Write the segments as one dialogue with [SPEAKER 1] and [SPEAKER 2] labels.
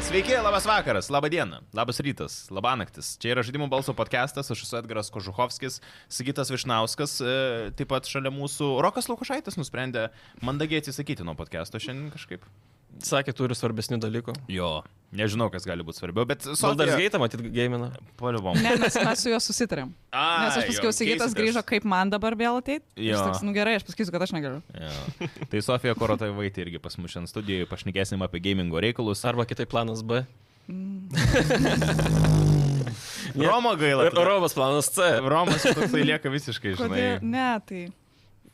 [SPEAKER 1] Sveiki, labas vakaras, laba diena, labas rytas, laba naktis. Čia yra žaidimų balso podcastas, aš esu Edgaras Kožuhovskis, Sigitas Višnauskas, e, taip pat šalia mūsų Rokas Lukušaitis nusprendė mandagiai atsisakyti nuo podcasto šiandien kažkaip.
[SPEAKER 2] Sakė, turi svarbesnių dalykų.
[SPEAKER 1] Jo. Nežinau, kas gali būti svarbiau, bet
[SPEAKER 2] Soldas
[SPEAKER 1] Salders
[SPEAKER 2] Gaitą matyt gėmina.
[SPEAKER 1] Paliuvom.
[SPEAKER 3] Ne, mes, mes su juo susitarėm. Nes aš pasakiau, Sigitas grįžo, kaip man dabar vėl ateiti.
[SPEAKER 1] Jo.
[SPEAKER 3] Jis toks, nu gerai, aš pasakysiu, kad aš negaliu.
[SPEAKER 1] Jo. Tai Sofija Korotavaitė irgi pas mus šiandien studijoje, pašnekėsim apie gamingo reikalus.
[SPEAKER 2] Arba kitaip planas B. Ne.
[SPEAKER 1] Romo gaila.
[SPEAKER 2] Ir Romos planas C.
[SPEAKER 1] Romas toksai lieka visiškai, žinai.
[SPEAKER 3] Kodėl? Ne, tai.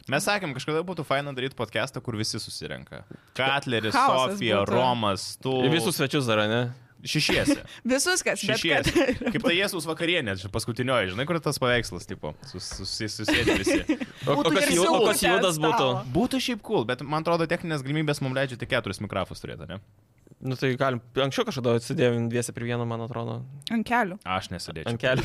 [SPEAKER 1] Mes sakėm, kažkada būtų faina daryti podcastą, kur visi susirenka. Katleris,
[SPEAKER 3] Chaosas
[SPEAKER 1] Sofija,
[SPEAKER 3] būtų.
[SPEAKER 1] Romas, tu.
[SPEAKER 2] Ir visus svečius dar, ne?
[SPEAKER 1] Šešiesi.
[SPEAKER 3] Visus, kas
[SPEAKER 1] Šešiesi. Kaip tai Jėzus vakarienė, čia paskutinioji, žinai, kur tas paveikslas, tipo, sus, sus, susėdė visi.
[SPEAKER 2] O, o,
[SPEAKER 3] Būtų
[SPEAKER 2] kas,
[SPEAKER 3] garsiau
[SPEAKER 2] ju, o kas
[SPEAKER 3] ten
[SPEAKER 2] juodas būtų?
[SPEAKER 3] stalo.
[SPEAKER 1] Būtų šiaip cool, bet man atrodo, techninės galimybės mums leidžia tik keturis mikrofus turėti, ne?
[SPEAKER 2] Nu tai galim, anksčiau kažkada atsidėjom dviese prie vieno, man atrodo,
[SPEAKER 3] Ant kelių.
[SPEAKER 1] Aš nesėdėčiau.
[SPEAKER 2] ant kelių.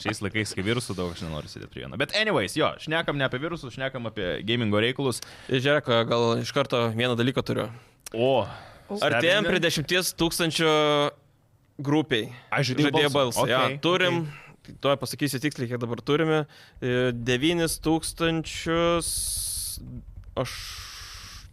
[SPEAKER 1] Šiais laikais, kai virusų daug, aš nenoriu sėdėti prie vieno. Bet anyways, jo, šnekam ne apie virusus, šnekam apie gamingo reikalus.
[SPEAKER 2] Žiūrėk, gal iš karto vieną dalyką turiu.
[SPEAKER 1] O.
[SPEAKER 2] Artėjom prie 10 tūkstančių grupiai.
[SPEAKER 1] Aš
[SPEAKER 2] Žaidėjo balsą. Okay, ja, turim, okay. tuo pasakysiu tiksliai, kiek dabar turime. E,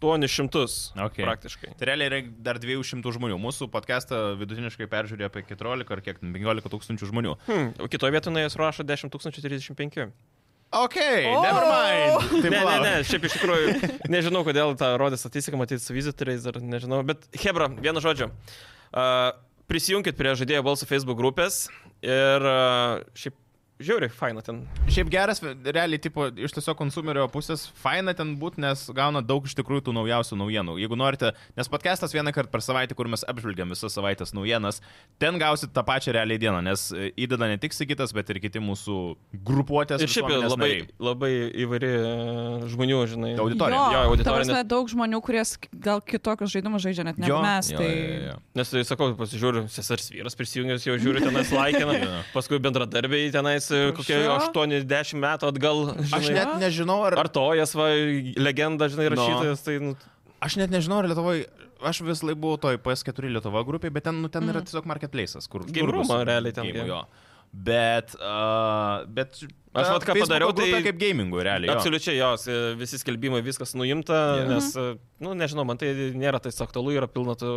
[SPEAKER 2] 9800.
[SPEAKER 1] Okay.
[SPEAKER 2] Praktiškai.
[SPEAKER 1] Tai realiai yra dar 200 žmonių. Mūsų podcastą vidutiniškai peržiūrėjo apie 14 ar kiek, ten 15 tūkstančių žmonių.
[SPEAKER 2] Hmm, o kitoje vietoje jis rašo 10035.
[SPEAKER 1] Ok,
[SPEAKER 3] O!
[SPEAKER 1] never mind.
[SPEAKER 2] Oh! Ne,
[SPEAKER 1] Tai
[SPEAKER 2] ne,
[SPEAKER 1] palauk.
[SPEAKER 2] ne, šiaip iš tikrųjų nežinau, kodėl tą rodė statistika, matyt, su vizitoriais dar nežinau. Bet Hebra, vienu žodžiu. Uh, prisijunkit prie žaidėjo balsų Facebook grupės ir uh, šiaip žiauriai faina ten.
[SPEAKER 1] Šiaip geras, realiai, tipo, iš tiesiog konsumerio pusės, faina ten būti, nes gauna daug iš tikrųjų tų naujausių naujienų. Jeigu norite, nes podcastas vieną kartą per savaitę, kur mes apžvelgiam visą savaitės naujienas, ten gausit tą pačią realiai dieną, nes e, įdeda ne tik Sigitas, bet ir kiti mūsų grupuotės.
[SPEAKER 2] Ir šiaip
[SPEAKER 1] visuomenės
[SPEAKER 2] labai,
[SPEAKER 1] nariai. labai...
[SPEAKER 2] labai įvairi uh, žmonių, žinai.
[SPEAKER 1] Ta auditorija.
[SPEAKER 2] Jo,
[SPEAKER 3] Jo,
[SPEAKER 2] auditorija,
[SPEAKER 3] ta prasme,
[SPEAKER 2] nes-
[SPEAKER 3] daug žmonių, kurie sk- gal kitokius žaidimus žaidžia net negu mes. Tai...
[SPEAKER 2] Nes tai sakau, pasižiūriu, sesers vyras prisijungęs jau žiūri tenais laikiną, paskui bendradarbiai tenais e, kokie
[SPEAKER 3] Jo.
[SPEAKER 2] 80 metų atgal.
[SPEAKER 1] Aš
[SPEAKER 2] Žinai,
[SPEAKER 1] net nežinau, ar...
[SPEAKER 2] Ar tojas, va, legenda, žinai,
[SPEAKER 1] No.
[SPEAKER 2] rašytojas, tai nu,
[SPEAKER 1] Aš net nežinau, ar Lietuvoje, aš vis laik buvau toj PS4 Lietuva grupiai, bet ten, nu, ten mm. yra tiesiog marketplace'as, kur...
[SPEAKER 2] Game
[SPEAKER 1] kur bus
[SPEAKER 2] room'o realiai ten
[SPEAKER 1] game'ų,
[SPEAKER 2] game.
[SPEAKER 1] Jo. Bet, uh, bet...
[SPEAKER 2] Aš
[SPEAKER 1] ta
[SPEAKER 2] vat ką
[SPEAKER 1] Facebooko
[SPEAKER 2] padariau,
[SPEAKER 1] grupė
[SPEAKER 2] tai-
[SPEAKER 1] Kaip gamingų, realiai. jo.
[SPEAKER 2] Absoliučiai jos, e, visi skelbimai, viskas nuimta,
[SPEAKER 1] Jo.
[SPEAKER 2] yeah. nes, e, nu, nežinau, man tai nėra tais aktualu, yra pilna tų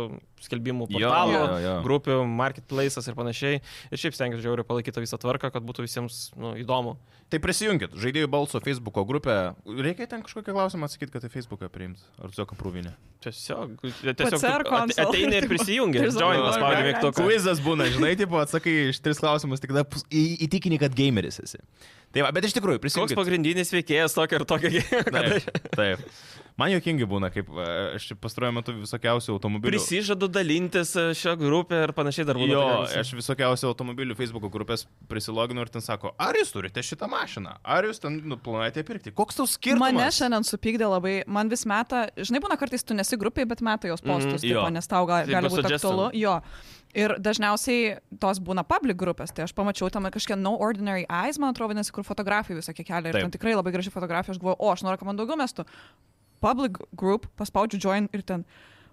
[SPEAKER 2] skelbimų
[SPEAKER 1] Jo,
[SPEAKER 2] portalų,
[SPEAKER 1] jo, jo.
[SPEAKER 2] grupių, marketplaces ir panašiai. Ir šiaip stengiuosi žiauriai palaikyti tą visą tvarką, kad būtų visiems nu, įdomu.
[SPEAKER 1] Tai prisijunkit, žaidėjų balso Facebook'o grupę. Reikia ten kažkokį klausimą atsakyti, kad į Facebook'ą priimt. Ar tiesiog aprūvinė.
[SPEAKER 2] Tiesiog, tiesiog
[SPEAKER 3] CR
[SPEAKER 2] tu at-
[SPEAKER 3] console.
[SPEAKER 2] ateini ir prisijungi,
[SPEAKER 3] Tiesiog
[SPEAKER 2] join,
[SPEAKER 3] nori
[SPEAKER 2] paspaudži
[SPEAKER 3] gyventi.
[SPEAKER 2] mygtuką.
[SPEAKER 1] Quizas būna, žinai, tipo, atsakai iš tris klausimus, tik tada pus- į- įtikini, kad gameris esi. Tai va, bet iš tikrųjų,
[SPEAKER 2] Koks
[SPEAKER 1] prisijunkit.
[SPEAKER 2] pagrindinis veikėjas tokia ir tokia?
[SPEAKER 1] Taip, taip. Man jokingi būna, kaip e, aš pastaruoju metu visokiausių automobilių.
[SPEAKER 2] Prisižadu dalintis e, šią grupę ir panašiai dar būtų.
[SPEAKER 1] Jo, aš visokiausių automobilių Facebook grupės prisiloginu ir ten sako, ar jūs turite šitą mašiną, ar jūs ten nu, planuojate pirkti. Koks tau skirtumas?
[SPEAKER 3] Mane šiandien supykdė labai, man vis metą, žinai, būna kartais tu nesi grupiai, bet metą jos
[SPEAKER 1] Mhm,
[SPEAKER 3] postus, mm,
[SPEAKER 1] jo.
[SPEAKER 3] tipo, nes tau gal,
[SPEAKER 2] Tipo
[SPEAKER 3] gali būti
[SPEAKER 2] suggestion.
[SPEAKER 3] aktualu. Jo. Ir dažniausiai tos būna public grupės, tai aš pamačiau tam kažkiek No Ordinary Eyes, man atrodo, nes kur fotografijų visokie kelia ir
[SPEAKER 1] Taip.
[SPEAKER 3] ten tikrai labai graži fotografija, aš galvoju, o aš noriu, kad man daugiau mestų. Public group, paspaudžiu join ir ten.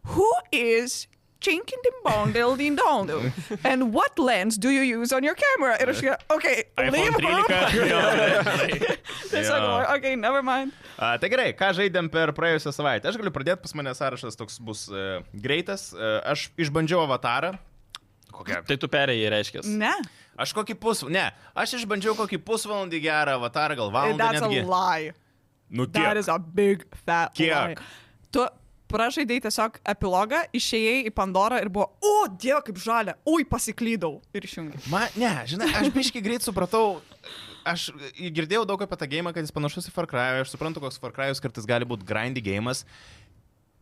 [SPEAKER 3] Who is Chinkin Dimbong Dildin Dondum? And what lens do you use on your camera? Ir aš, galvoju, okay, leave room. Tiesiog,
[SPEAKER 1] Jo.
[SPEAKER 3] galvoju, okay, never mind.
[SPEAKER 1] A, tai gerai, ką žaidėm per praėjusią savaitę? Aš galiu pradėti, pas mane sąrašas toks bus e, greitas. E, aš išbandžiau avatarą. Kokia?
[SPEAKER 2] Tai tu perėjai, reiškia.
[SPEAKER 3] Ne.
[SPEAKER 1] Aš kokį pusvalandį, ne, aš išbandžiau kokį pusvalandį gerą avatarą, gal valandą.
[SPEAKER 3] That's
[SPEAKER 1] netgi.
[SPEAKER 3] a lie.
[SPEAKER 1] Nu,
[SPEAKER 3] That is a big fat
[SPEAKER 1] Kiek?
[SPEAKER 3] lie. Tu pražaidai tiesiog epilogą, išėjai į Pandorą ir buvo, o, Dieve, kaip žalia, ui, pasiklydau ir išjungi.
[SPEAKER 1] Man, ne, žinai, aš biškai greit supratau, aš girdėjau daug apie tą gėjimą, kad jis panašus į Far Cry, aš suprantu, koks Far Cry'us kartais gali būti grindy gėjimas.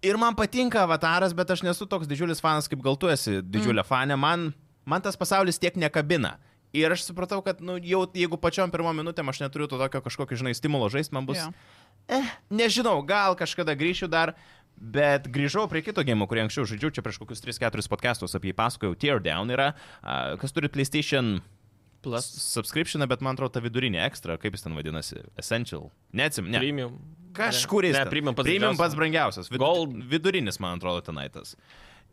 [SPEAKER 1] Ir man patinka avataras, bet aš nesu toks didžiulis fanas, kaip gal tu esi didžiulė mm. fanė, man, man tas pasaulis tiek nekabina. Ir aš supratau, kad nu, jau jeigu pačiom pirmom minutėm aš neturiu to tokio kažkokio, žinai, stimulo žaisti, man bus...
[SPEAKER 3] Jo.
[SPEAKER 1] Eh, nežinau, gal kažkada grįšiu dar, bet grįžau prie kito gėjimo, kurį anksčiau žaidžiau, čia prieš kokius 3-4 podcastus apie jį pasakojau, Teardown yra, a, kas turi PlayStation
[SPEAKER 2] Plus.
[SPEAKER 1] subscriptioną, bet man atrodo ta vidurinė ekstra, kaip jis ten vadinasi, essential. Neatsim, ne.
[SPEAKER 2] Premium.
[SPEAKER 1] Kažkuris.
[SPEAKER 2] Ne,
[SPEAKER 1] ten.
[SPEAKER 2] premium pats.
[SPEAKER 1] premium
[SPEAKER 2] didžiausias.
[SPEAKER 1] pats brangiausias. Vid
[SPEAKER 2] Gold.
[SPEAKER 1] vidurinis, man atrodo, tenai tas.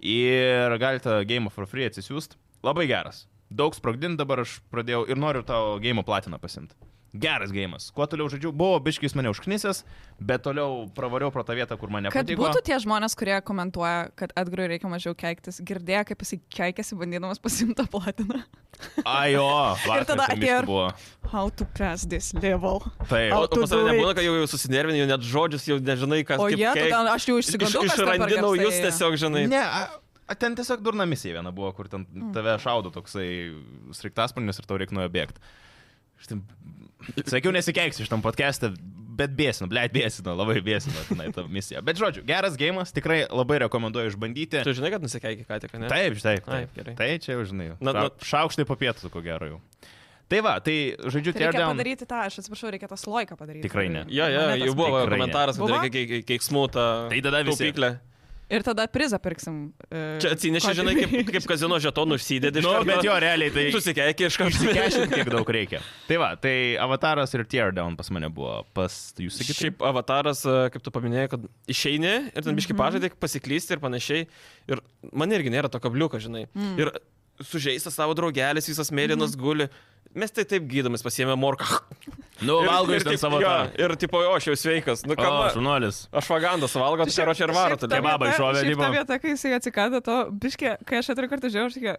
[SPEAKER 1] Ir galite game for free atsisiųst. Labai geras. Daug sprogdint dabar aš pradėjau ir noriu tavo game platiną pasimti. Geras gėjimas. Kuo toliau žodžiu, buvo biškis mane užknisęs, bet toliau pravariau pro tą vietą, kur mane
[SPEAKER 3] Kad
[SPEAKER 1] patiko.
[SPEAKER 3] būtų tie žmonės, kurie komentuoja, kad Edgarui reikia mažiau keiktis, girdėjo, kaip jisai keikėsi bandydamas pasimtą platiną.
[SPEAKER 1] Ajo, vakar
[SPEAKER 3] tada
[SPEAKER 1] ten
[SPEAKER 3] atėjo
[SPEAKER 1] biškį
[SPEAKER 3] ir-
[SPEAKER 1] buvo.
[SPEAKER 3] How to pass this level.
[SPEAKER 1] Taip.
[SPEAKER 2] O,
[SPEAKER 3] How
[SPEAKER 2] o
[SPEAKER 3] to
[SPEAKER 2] pas mane
[SPEAKER 3] do it.
[SPEAKER 2] nebūna, kad jau, jau susinervinai, jau net žodžius, jau nežinai, kas
[SPEAKER 3] O
[SPEAKER 2] kaip
[SPEAKER 3] jie,
[SPEAKER 2] keik-
[SPEAKER 3] tada aš jau
[SPEAKER 2] Iš,
[SPEAKER 3] išsigandau. kas ten per
[SPEAKER 2] išrandinau
[SPEAKER 3] garsai
[SPEAKER 2] jūs
[SPEAKER 3] ėjo.
[SPEAKER 2] tiesiog, žinai.
[SPEAKER 1] Ne, a, a, ten tiesiog durna misija viena buvo, kur ten tave šaudo toksai striktasparnis ir tau reikia nuo jo bėgti. Štai, sakiau, nesikeiksiu iš tam podcast'e, bet bėsinu, blėt bėsinu, labai bėsinu tenai tą misiją. Bet žodžiu, geras gėjimas, tikrai labai rekomenduoju išbandyti.
[SPEAKER 2] Tu žinai, kad nusikeikė ką tik, ne?
[SPEAKER 1] Taip, taip.
[SPEAKER 2] Ai,
[SPEAKER 1] taip.
[SPEAKER 2] gerai.
[SPEAKER 1] Tai čia jau žinai.
[SPEAKER 2] Na,
[SPEAKER 1] Na,
[SPEAKER 2] na-
[SPEAKER 1] na. Šaukštai po pietų, ko gero jau. Tai va, tai žodžiu,
[SPEAKER 3] Tai reikia
[SPEAKER 1] teardown.
[SPEAKER 3] padaryti tą, aš atsiprašau, reikia tas loiką padaryti.
[SPEAKER 1] Tikrai ne.
[SPEAKER 2] Jo, jo,
[SPEAKER 3] Monetos
[SPEAKER 2] jau buvo
[SPEAKER 1] Tikrai ne.
[SPEAKER 2] komentaras, kad
[SPEAKER 3] Buvo?
[SPEAKER 2] reikia keik- keik- keiksmų tą
[SPEAKER 1] Tai tada visi.
[SPEAKER 2] taupyklę.
[SPEAKER 3] Ir tada prizą pirksim. e,
[SPEAKER 2] Čia atsineši,
[SPEAKER 3] kokį-
[SPEAKER 2] žinai, kaip, kaip kazino žetonų užsidedi. iš
[SPEAKER 1] Nu,
[SPEAKER 2] karto.
[SPEAKER 1] bet jo, realiai tai
[SPEAKER 2] Susikeikė iš kažkokio.
[SPEAKER 1] išsikešit, kiek daug reikia. Tai va, tai avataras ir teardown pas mane buvo. Pas jūs
[SPEAKER 2] Sakyt,
[SPEAKER 1] sakytumėte.
[SPEAKER 2] šiaip avataras, a, kaip tu paminėjai, kad išeini ir ten
[SPEAKER 3] Mhm.
[SPEAKER 2] biški pažadai, pasiklysti ir panašiai. Ir man irgi nėra to kabliuko, žinai.
[SPEAKER 3] Mhm.
[SPEAKER 2] Mm. Ir sužeistas tavo draugelis, visas mėlynas mm. guli. Mes tai taip gydomis pasiemė morką.
[SPEAKER 1] Nu, valgai ten
[SPEAKER 2] taip,
[SPEAKER 1] savo.
[SPEAKER 2] jo,
[SPEAKER 1] tą.
[SPEAKER 2] Ir tipo, o, aš jau sveikas. Nu,
[SPEAKER 1] O,
[SPEAKER 2] ką?
[SPEAKER 1] šunuolis.
[SPEAKER 2] Aš vagandas valgo, tai čia ročia ir varo.
[SPEAKER 3] Šiaip ta
[SPEAKER 2] tada.
[SPEAKER 1] kebabą
[SPEAKER 3] vieta-
[SPEAKER 1] iššovė,
[SPEAKER 3] šiaip Ta
[SPEAKER 1] tipo.
[SPEAKER 3] vieta, kai jisai atsikado to, biškė, kai aš atrį kartą žiūrėjau, aš tokia...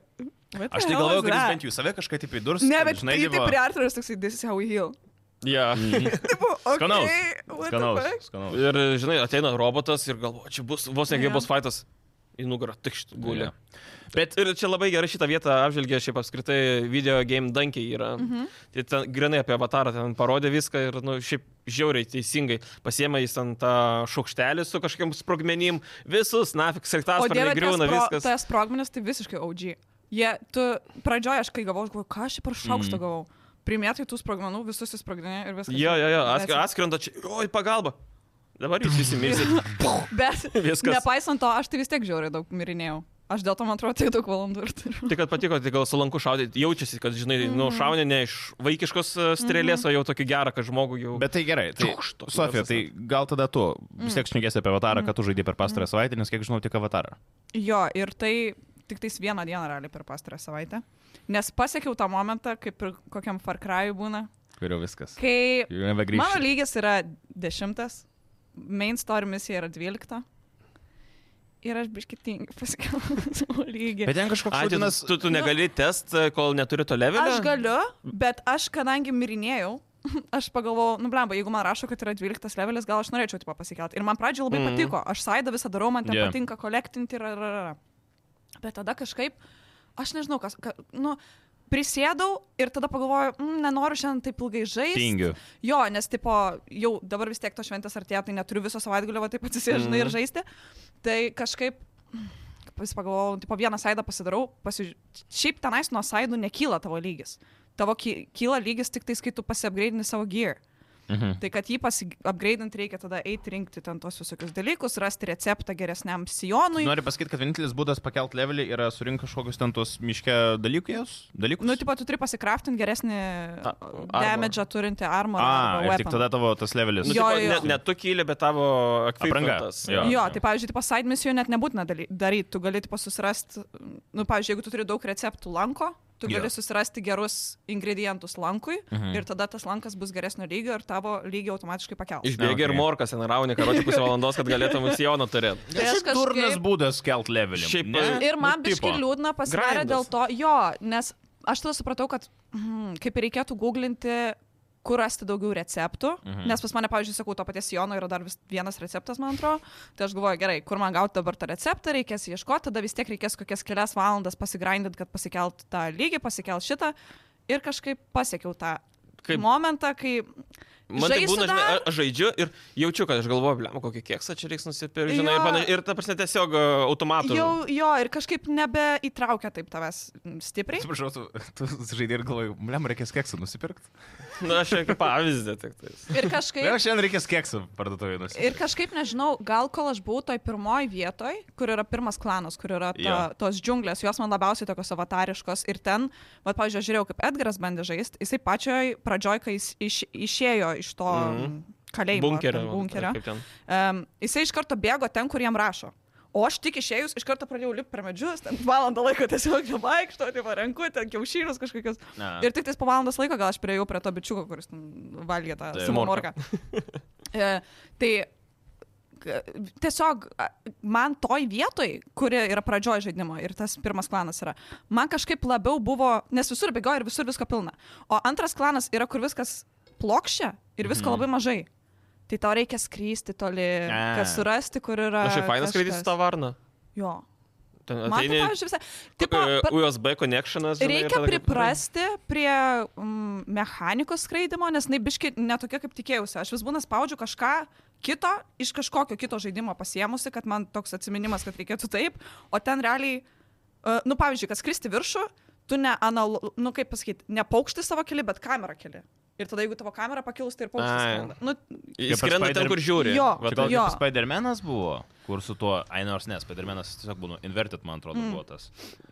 [SPEAKER 3] what the
[SPEAKER 1] Aš tai
[SPEAKER 3] hell
[SPEAKER 1] galvoju,
[SPEAKER 3] is
[SPEAKER 1] kad jis
[SPEAKER 3] that?
[SPEAKER 1] bent jau save kažkaip taip įdurs.
[SPEAKER 3] Ne,
[SPEAKER 1] kad,
[SPEAKER 3] bet žinai, jį taip
[SPEAKER 1] tipo,
[SPEAKER 3] priartinus toksai, this is how we heal.
[SPEAKER 2] Ja.
[SPEAKER 3] Mhm. Tipo, okay,
[SPEAKER 1] Skanaus.
[SPEAKER 3] what the fuck?
[SPEAKER 1] Skanaus. Skanaus.
[SPEAKER 2] Ir, žinai, ateina robotas ir galvo, čia bus vos ne
[SPEAKER 3] Jo.
[SPEAKER 2] kaip bus fightas. Į nugarą, tik šitą gulį.
[SPEAKER 1] Jo. Bet
[SPEAKER 2] Ir čia labai gerai šitą vietą apžvelgė, šiaip apskritai video game dankiai yra. Mhm. Tai ten grinai apie avatarą, ten parodė viską ir, na, nu, šiaip žiauriai teisingai pasiemė jis ten tą šaukštelį su kažkokiam sprogmenim, visus, na,
[SPEAKER 3] O
[SPEAKER 2] fiksektas,
[SPEAKER 3] dieve,
[SPEAKER 2] pradėjo griūna
[SPEAKER 3] tas pro-
[SPEAKER 2] viskas.
[SPEAKER 3] tas sprogmenis tai visiškai OG. Jie, tu pradžioje aš kai gavau, aš galvoju, ką aš čia per šaukštą gavau. Primėtai tų sprogmenų, visus įsprogdinė ir viskas.
[SPEAKER 2] Mm. Jo, jo, jo,
[SPEAKER 3] That's
[SPEAKER 2] atsk atskrenda čia, oi, pagalba. Dabar jūs visi mirsite.
[SPEAKER 3] Bet
[SPEAKER 2] Viskas.
[SPEAKER 3] nepaisant to, aš tai vis tiek žiauriai daug mirinėjau. Aš dėl to, man atrodo, tai daug valandų ir turiu.
[SPEAKER 2] Tik kad patiko, tai gal sulanku šaudyti, jaučiasi, kad, žinai, mm -hmm. nu, šaunė ne iš vaikiškos e, strėlės, mm
[SPEAKER 3] Mhm.
[SPEAKER 2] -hmm. o jau tokį gerą, kad žmogų jau...
[SPEAKER 1] Bet tai gerai. Tai,
[SPEAKER 2] Čiukšt, toks
[SPEAKER 1] Sofija,
[SPEAKER 2] garsas
[SPEAKER 1] tai gal tada tu
[SPEAKER 3] Mm.
[SPEAKER 1] vis tiek šnekėsi apie avatarą, kad tu žaidai per pastarąją savaitę, nes kiek žinau, tik avatarą.
[SPEAKER 3] Jo, ir tai tik tais vieną dieną realiai per pastarą savaitę. Nes pasiekiau tą momentą, kaip ir kokiam Far Cry būna,
[SPEAKER 1] Vėliau viskas.
[SPEAKER 3] kai
[SPEAKER 1] Jau nebegrįšiu.
[SPEAKER 3] mano lygis yra dešimtas, main story misija yra dvylikta. Ir aš biškitingai pasikėlau savo lygį.
[SPEAKER 1] Bet ten kažkoks
[SPEAKER 2] Ai,
[SPEAKER 1] šūdinas.
[SPEAKER 2] tu, tu, tu negali test, e, kol neturi to levelio.
[SPEAKER 3] Aš galiu, bet aš kadangi mirinėjau, aš pagalvojau, nu blemba, jeigu man rašo, kad yra 12 levelis, gal aš norėčiau tipo pasikelti. Ir man pradžioje labai
[SPEAKER 2] Mhm.
[SPEAKER 3] mm. patiko, aš saidą visą darau, man ten
[SPEAKER 1] Jo.
[SPEAKER 3] yeah. patinka kolektinti ir... ra, ra, ra, ra. Bet tada kažkaip, aš nežinau, kas, ka, nu, prisėdau ir tada pagalvojau, mm, nenoriu šiandien taip ilgai žaisti.
[SPEAKER 1] Tingiu.
[SPEAKER 3] Jo, nes tipo, jau dabar vis tiek to šventės artėja, tai neturiu viso savaitgalio, va taip atsisėžinai mm. ir
[SPEAKER 2] Mhm.
[SPEAKER 3] žaisti. Tai kažkaip vis pagalvojau, tipo, vieną saidą pasidarau, pasiž... šiaip tenais nuo saidų nekyla tavo lygis. Tavo ky- kyla lygis tik tais, kai tu pasiapgraidini savo gear.
[SPEAKER 1] Mhm.
[SPEAKER 3] Tai kad jį pasiapgraidinti reikia tada eiti rinkti ten tos visokius dalykus, rasti receptą geresniam sijonui.
[SPEAKER 1] Noriu pasakyti, kad vienintelis būdas pakelt levelį yra surinkti kažkokius ten tuos miške dalykus. dalykus?
[SPEAKER 3] Nu, tipo, tu turi pasikraftinti geresnį
[SPEAKER 2] Ta-
[SPEAKER 3] damage turinti armą.
[SPEAKER 1] A, ir tik tada tavo tas levelis.
[SPEAKER 2] Nu,
[SPEAKER 3] Jo,
[SPEAKER 2] jo,
[SPEAKER 3] jo.
[SPEAKER 2] jo. Ne, ne tu kyli, bet tavo
[SPEAKER 1] Apranga.
[SPEAKER 2] ekvipmentas.
[SPEAKER 1] Jo.
[SPEAKER 3] Jo, tai pavyzdžiui, tipo, side misijų net nebūtina daly- daryti, tu gali tipo, susirasti, nu, pavyzdžiui, jeigu tu turi daug receptų lanko, tu gali
[SPEAKER 1] Jo.
[SPEAKER 3] susirasti gerus ingredientus lankui
[SPEAKER 1] Mhm.
[SPEAKER 3] ir tada tas lankas bus geresnio lygio ir tavo lygį automatiškai pakels.
[SPEAKER 2] e, Išbėgi okay. ir
[SPEAKER 1] Okay.
[SPEAKER 2] morkas, enaraunė, karočią pusę valandos, kad galėtum Sijoną turėti.
[SPEAKER 3] Tai aš kažkaip-
[SPEAKER 1] Turnas būdas kelt levelį.
[SPEAKER 2] Šiaip,
[SPEAKER 1] ne?
[SPEAKER 3] Ir
[SPEAKER 1] Nu,
[SPEAKER 3] man
[SPEAKER 1] tipo.
[SPEAKER 3] biškai liūdna pasidarė
[SPEAKER 2] Grindas.
[SPEAKER 3] dėl to, jo, nes aš tada supratau, kad mm, kaip ir reikėtų googlinti kur rasti daugiau receptų, mhm.
[SPEAKER 1] Mhm.
[SPEAKER 3] nes pas mane, pavyzdžiui, sakau, to paties Jono yra dar vis vienas receptas, man atrodo, tai aš galvoju, gerai, kur man gauti dabar tą receptą, reikės ieškoti, tada vis tiek reikės kokias kelias valandas pasigrindint, kad pasikelt tą lygį, pasikelt šitą ir kažkaip pasiekiau tą
[SPEAKER 2] Kaip-
[SPEAKER 3] kaip... momentą, kai...
[SPEAKER 2] Man tai
[SPEAKER 3] Žaisiu
[SPEAKER 2] būna, žinai,
[SPEAKER 3] dar?
[SPEAKER 2] a- aš žaidžiu ir jaučiu, kad aš galvoju, blem, kokį keksą čia reiks nusipirkti, žinai,
[SPEAKER 3] Jo.
[SPEAKER 2] ir, pana- ir ta prasme tiesiog e, automatu.
[SPEAKER 3] Jau, jo, ir kažkaip nebeįtraukia taip tavęs mm, stipriai.
[SPEAKER 1] Atsiprašau, tu, tu žaidėjai ir galvoju, blem, reikės keksą nusipirkti.
[SPEAKER 2] Na, Nu, aš kaip pavyzdį tik tai.
[SPEAKER 3] Ir kažkaip...
[SPEAKER 1] Blem, šiandien reikės keksą parduotuvėje nusipirkti.
[SPEAKER 3] Ir kažkaip nežinau, gal kol aš buvau toj pirmoji vietoj, kur yra pirmas klanas, kur yra ta,
[SPEAKER 1] Jo.
[SPEAKER 3] tos džiunglės, jos man labiausiai tokios avatariškos. Ir ten, va, pavyzdžiui, aš žiūrėjau, kaip Edgaras bandė žaisti, jisai pačioj pradžioj, kai jis iš, išėjo iš to mm
[SPEAKER 2] Mhm.
[SPEAKER 3] -hmm. kalėjimo. ar ten
[SPEAKER 2] Bunkerio.
[SPEAKER 3] bunkerio
[SPEAKER 2] Kaip ten.
[SPEAKER 3] um, jisai iš karto bėgo ten, kur jam rašo. O aš tik išėjus iš karto pradėjau lipti per medžius, ten valandą laiko tiesiog vaikšto, tai varenku, ten kiaušynus kažkokius.
[SPEAKER 1] Na.
[SPEAKER 3] Ir tik tais po valandos laiko gal aš prieėjau prie to bičiuko, kuris ten valgė tą
[SPEAKER 1] Taip.
[SPEAKER 3] simorką. tai k- tiesiog a, man toj vietoj, kuri yra pradžioj žaidimo ir tas pirmas klanas yra, man kažkaip labiau buvo, nes visur bėgoja ir visur visko pilna. O antras klanas yra, kur viskas plokščia ir visko labai mažai. Tai tau reikia skrysti toli,
[SPEAKER 1] A.
[SPEAKER 3] kas surasti, kur yra.
[SPEAKER 2] Aš Nu, šiaip fainas skraidyti su tą
[SPEAKER 3] kažkas.
[SPEAKER 2] varną.
[SPEAKER 3] Jo.
[SPEAKER 2] Ten
[SPEAKER 3] Man tai,
[SPEAKER 2] ateini,
[SPEAKER 3] pavyzdžiui, visai. Tipo,
[SPEAKER 2] e,
[SPEAKER 3] per-
[SPEAKER 2] USB connectionas. žinai, ir
[SPEAKER 3] Reikia
[SPEAKER 2] tada kaip-
[SPEAKER 3] priprasti prie mm, mechanikos skraidimo, nes jinai biški netokia, kaip tikėjausi. Aš vis būna spaudžiu kažką kito, iš kažkokio kito žaidimo pasiemusi, kad man toks atminimas, kad reikėtų taip, o ten realiai, uh, nu pavyzdžiui, kad skristi viršų, tu ne, analo, nu kaip pasakyti, ne paukšti savo keli, bet kamerą keli. Ir tada, jeigu tavo kamera pakilus, tai ir paukštis.
[SPEAKER 2] Ai.
[SPEAKER 3] skrenda. Nu,
[SPEAKER 2] Jis
[SPEAKER 1] Kaip
[SPEAKER 2] skrenda ten,
[SPEAKER 1] Spider-
[SPEAKER 2] kur žiūri.
[SPEAKER 3] Jo.
[SPEAKER 2] Va
[SPEAKER 1] Čia
[SPEAKER 2] to-
[SPEAKER 1] gal
[SPEAKER 3] jo.
[SPEAKER 1] kaip Spider-Man'as buvo, kur su tuo, ai nors ne, Spider-Man'as tiesiog buvo inverted, man atrodo,
[SPEAKER 3] Hmm.
[SPEAKER 1] mm. buvo tas.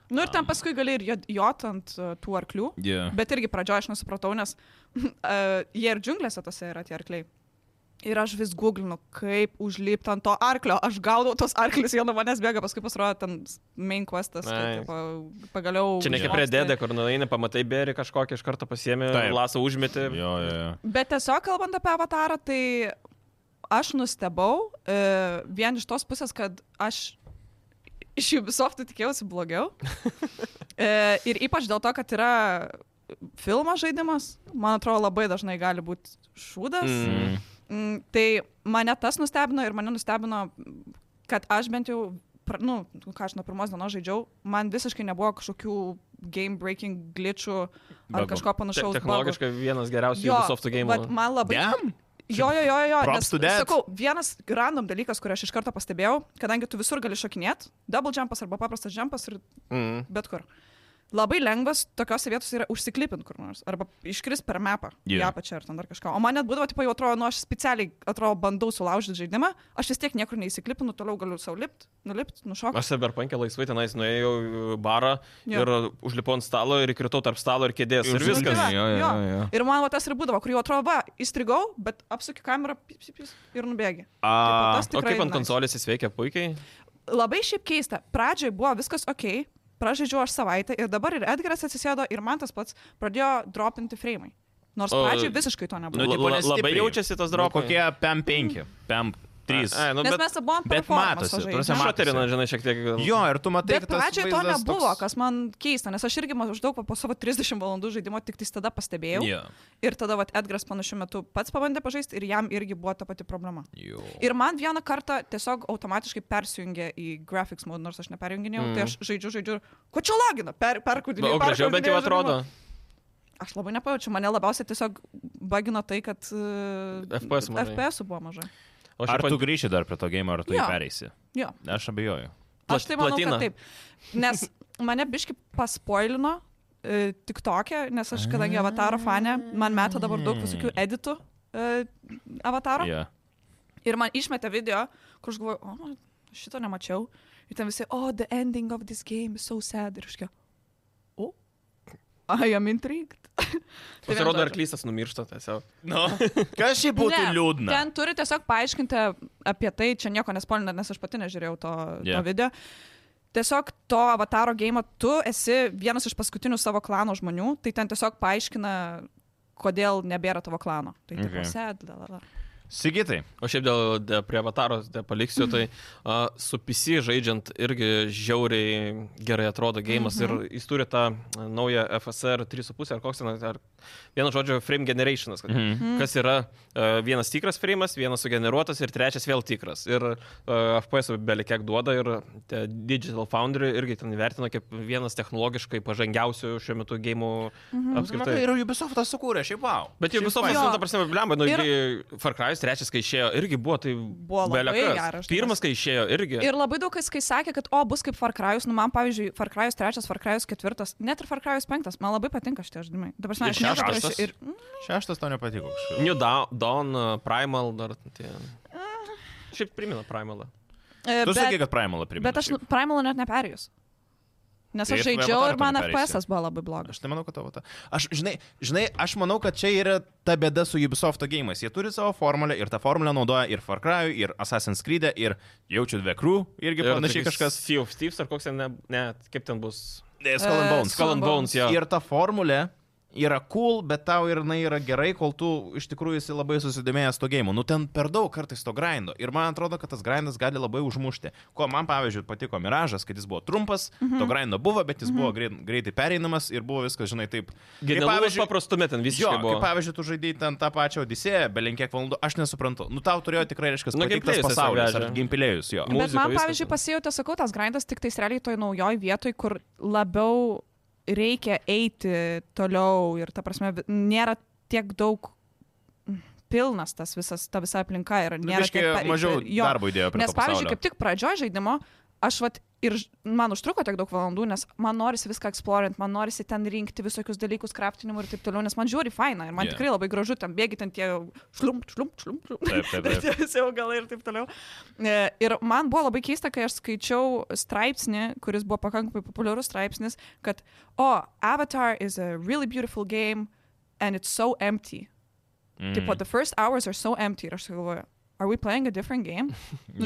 [SPEAKER 3] nu ir ten paskui gali ir jod- jot ant uh, tų arklių.
[SPEAKER 1] Yeah.
[SPEAKER 3] Bet irgi pradžioje aš nesupratau, nes uh, jie ir džiunglėse tose yra tie arkliai. Ir aš vis googlinu, kaip užlipti ant to arklio. Aš gaudau tos arklius, jie nuo manęs bėga, paskui pasirodo ten main questas.
[SPEAKER 2] Nice.
[SPEAKER 3] Nice. Pagaliau.
[SPEAKER 2] Čia
[SPEAKER 3] tai.
[SPEAKER 2] ne kaip
[SPEAKER 1] Jo.
[SPEAKER 2] prie dėdė, kur nueini, pamatai berį kažkokį, iš karto pasiemi,
[SPEAKER 1] Taip.
[SPEAKER 2] lasą užmeti.
[SPEAKER 1] Jo, jo, jo.
[SPEAKER 3] Bet tiesiog kalbant apie avatarą, tai aš nustebau e, vien iš tos pusės, kad aš iš Ubisoftų tikėjausi blogiau. E, ir ypač dėl to, kad yra filmo žaidimas, man atrodo, labai dažnai gali būti šūdas. Mm.
[SPEAKER 2] Mm.
[SPEAKER 3] Mm, tai mane tas nustebino ir mane nustebino, kad aš bent jau, pra, nu, ką aš nuo pirmos dienos žaidžiau, man visiškai nebuvo kažkokių game breaking glitchų ar
[SPEAKER 1] Bugų.
[SPEAKER 3] kažko
[SPEAKER 2] Te-
[SPEAKER 3] panašaus. bugų.
[SPEAKER 2] Technologiškai vienas geriausių
[SPEAKER 3] Jo,
[SPEAKER 2] Ubisoft game.
[SPEAKER 3] vat Man labai
[SPEAKER 1] Damn.
[SPEAKER 3] Jo, jo, jo, jo.
[SPEAKER 1] Props
[SPEAKER 3] Nes,
[SPEAKER 1] to that.
[SPEAKER 3] sakau, vienas random dalykas, kurį aš iš karto pastebėjau, kadangi tu visur gali šokinėti, double jumpas arba paprastas jumpas ir
[SPEAKER 2] Mm.
[SPEAKER 3] bet kur. Labai lengvas tokiose vietose yra užsiklipinti kur nors, arba iškris per mapą, yeah.
[SPEAKER 1] Jo.
[SPEAKER 3] ją pačią ar ten dar kažką. O man net būdavo, tipo, jau atrodo, nu aš specialiai, atrodo, bandau sulaužyti žaidimą, aš vis tiek niekur neįsiklipinu, toliau galiu saulipt, nulipt, nušokti.
[SPEAKER 2] Aš Cyberpunk'e laisvai tenais nuėjau į barą
[SPEAKER 3] Jo.
[SPEAKER 2] ir užlipau ant stalo ir kritau tarp stalo ir kėdės. Ir, ir
[SPEAKER 3] Nu, tai
[SPEAKER 2] viskas.
[SPEAKER 3] va,
[SPEAKER 1] Jo, jo, jo, jo.
[SPEAKER 3] Ir man va, tas ir būdavo, kur jau atrodo, va, įstrigau, bet apsuki kamerą pip, pip, pip, ir nubėgi.
[SPEAKER 1] A,
[SPEAKER 3] tas
[SPEAKER 2] O
[SPEAKER 3] tikrai
[SPEAKER 2] kaip ant
[SPEAKER 3] nice.
[SPEAKER 2] konsolės jis veikia puikiai?
[SPEAKER 3] labai šiaip keista. Pradžioj buvo viskas ok, pražaidžiau aš savaitę ir dabar ir Edgaras atsisėdo ir man tas pats pradėjo dropinti freimai. Nors
[SPEAKER 2] O,
[SPEAKER 3] pradžioj visiškai to
[SPEAKER 1] nu,
[SPEAKER 3] nebuvo.
[SPEAKER 2] La-
[SPEAKER 1] tipo,
[SPEAKER 2] la- labai
[SPEAKER 1] nestipriai.
[SPEAKER 2] jaučiasi tas dropas.
[SPEAKER 1] Nu, kokie PM5,
[SPEAKER 3] Hmm.
[SPEAKER 2] Ai,
[SPEAKER 1] PM3.
[SPEAKER 2] nu,
[SPEAKER 3] Nes
[SPEAKER 2] bet
[SPEAKER 3] mes abu ant
[SPEAKER 1] bet
[SPEAKER 3] performanso
[SPEAKER 1] matosi, ta
[SPEAKER 3] žaidėm.
[SPEAKER 1] prasme, matosi.
[SPEAKER 2] šaterina, žinai, šiek tiek. gal-
[SPEAKER 1] Jo, ir tu matai,
[SPEAKER 3] Bet
[SPEAKER 1] kad tas
[SPEAKER 3] pradžioj to
[SPEAKER 1] vaizdas
[SPEAKER 3] nebuvo,
[SPEAKER 1] toks...
[SPEAKER 3] kas man keista, nes aš irgi maždaug po- po savo 30 valandų žaidimo tik tais tada pastebėjau.
[SPEAKER 1] Jo.
[SPEAKER 3] Ir tada vat, Edgaras panašiu metu pats pabandė pažaisti ir jam irgi buvo ta pati problema.
[SPEAKER 1] Jo.
[SPEAKER 3] Ir man vieną kartą tiesiog automatiškai persijungė į graphics mode, nors aš neperjunginėjau, mm. tai aš žaidžiu, žaidžiu ir ko čia lagina, per,
[SPEAKER 2] Va,
[SPEAKER 1] Nu,
[SPEAKER 3] perkudinėjau.
[SPEAKER 2] O gražiau bent jau
[SPEAKER 3] perkūdinėjau žaidimą.
[SPEAKER 2] atrodo.
[SPEAKER 3] Aš labai nepajaučiu, mane labiausiai tiesiog bagino tai, kad e,
[SPEAKER 2] FPS mažai.
[SPEAKER 3] FPS buvo mažai.
[SPEAKER 2] O šiaip
[SPEAKER 1] Ar tu
[SPEAKER 2] ant-
[SPEAKER 1] grįši dar prie to game, ar tu
[SPEAKER 3] Jo.
[SPEAKER 1] jį pereisi?
[SPEAKER 3] Jo,
[SPEAKER 1] Aš abejoju.
[SPEAKER 3] aš
[SPEAKER 2] Plat-
[SPEAKER 3] tai manau,
[SPEAKER 2] platina.
[SPEAKER 3] kad taip. Nes mane biški paspoilino e, tik tokia, nes aš kadangi avataro fane, man meta dabar daug
[SPEAKER 2] Mm.
[SPEAKER 3] visokių editų e, avataro.
[SPEAKER 1] Yeah.
[SPEAKER 3] Ir man išmetė video, kur aš galvoju, o, šito nemačiau. Ir ten visi, oh, the ending of this game is so sad. Ir aš kiek, o, I am intrigued. Tai vienu
[SPEAKER 2] Pasirodo,
[SPEAKER 3] žodžiu.
[SPEAKER 2] arklysas numiršta tiesiog.
[SPEAKER 1] Nu, kas šiaip būtų
[SPEAKER 3] Ne,
[SPEAKER 1] liūdna?
[SPEAKER 3] Ten turi tiesiog paaiškinti apie tai, čia nieko nespolinant, nes aš pati nežiūrėjau to, yeah.
[SPEAKER 1] Yeah.
[SPEAKER 3] to video. Tiesiog to avataro game tu esi vienas iš paskutinių savo klano žmonių, tai ten tiesiog paaiškina, kodėl nebėra tavo klano. Tai okay.
[SPEAKER 1] Okay.
[SPEAKER 3] tipo, sed, la, la, la.
[SPEAKER 1] Sigitai.
[SPEAKER 2] O šiaip dėl de, prie avataro de, paliksiu, tai uh, su PC žaidžiant irgi žiauriai gerai atrodo gėjimas mm -hmm. ir jis turi tą a, naują FSR 3.5 ar koks ten, ar vieno žodžio frame generationas, kad, mm -hmm. kas yra uh, vienas tikras frame'as, vienas sugeneruotas ir trečias vėl tikras. Ir uh, FPS beveik kiek duoda ir te Digital Foundry irgi ten vertina kaip vienas technologiškai pažangiausių šiuo metu gėjimų
[SPEAKER 1] Mhm.
[SPEAKER 2] mm -hmm. apskritai.
[SPEAKER 1] Nu, Ir Ubisoftas sukūrė, šiaip wow.
[SPEAKER 2] Bet jau
[SPEAKER 1] Šiaip
[SPEAKER 2] visom
[SPEAKER 1] faina.
[SPEAKER 2] visą tą prasme, blemba, nu,
[SPEAKER 3] Ir-
[SPEAKER 2] ir... Far Cry's trečias, kai išėjo, irgi buvo, tai
[SPEAKER 3] Buvo labai
[SPEAKER 2] belekas.
[SPEAKER 3] geras žaidimas.
[SPEAKER 2] Pirmas, kai išėjo, irgi.
[SPEAKER 3] Ir labai daug kas, kai sakė, kad, o, bus kaip Far Cryus, nu man, pavyzdžiui, Far Cryus 3, Far Cryus 4, net ir Far Cryus 5, man labai patinka šitie žaidimai.
[SPEAKER 2] Ir
[SPEAKER 3] Dabar, žinai, aš nieko
[SPEAKER 2] šeštas.
[SPEAKER 3] prieš ir...
[SPEAKER 1] Šeštas to nepatiko. kažkaip.
[SPEAKER 2] New Dawn, Dawn, uh, Primal, dar tie. Šiaip primena Primalą.
[SPEAKER 3] e,
[SPEAKER 1] Tu sakai, kad
[SPEAKER 3] Bet,
[SPEAKER 1] Primalą primena.
[SPEAKER 3] bet aš
[SPEAKER 1] šiaip.
[SPEAKER 3] nu, Primalo net neperėjus. Nes
[SPEAKER 1] Tai
[SPEAKER 3] aš
[SPEAKER 1] tu
[SPEAKER 3] žaidžiau
[SPEAKER 1] avatarą
[SPEAKER 3] ir man
[SPEAKER 1] toli pereisi.
[SPEAKER 3] FPS buvo labai blogas.
[SPEAKER 1] Aš tai manau, kad tavo ta. Aš, žinai, žinai, aš manau, kad čia yra ta bėda su Ubisofto gėjimais. Jie turi savo formulę ir tą formulę naudoja ir Far Cry, ir Assassin's Creed, ir jaučiu dve crew, irgi
[SPEAKER 2] Ir
[SPEAKER 1] panašiai
[SPEAKER 2] tokį
[SPEAKER 1] kažkas.
[SPEAKER 2] Steve, Steve's ar koks ten, ne, ne, kaip ten bus.
[SPEAKER 1] Ne, Skull and
[SPEAKER 3] Eh,
[SPEAKER 1] Bones.
[SPEAKER 2] Skull and Bones, jo.
[SPEAKER 1] Ir ta formulė yra cool, bet tau ir jinai yra gerai, kol tu iš tikrųjų esi labai susidomėjęs to gėjimu. Nu ten per daug kartais to grindo. Ir man atrodo, kad tas grindas gali labai užmušti. Ko man, pavyzdžiui, patiko Miražas, kad jis buvo trumpas,
[SPEAKER 3] Mhm.
[SPEAKER 1] mm -hmm. to grindo buvo, bet jis mm -hmm. buvo greit, greitai pereinamas ir buvo viskas, žinai, taip. Kaip
[SPEAKER 2] Genialus paprastume ten visi.
[SPEAKER 1] Jo, kaip pavyzdžiui, tu žaidai ten tą pačią Odisėją, belinkiek valandų, aš nesuprantu. Nu tau turėjo tikrai, reiškia,
[SPEAKER 2] Nu,
[SPEAKER 1] patiktas
[SPEAKER 2] gameplay'us
[SPEAKER 1] pasaulis,
[SPEAKER 2] tiesiog
[SPEAKER 1] ar
[SPEAKER 2] vežė.
[SPEAKER 1] gimpilėjus jo.
[SPEAKER 2] Mu-
[SPEAKER 3] Bet
[SPEAKER 2] muzika,
[SPEAKER 3] man,
[SPEAKER 2] viskas
[SPEAKER 3] pavyzdžiui,
[SPEAKER 2] ten.
[SPEAKER 3] pasijutė, sakau, tas grindas tik tais realiai toj naujoj vietoj, kur labiau reikia eiti toliau ir, ta prasme, vi- nėra tiek daug mm, pilnas tas visas, ta visa aplinka ir
[SPEAKER 1] Nu,
[SPEAKER 3] nėra
[SPEAKER 1] biškį
[SPEAKER 3] tiek per-
[SPEAKER 1] mažiau
[SPEAKER 3] jo.
[SPEAKER 1] darbo įdėjo prie
[SPEAKER 3] Nes,
[SPEAKER 1] to pasaulio.
[SPEAKER 3] pavyzdžiui, kaip tik pradžioje žaidimo, aš vat ir ž- man užtruko tiek daug valandų, nes man norisi viską eksplorint, man norisi ten rinkti visokius dalykus, kraftinimų ir taip toliau, nes man žiūri faina ir man
[SPEAKER 1] Jo.
[SPEAKER 3] yeah. tikrai labai gražu, ten bėgi ten tie šlump, šlump, šlump, šlump.
[SPEAKER 1] Taip, taip, taip.
[SPEAKER 3] Tie visi augalai ir taip toliau. E, Ir man buvo labai keista, kai aš skaičiau straipsnį, kuris buvo pakankamai populiarus straipsnis, kad, o, Avatar is a really beautiful game and it's so empty.
[SPEAKER 1] Mhm.
[SPEAKER 3] Mm. Tipo, the first hours are so empty. Ir aš galvoju, are we playing a different game? Nu,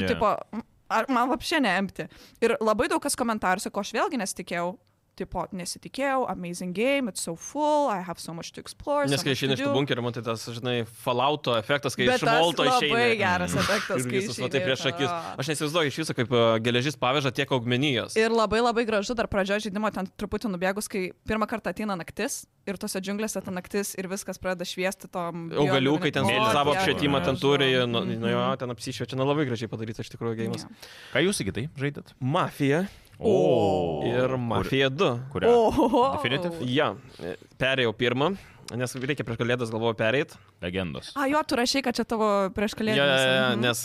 [SPEAKER 1] Yeah.
[SPEAKER 3] yeah. tipo, ar man apšė neempti. Ir labai daug kas komentarų sako, aš vėlgi nesitikėjau. Tipo, nesitikėjau, amazing game, it's so full, I have so much to explore. so
[SPEAKER 2] Nes kai
[SPEAKER 3] much to
[SPEAKER 2] išeini iš tų
[SPEAKER 3] do."
[SPEAKER 2] bunkerių, matai tas, žinai, falauto efektas, kai
[SPEAKER 3] Bet
[SPEAKER 2] iš molto
[SPEAKER 3] tas
[SPEAKER 2] išeini.
[SPEAKER 3] Labai geras efektas,
[SPEAKER 2] Ir
[SPEAKER 3] kai
[SPEAKER 2] visas matai
[SPEAKER 3] išeini,
[SPEAKER 2] prieš akis.
[SPEAKER 3] jo.
[SPEAKER 2] Aš neįsivaizduoju iš viso, kaip e, geležis paveža tiek augmenijos.
[SPEAKER 3] Ir labai labai gražu dar pradžioje žaidimo ten truputį nubėgus, kai pirmą kartą ateina naktis ir tose džiunglėse ta naktis ir viskas pradeda šviesti tom...
[SPEAKER 2] Augalių, kai ten
[SPEAKER 1] Mėlyna
[SPEAKER 3] bioluminė-
[SPEAKER 2] savo
[SPEAKER 3] O,
[SPEAKER 1] spalva.
[SPEAKER 3] tai
[SPEAKER 2] apšvietimą ten
[SPEAKER 3] gražu.
[SPEAKER 2] turi, nu,
[SPEAKER 3] Mhm.
[SPEAKER 2] nu jo, ten apsišviečia, nu labai gražiai padarytas iš tikrųjų gėjimas.
[SPEAKER 3] Jo.
[SPEAKER 1] Ką jūs įgytai žaidėt?
[SPEAKER 2] Mafija
[SPEAKER 1] O.
[SPEAKER 2] ir Mafija 2.
[SPEAKER 1] Kurią?
[SPEAKER 3] Ohoho.
[SPEAKER 1] Definitive?
[SPEAKER 2] Ja, e, perėjau pirmą, nes reikia prieš kalėdas galvoju pereit.
[SPEAKER 1] Legendos.
[SPEAKER 3] A, jo, tu rašiai, kad čia tavo prieš mhm. kalėdų.
[SPEAKER 2] Jo, jo, jo, nes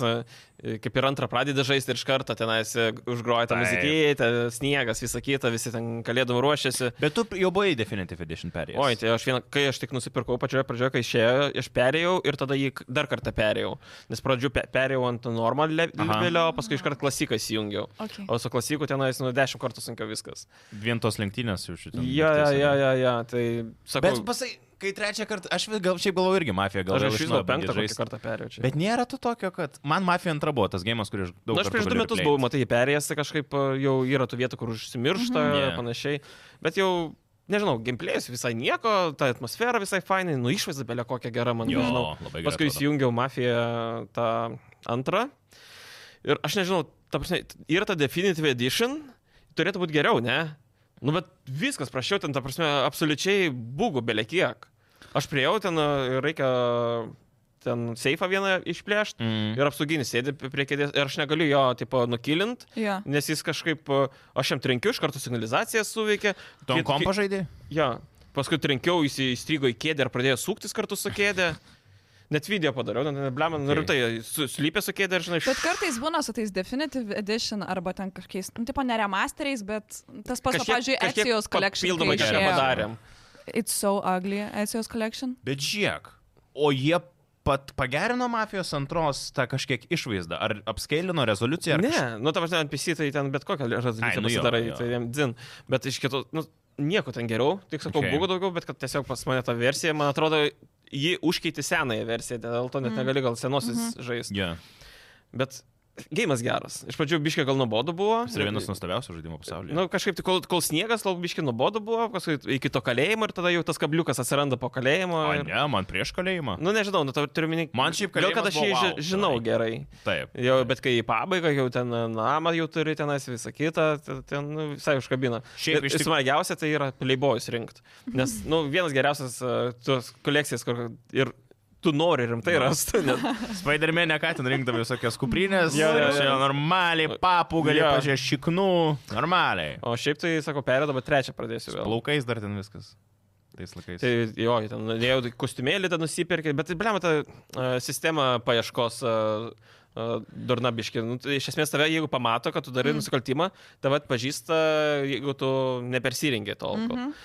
[SPEAKER 2] e, kaip ir antrą pradedi žaisti ir iš karto tenais e, užgroja tą
[SPEAKER 1] Taip.
[SPEAKER 2] muzikytę, sniegas, visa kita, visi ten kalėdom ruošiasi.
[SPEAKER 1] Bet tu jau buvai Definitive Edition perėjęs.
[SPEAKER 2] Oi, tai aš vieną, kai aš tik nusipirkau pačioje pradžioje, kai išėjo, aš perėjau ir tada jį k- dar kartą perėjau. Nes pradžių pe- perėjau ant normal le-
[SPEAKER 1] Aha.
[SPEAKER 2] levelio, paskui iškart klasiką įjungiau.
[SPEAKER 3] Okay.
[SPEAKER 2] O su klasiku tenais, nu, dešimt kartų sunkiau viskas.
[SPEAKER 1] Vien tos lenktynės jau šitą.
[SPEAKER 2] Jo, jo, jo, jo, jo, tai sakau.
[SPEAKER 1] Bet pasai, kai trečią kartą, aš vis gal šiaip galvoju irgi mafiją, gal
[SPEAKER 2] Aš
[SPEAKER 1] vėl
[SPEAKER 2] iš
[SPEAKER 1] iš
[SPEAKER 2] viso
[SPEAKER 1] naujo
[SPEAKER 2] penktą
[SPEAKER 1] bandyt
[SPEAKER 2] kokį
[SPEAKER 1] žaist.
[SPEAKER 2] kartą perėjau čia.
[SPEAKER 1] Bet nėra to tokio, kad man mafija antra buvo tas gėjimas, kurį aš daug
[SPEAKER 2] Na, Nu, aš prieš du metus buvau, matai, jį perėjęs, tai kažkaip a, jau yra tų vietų, kur užsimiršta ir
[SPEAKER 1] Mhm. Yeah.
[SPEAKER 2] panašiai. Bet jau, nežinau, gameplay'us visai nieko, ta atmosfera visai fainai, nu išvaizda belė kokia gera, man
[SPEAKER 1] Jo,
[SPEAKER 2] nežinau.
[SPEAKER 1] labai gerai
[SPEAKER 2] Nu, Paskui
[SPEAKER 1] atrodo.
[SPEAKER 2] įsijungiau Mafiją tą antrą. Ir aš nežinau, ta prasme, yra ta Definitive Edition, turėtų būti geriau, ne? Nu, bet viskas prašiau ten, ta prasme, absoliučiai būgų belė kiek. Aš priejau ten, a, reikia ten seifą vieną išplėšti.
[SPEAKER 1] Mm.
[SPEAKER 2] Ir apsauginis sėdi prie kėdės ir aš negaliu jo, tipo, nukilint,
[SPEAKER 3] Ja.
[SPEAKER 2] nes jis kažkaip, e, aš jam trenkiu, iš karto signalizacija suveikė.
[SPEAKER 1] Tom
[SPEAKER 2] Kit-
[SPEAKER 1] kompo žaidė?
[SPEAKER 2] Ja. Paskui trenkiau, jis įstrigo į kėdę ir pradėjo suktis kartu su kėdė. Net video padariau, nu, net blem, okay.
[SPEAKER 1] Okay.
[SPEAKER 2] rimtai, su- slypė su kėdė ir žinai,
[SPEAKER 3] Bet
[SPEAKER 2] š-
[SPEAKER 3] kartais būna su tais Definitive Edition arba ten kažkokiais, nu, tipo, ne remasteriais, bet tas pats, va, pavyzdžiui, Ezijos collection. kai
[SPEAKER 2] Pildomai kažką
[SPEAKER 1] išėjo.
[SPEAKER 2] padarėm.
[SPEAKER 3] It's so ugly, Ezijos collection.
[SPEAKER 1] Bet žiek. O jie pat pagerino mafijos antros tą kažkiek išvaizdą. Ar apskeilino rezoliuciją? Ar...
[SPEAKER 2] Ne, nu tam aš ten PC, tai ten bet kokią
[SPEAKER 1] Ai,
[SPEAKER 2] rezoliuciją
[SPEAKER 1] nu jo,
[SPEAKER 2] pasidarai,
[SPEAKER 1] jo.
[SPEAKER 2] tai jam dzin. Bet iš kitos, nu, nieko ten geriau, tik sakau,
[SPEAKER 1] Okay.
[SPEAKER 2] okay. buvo daugiau, bet kad tiesiog pas mane ta versija, man atrodo, ji užkeitė senąją versiją, dėl to
[SPEAKER 3] Mhm.
[SPEAKER 2] net negali gal senosios mm -hmm. žaisti.
[SPEAKER 1] Yeah.
[SPEAKER 2] Bet gėjimas geras. Iš pradžių biškiai gal nuobodu buvo.
[SPEAKER 1] Jis yra vienas nuostabiausių žaidimų pasaulyje.
[SPEAKER 2] Na, kažkaip tai kol, kol sniegas, kol biškiai nuobodu buvo, paskui iki to kalėjimo ir tada jau tas kabliukas atsiranda po kalėjimo.
[SPEAKER 1] o
[SPEAKER 2] ir-
[SPEAKER 1] ne, man prieš kalėjimą.
[SPEAKER 2] Nu, nežinau, nu, tau turiu minėti.
[SPEAKER 1] Man šiaip
[SPEAKER 2] Gal kad
[SPEAKER 1] kalėjimas
[SPEAKER 2] aš jį
[SPEAKER 1] buvo
[SPEAKER 2] ži-
[SPEAKER 1] vau,
[SPEAKER 2] žinau
[SPEAKER 1] beveik.
[SPEAKER 2] gerai.
[SPEAKER 1] Taip.
[SPEAKER 2] Jau, bet kai į pabaigą jau ten namą jau turi tenais visą kitą, te- ten nu, visai užkabina.
[SPEAKER 1] Šiaip
[SPEAKER 2] Ir-
[SPEAKER 1] iš tik-
[SPEAKER 2] ir smagiausia tai yra pleibojus rinkti. Nes nu, vienas geriausias uh, tos kolekcijas, kur ir tu nori
[SPEAKER 1] Nu.
[SPEAKER 2] rimtai rasti. Nes...
[SPEAKER 1] Spider-Man nekatin rinkdavo visokias kuprinės,
[SPEAKER 2] Jo, jo, jo.
[SPEAKER 1] čia normaliai, papų gali
[SPEAKER 2] Jo.
[SPEAKER 1] pažiūrėti šiknų, normaliai.
[SPEAKER 2] O šiaip tai, sako, perėdavo, dabar trečią pradėsiu vėl.
[SPEAKER 1] Plaukais dar ten viskas. Tais laikais.
[SPEAKER 2] Tai jo, ten jau kostiumėlį ten nusipirkė, bet, blem, ta uh, sistema paieškos uh, uh, durnabiški. Nu, tai iš esmės tave, jeigu pamato, kad tu darai mm. nusikaltimą, tave atpažįsta, jeigu tu nepersirengė tol. Mm -hmm.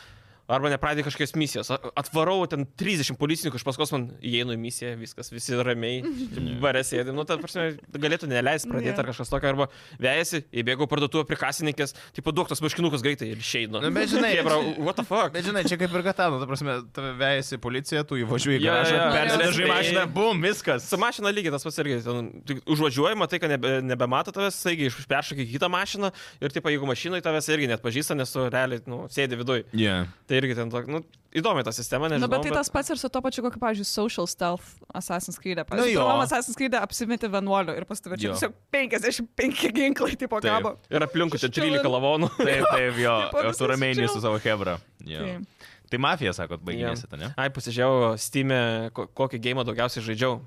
[SPEAKER 2] Arba nepradė kažkokios misijos. A- Atvarau ten 30 policininkų iš paskos, man įeinu į misiją, viskas, visi ramiai,
[SPEAKER 1] Mhm.
[SPEAKER 2] bare sėdi. Nu, ta prasme, galėtų neleisti pradėti
[SPEAKER 3] Ne.
[SPEAKER 2] ar kažkas tokio, arba vėjasi, įbėgau į parduotuvę prie kasininkės, tipo duok tas maškinukas greitai ir išeinu.
[SPEAKER 1] Na, bet žinai-
[SPEAKER 2] Chebra, what the fuck?
[SPEAKER 1] Bet žinai, čia kaip ir Gatano, tu prasme, tave vejasi policija, tu įvažiuoji į
[SPEAKER 2] Jo, jo,
[SPEAKER 1] garažą,
[SPEAKER 2] jo. Tai-
[SPEAKER 1] persidažai
[SPEAKER 2] Norėjau
[SPEAKER 1] mašiną,
[SPEAKER 2] spėti.
[SPEAKER 1] bum, viskas.
[SPEAKER 2] Su mašina lygiai tas pats irgi. ten tik Užvažiuojama tai, kad nebe, nebemato tavęs, taigi peršokia į kitą mašiną ir, tipo, jeigu mašinai tavęs irgi net pažįsta, nes tu realiai, nu, sėdi viduje.
[SPEAKER 1] Yeah.
[SPEAKER 2] Tai irgi ten, tok- nu, įdomi ta sistema,
[SPEAKER 3] Na,
[SPEAKER 2] nežinau.
[SPEAKER 3] bet tai tas pats ir su to pačiu, kokiu, pavyzdžiui, social stealth Assassin's Creed. e, Pavyzdžiui,
[SPEAKER 1] jo.
[SPEAKER 3] pirmam Assassin's Creed e apsimeti vienuoliu ir
[SPEAKER 1] Jo.
[SPEAKER 3] pastatyčiau tiesiog 55 ginklai, tipo,
[SPEAKER 1] Taip.
[SPEAKER 3] kabo.
[SPEAKER 2] Ir aplinkui čia
[SPEAKER 3] Aš
[SPEAKER 2] 13
[SPEAKER 3] chillin'.
[SPEAKER 2] lavonų.
[SPEAKER 1] Taip, taip, jo,
[SPEAKER 3] Tipo,
[SPEAKER 1] ir tu
[SPEAKER 3] viskas
[SPEAKER 1] ramiai
[SPEAKER 3] chill.
[SPEAKER 1] su savo hebra.
[SPEAKER 3] Taip.
[SPEAKER 1] Tai mafija, sakot, baiginėsi, ta ne?
[SPEAKER 2] Ai, pasižiūrėjau, Steam'e, ko- kokį gėjimą daugiausiai žaidžiau.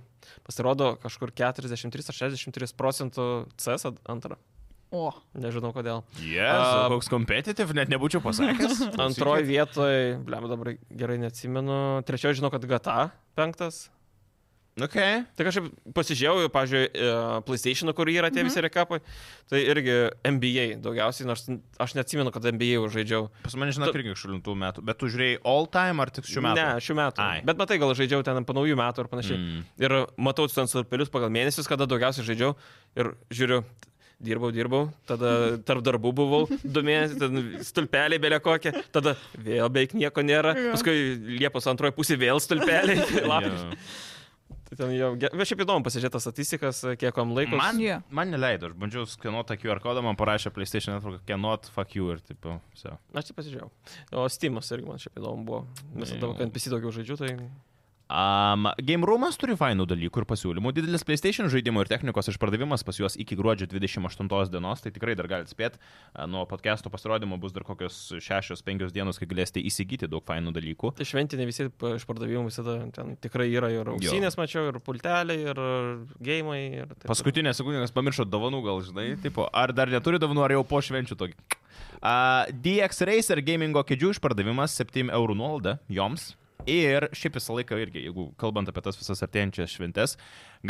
[SPEAKER 2] Pasirodo, kažkur 43 ar 63 procentų CS at- antrą.
[SPEAKER 3] O.
[SPEAKER 2] Nežinau kodėl.
[SPEAKER 1] Yes, koks competitive, net nebūčiau pasakęs.
[SPEAKER 2] Antroji vietoje, blem, dabar gerai neatsimenu. Trečioji, žinau, kad GTA penktas.
[SPEAKER 1] Okay.
[SPEAKER 2] Tai kažkaip pasižiūrėjau, pažiūrėjau, PlayStation, kur yra tie visi rekapai, tai irgi NBA daugiausiai, nors aš neatsimenu, kad NBA jau žaidžiau.
[SPEAKER 1] Pas mane, žinok,
[SPEAKER 2] Tu-
[SPEAKER 1] irgi šulintų metų, bet tu žiūrėjai all time ar tik šių metų?
[SPEAKER 2] Ne, šių metų.
[SPEAKER 1] Ai.
[SPEAKER 2] Bet matai, gal žaidžiau ten po naujų metų ir panašiai.
[SPEAKER 1] Mm.
[SPEAKER 2] Ir matau ten surpelius pagal mėnesius, kada daugiausiai žaidžiau ir žiūriu. Dirbau, dirbau, tada tarp darbų buvau, du mėnesiai, ten stulpeliai belė kokie, tada vėl beveik nieko nėra, paskui Liepos antroji pusė vėl stulpeliai, lapkričio.
[SPEAKER 1] Jo.
[SPEAKER 2] Tai ten jau, ge- bet šiaip įdomu pasižiūrėti tas statistikas, kiek kam laiko.
[SPEAKER 1] Man,
[SPEAKER 3] Jo.
[SPEAKER 1] man neleido, aš bandžiau skenuoti tą QR kodą, man parašė PlayStation Network, cannot fuck you ir taip. So.
[SPEAKER 2] Aš tai pasižiūrėjau. O Steamas irgi man šiaip įdomu buvo. Nes tada,
[SPEAKER 1] Jo.
[SPEAKER 2] kai NPC daugiau žaidžiu, tai...
[SPEAKER 1] Um, Game Roomas turi fainų dalykų ir pasiūlymų. Didelis PlayStation žaidimų ir technikos išpardavimas pas juos iki gruodžio 28 dienos, tai tikrai dar galite spėti. Nuo podcast'o pasirodymo bus dar kokios 6-5 dienos, kai galėsite įsigyti daug fainų dalykų.
[SPEAKER 2] Tai šventinė visi p- išpardavimai visada ten tikrai yra ir auksinės, mačiau, ir pulteliai, ir gėjimai. Ir taip toliau.
[SPEAKER 1] Paskutinė sekundė, nes pamiršo dovanų, gal žinai, tipo, ar dar neturi dovanų, ar jau po švenčių tokį. Uh, DX Racer gamingo kėdžių išpardavimas 7 eurų nuolaida joms. Ir šiaip visą laiką irgi, jeigu kalbant apie tas visas artėjančias šventes,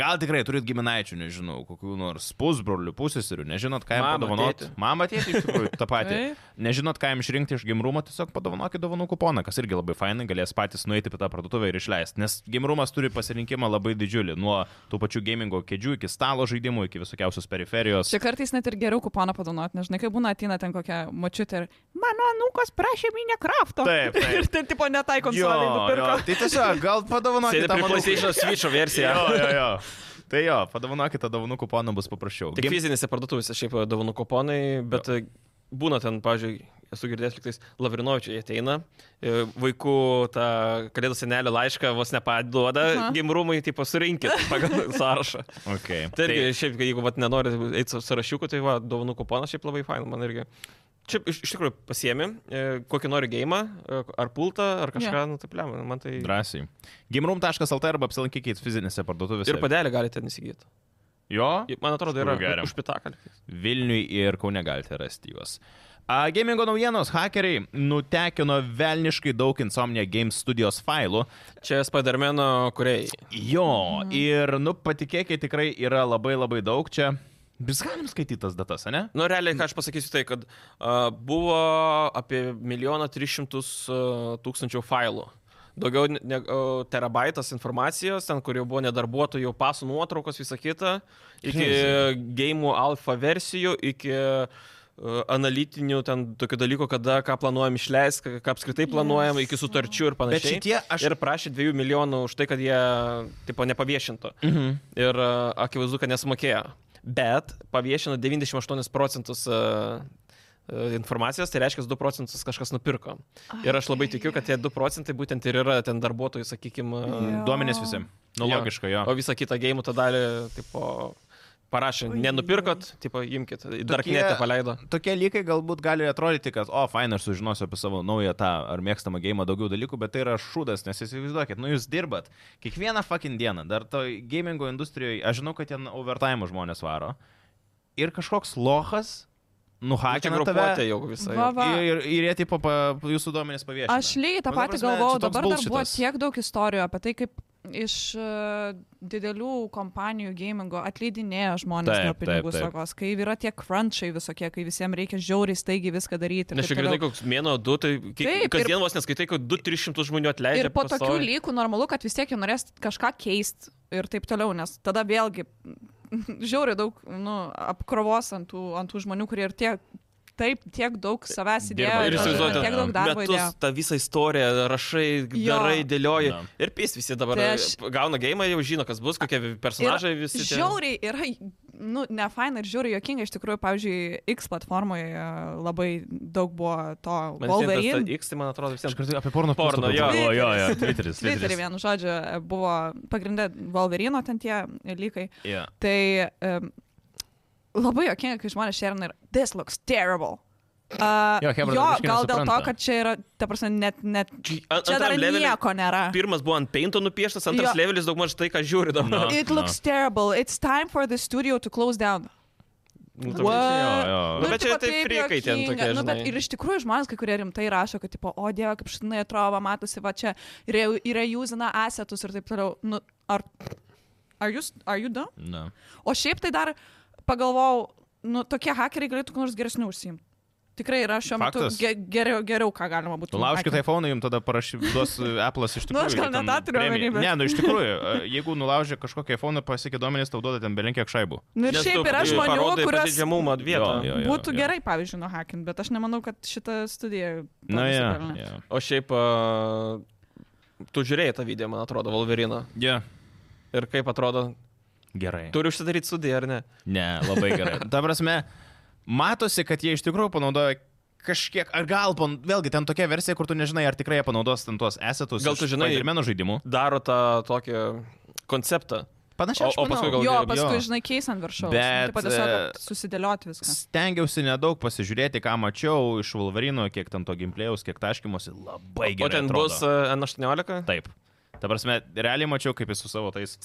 [SPEAKER 1] gal tikrai turit giminaičių, nežinau, kokių nors pusbrolių, puseserių, nežinot, ką jam
[SPEAKER 2] Mamą,
[SPEAKER 1] padovanot.
[SPEAKER 2] tėtį.
[SPEAKER 1] Mama tėti, iš tikrųjų, tą patį.
[SPEAKER 3] Taip.
[SPEAKER 1] Nežinot, ką jam išrinkti iš gimrumo, tiesiog padovanokit dovanų kuponą, kas irgi labai fainai, galės patys nueiti į tą parduotuvę ir išleisti. Nes gimrumas turi pasirinkimą labai didžiulį, nuo tų pačių gamingo kėdžių iki stalo žaidimų, iki visokiausios periferijos.
[SPEAKER 3] Čia kartais net ir geriau kuponą padonot, nežinai, kai būna ateina ten kokia mačiutė ir mano anūkas prašė Minecraft'o.
[SPEAKER 1] Taip, taip.
[SPEAKER 3] ir ten tipo netai konsolė nupirko.
[SPEAKER 1] tai tiesiog gal
[SPEAKER 2] Sėdi
[SPEAKER 1] padovanokit
[SPEAKER 2] prie PlayStation Switch versiją.
[SPEAKER 1] Jo, jo, jo. Tai jo, padovanokit tą dovanų kuponą bus paprasčiau.
[SPEAKER 2] Tik
[SPEAKER 1] Gim-
[SPEAKER 2] fizinėse parduotuvėse šiaip dovanų kuponai, bet e, būna ten, pažiūrėjau, esu girdėjęs liktais Lavrinovičiai ateina, e, vaikų tą kalėdų senelio laišką vos nepaduoda,
[SPEAKER 3] Aha.
[SPEAKER 2] gimrumai, tai pasirinkit pagal sąrašą.
[SPEAKER 1] Okay.
[SPEAKER 2] Tai irgi, šiaip, kad jeigu vat, nenori eiti sąrašiukų, tai va, dovanų kuponas šiaip labai fain, man irgi. Čia iš, iš tikrųjų pasiemi, e, kokį nori gėjimą, ar pultą, ar kažką,
[SPEAKER 3] Jo.
[SPEAKER 2] yeah. nu taip, lem, man tai...
[SPEAKER 1] Drąsiai. Gimrum.lt arba apsilankykit fizinėse parduotuvėse.
[SPEAKER 2] Ir padelį galite ten įsigyti.
[SPEAKER 1] Jo,
[SPEAKER 2] Man atrodo,
[SPEAKER 1] Iš
[SPEAKER 2] yra
[SPEAKER 1] tikrųjų geriam.
[SPEAKER 2] už pitakalį.
[SPEAKER 1] Vilniui ir Kaune galite rasti juos. A, Gamingo naujienos hakeriai nutekino velniškai daug Insomnia Games studijos failų.
[SPEAKER 2] Čia Spidermano kuriai.
[SPEAKER 1] Jo,
[SPEAKER 2] Mhm.
[SPEAKER 1] ir, nu, patikėkit, tikrai yra labai labai daug čia. Vis galim skaityti tas datas, ne?
[SPEAKER 2] Nu, realiai, ką aš pasakysiu, tai, kad uh, buvo apie 1 300 tūkstančių failų. Daugiau ne, ne, o, terabaitas informacijos, ten, kur jau buvo nedarbuotojų pasų nuotraukos, visa kita, iki gėjimų alfa versijų, iki uh, analitinių ten tokių dalykų, kada ką planuojam išleisti, ką- ką apskritai planuojam, iki sutarčių ir
[SPEAKER 1] Bet
[SPEAKER 2] panašiai.
[SPEAKER 1] šitie aš...
[SPEAKER 2] Ir prašė 2 milijonų už tai, kad jie, tipo, nepaviešintų.
[SPEAKER 1] Mhm.
[SPEAKER 2] Ir a, akivaizdu, kad nesumokėjo. Bet paviešino 98 procentus a, a, informacijos, tai reiškia, 2 procentus kažkas nupirko. Ir aš labai tikiu, kad tie 2 procentai būtent ir yra ten darbuotojų, sakykime,
[SPEAKER 3] Jo.
[SPEAKER 1] Duomenys visi. Nu,
[SPEAKER 2] Jo.
[SPEAKER 1] logiška, jo.
[SPEAKER 2] o visą kitą gėjimų tą dalį, tipo, parašė,
[SPEAKER 3] Oi,
[SPEAKER 2] nenupirkot, tipo, imkit, dar
[SPEAKER 1] Tokie-
[SPEAKER 2] knetę paleido.
[SPEAKER 1] Tokie lygiai galbūt gali atrodyti, kad, o, fainai, aš sužinosiu apie savo naują tą ar mėgstamą gėjimą daugiau dalykų, bet tai yra šūdas, nes įsivaizduokit, nu jūs dirbat kiekvieną fucking dieną, dar to gamingo industrijoje, aš žinau, kad ten overtime žmonės varo, ir kažkoks lohas
[SPEAKER 2] Ačiū,
[SPEAKER 1] nuhakina
[SPEAKER 2] grupuotė
[SPEAKER 1] tave.
[SPEAKER 2] jau visai.
[SPEAKER 3] Va, va.
[SPEAKER 1] Ir, ir, ir jie tipo pa, jūsų duomenys paviešina.
[SPEAKER 3] Aš lygiai tą
[SPEAKER 1] Nu, ta
[SPEAKER 3] patį
[SPEAKER 1] prasme,
[SPEAKER 3] galvojau,
[SPEAKER 1] čia toks
[SPEAKER 3] dabar dar buvo
[SPEAKER 1] bullshitas.
[SPEAKER 3] tiek daug istorijų apie tai, kaip iš e, didelių kompanijų gamingo atleidinėja žmonės
[SPEAKER 2] Taip,
[SPEAKER 3] nuo pinigų
[SPEAKER 2] taip, taip.
[SPEAKER 3] stokos, kai yra tie crunchai visokie, kai visiems reikia žiauriai staigi viską daryti. ir
[SPEAKER 2] Nes
[SPEAKER 3] taip
[SPEAKER 2] čia grinai
[SPEAKER 3] toliau.
[SPEAKER 2] koks mėno, du, tai
[SPEAKER 3] Taip,
[SPEAKER 2] kiek,
[SPEAKER 3] ir-
[SPEAKER 2] kasdien vos neskaitai, kad 2-300 žmonių atleidžia.
[SPEAKER 3] Ir po tokių
[SPEAKER 2] pasauly.
[SPEAKER 3] lygų normalu, kad vis tiek jau norės kažką keisti ir taip toliau, nes tada vėlgi žiauriai daug nu, apkrovos ant tų, ant tų žmonių, kurie ir tiek, taip, tiek daug savęs įdėjo,
[SPEAKER 2] Ir
[SPEAKER 4] Ir
[SPEAKER 2] įsivaizduojate,
[SPEAKER 3] tiek daug darbo įdėjo.
[SPEAKER 2] metus tą visą istoriją rašai,
[SPEAKER 3] Jo.
[SPEAKER 2] darai, dėlioji.
[SPEAKER 4] Na.
[SPEAKER 2] Ir pys visi dabar
[SPEAKER 3] Tai aš-
[SPEAKER 2] gauna gėjimą, jau žino, kas bus, kokie personažai visi. tie.
[SPEAKER 3] Žiauriai yra, nu, ne faina ir žiauriai jokinga, iš tikrųjų, pavyzdžiui, X platformoje labai daug buvo to
[SPEAKER 2] Man visiems tas
[SPEAKER 3] Wolverine.
[SPEAKER 2] ta X, tai man atrodo
[SPEAKER 1] Aš
[SPEAKER 2] visiems.
[SPEAKER 1] kartu apie porno
[SPEAKER 2] Porno,
[SPEAKER 1] puslapį
[SPEAKER 2] jo.
[SPEAKER 1] galvoju.
[SPEAKER 4] O, jo, jo, Twitteris.
[SPEAKER 3] Twitterį vienu žodžiu buvo pagrindė Wolverino ten tie lygai.
[SPEAKER 4] Yeah.
[SPEAKER 3] Tai um, labai jokinga, kai žmonės šerina ir this looks terrible. Uh,
[SPEAKER 1] Jo, chebra
[SPEAKER 3] jo
[SPEAKER 1] visiškai
[SPEAKER 3] gal dėl to,
[SPEAKER 1] nesupranta.
[SPEAKER 3] kad čia yra, ta prasme, net, net
[SPEAKER 2] Čia
[SPEAKER 3] čia dar nieko nėra.
[SPEAKER 2] Pirmas buvo ant peinto nupieštas,
[SPEAKER 3] Jo.
[SPEAKER 2] antras levelis daugmaž tai, ką žiūri
[SPEAKER 4] Na.
[SPEAKER 2] dabar.
[SPEAKER 3] It
[SPEAKER 4] No.
[SPEAKER 3] looks terrible. It's time for the studio to close down.
[SPEAKER 2] Nu,
[SPEAKER 3] What?
[SPEAKER 2] toks-
[SPEAKER 4] Jo,
[SPEAKER 2] Nu,
[SPEAKER 4] jo.
[SPEAKER 2] bet čia
[SPEAKER 3] tipo,
[SPEAKER 2] tai frikai ten
[SPEAKER 3] juokinga.
[SPEAKER 2] tokie,
[SPEAKER 3] Nu, bet
[SPEAKER 2] žinai.
[SPEAKER 3] ir iš tikrųjų žmonės, kai kurie rimtai rašo, kad, tipo, o dieve, kaip šitai atrodo, va, matosi, va čia re- yra jūzina asetus ir taip toliau. Nu, ar, ar jūs, ar jūs du?
[SPEAKER 4] Na.
[SPEAKER 3] O šiaip tai dar pagalvojau, nu, tokie hakeriai galėtų kuo nors geresnių užsiimti. Tikrai yra šiuo metu
[SPEAKER 1] Faktas.
[SPEAKER 3] ge geriau, geriau, ką galima būtų.
[SPEAKER 1] Tu Nu, laužkit
[SPEAKER 3] hakinti.
[SPEAKER 1] iPhone, jums tada parašydos Apple'as iš tikrųjų.
[SPEAKER 3] Nu, aš gal ne
[SPEAKER 1] ten
[SPEAKER 3] tą turiu
[SPEAKER 1] premiją.
[SPEAKER 3] omeny, bet-
[SPEAKER 1] Ne, nu iš tikrųjų, e, jeigu nulaužė kažkokį iPhone, pasiekė duomenys, tau duoda ten belenkiek šaibų.
[SPEAKER 3] Nu, ir
[SPEAKER 2] Nes
[SPEAKER 3] šiaip
[SPEAKER 2] tu
[SPEAKER 3] yra žmonių,
[SPEAKER 2] parodai
[SPEAKER 3] kurios
[SPEAKER 2] pažeidžiamumą vietą.
[SPEAKER 4] Jo, jo.
[SPEAKER 3] būtų gerai, pavyzdžiui, nuhakinti, bet aš nemanau, kad šitą studiją.
[SPEAKER 1] Na,
[SPEAKER 3] to
[SPEAKER 1] jie.
[SPEAKER 3] nusipelnė.
[SPEAKER 1] Yeah.
[SPEAKER 2] O šiaip, a, tu žiūrėjai tą video, man atrodo, Wolverino.
[SPEAKER 1] Yeah.
[SPEAKER 2] Ir kaip atrodo,
[SPEAKER 1] Gerai.
[SPEAKER 2] turi užsidaryti studiją, ar ne?
[SPEAKER 4] Ne, labai gerai.
[SPEAKER 1] Ta prasme, matosi, kad jie iš tikrųjų panaudoja kažkiek, ar gal, pan, vėlgi, ten tokia versija, kur tu nežinai, ar tikrai jie panaudos ten tuos esetus.
[SPEAKER 2] Gal tu žinai-
[SPEAKER 1] Ir meno žaidimų.
[SPEAKER 2] Daro tą tokį konceptą.
[SPEAKER 1] Panašiai,
[SPEAKER 2] O- o paskui gal-
[SPEAKER 3] Jo,
[SPEAKER 2] gerai,
[SPEAKER 3] paskui,
[SPEAKER 1] jo.
[SPEAKER 3] žinai, keis ant viršaus. Nu, tai
[SPEAKER 1] Bet,
[SPEAKER 3] Taip pat tiesiog susidėlioti viską.
[SPEAKER 1] Stengiausi nedaug pasižiūrėti, ką mačiau iš Wolverino, kiek ten to gimplėjaus, kiek taškymosi. Labai
[SPEAKER 2] O
[SPEAKER 1] gerai.
[SPEAKER 2] ten
[SPEAKER 1] atrodo.
[SPEAKER 2] bus e, a, N18?
[SPEAKER 1] Taip. Ta prasme, realiai mačiau, kaip jis su savo tais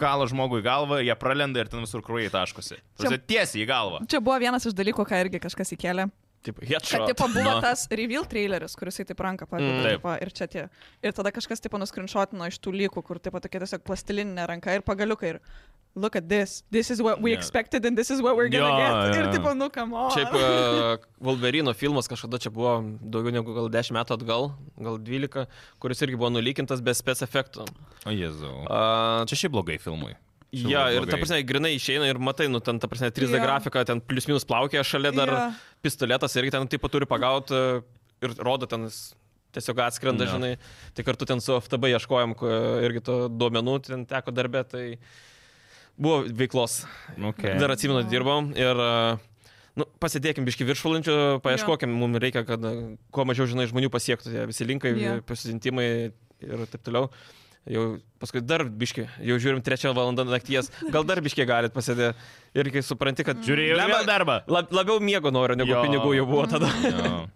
[SPEAKER 1] kala žmogui galvą, jie pralenda ir ten visur krūjai taškosi. Ta prasme, Tiesiai į galvą.
[SPEAKER 3] Čia buvo vienas iš dalykų, ką irgi kažkas įkėlė.
[SPEAKER 2] Taip,
[SPEAKER 3] Kad
[SPEAKER 2] headshot.
[SPEAKER 3] tipo, buvo
[SPEAKER 4] Na.
[SPEAKER 3] tas reveal traileris, kuris jisai taip ranką
[SPEAKER 2] Mm.
[SPEAKER 3] padėjo.
[SPEAKER 1] Taip.
[SPEAKER 3] Mm. Ir čia tie. Ir tada kažkas tipo nuskrinšotino iš tų lygų, kur tipo tokia tiesiog plastilininė ranka ir pagaliukai. Ir look at this. This is what we
[SPEAKER 4] Jo.
[SPEAKER 3] expected and this is what we're gonna
[SPEAKER 4] Jo,
[SPEAKER 3] get.
[SPEAKER 4] jo,
[SPEAKER 3] Ir
[SPEAKER 4] jo.
[SPEAKER 3] tipo, nu, kam o.
[SPEAKER 2] Šiaip a, Wolverino filmas kažkada čia buvo daugiau negu gal 10 metų atgal, gal 12, kuris irgi buvo nulykintas be spec efektų.
[SPEAKER 1] O jezu.
[SPEAKER 2] A,
[SPEAKER 1] Čia šiaip blogai filmui. Čia
[SPEAKER 2] Ja,
[SPEAKER 1] labai
[SPEAKER 2] ir ta
[SPEAKER 1] blogai.
[SPEAKER 2] prasme, grinai išeina ir matai, nu ten, ta prasme, 3D
[SPEAKER 3] Jo.
[SPEAKER 2] grafika, ten plius minus plaukia, šalia dar
[SPEAKER 3] Jo.
[SPEAKER 2] pistoletas irgi ten taip pat turi pagauti ir rodo ten jis tiesiog atskrenda,
[SPEAKER 1] Jo.
[SPEAKER 2] žinai. Tai kartu ten su FTB ieškojom ku- irgi to duomenų, ten teko darbė, tai buvo veiklos.
[SPEAKER 1] Okay.
[SPEAKER 2] Dar atsimenu, dirbom ir a, nu, pasidėkim biški viršvalandžių, paieškokim, mums reikia, kad a, kuo mažiau žinai, žmonių pasiektų tie visi linkai,
[SPEAKER 3] Jo.
[SPEAKER 2] pasisintimai ir taip toliau. Jau paskui dar biški, jau žiūrim trečią valandą nakties, gal dar biški galit pasidėti ir kai supranti, kad
[SPEAKER 1] Žiūrėjau į
[SPEAKER 2] Lemba-
[SPEAKER 1] vėl darbą.
[SPEAKER 2] lab, labiau miego noriu, negu
[SPEAKER 1] Jo.
[SPEAKER 2] pinigų jau buvo tada.
[SPEAKER 1] Jo.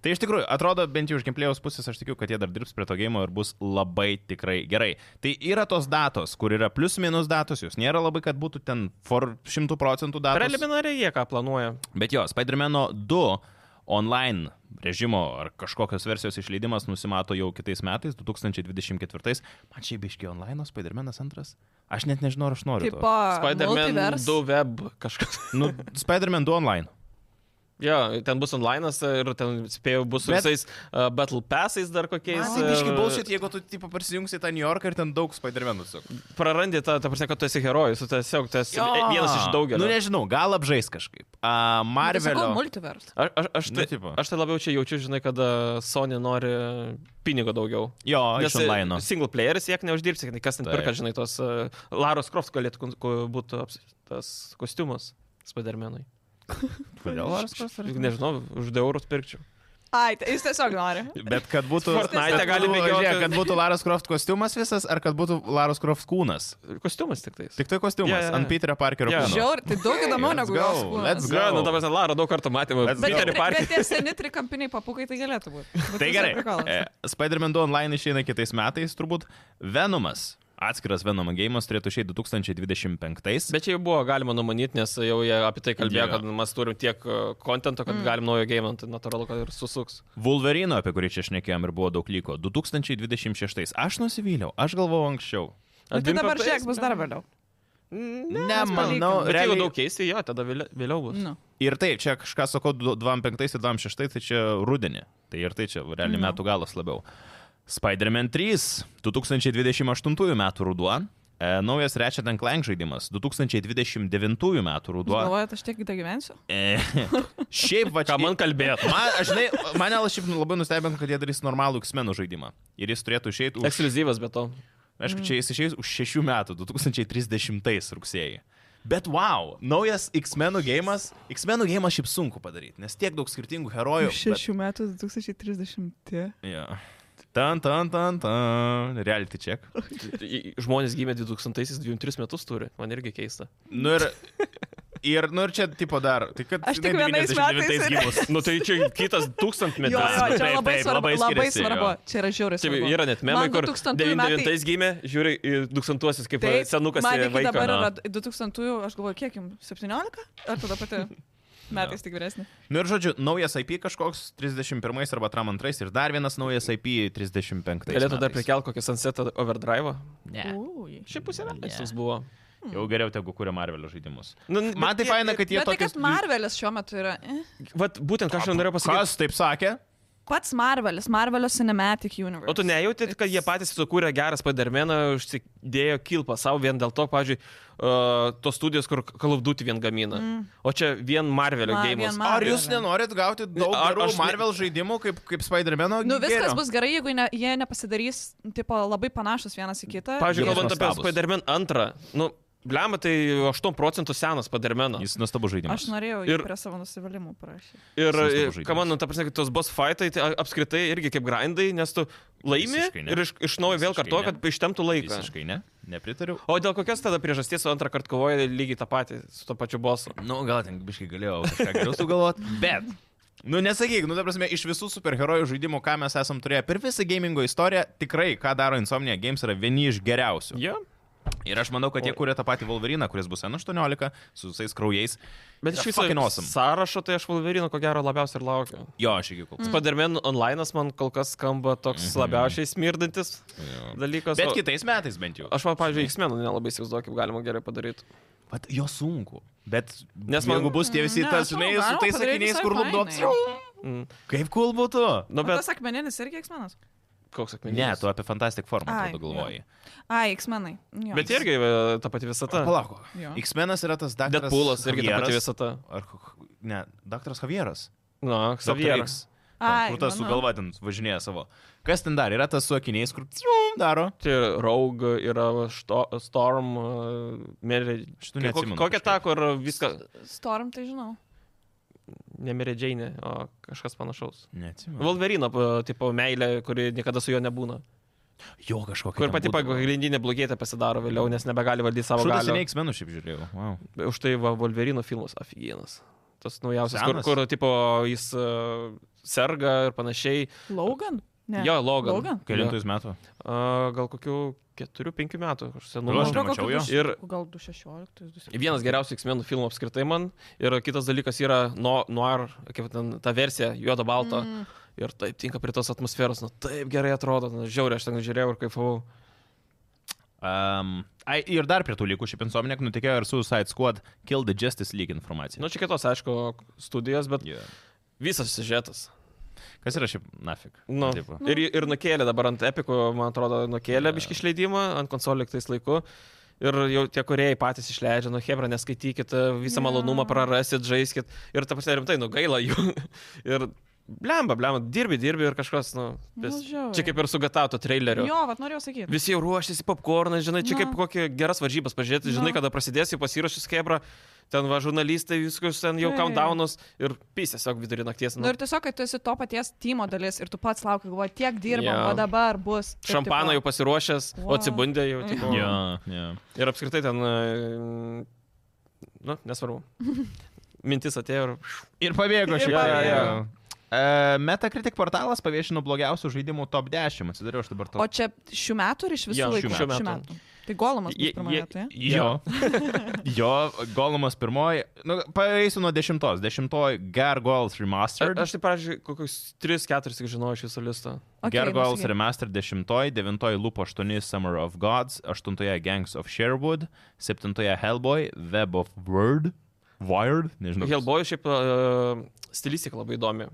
[SPEAKER 1] Tai iš tikrųjų, atrodo, bent jau iš gimplėjaus pusės aš tikiu, kad jie dar dirbs prie to gėjimo ir bus labai tikrai gerai. Tai yra tos datos, kur yra plius minus datos, jos nėra labai, kad būtų ten for 100 procentų datos.
[SPEAKER 2] Preliminariai jie ką planuoja.
[SPEAKER 1] Bet jo, Spider-Man'o 2 online režimo ar kažkokios versijos išleidimas nusimato jau kitais metais, 2024. Man čia biški online Spider-Man'as antras. Aš net nežinau, ar aš noriu.
[SPEAKER 3] Tipo,
[SPEAKER 1] to.
[SPEAKER 2] Spider-Man
[SPEAKER 3] multiverse.
[SPEAKER 2] 2 web kažkas.
[SPEAKER 1] Nu, Spider-Man 2 online.
[SPEAKER 2] Jo, ten bus online ir ten spėjau bus su
[SPEAKER 1] Bet-
[SPEAKER 2] visais uh, Battle Passais dar kokiais.
[SPEAKER 1] Man tai biški
[SPEAKER 2] ir-
[SPEAKER 1] bausit, jeigu tu tipo, prisijungsi į tą New Yorką ir ten daug Spider-Man'ų tiesiog.
[SPEAKER 2] prarandi tą, ta prasme, kad tu esi herojus, tu tiesiog tu esi e,
[SPEAKER 1] Jo.
[SPEAKER 2] vienas iš daugelio.
[SPEAKER 1] Nu nežinau, gal apžais kažkaip. Uh,
[SPEAKER 3] Sakau,
[SPEAKER 1] Marvelio.
[SPEAKER 3] multiverse.
[SPEAKER 2] Aš, aš, aš,
[SPEAKER 1] Nu,
[SPEAKER 2] tai,
[SPEAKER 1] tipo.
[SPEAKER 2] aš tai labiau čia jaučiu, žinai, kad a, Sony nori pinigo daugiau.
[SPEAKER 1] Jo, iš
[SPEAKER 2] Nes e,
[SPEAKER 1] online.
[SPEAKER 2] single playeris tiek neuždirbsi, kad kas ten
[SPEAKER 1] Taip.
[SPEAKER 2] perka, žinai, tos uh, Laros Crofts galėtų kun- ku- būtų aps- tas kostiumas Spidermenui.
[SPEAKER 1] Kodėl? Lars Croft ar-
[SPEAKER 2] Nežinau, už 2 eurus pirkčiau.
[SPEAKER 3] Ai, tai jis tiesiog nori.
[SPEAKER 1] Bet kad būtų...
[SPEAKER 2] Fortnite
[SPEAKER 1] bet
[SPEAKER 2] gali
[SPEAKER 1] būtų-
[SPEAKER 2] bėgioti.
[SPEAKER 1] žiūrėk, Kad būtų Laras Croft kostiumas visas, ar kad būtų Laras Croft kūnas.
[SPEAKER 2] Kostiumas tik tais.
[SPEAKER 1] Tik tai kostiumas
[SPEAKER 2] Jo, jo, jo.
[SPEAKER 1] ant Peterio Parkerio.
[SPEAKER 2] Jo.
[SPEAKER 1] kūno.
[SPEAKER 3] Žiauri, tai daug įdomiau
[SPEAKER 1] Let's
[SPEAKER 3] negu
[SPEAKER 1] go,
[SPEAKER 3] jos kūnas.
[SPEAKER 1] let's go.
[SPEAKER 2] Ja, nu, dabar Laro daug kartų matėme.
[SPEAKER 1] Let's
[SPEAKER 3] Bet,
[SPEAKER 1] go.
[SPEAKER 3] tie
[SPEAKER 2] Peterį
[SPEAKER 3] tri- bet
[SPEAKER 2] Parkerį.
[SPEAKER 3] tie seni trikampiniai papukai tai galėtų būti.
[SPEAKER 1] E. Tai gerai. e, Spider-Man 2 online išeina kitais metais, turbūt. Venomas. Atskiras Venom gėjimas turėtų išeiti 2025.
[SPEAKER 2] Bet čia jau buvo galima numanyti, nes jau jie apie tai kalbėjo,
[SPEAKER 1] Jo.
[SPEAKER 2] kad mes turim tiek e, kontento,
[SPEAKER 3] Mm.
[SPEAKER 2] kad galim naujo game, tai natūralu, kad ir susuks.
[SPEAKER 1] Wolverino, apie kurį čia šnekėjom ir buvo daug lygo, 2026. Aš nusivyliau, aš galvojau anksčiau.
[SPEAKER 3] Bet tai dabar šiek bus dar vėliau.
[SPEAKER 2] Ne,
[SPEAKER 1] Nemanau,
[SPEAKER 2] Bet jeigu
[SPEAKER 1] realiai-
[SPEAKER 2] daug keisti, jo, tada vėliau, vėliau bus.
[SPEAKER 3] Nu.
[SPEAKER 1] Ir tai, čia kažką sakau, du- 25 ir 26, tai čia rudenį. Tai ir tai čia realiai
[SPEAKER 3] Nu.
[SPEAKER 1] metų galas labiau. Spider-Man 3, 2028 metų ruduo. E, naujas Ratchet and Clank žaidimas, 2029 metų ruduo.
[SPEAKER 3] Galvojate, aš tiek gyvensiu?
[SPEAKER 1] E, šiaip va čia.
[SPEAKER 2] Ką man kalbėt?
[SPEAKER 1] Man, aš žinai, mane šiaip labai nustebino, kad jie darys normalų X-menų žaidimą. Ir jis turėtų išeiti už...
[SPEAKER 2] Ekskluzyvas, bet to.
[SPEAKER 3] Mm.
[SPEAKER 1] Aišku, čia jis išeis už šešių metų, 2030 rugsėjai. Bet wow, naujas X-menų gėjimas. X-menų gėjimą šiaip sunku padaryti, nes tiek daug skirtingų herojų. Bet...
[SPEAKER 3] Šešių metų 2030.
[SPEAKER 1] Jo. Tan, tan, tan, tan. Reality check.
[SPEAKER 2] I- Žmonės gimė 2023 metus turi, man irgi keista.
[SPEAKER 1] Nu ir... Ir, nu ir čia tipo dar. Tai kad,
[SPEAKER 3] Aš tik
[SPEAKER 1] žinai,
[SPEAKER 3] vienais
[SPEAKER 1] 99
[SPEAKER 3] metais ir-
[SPEAKER 1] gimus.
[SPEAKER 2] Nu tai čia kitas tūkstantmetis.
[SPEAKER 3] Jo, jo, čia
[SPEAKER 1] Taip,
[SPEAKER 3] labai
[SPEAKER 1] taip,
[SPEAKER 3] svarbu.
[SPEAKER 1] labai
[SPEAKER 3] Labai
[SPEAKER 1] skiriasi,
[SPEAKER 3] svarbu.
[SPEAKER 1] jo.
[SPEAKER 3] Čia yra žiauriai
[SPEAKER 2] Taip,
[SPEAKER 3] svarbu.
[SPEAKER 2] yra net memai,
[SPEAKER 3] Man
[SPEAKER 2] kur
[SPEAKER 3] 2000 metai-
[SPEAKER 2] 99 gimė, žiūri į 2000 kaip
[SPEAKER 3] Taip,
[SPEAKER 2] senukas
[SPEAKER 3] man
[SPEAKER 2] į
[SPEAKER 3] iki
[SPEAKER 2] vaiką.
[SPEAKER 3] dabar
[SPEAKER 2] na.
[SPEAKER 3] yra 2000, aš galvoju, kiek jums, 17? Ar tada pati metais tik vyresnė?
[SPEAKER 1] Nu ir žodžiu, naujas IP kažkoks 31 arba 32 ir dar vienas naujas IP 35.
[SPEAKER 2] Galėtų dar Mm.
[SPEAKER 1] metais.
[SPEAKER 2] prikelt kokį Sunset Overdrive.
[SPEAKER 1] Ne.
[SPEAKER 3] Ui.
[SPEAKER 2] Šiaip pusė metais
[SPEAKER 1] Ne.
[SPEAKER 2] toks buvo.
[SPEAKER 1] Jau geriau tegu kuria Marvelio žaidimus.
[SPEAKER 2] Nu, n-
[SPEAKER 1] Man tai
[SPEAKER 2] bet
[SPEAKER 1] faina, kad jie
[SPEAKER 3] Bet tai,
[SPEAKER 1] tokius...
[SPEAKER 3] kad Marvelis šiuo metu yra. eh.
[SPEAKER 2] jie- Vat būtent ką aš ir norėjau pasakyti.
[SPEAKER 1] Kas taip sakė?
[SPEAKER 3] Pats Marvelis, Marvelio Cinematic Universe.
[SPEAKER 2] O tu nejauti, kad jie patys sukūrė gerą Spider-Maną, užsidėjo kilpą savo vien dėl to, pavyzdžiui, uh, tos studijos, kur Call of Duty vien gamina. Mm. O čia vien Marvelio
[SPEAKER 3] Ma-
[SPEAKER 2] Ma, gėjimas.
[SPEAKER 3] vien
[SPEAKER 2] Mar
[SPEAKER 3] Mar-
[SPEAKER 1] Ar jūs
[SPEAKER 3] Marvelio.
[SPEAKER 1] nenorit gauti daug
[SPEAKER 2] Ar
[SPEAKER 1] gerų
[SPEAKER 2] aš ne-
[SPEAKER 1] Marvel žaidimų kaip, kaip Spider-Man?
[SPEAKER 3] Nu, viskas bus gerai, jeigu ne, jie nepasidarys tipo, labai panašus vienas į kitą.
[SPEAKER 2] pavyzdžiui,
[SPEAKER 1] Jis
[SPEAKER 2] kalbant apie
[SPEAKER 1] nuostabus.
[SPEAKER 2] Spider-Man antrą, nu, blema, tai 8 procentų senas Spider-Manas.
[SPEAKER 1] Jis nuostabus žaidimas.
[SPEAKER 3] Aš norėjau
[SPEAKER 2] Ir-
[SPEAKER 3] ir... prie savo nusivalimų parašyti.
[SPEAKER 2] Ir,
[SPEAKER 1] Jis nuostabus
[SPEAKER 2] ką
[SPEAKER 1] žaidimas.
[SPEAKER 2] man, nu, ta prasme, kad tos boss fightai tai a- apskritai irgi kaip grindai, nes tu laimi
[SPEAKER 1] Visiškai ne.
[SPEAKER 2] ir iš, iš naujo
[SPEAKER 1] Visiškai
[SPEAKER 2] vėl kartu,
[SPEAKER 1] ne.
[SPEAKER 2] kad ištemtų laiką.
[SPEAKER 1] Visiškai ne, nepritariu.
[SPEAKER 2] O dėl kokios tada priežasties antrą kartą kovoja lygiai tą patį su to pačiu bosu?
[SPEAKER 1] Nu, gal ten biškai galėjau kažką geriau sugalvoti, bet. Nu, nesakyk, nu, ta prasme, iš visų superherojų žaidimų, ką mes esam turėję per visą gamingo istoriją, tikrai, ką daro Insomnia Games, yra vieni iš geriausių.
[SPEAKER 2] Jo.
[SPEAKER 1] Ir aš manau, kad jie
[SPEAKER 2] Oi.
[SPEAKER 1] kūrė tą patį Wolverine, kuris bus N18 su visais kraujais.
[SPEAKER 2] Bet
[SPEAKER 1] Yra
[SPEAKER 2] iš viso
[SPEAKER 1] fucking awesome.
[SPEAKER 2] sąrašo, tai aš Wolverino ko gero labiausiai ir laukiu.
[SPEAKER 1] Jo, aš iki kol
[SPEAKER 3] Mm.
[SPEAKER 1] kas.
[SPEAKER 2] Spider-Man online man kol kas skamba toks labiausiai smirdantis
[SPEAKER 1] Jo.
[SPEAKER 2] dalykas.
[SPEAKER 1] Mhm. Mm. Bet
[SPEAKER 2] o-
[SPEAKER 1] kitais metais bent jau.
[SPEAKER 2] Aš man, pavyzdžiui, X-Menų nelabai įsivaizduoju, kaip galima gerai padaryti.
[SPEAKER 1] Vat jo sunku. Bet
[SPEAKER 2] Nes
[SPEAKER 1] nes
[SPEAKER 2] man-
[SPEAKER 1] man bus tie visi
[SPEAKER 3] Ne,
[SPEAKER 1] tas,
[SPEAKER 3] Mm, aš
[SPEAKER 1] žinai,
[SPEAKER 3] manau,
[SPEAKER 1] su
[SPEAKER 3] galima
[SPEAKER 1] tais
[SPEAKER 3] padaryt
[SPEAKER 1] sakiniais,
[SPEAKER 3] visai
[SPEAKER 1] kur lupdo.
[SPEAKER 3] fainai.
[SPEAKER 2] Mm.
[SPEAKER 1] Kaip cool būtų?
[SPEAKER 2] Nu,
[SPEAKER 3] O
[SPEAKER 2] bet
[SPEAKER 3] tas akmeninis irgi X-menas.
[SPEAKER 2] koks akmenys.
[SPEAKER 1] Ne, tu apie Fantastic Four, man
[SPEAKER 3] Ai,
[SPEAKER 1] atrodo, galvoji.
[SPEAKER 3] Ai, X-menai. Jo.
[SPEAKER 2] Bet irgi e, ta pati visata.
[SPEAKER 1] Palauk.
[SPEAKER 3] Jo.
[SPEAKER 1] X-Menas yra tas daktaras.
[SPEAKER 2] Deadpoolas irgi ta pati
[SPEAKER 1] Javieras.
[SPEAKER 2] visata.
[SPEAKER 1] Ar ko- ne, daktaras Javieras.
[SPEAKER 2] Na, Xavieras.
[SPEAKER 1] Xavieras. Kur tas su
[SPEAKER 3] manau.
[SPEAKER 1] galva ten važinėja savo. Kas ten dar? Yra tas su akiniais, kur cium daro.
[SPEAKER 2] Tai Rogue yra što, Storm, e, Mary...
[SPEAKER 1] Šitų neatsimenu
[SPEAKER 2] Kokia ta,
[SPEAKER 1] kažkaip.
[SPEAKER 2] kur viską...
[SPEAKER 3] Storm, tai žinau.
[SPEAKER 2] Ne Mary Jane, o kažkas panašaus.
[SPEAKER 1] Neatsimenu.
[SPEAKER 2] Wolverino, e, tipo, meilė, kuri niekada su juo nebūna.
[SPEAKER 1] Jo kažkokia.
[SPEAKER 2] Kur pati pagrindinė blogėtė pasidaro vėliau, nes nebegali valdyti savo
[SPEAKER 1] Šūdas
[SPEAKER 2] galių.
[SPEAKER 1] seniai X-Menų šiaip žiūrėjau. Wow.
[SPEAKER 2] Be- Už tai va, Wolverino filmas aфиgenas. Tas naujausias, kur,
[SPEAKER 1] Senas?
[SPEAKER 2] kur tipo, jis uh, serga ir panašiai.
[SPEAKER 3] Logan? Ne.
[SPEAKER 2] Jo, Logan.
[SPEAKER 3] Logan?
[SPEAKER 1] Kelintais metų.
[SPEAKER 2] Uh, gal kokių 4-5 metų
[SPEAKER 1] Nu,
[SPEAKER 2] senumo.
[SPEAKER 1] aš
[SPEAKER 3] Gal
[SPEAKER 1] nemačiau
[SPEAKER 3] kokių
[SPEAKER 1] jo.
[SPEAKER 3] du-
[SPEAKER 2] Ir-
[SPEAKER 3] Gal 216.
[SPEAKER 2] Vienas geriausių X-Menų filmų apskritai man. Ir kitas dalykas yra no- noir, kaip ten ta versija, juoda-balta. Mm. Ir taip tinka prie tos atmosferos, nu taip gerai atrodo, nu, žiauriai aš ten žiūrėjau ir kaifavau.
[SPEAKER 1] Um, ai, ir dar prie tų likusių pensuomenėk nutikėjo ir Suicide Squad Kill the Justice League informacija.
[SPEAKER 2] Nu čia kitos, aišku, studijos, bet
[SPEAKER 1] yeah.
[SPEAKER 2] visas siužetas.
[SPEAKER 1] Kas yra šiaip nafik?
[SPEAKER 2] Nu,
[SPEAKER 1] Tipo.
[SPEAKER 2] ir, ir nukėlė dabar ant Epiko, man atrodo, nukėlė yeah. biški išleidimą ant konsolį tais laiku. Ir jau tie kuriejai patys išleidžia, nu Hebra, neskaitykit, visą yeah. malonumą prarasit, žaiskit. Ir ta prasme rimtai, nu gaila jų. ir blemba, blemba, dirbi, dirbi ir kažkas, nu.
[SPEAKER 3] Nu,
[SPEAKER 2] Vis...
[SPEAKER 3] žiauriai.
[SPEAKER 2] Čia kaip ir su Gatato traileriu.
[SPEAKER 3] Jo, vat norėjau sakyti.
[SPEAKER 2] Visi jau ruošiasi popcorną, žinai, čia
[SPEAKER 3] Na.
[SPEAKER 2] kaip kokią geras varžybas pažiūrėti, žinai,
[SPEAKER 3] Na.
[SPEAKER 2] kada prasidės jau pasirašys Hebra, ten va žurnalistai, viskas ten jau
[SPEAKER 3] Taip.
[SPEAKER 2] countdownus ir pys tiesiog vidurį nakties.
[SPEAKER 3] Nu, ir tiesiog, kad tu esi to paties tymo dalis ir tu pats lauki, galvoji, tiek dirbam,
[SPEAKER 2] Jo.
[SPEAKER 3] o dabar bus. Ir
[SPEAKER 2] Šampaną jau
[SPEAKER 3] tipo,
[SPEAKER 2] pasiruošęs, o
[SPEAKER 3] Wow.
[SPEAKER 2] atsibundė jau. Tipo,
[SPEAKER 1] Ja, ja.
[SPEAKER 2] Ir apskritai ten, e, nu, nesvarbu. Mintis atėjo ir...
[SPEAKER 1] Ir pabėgo
[SPEAKER 2] Ir
[SPEAKER 1] šiaip.
[SPEAKER 2] pabėgo.
[SPEAKER 1] Uh, Metacritic portalas paviešino blogiausių žaidimų top 10. Atsidariau aš dabar to.
[SPEAKER 3] O čia šių metų ir iš visų
[SPEAKER 2] Jo,
[SPEAKER 3] laikų?
[SPEAKER 2] šių metų.
[SPEAKER 3] Šių metų. Tai golomas
[SPEAKER 2] Jie-
[SPEAKER 3] bus pirmoje
[SPEAKER 2] jie-
[SPEAKER 3] vietoje.
[SPEAKER 2] Jo.
[SPEAKER 1] Jo, Golumas pirmoji. Nu, paeisiu nuo dešimtos. Dešimtoji Gargoyles Remastered.
[SPEAKER 2] Aš tai, pavyzdžiui, kokius 3-4 tik žinojau iš viso listo.
[SPEAKER 3] Okay,
[SPEAKER 1] Gargoyles Remastered 10, 9 Lupo 8 Summer of Gods, 8 Gangs of Sherwood, 7 Hellboy, Web of Word, Wired, nežinau. kas-
[SPEAKER 2] Helboy šiaip uh, stilistika labai įdomi.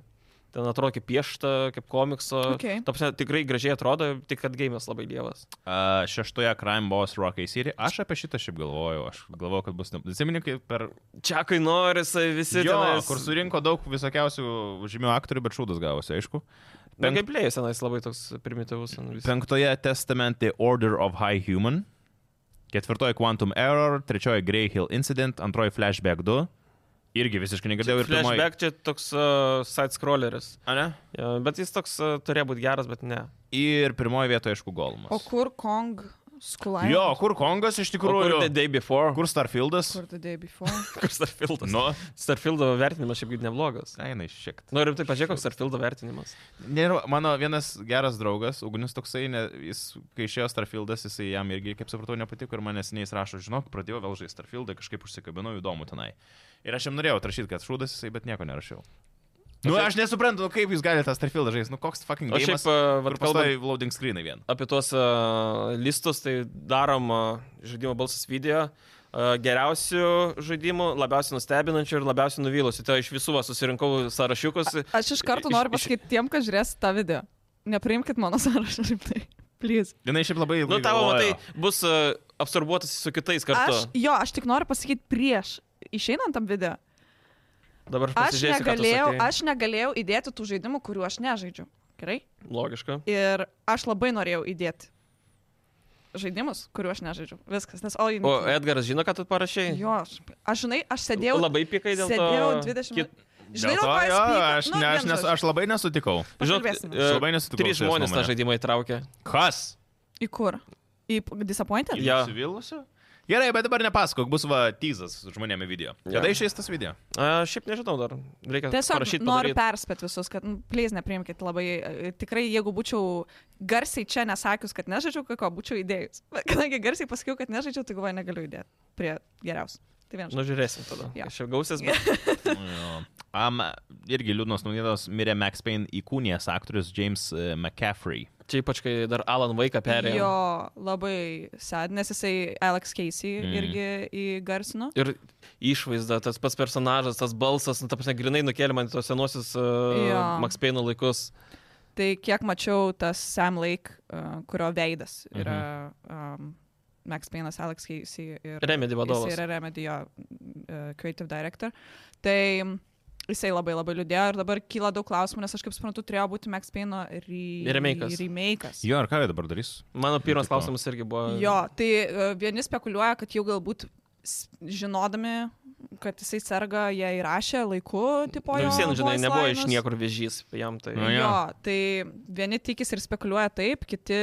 [SPEAKER 2] Ten atrodo kaip piešta, kaip komikso.
[SPEAKER 3] Okay.
[SPEAKER 2] Ta prasme, tikrai gražiai atrodo, tik kad gėjimas labai dievas.
[SPEAKER 1] A, Šeštoje Crime Boss Rocky City. Aš apie šitą šiaip galvojau, aš galvojau, kad bus... ne- Atsimeni, kaip per...
[SPEAKER 2] Čiakai nori, visi
[SPEAKER 1] Jo,
[SPEAKER 2] tenais-
[SPEAKER 1] kur surinko daug visokiausių žymių aktorių, bet šūdas gavosi, aišku.
[SPEAKER 2] Bet nu, kaip plėjus tenais labai toks primityvus. ten vis-
[SPEAKER 1] Penktoje Testament The Order of High Human. Ketvirtoje Quantum Error, trečioje Grey Hill Incident, antroji Flashback 2. Irgi visiškai negirdėjau ir pirmoji.
[SPEAKER 2] Flashback čia toks uh, side scrolleris.
[SPEAKER 1] Ane?
[SPEAKER 2] Ja, bet jis toks uh, turėjo būti geras, bet ne.
[SPEAKER 1] Ir pirmoji vietoje, aišku, Golmas.
[SPEAKER 3] O kur Kong Skulai?
[SPEAKER 1] Jo, kur Kongas iš tikrųjų?
[SPEAKER 2] O Kur The Day Before.
[SPEAKER 1] Kur Starfieldas?
[SPEAKER 3] Kur the day before?
[SPEAKER 2] kur Starfieldas?
[SPEAKER 1] Nu,
[SPEAKER 2] Starfieldo vertinimas šiaip neblogas.
[SPEAKER 1] einai šiek tiek.
[SPEAKER 2] Norim tai pažiūrėti, koks Starfieldo vertinimas.
[SPEAKER 1] Nežinau, mano vienas geras draugas, Ugnius toksai, ne, jis, kai išėjo Starfieldas, jisai jam irgi, kaip supratau, nepatiko ir manęs neįs rašo, žinok, pradėjau vėl žaisti Starfieldą, kažkaip užsikabinau įdomu tenai. Ir aš jam norėjau rašyti, kad šūdas jisai, bet nieko nerašiau. Nu,
[SPEAKER 2] šiaip-
[SPEAKER 1] aš nesuprantu, nu, kaip jūs galite tą Starfieldą žaisti, nu, koks fucking
[SPEAKER 2] O šiaip,
[SPEAKER 1] gėjimas. Ar
[SPEAKER 2] uh, vat,
[SPEAKER 1] pastai
[SPEAKER 2] kalbant
[SPEAKER 1] loading screenai vien?
[SPEAKER 2] apie tuos uh, listus, tai darom uh, žaidimo balsas video. uh, Geriausių žaidimų, labiausiai nustebinančių ir labiausiai nuvylusių. Tai iš visų va susirinkau sąrašiukus.
[SPEAKER 3] Aš iš karto
[SPEAKER 2] Iš-
[SPEAKER 3] noriu
[SPEAKER 2] iš-
[SPEAKER 3] pasakyti tiem, kas žiūrės tą video. Nepriimkit mano sąrašą rimtai. Please.
[SPEAKER 1] Jinai šiaip labai...
[SPEAKER 2] Nu,
[SPEAKER 1] ilgai
[SPEAKER 2] tavo,
[SPEAKER 1] galvojo.
[SPEAKER 2] matai, bus uh, absorbuotas su kitais kartu.
[SPEAKER 3] Aš, jo, aš tik noriu pasakyti prieš. Išeinant tam video,
[SPEAKER 2] Dabar aš
[SPEAKER 3] aš
[SPEAKER 2] pasižiūrėsiu, ką tu
[SPEAKER 3] negalėjau,
[SPEAKER 2] sakei.
[SPEAKER 3] aš negalėjau įdėti tų žaidimų, kurių aš nežaidžiu. Gerai?
[SPEAKER 2] Logiška.
[SPEAKER 3] Ir aš labai norėjau įdėti žaidimus, kurių aš nežaidžiu. Viskas, nes all you
[SPEAKER 2] O
[SPEAKER 3] need.
[SPEAKER 2] Edgaras žino, ką tu parašai?
[SPEAKER 3] Jo, aš, aš žinai, aš sėdėjau.
[SPEAKER 2] Labai pikai dėl to.
[SPEAKER 3] sėdėjau 20
[SPEAKER 2] Kit-
[SPEAKER 3] minučių. Žinai,
[SPEAKER 1] Dėl
[SPEAKER 3] nu,
[SPEAKER 1] to,
[SPEAKER 3] labai
[SPEAKER 1] jo, aš, ne, aš, nes, aš labai nesutikau.
[SPEAKER 2] Žinot,
[SPEAKER 3] Pakalbėsime.
[SPEAKER 2] e,
[SPEAKER 1] Aš labai nesutikau
[SPEAKER 2] Trys
[SPEAKER 1] su jos
[SPEAKER 2] žmonės tą
[SPEAKER 1] nuomone.
[SPEAKER 2] žaidimą įtraukė.
[SPEAKER 1] Kas?
[SPEAKER 3] Į kur? Į p- Disappointed?
[SPEAKER 2] Jo.
[SPEAKER 1] Nusivylusiu? Gerai, bet dabar nepasakok, bus va teasas žmonėmi video.
[SPEAKER 2] Jo.
[SPEAKER 1] Kada išeis tas video?
[SPEAKER 2] A, šiaip nežinau dar. Reikia
[SPEAKER 3] Tai Tiesiog
[SPEAKER 2] parašyti.
[SPEAKER 3] noriu
[SPEAKER 2] padaryt.
[SPEAKER 3] perspėti visus, kad, nu, please, nepriimkit labai. e, Tikrai, jeigu būčiau garsiai čia nesakius, kad nežaidžiu, kai ko būčiau įdėjus. Bet Kadangi garsiai pasakiau, kad nežaidžiu, tai galvoju, negaliu įdėti prie geriausių. Tai vienas.
[SPEAKER 2] Nu, žiūrėsim tada.
[SPEAKER 3] Jo.
[SPEAKER 2] Aš jau gausias, bet
[SPEAKER 1] Um, Nu irgi liūdnos naujienos mirė Max Payne įkūnijas aktorius James e, McCaffrey.
[SPEAKER 2] čia ypač, kai dar Alan vaiką perėjo.
[SPEAKER 3] Jo, labai sad, nes jisai Alex Casey
[SPEAKER 1] Mm.
[SPEAKER 3] mm. irgi įgarsino.
[SPEAKER 2] Ir išvaizda, tas pats personažas, tas balsas, nu, ta prasme, grinai nukėlė man į tos senosius uh,
[SPEAKER 3] Jo.
[SPEAKER 2] Max Payne laikus.
[SPEAKER 3] Tai kiek mačiau, tas Sam Lake, uh, kurio veidas yra um, Max Payne'as, Alex Casey ir...
[SPEAKER 2] Mhm. Remedy vadovas.
[SPEAKER 3] Jis yra Remedy, jo, uh, creative director. Tai mm, jisai labai labai liūdėjo ir dabar kyla daug klausimų, nes aš kaip suprantu, turėjo būti Max Payne'o re...
[SPEAKER 2] Remake'as.
[SPEAKER 3] remake'as.
[SPEAKER 1] Jo, ar ką jie dabar darys?
[SPEAKER 2] Mano pirmas
[SPEAKER 1] Tipo.
[SPEAKER 2] klausimas irgi buvo.
[SPEAKER 3] Jo, tai uh, vieni spekuliuoja, kad jau galbūt s- žinodami, kad jisai serga, jie įrašė laiku, tipo,
[SPEAKER 2] Nu,
[SPEAKER 3] jo
[SPEAKER 2] vis vien, žinai,
[SPEAKER 3] voice
[SPEAKER 2] nebuvo iš
[SPEAKER 3] linus.
[SPEAKER 2] niekur vėžys jam tai.
[SPEAKER 1] Nu,
[SPEAKER 3] Jo,
[SPEAKER 1] jo.
[SPEAKER 3] tai vieni tikis ir spekuliuoja taip, kiti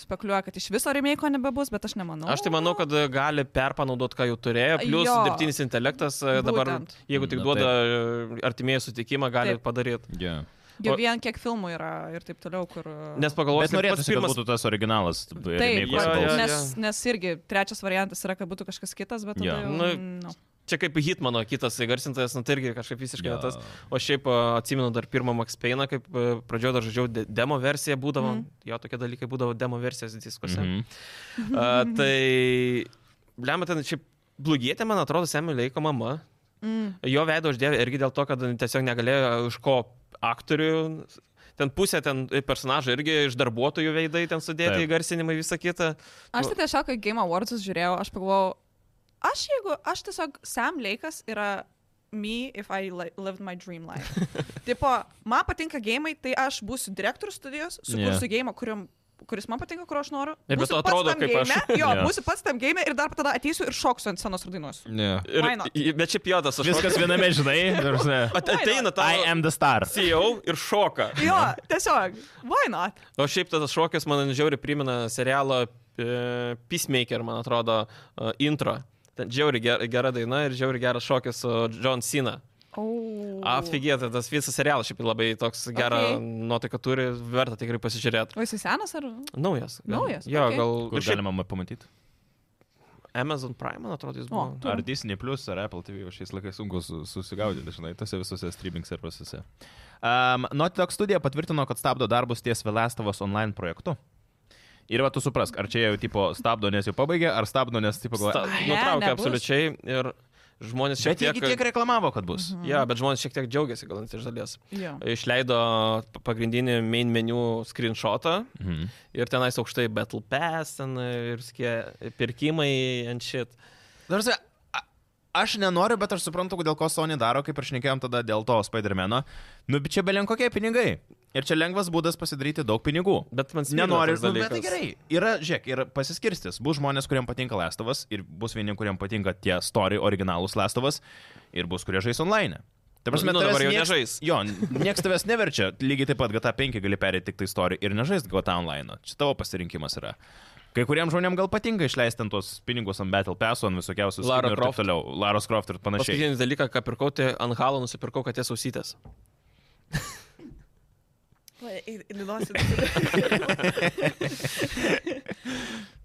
[SPEAKER 3] spekuliuoja, kad iš viso remake nebebus, bet aš nemanau.
[SPEAKER 2] Aš tai manau, kad e, gali perpanaudoti, ką jau turėjo. Plus
[SPEAKER 3] Jo.
[SPEAKER 2] dirbtinis intelektas e, dabar,
[SPEAKER 3] Būtent.
[SPEAKER 2] jeigu tik
[SPEAKER 1] Na,
[SPEAKER 2] duoda e, artimieji sutikimą, gali
[SPEAKER 3] Taip.
[SPEAKER 2] padaryti.
[SPEAKER 1] Yeah.
[SPEAKER 3] Jau
[SPEAKER 2] o-
[SPEAKER 3] vien kiek filmų yra ir taip toliau, kur...
[SPEAKER 2] Nes
[SPEAKER 1] Bet
[SPEAKER 2] pagalvojau,
[SPEAKER 1] norėtųsi, pirmas... kad būtų tas originalas. e,
[SPEAKER 3] Taip,
[SPEAKER 2] remake
[SPEAKER 3] va,
[SPEAKER 2] jo, jo.
[SPEAKER 3] nes, nes irgi trečias variantas yra, kad būtų kažkas kitas, bet...
[SPEAKER 1] Jo.
[SPEAKER 3] tada Jau,
[SPEAKER 2] Nu,
[SPEAKER 3] no.
[SPEAKER 2] Čia kaip Hitmano kitas įgarsintojas, nu tai irgi kažkaip visiškai yeah. tas.
[SPEAKER 1] Ja.
[SPEAKER 2] O šiaip a, atsimenu dar pirmą Max Payne, kaip a, pradžioje dar žaidžiau de demo versiją, būdavo, mm.
[SPEAKER 3] Mhm.
[SPEAKER 2] jo tokie dalykai būdavo demo versijos diskuose. Mm
[SPEAKER 1] Mhm.
[SPEAKER 2] -hmm. a, tai, lemia, ten šiaip blugėtė, man atrodo, Semio laiko mama.
[SPEAKER 3] mm.
[SPEAKER 2] Jo veido uždėjo irgi dėl to, kad nu, tiesiog negalėjo iš ko aktorių. Ten pusė ten personažų irgi iš darbuotojų veidai ten sudėti
[SPEAKER 1] Taip.
[SPEAKER 2] Taip. įgarsinimai, visą kitą.
[SPEAKER 3] Aš tai tiesiog, kai Game Awards žiūrėjau, aš pagalvojau, aš jeigu, aš tiesiog Sam Leikas yra me if I li lived my dream life. tipo, man patinka gėjimai, tai aš būsiu direktorius studijos, sukursiu yeah. gėjimą, kuriam kuris man patinka, kurio aš noriu.
[SPEAKER 2] Ir be
[SPEAKER 3] Būsiu
[SPEAKER 2] to
[SPEAKER 3] pats
[SPEAKER 2] atrodo
[SPEAKER 3] tam
[SPEAKER 2] kaip aš.
[SPEAKER 3] geime, Jo,
[SPEAKER 1] Jo.
[SPEAKER 3] yeah. būsiu pats tam gėjimai ir dar tada ateisiu ir šoksiu ant senos rudainos.
[SPEAKER 1] Yeah.
[SPEAKER 2] Ir,
[SPEAKER 3] Why not?
[SPEAKER 2] bet šiaip jo tas aš.
[SPEAKER 1] Viskas viename, žinai. ta prasme.
[SPEAKER 2] At, ateina tavo
[SPEAKER 1] I am the star.
[SPEAKER 2] CEO ir šoka.
[SPEAKER 3] Jo, tiesiog, why not?
[SPEAKER 2] O šiaip tas šokis man žiauriai primena serialą e, Peacemaker, man atrodo, e, intro. Ten žiauriai gera, gera daina ir žiauriai geras šokis su John Cena.
[SPEAKER 3] Oh.
[SPEAKER 2] Afigėta, tas visas serialas šiaip labai toks gerą
[SPEAKER 3] Okay.
[SPEAKER 2] okay. nuotaiką turi, verta tikrai pasižiūrėti.
[SPEAKER 3] O jisai senas ar?
[SPEAKER 2] Naujas.
[SPEAKER 3] Naujas,
[SPEAKER 2] Jo,
[SPEAKER 3] okay.
[SPEAKER 2] gal.
[SPEAKER 1] Kur
[SPEAKER 2] ir šiaip-
[SPEAKER 1] galima ma- pamatyti?
[SPEAKER 2] Amazon Prime, man atrodo, jis
[SPEAKER 3] O.
[SPEAKER 2] buvo.
[SPEAKER 3] Tu.
[SPEAKER 4] Ar Disney Plus, ar Apple TV, va šiais laikais sunku su- susigaudyti, žinai, tose visose streaming servisuose.
[SPEAKER 1] Um, Naughty Dog studija patvirtino, kad stabdo darbus ties Velastovos online projektu. Ir va tu suprask, ar čia jau tipo stabdo, nes jau pabaigė, ar stabdo, nes tipo
[SPEAKER 2] Sta-
[SPEAKER 1] galvoja.
[SPEAKER 3] Ne,
[SPEAKER 2] Nutraukė
[SPEAKER 3] nebus.
[SPEAKER 2] absoliučiai ir žmonės šiek
[SPEAKER 1] Bet jie
[SPEAKER 2] tiek...
[SPEAKER 1] gi tiek reklamavo, kad bus. Mhm.
[SPEAKER 2] Ja, bet žmonės šiek tiek džiaugiasi, gal net iš dalies.
[SPEAKER 3] Jo.
[SPEAKER 2] Išleido p- pagrindinį main menu screenshotą
[SPEAKER 4] Mhm.
[SPEAKER 2] ir tenais aukštai Battle Pass ten e, ir skie pirkimai ant šit.
[SPEAKER 1] Tarsi, a- aš nenoriu, bet aš suprantu, dėl ko Sony daro, kaip ir šnekėjom tada dėl to Spider-Man'o. Nu, bet čia belen kokie pinigai. Ir čia lengvas būdas pasidaryti daug pinigų.
[SPEAKER 2] Bet man smagu.
[SPEAKER 1] Nenori, nu, bet
[SPEAKER 2] dalykas.
[SPEAKER 1] tai gerai. Yra, žiūrėk, yra pasiskirstis. Bus žmonės, kuriems patinka Lestovas ir bus vieni, kuriems patinka tie story originalūs Lestovas ir bus, kurie žais online. Tai prasme,
[SPEAKER 2] Nu, nu,
[SPEAKER 1] tavęs
[SPEAKER 2] dabar jau
[SPEAKER 1] nieks-
[SPEAKER 2] nežais.
[SPEAKER 1] Jo, niekas tavęs neverčia. Lygiai taip pat GTA 5 gali perėti tik tai story ir nežaisti GTA online. Čia tavo pasirinkimas yra. Kai kuriems žmonėms gal patinka išleisti ten tuos pinigus ant Battle Pass, ant visokiausių
[SPEAKER 2] Lara
[SPEAKER 1] skinų ir
[SPEAKER 2] Croft.
[SPEAKER 1] taip toliau. Laros Croft ir panašiai.
[SPEAKER 2] Paskutinis dalykas, ką pirkau, tai ant halo nusipirkau katės ausytės.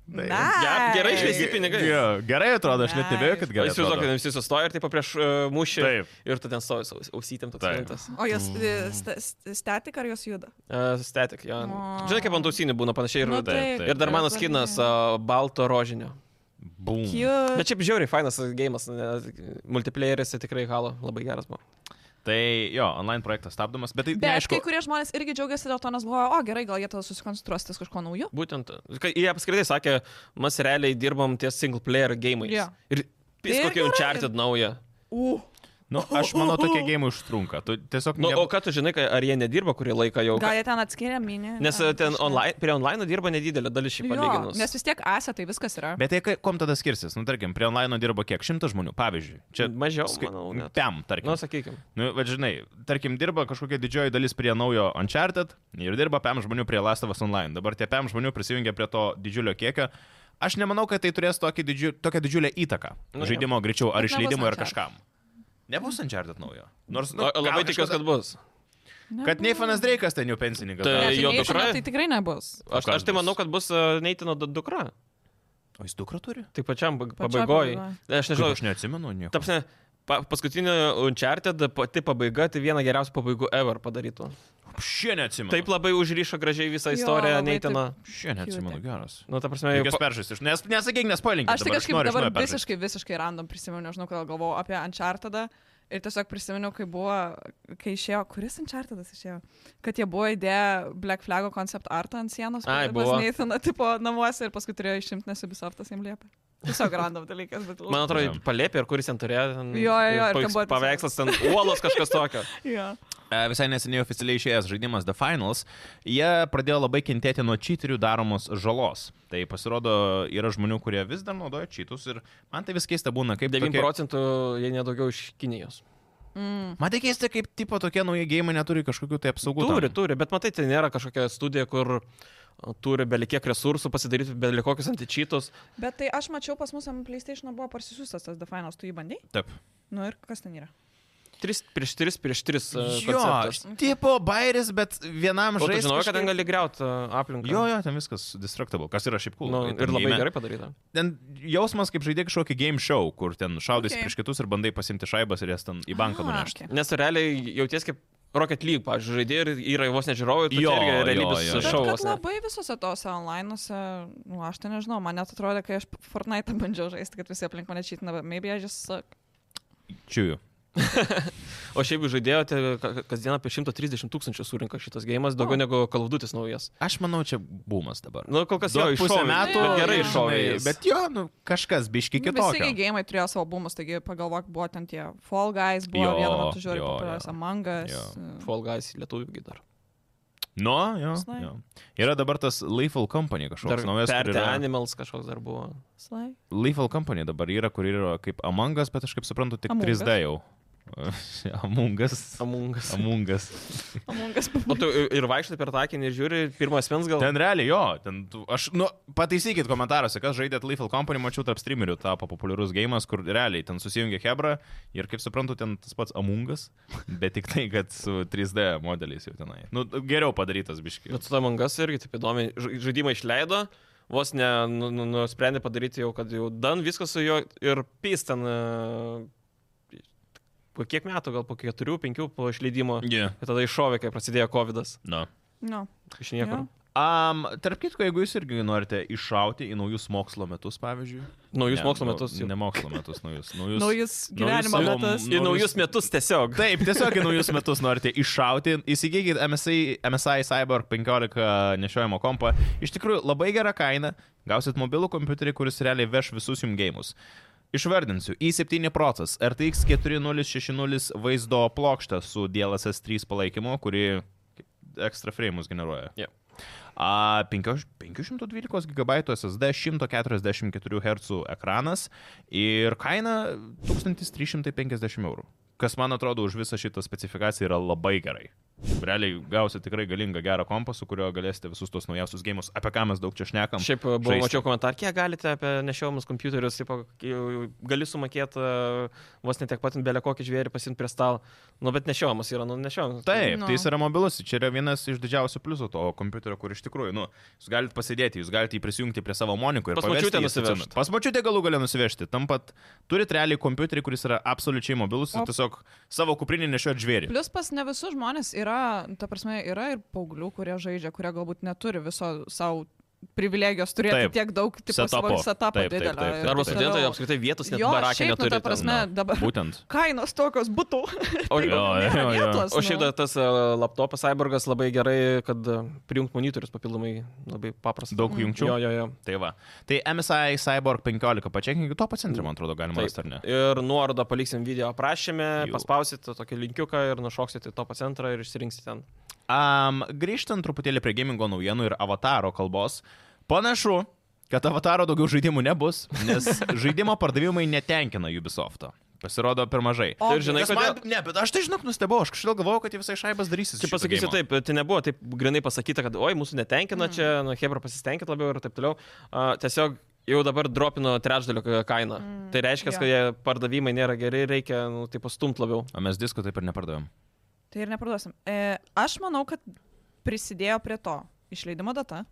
[SPEAKER 3] Nice.
[SPEAKER 2] gerai išleisti pinigai.
[SPEAKER 1] Jo, gerai atrodo, aš net nebėjau, kad
[SPEAKER 2] Gerai,
[SPEAKER 1] gerai.
[SPEAKER 2] Įsivaizduok, kad
[SPEAKER 1] atrodo.
[SPEAKER 2] visi sustoja ir taip prieš uh, mūšį.
[SPEAKER 1] Taip.
[SPEAKER 2] Ir tu ten stovi su aus- ausytėm toks
[SPEAKER 4] Taip.
[SPEAKER 2] rimtas.
[SPEAKER 3] O jos
[SPEAKER 2] Mm.
[SPEAKER 3] e, sta- st- statik ar jos juda?
[SPEAKER 2] Uh, Statik, jo.
[SPEAKER 3] O.
[SPEAKER 2] Žinai, kaip ant ausinių būna panašiai ir...
[SPEAKER 3] Nu,
[SPEAKER 4] taip,
[SPEAKER 3] taip,
[SPEAKER 2] Ir dar
[SPEAKER 3] taip.
[SPEAKER 2] mano skinas uh, balto rožinio.
[SPEAKER 1] Bum.
[SPEAKER 3] Cute.
[SPEAKER 2] Mm. Bet šiaip žiauriai fainas gėjimas, multiplayeris tai tikrai halo, labai geras buvo.
[SPEAKER 1] Tai jo, online projektas stabdomas, bet tai
[SPEAKER 3] Bet
[SPEAKER 1] neaišku.
[SPEAKER 3] kai kurie žmonės irgi džiaugiasi dėl to, nes buvo, o gerai, gal jie tada susikoncentruos ties kažko naujo.
[SPEAKER 2] Būtent, kai jie apskritai sakė, mes realiai dirbam ties single player gėjimais.
[SPEAKER 3] Jo.
[SPEAKER 2] Ir
[SPEAKER 3] Tai
[SPEAKER 2] pis
[SPEAKER 3] ir
[SPEAKER 2] kokį
[SPEAKER 3] gerai.
[SPEAKER 2] Uncharted naują.
[SPEAKER 3] Uh.
[SPEAKER 1] Nu, aš manau, tokie gėjimai užtrunka. Tu tiesiog...
[SPEAKER 2] Nu,
[SPEAKER 1] ne-
[SPEAKER 2] o ką tu žinai, kai- ar jie nedirba kurį laiką jau?
[SPEAKER 3] Gal jie ten atskiria minį.
[SPEAKER 2] Nes e, ten online, prie online dirba nedidelė dalis šiaip
[SPEAKER 3] Jo,
[SPEAKER 2] palyginus.
[SPEAKER 3] nes vis tiek asetai viskas yra.
[SPEAKER 1] Bet tai kai- kom tada skirsis? Nu, tarkim, prie online dirba kiek? Šimtas žmonių, pavyzdžiui. Čia
[SPEAKER 2] Mažiau, Nu, manau, net.
[SPEAKER 1] Piam, tarkim.
[SPEAKER 2] Nu,
[SPEAKER 1] Nu,
[SPEAKER 2] sakykime.
[SPEAKER 1] nu, bet žinai, tarkim, dirba kažkokia didžioji dalis prie naujo Uncharted ir dirba piam žmonių prie Lastovas online. Dabar tie piam žmonių prisijungia prie to didžiulio kiekio. Aš nemanau, kad tai turės tokį didžiu, tokią didžiulę įtaką nu,
[SPEAKER 2] Nu,
[SPEAKER 1] žaidimo greičiau ar
[SPEAKER 3] Bet nebus
[SPEAKER 1] išleidimo ir
[SPEAKER 3] Uncharted.
[SPEAKER 1] kažkam. Nebus Uncharted naujo. Nors nu, gal
[SPEAKER 2] Labai tikiuosi, kad
[SPEAKER 1] kažkada-
[SPEAKER 2] bus.
[SPEAKER 1] Kad Neifanas Dreikas ten jau pensininkas.
[SPEAKER 2] Tai-
[SPEAKER 1] darosi.
[SPEAKER 3] Ne,
[SPEAKER 2] jo
[SPEAKER 3] tai neišeina,
[SPEAKER 2] dukra-
[SPEAKER 3] Tai tikrai nebus.
[SPEAKER 2] Aš,
[SPEAKER 1] kas
[SPEAKER 2] aš tai
[SPEAKER 1] bus?
[SPEAKER 2] manau, kad bus Neitino dukra.
[SPEAKER 1] O jis dukra turi?
[SPEAKER 2] Tai pačiam pabaigoji.
[SPEAKER 3] pabaigoj.
[SPEAKER 2] Aš
[SPEAKER 1] Kaip
[SPEAKER 2] nežinau,
[SPEAKER 1] Aš neatsimenu nieko.
[SPEAKER 2] Tapsne, pa, paskutinio Uncharted pati pabaiga, tai viena geriausių pabaigų ever padarytų.
[SPEAKER 1] Šiandien atsimenu.
[SPEAKER 2] Taip labai užrišo gražiai visą
[SPEAKER 3] Jo,
[SPEAKER 2] istoriją,
[SPEAKER 3] labai
[SPEAKER 2] Neitino.
[SPEAKER 1] Šiandien atsimenu, geras.
[SPEAKER 2] Nu, ta prasme,
[SPEAKER 1] Jokios
[SPEAKER 2] jau... Pa...
[SPEAKER 1] peržaisti. Nes, nesakyk, nespoilinkit.
[SPEAKER 3] Aš tai
[SPEAKER 1] dabar,
[SPEAKER 3] kažkaip
[SPEAKER 1] noriu iš
[SPEAKER 3] dabar
[SPEAKER 1] naujo peržaist.
[SPEAKER 3] visiškai, visiškai random prisimenu, nežinau, kodėl galvojau apie Unchartedą. Ir tiesiog prisimenu, kai buvo, kai išėjo, kuris Unchartedas išėjo, kad jie buvo įdėję Black Flago koncept artą ant sienos,
[SPEAKER 2] Ai,
[SPEAKER 3] pas
[SPEAKER 2] buvo.
[SPEAKER 3] Nathaną, tipo namuose ir paskui turėjo išimti, nes Ubisoftas jiems liepė. Tiesiog random dalykas, bet...
[SPEAKER 2] Man atrodo,
[SPEAKER 1] Jo.
[SPEAKER 2] palėpė, ir kuris ten turėjo. Ten,
[SPEAKER 3] Jo, jo, jo,
[SPEAKER 2] paveiks-
[SPEAKER 3] ir ten buvo tiesiog-
[SPEAKER 2] Paveikslas, ten uolos kažkas tokio.
[SPEAKER 3] Ja.
[SPEAKER 1] E, Visai neseniai oficialiai išėjęs žaidimas The Finals, jie pradėjo labai kentėti nuo čyterių daromos žalos. Tai pasirodo, yra žmonių, kurie vis dar naudoja čytus ir man tai vis keista būna, kaip...
[SPEAKER 2] 9
[SPEAKER 1] tokie-
[SPEAKER 2] procentų, jei nedaugiau iš Kinijos.
[SPEAKER 1] Man tai keista, kaip tipo tokie nauji gėjimai neturi kažkokių tai apsaugų. tam.
[SPEAKER 2] Turi, turi, bet matai, tai nėra kažkokia studija, kur a, turi belikiek resursų pasidaryti belikokius antičytus.
[SPEAKER 3] Bet tai aš mačiau, pas mus ant PlayStation buvo parsisiustas tas The Finals, tu jį bandai?
[SPEAKER 1] Taip.
[SPEAKER 3] Nu ir kas ten yra?
[SPEAKER 2] 3 prieš 3 prieš 3.
[SPEAKER 3] e,
[SPEAKER 1] Jo, tipo bairis, bet vienam
[SPEAKER 2] O tu
[SPEAKER 1] žaidimui.
[SPEAKER 2] žinojai, kad ten gali greuti aplinką.
[SPEAKER 1] Jo, jo, ten viskas destructable, kas yra šiaip cool.
[SPEAKER 2] Nu,
[SPEAKER 1] Ten
[SPEAKER 2] ir labai
[SPEAKER 1] game-
[SPEAKER 2] gerai padaryta.
[SPEAKER 1] Ten jausmas, kaip žaidė kažkokį game show, kur ten šaudys
[SPEAKER 3] Okay.
[SPEAKER 1] okay. prieš kitus ir bandai pasimti šaibas ir jas ten į banką
[SPEAKER 3] Ah,
[SPEAKER 1] nunešti.
[SPEAKER 3] okay.
[SPEAKER 2] Nes realiai jauties kaip Rocket League, pavyzdžiui, žaidėjai ir yra vos nežiūrovai, tai
[SPEAKER 1] Jo, jo,
[SPEAKER 2] irgi
[SPEAKER 1] jo,
[SPEAKER 2] realybės
[SPEAKER 1] jo.
[SPEAKER 3] Bet
[SPEAKER 2] šovas.
[SPEAKER 3] kad labai visose tose online'ose, nu aš tai nežinau, man net atrodo, kai aš Fortnite bandžiau žaisti, kad visi aplink mane čitina, bet maybe I just suck.
[SPEAKER 1] Čiūju.
[SPEAKER 2] O šiaip jūs žaidėjote, ka- kasdien apie 130 tūkstančių surinka šitas gėjimas, daugiau negu kalvudutis naujas.
[SPEAKER 1] Aš manau, čia bumas dabar.
[SPEAKER 2] Nu, kol kas
[SPEAKER 1] Jo,
[SPEAKER 2] jo,
[SPEAKER 1] pusę
[SPEAKER 2] iššovė,
[SPEAKER 1] metų
[SPEAKER 2] bet gerai
[SPEAKER 1] žinai,
[SPEAKER 2] iššovė. jis.
[SPEAKER 1] Bet jo, nu, kažkas biški
[SPEAKER 3] Nu, Visi gi
[SPEAKER 1] kitokio.
[SPEAKER 3] gėjimai turėjo savo bumus, taigi pagalvok, buvo ten tie Fall Guys, buvo
[SPEAKER 1] Jo,
[SPEAKER 3] vienu metu žiūri
[SPEAKER 1] jo,
[SPEAKER 3] populiarios
[SPEAKER 1] jo.
[SPEAKER 3] Among Us.
[SPEAKER 1] Jo.
[SPEAKER 3] e,
[SPEAKER 2] Fall Guys lietuvių dar.
[SPEAKER 1] Nu, jo,
[SPEAKER 3] Visai.
[SPEAKER 1] jo. Yra dabar tas Lethal Company
[SPEAKER 2] Dar
[SPEAKER 1] kažkoks naujas. kur
[SPEAKER 2] Perti
[SPEAKER 1] yra-
[SPEAKER 2] Animals kažkoks dar buvo.
[SPEAKER 3] Sly.
[SPEAKER 1] Lethal Company dabar yra, kur yra kaip Amangas, bet aš kaip suprantu, tik
[SPEAKER 3] Among
[SPEAKER 1] 3D jau. Amungas.
[SPEAKER 2] Amungas.
[SPEAKER 1] Amungas.
[SPEAKER 3] Among Us.
[SPEAKER 2] O tu ir vaikštai per takinį ir žiūri, pirmas mens gal.
[SPEAKER 1] Ten realiai jo, ten tu, aš, nu, pataisykit komentaruose, kas žaidėt Lethal Company, mačiau tarp streamerių tapo populiarus gėjimas, kur realiai ten susijungia Hebra ir kaip suprantu, ten tas pats Amungas, bet tik tai, kad su 3D modeliais jau tenai. Nu, geriau padarytas biškiai.
[SPEAKER 2] Bet su Amangas irgi taip įdomiai. Žaidimą išleido, vos ne, nu, nu, nusprendė padaryti jau, kad jau dan viskas su juo ir pystan. Po kiek metų, gal po keturių, penkių po išleidimo.
[SPEAKER 4] Yeah.
[SPEAKER 2] Ir tada iššovė, kai prasidėjo COVID. -as.
[SPEAKER 4] No.
[SPEAKER 3] No.
[SPEAKER 2] Iš niekur.
[SPEAKER 3] Jo.
[SPEAKER 1] Um, tarp kitko, jeigu jūs irgi norite iššauti į naujus mokslo metus, pavyzdžiui.
[SPEAKER 2] Naujus
[SPEAKER 4] Ne,
[SPEAKER 2] mokslo
[SPEAKER 4] nu,
[SPEAKER 2] metus. jau.
[SPEAKER 4] Ne mokslo metus, naujus. naujus.
[SPEAKER 3] Naujus
[SPEAKER 4] naujus
[SPEAKER 3] gyvenimo
[SPEAKER 4] savo-
[SPEAKER 3] metas.
[SPEAKER 2] Į naujus metus tiesiog.
[SPEAKER 1] Taip, tiesiog į naujus metus norite iššauti. Įsigykit MSI, MSI Cyber 15 e, nešiojimo kompą. Iš tikrųjų, labai gera kaina. Gausit mobilų kompiuterį, kuris realiai veš visus jums gėjimus. Išvardinsiu, i7 procesas, RTX 4060 vaizdo plokštė su DLSS 3 palaikymu, kuri ekstra frame'us generuoja.
[SPEAKER 2] Jo.
[SPEAKER 1] A, penkios- 512 GB SSD, 144 Hz ekranas ir kaina 1350 eurų. Kas man atrodo už visą šitą specifikaciją yra labai gerai. Realiai gausite tikrai galingą gerą kompą, su kuriuo galėsite visus tos naujausius gėjimus, apie ką mes daug čia šnekam.
[SPEAKER 2] Šiaip e, buvau,
[SPEAKER 1] žaisti.
[SPEAKER 2] mačiau komentarą, kiek galite apie nešiojamus kompiuterius, taip, gali sumokėti e, vos netiek pat belė kokį žvėrį pasimti prie stalo. Nu, bet nešiojamas yra, nu, nešiojamas.
[SPEAKER 1] Taip,
[SPEAKER 3] Nu.
[SPEAKER 1] tai jis yra mobilus, čia yra vienas iš didžiausių pliusų to kompiuterio, kur iš tikrųjų, nu, jūs galite pasidėti, jūs galite jį prisijungti prie savo moniko ir
[SPEAKER 2] Pas močiutę nusivežt.
[SPEAKER 1] Pasmačiutė galų galę nusivežti, tampat turit realiai kompiuterį, kuris yra absoliučiai mobilus ir
[SPEAKER 3] O-
[SPEAKER 1] tiesiog savo kuprinį nešiot žvėrį.
[SPEAKER 3] Plius pas ne visus žmonės yra, ta prasme, yra ir paauglių, kurie žaidžia, kurie galbūt neturi viso savo privilegijos turėti
[SPEAKER 1] Taip.
[SPEAKER 3] taip. tiek daug, tipo, savo
[SPEAKER 1] Setupo.
[SPEAKER 3] setapą
[SPEAKER 1] Taip, taip,
[SPEAKER 3] didelio.
[SPEAKER 1] taip, taip.
[SPEAKER 3] ir
[SPEAKER 1] Arba
[SPEAKER 2] Arba
[SPEAKER 3] taip
[SPEAKER 2] studentai
[SPEAKER 3] toliau.
[SPEAKER 2] apskritai vietos net
[SPEAKER 3] Jo,
[SPEAKER 2] barakė
[SPEAKER 3] šiaip, nu, ta
[SPEAKER 2] neturi. ten.
[SPEAKER 3] prasme, dabar-
[SPEAKER 1] Būtent.
[SPEAKER 3] Kainos tokios būtų.
[SPEAKER 2] O,
[SPEAKER 1] Jo,
[SPEAKER 3] Nėra
[SPEAKER 1] jo, jo.
[SPEAKER 3] vietos,
[SPEAKER 2] o šiaip
[SPEAKER 3] nu.
[SPEAKER 2] dar tas e, laptopas Cyborgas labai gerai, kad e, prijungt monitorius papildomai labai paprasta.
[SPEAKER 1] Daug jungčių.
[SPEAKER 2] Jo, jo, jo.
[SPEAKER 1] Tai va. Tai MSI Cyborg 15, pačiakinkit, to pacientri, man atrodo, galima
[SPEAKER 2] Taip.
[SPEAKER 1] rasti, ar ne?
[SPEAKER 2] Ir nuorodą paliksim video aprašymę,
[SPEAKER 1] Jau.
[SPEAKER 2] paspausit tokį linkiuką ir nušoksit į topo centrą ir išsirinksit ten.
[SPEAKER 1] Um, grįžtant truputėlį prie gamingo naujienų ir avataro kalbos, panašu, kad avataro daugiau žaidimų nebus, nes žaidimo pardavimai netenkina Ubisofto. Pasirodo per mažai.
[SPEAKER 3] O,
[SPEAKER 2] Tai Ir žinai,
[SPEAKER 1] Kas
[SPEAKER 2] kodėl...
[SPEAKER 1] man, ne, bet aš tai žinok nustebau, aš kažkaip galvojau, kad jie visai šaibas darysis.
[SPEAKER 2] Čia pasakysiu taip, tai nebuvo taip grinai pasakyta, kad oi, mūsų netenkina mm. čia, nu, Hebra pasistenkit labiau ir taip toliau. Uh, tiesiog jau dabar dropino trečdalio ka- kainą. Mm. Tai reiškia,
[SPEAKER 3] jo.
[SPEAKER 2] kad jie pardavimai nėra geri, reikia, nu, taip pastumt labiau.
[SPEAKER 1] O mes disko taip ir nepardavėm.
[SPEAKER 3] Tai ir neparduosim. E, aš manau, kad prisidėjo prie to išleidimo data.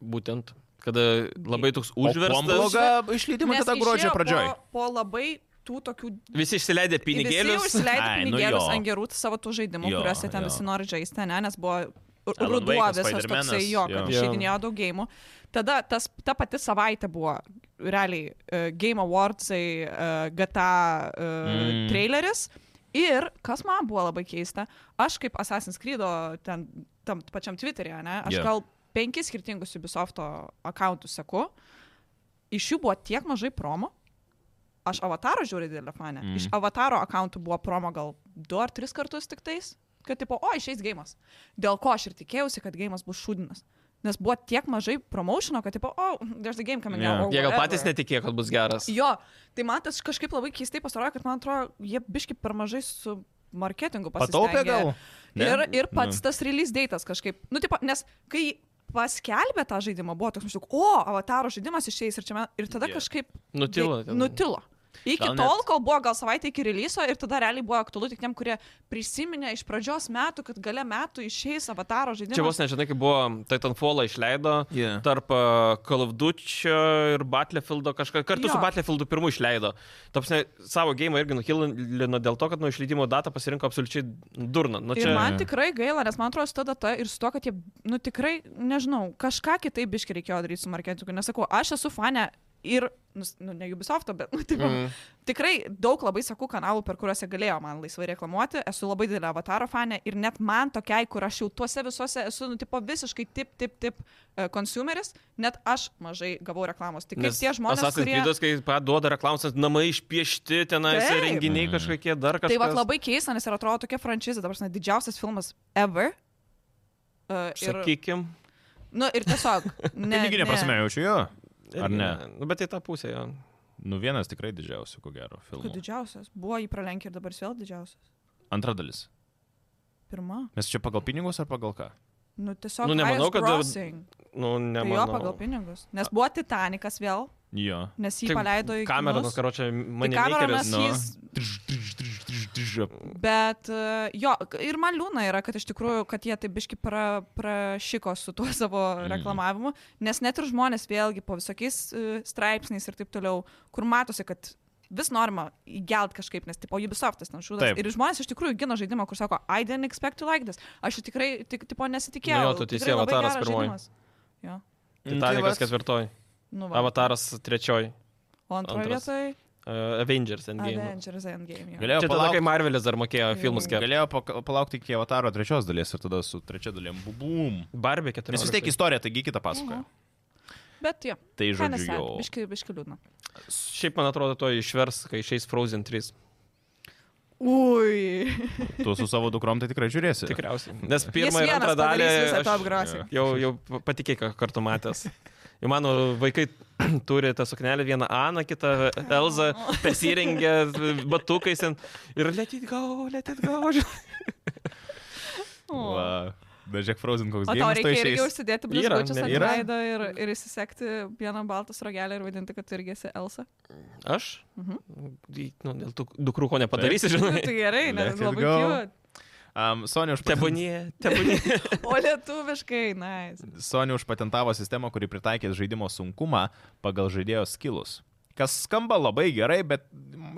[SPEAKER 2] Būtent. Kada labai toks
[SPEAKER 1] Užverstas.
[SPEAKER 2] užverstas.
[SPEAKER 1] Bloga išleidimo
[SPEAKER 3] Nes
[SPEAKER 1] tada gruodžio
[SPEAKER 3] išėjo
[SPEAKER 1] pradžioj.
[SPEAKER 3] Po, po labai tų tokių...
[SPEAKER 2] Visi išsileidė
[SPEAKER 3] Visi
[SPEAKER 2] pinigėlius.
[SPEAKER 3] užsileido
[SPEAKER 1] Ai, nu
[SPEAKER 3] pinigėlius
[SPEAKER 1] jo.
[SPEAKER 3] nu ant gerų savo tų žaidimų,
[SPEAKER 1] Jo,
[SPEAKER 3] kuriuose ten
[SPEAKER 1] jo.
[SPEAKER 3] visi nori žaisti, ne, nes buvo r-
[SPEAKER 1] Alan
[SPEAKER 3] ruduo
[SPEAKER 1] Wake'as,
[SPEAKER 3] visas
[SPEAKER 1] Spider-Man'as,
[SPEAKER 3] toksai jo, kad
[SPEAKER 2] jo.
[SPEAKER 3] išeidinėjo daug gėjimų. Tada tas, ta pati savaitė buvo realiai uh, Game Awardsai, uh, GTA uh,
[SPEAKER 1] Mm.
[SPEAKER 3] mm. traileris. Ir kas man buvo labai keista, aš kaip Assassin's Creed ten tam pačiam Twitter'e, ne,
[SPEAKER 1] Jo.
[SPEAKER 3] aš yeah. gal penkis skirtingus Ubisofto akkontus seku, iš jų buvo tiek mažai promo, aš avataro žiūriu didelę fanę,
[SPEAKER 1] Mm.
[SPEAKER 3] mm. iš avataro akkontų buvo promo gal du ar tris kartus tik tais, kad tipo, o išeis gėjimas. Dėl ko aš ir tikėjausi, kad gėjimas bus šūdinas. Nes buvo tiek mažai promotiono, kad tipo, o, oh, there's the game coming
[SPEAKER 1] Yeah.
[SPEAKER 3] out. or
[SPEAKER 2] Jie gal
[SPEAKER 3] whatever."
[SPEAKER 2] patys netikėjo, kad bus geras.
[SPEAKER 3] Jo, tai man tas kažkaip labai keistai pasirodė, kad man atrodo, jie biški per mažai su marketingu pasistengė.
[SPEAKER 1] Pataupė gal? Ne?
[SPEAKER 3] Ir, ir pats
[SPEAKER 1] Nu.
[SPEAKER 3] tas release datas kažkaip, nu, tipo, nes kai paskelbė tą žaidimą, buvo toks maždaug, o, avataro žaidimas išeis ir čia man, ir tada
[SPEAKER 1] Jo.
[SPEAKER 3] yeah. kažkaip
[SPEAKER 2] Nutilo.
[SPEAKER 3] Bei- Nutilo. Iki
[SPEAKER 1] Gal
[SPEAKER 3] gal
[SPEAKER 1] net-
[SPEAKER 3] tol, kol buvo gal savaitė iki releaso ir tada realiai buvo aktualu tik tiem, kurie prisiminė iš pradžios metų, kad gale metų išeis avataro žaidimas.
[SPEAKER 2] Čia vos nežinai, kai buvo Titanfallą išleido.
[SPEAKER 1] Yeah.
[SPEAKER 2] tarp a, Call of Duty ir Battlefieldo kažką. Kartu
[SPEAKER 3] Jo.
[SPEAKER 2] su Battlefieldu pirmu išleido. Tapsne, savo gėjimą irgi nuhilino dėl to, kad nuo išleidimo datą pasirinko absoliučiai durną. Nu,
[SPEAKER 3] Ir
[SPEAKER 2] čia...
[SPEAKER 3] Tai man tikrai gaila, nes man atrodo, su ta data ir su to, kad jie, nu tikrai, nežinau, kažką kitaip biškai reikėjo daryti su marketingu. Nesakau, aš esu fane ir, nus- nu, ne Ubisofto, bet, nu, taip, mm.
[SPEAKER 2] Mm.
[SPEAKER 3] tikrai daug labai sakau kanalų, per kuriuos jie galėjo man laisvai reklamuoti. Esu labai didelė avataro fane ir net man tokiai, kur aš jau tuose visuose esu, nu, tipo, visiškai tip, tip, tip e, consumeris, net aš mažai gavau reklamos. Tik Tai kaip tie žmonės,
[SPEAKER 2] Assassin's
[SPEAKER 3] kurie...
[SPEAKER 2] Creed'as, kai paduoda reklamus, namai išpiešti, tenai
[SPEAKER 3] Taip.
[SPEAKER 2] renginiai
[SPEAKER 1] Mhm.
[SPEAKER 2] kažkokie dar kažkas.
[SPEAKER 3] Tai va labai keista, nes ir atrodo tokia franšizė, dabar, žinai, didžiausias filmas ever. Uh,
[SPEAKER 2] Sakykim.
[SPEAKER 3] Nu ir tiesiog. Ne,
[SPEAKER 2] Tai
[SPEAKER 1] Piniginė
[SPEAKER 3] ne.
[SPEAKER 1] prasme jaučiu jo. Ar
[SPEAKER 2] irgi
[SPEAKER 1] ne?
[SPEAKER 2] Nu, bet į tą pusę jo.
[SPEAKER 1] Nu vienas tikrai didžiausių, ko gero,
[SPEAKER 3] Kad
[SPEAKER 1] filmų.
[SPEAKER 3] didžiausias. Buvo jį pralenkė ir dabar jis vėl didžiausias.
[SPEAKER 1] Antra dalis.
[SPEAKER 3] Pirma.
[SPEAKER 1] Mes čia pagal pinigus ar pagal ką?
[SPEAKER 3] Nu tiesiog.
[SPEAKER 2] Nu, nemanau,
[SPEAKER 3] highest
[SPEAKER 2] kad-
[SPEAKER 3] grossing.
[SPEAKER 2] Nu,
[SPEAKER 3] Tai
[SPEAKER 2] nemanau.
[SPEAKER 3] jo pagal pinigus. Nes buvo Titanikas vėl,
[SPEAKER 1] Jo.
[SPEAKER 3] nes jį
[SPEAKER 2] Taip,
[SPEAKER 3] paleido į...
[SPEAKER 2] Kameronas,
[SPEAKER 3] kinus.
[SPEAKER 2] karočią,
[SPEAKER 3] Tai
[SPEAKER 2] nu, mane nu. makeris.
[SPEAKER 3] kameronas
[SPEAKER 1] nu.
[SPEAKER 3] jis...
[SPEAKER 2] Mm,
[SPEAKER 4] Žip.
[SPEAKER 3] Bet e, jo, k- ir man liūna yra, kad iš tikrųjų, kad jie taip biški pra, prašyko su tuo savo
[SPEAKER 2] Mm.
[SPEAKER 3] reklamavimu, nes net ir žmonės vėlgi po visokiais e, straipsniais ir taip toliau, kur matosi, kad vis norima įgelt kažkaip, nes tipo Ubisoftas ten šūdas.
[SPEAKER 1] Taip.
[SPEAKER 3] Ir žmonės iš tikrųjų gina žaidimą, kur sako, I didn't expect to like this. Aš jo tikrai, tik, tipo, nesitikėjau.
[SPEAKER 2] Nu jo, tu
[SPEAKER 3] Tikrai
[SPEAKER 2] teisi,
[SPEAKER 3] labai
[SPEAKER 2] Avataras
[SPEAKER 3] geras
[SPEAKER 2] pirmoji.
[SPEAKER 3] žaidimas. Jo.
[SPEAKER 2] tai
[SPEAKER 3] Mhm. Tai
[SPEAKER 2] Titanikas ketvirtoji,
[SPEAKER 3] Nu, va.
[SPEAKER 2] Avataras trečioji,
[SPEAKER 3] O antroje
[SPEAKER 2] antras.
[SPEAKER 3] vietoje
[SPEAKER 2] uh, Avengers Endgame.
[SPEAKER 3] Avengers Endgame. jo.
[SPEAKER 1] Galėjo
[SPEAKER 2] Čia tada, kai
[SPEAKER 1] palaukti,
[SPEAKER 2] Marvelis dar mokėjo filmus
[SPEAKER 1] kai...
[SPEAKER 2] gerai.
[SPEAKER 1] galėjo paka- palaukti iki Avataro trečios dalies ir tada su trečia dalim bubum.
[SPEAKER 2] Barbie 14.
[SPEAKER 1] Nes vis tiek istorija, taigi kitą pasakoja.
[SPEAKER 3] Mhm. Bet jo.
[SPEAKER 1] Tai
[SPEAKER 3] Kinda
[SPEAKER 1] žodžiu
[SPEAKER 3] sad,
[SPEAKER 1] jau.
[SPEAKER 3] Biški, biški liūdna.
[SPEAKER 2] Šiaip man atrodo, to išvers, kai išeis Frozen 3.
[SPEAKER 3] Ui.
[SPEAKER 1] Tu su savo dukrom tai tikrai žiūrėsi.
[SPEAKER 2] Tikriausiai. Nes
[SPEAKER 3] Jis
[SPEAKER 2] pirmą ir
[SPEAKER 3] vienas
[SPEAKER 2] antrą dalį
[SPEAKER 3] padarys visą tą
[SPEAKER 2] aš e,
[SPEAKER 3] apgrasį.
[SPEAKER 2] jau, jau patikėk, ką kartu matęs. Jau mano vaikai turi tą suknelę, vieną Aną, kitą Elzą, persirengę batukais ten. ir letit gau, letit gau.
[SPEAKER 3] O.
[SPEAKER 1] Dažiak Frozen koks
[SPEAKER 3] O tau
[SPEAKER 1] gėjimas to
[SPEAKER 3] reikia irgi
[SPEAKER 1] išeis.
[SPEAKER 3] užsidėti
[SPEAKER 2] Yra,
[SPEAKER 3] blizgučius
[SPEAKER 2] ne-
[SPEAKER 3] ant
[SPEAKER 1] yra.
[SPEAKER 3] veido ir, ir įsisekti vieną baltą srogelį ir vadinti, kad tu irgi esi Elsa.
[SPEAKER 2] Aš?
[SPEAKER 3] Mhm.
[SPEAKER 2] Į- Nu, dėl tų dukrų ko nepadarysi,
[SPEAKER 3] Nu,
[SPEAKER 2] žinai.
[SPEAKER 3] tai gerai, nes
[SPEAKER 1] Let it
[SPEAKER 3] labai
[SPEAKER 1] go.
[SPEAKER 3] cute.
[SPEAKER 1] Um, Sonia, užpatent...
[SPEAKER 2] Tebūnie, tebūnie.
[SPEAKER 3] O lietuviškai, nice.
[SPEAKER 1] Sonia užpatentavo sistemą, kuri pritaikė žaidimo sunkumą pagal žaidėjo skilus. Kas skamba labai gerai, bet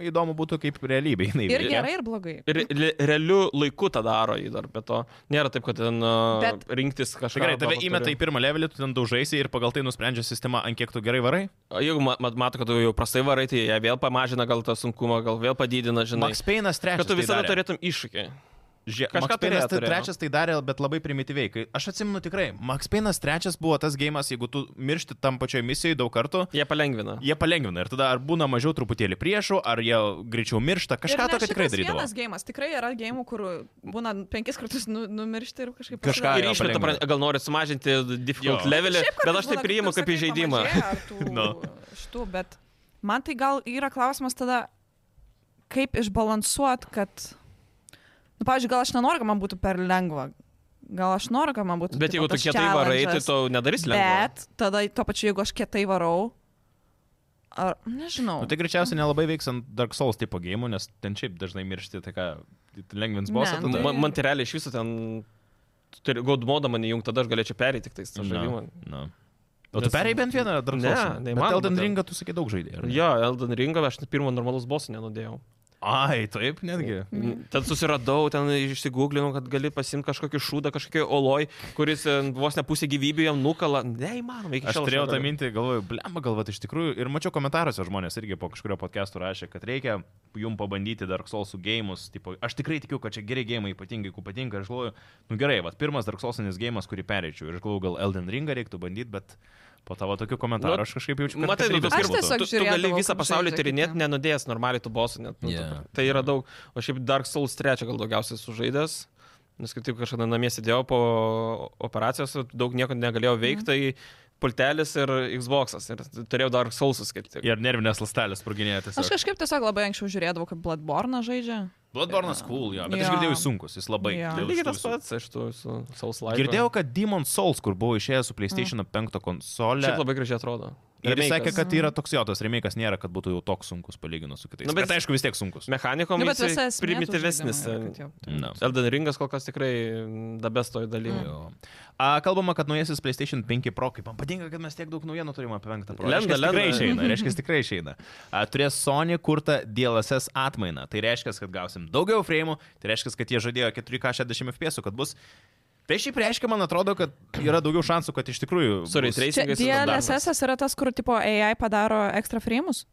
[SPEAKER 1] įdomu būtų, kaip realybėje jinai
[SPEAKER 3] Ir
[SPEAKER 1] veikia.
[SPEAKER 3] gerai, ir blogai.
[SPEAKER 2] Ir re- realiu laiku tą daro į dar, bet to nėra taip, kad ten uh,
[SPEAKER 3] Bet-
[SPEAKER 2] rinktis kažką.
[SPEAKER 1] Tai gerai, tave
[SPEAKER 2] arba turi-
[SPEAKER 1] įmeta į pirmą levelį, tu ten daužaisi ir pagal tai nusprendžia sistema, ant kiek tu gerai varai.
[SPEAKER 2] O Jeigu ma- mat, mato, kad tu jau prastai varai, tai jie vėl pamažina gal tą sunkumą, gal vėl padidina, žinai.
[SPEAKER 1] Max Payne'as trečias.
[SPEAKER 2] Kad tu visada
[SPEAKER 1] tai darė.
[SPEAKER 2] turėtum iššūkį.
[SPEAKER 1] Žie,
[SPEAKER 2] kažką
[SPEAKER 1] Max
[SPEAKER 2] turėjo,
[SPEAKER 1] Payne'as tai
[SPEAKER 2] turėjo.
[SPEAKER 1] trečias tai darė, bet labai primityviai. Kai, aš atsimenu tikrai, Max Payne'as trečias buvo tas gėjimas, jeigu tu miršti tam pačioje misijoje daug kartų,
[SPEAKER 2] Jie palengvina.
[SPEAKER 1] jie palengvina. Ir tada ar būna mažiau truputėlį priešų, ar jie greičiau miršta.
[SPEAKER 3] Ir
[SPEAKER 1] Kažką
[SPEAKER 3] ne
[SPEAKER 1] tokio tikrai
[SPEAKER 3] šitas
[SPEAKER 1] darydavo.
[SPEAKER 3] Vienas gėjimas. Tikrai yra gėjimų, kur būna penkis kartus nu, numiršti ir kažkaip...
[SPEAKER 1] Kažką
[SPEAKER 3] pasidaro.
[SPEAKER 1] jo,
[SPEAKER 2] Ir išmeta,
[SPEAKER 1] palengvina.
[SPEAKER 2] pra- gal nori sumažinti difficult
[SPEAKER 1] Jo.
[SPEAKER 2] levelį, bet
[SPEAKER 3] Šiaip kartais
[SPEAKER 2] aš tai
[SPEAKER 3] būna,
[SPEAKER 2] priimu kaip
[SPEAKER 3] sakai,
[SPEAKER 2] įžeidimą.
[SPEAKER 3] pamažėja ar tų-
[SPEAKER 1] Nu.
[SPEAKER 3] Šitų, bet man tai gal yra klausimas tada, kaip išbalansuot, kad... Nu, pavyzdžiui, gal aš nenoriu, kad man būtų per lengva. Gal aš noriu, kad man būtų...
[SPEAKER 2] Bet
[SPEAKER 3] tipo,
[SPEAKER 2] jeigu tu
[SPEAKER 3] tas
[SPEAKER 2] kietai varai, tai
[SPEAKER 3] challenge'as.
[SPEAKER 2] to nedarys lengva.
[SPEAKER 3] Bet tada tuo pačiu, jeigu aš kietai varau, ar... Nežinau.
[SPEAKER 1] Nu, tai greičiausiai nelabai veiks ant Dark Souls tipo gėjimų, nes ten šiaip dažnai miršti, tai ką, lengvins bosą.
[SPEAKER 3] Ne,
[SPEAKER 1] tada-
[SPEAKER 3] nu
[SPEAKER 2] Man, man tai realiai iš viso ten... God modą man įjungti, tada aš galėčiau perėti tik tais tą žaidimą.
[SPEAKER 1] Na. O tu
[SPEAKER 2] Nes-
[SPEAKER 1] perėjai bent vieną Dark
[SPEAKER 2] Ne,
[SPEAKER 1] Souls?
[SPEAKER 2] neįmanoma
[SPEAKER 1] Elden
[SPEAKER 2] ten.
[SPEAKER 1] Ringą tu sakai daug žaidėjai. ar ne?
[SPEAKER 2] Jo, Elden Ringą aš pirmo normalus bosų nenudėjau.
[SPEAKER 1] Ai, taip, netgi.
[SPEAKER 2] Ten susiradau, ten išsigūglinau, kad gali pasimti kažkokį šūdą, kažkokį oloj, kuris e, vos ne pusę gyvybių jam nukala. Neįmanoma, iki
[SPEAKER 1] Aš
[SPEAKER 2] šiol.
[SPEAKER 1] turėjau tą mintį, galvoju, blemba galvat iš tikrųjų. Ir mačiau komentaruose žmonės irgi po kažkurio podcast'o rašė, kad reikia jum pabandyti Dark Souls gėjimus. Tipo, aš tikrai tikiu, kad čia geri gėjimai ypatingai, kuo patinka. Ir aš galvoju, nu gerai, va, pirmas Dark Soulsinis gėjimas, kurį perėčiau. Ir aš galvoju, gal Elden Ringą reiktų bandyti, bet po tavo tokių komentarų
[SPEAKER 2] Nu,
[SPEAKER 1] aš kažkaip jaučiu, kad
[SPEAKER 2] Matai, nu,
[SPEAKER 1] kantrybės
[SPEAKER 2] tu,
[SPEAKER 3] Aš
[SPEAKER 1] nebūtų.
[SPEAKER 3] tiesiog
[SPEAKER 2] tu, tu gali
[SPEAKER 3] žiūrėdavau,
[SPEAKER 2] visą
[SPEAKER 3] kaip
[SPEAKER 2] pasaulį
[SPEAKER 3] žaidžia
[SPEAKER 2] tyrinėti,
[SPEAKER 3] kiti.
[SPEAKER 2] nenudėjęs normaliai tų bosų, net nu,
[SPEAKER 1] Yeah.
[SPEAKER 2] yeah. tai yra daug. O šiaip Dark Souls 3 gal daugiausiai sužaidęs, nes kaip tik kažkada namie sėdėjau po operacijos, daug nieko negalėjau
[SPEAKER 3] Mhm.
[SPEAKER 2] veikti, tai pultelis ir Xbox'as. Ir turėjau Dark Souls'us kaip tik.
[SPEAKER 1] Ir nervinės lastelės sproginėjo
[SPEAKER 3] Aš
[SPEAKER 1] tiesiog.
[SPEAKER 3] kažkaip tiesiog labai anksčiau žiūrėdavau, kaip Bloodborne žaidžia.
[SPEAKER 1] Bloodborne'as cool, jo, bet
[SPEAKER 3] Jo.
[SPEAKER 1] aš girdėjau jis sunkus, jis labai.
[SPEAKER 3] Jo.
[SPEAKER 1] dėl
[SPEAKER 2] Lygiai
[SPEAKER 1] šitų
[SPEAKER 2] tas
[SPEAKER 1] visų.
[SPEAKER 2] pats iš tų su Souls Live.
[SPEAKER 1] Girdėjau, kad Demon Souls, kur buvo išėjęs su PlayStation 5 konsolė,
[SPEAKER 2] Šiaip labai gražiai atrodo.
[SPEAKER 1] ir jis
[SPEAKER 2] Remake'as.
[SPEAKER 1] sakė, kad yra toks jo, tas remake'as nėra, kad būtų jau toks sunkus palyginus su kitais.
[SPEAKER 2] Nu,
[SPEAKER 1] Na,
[SPEAKER 2] bet-
[SPEAKER 1] bet, bet aišku, vis tiek sunkus.
[SPEAKER 2] Mechanikom
[SPEAKER 3] Nu,
[SPEAKER 2] nu,
[SPEAKER 3] bet visa
[SPEAKER 2] jis
[SPEAKER 3] esmė tų
[SPEAKER 2] primityvesnis. e,
[SPEAKER 3] žaidimų yra, kad jau-
[SPEAKER 1] No.
[SPEAKER 2] Elden Ringas kol kas tikrai dabestoji
[SPEAKER 3] Mm.
[SPEAKER 2] dalyje.
[SPEAKER 1] Jo. A, kalbama, kad naujasis PlayStation 5 Pro, kaip man patinka, kad mes tiek daug naujienų turime apie penktą Pro.
[SPEAKER 2] Lenda,
[SPEAKER 1] Reiškias, Tikrai
[SPEAKER 2] lenda.
[SPEAKER 1] išeina, reiškia, tikrai išeina. A, turės Sony kurtą DLSS atmainą. Tai reiškia, kad gausim daugiau frame'ų, tai reiškia, kad jie žadėjo 4K 60 FPS, kad bus. Tai šiaip reiškia, man atrodo, kad yra daugiau šansų, kad iš tikrųjų...
[SPEAKER 2] Su ray
[SPEAKER 1] bus-
[SPEAKER 2] tracing.
[SPEAKER 3] Čia
[SPEAKER 2] Teisingai standartas.
[SPEAKER 3] DLSS yra tas, kur tipo AI padaro ekstra frame'us?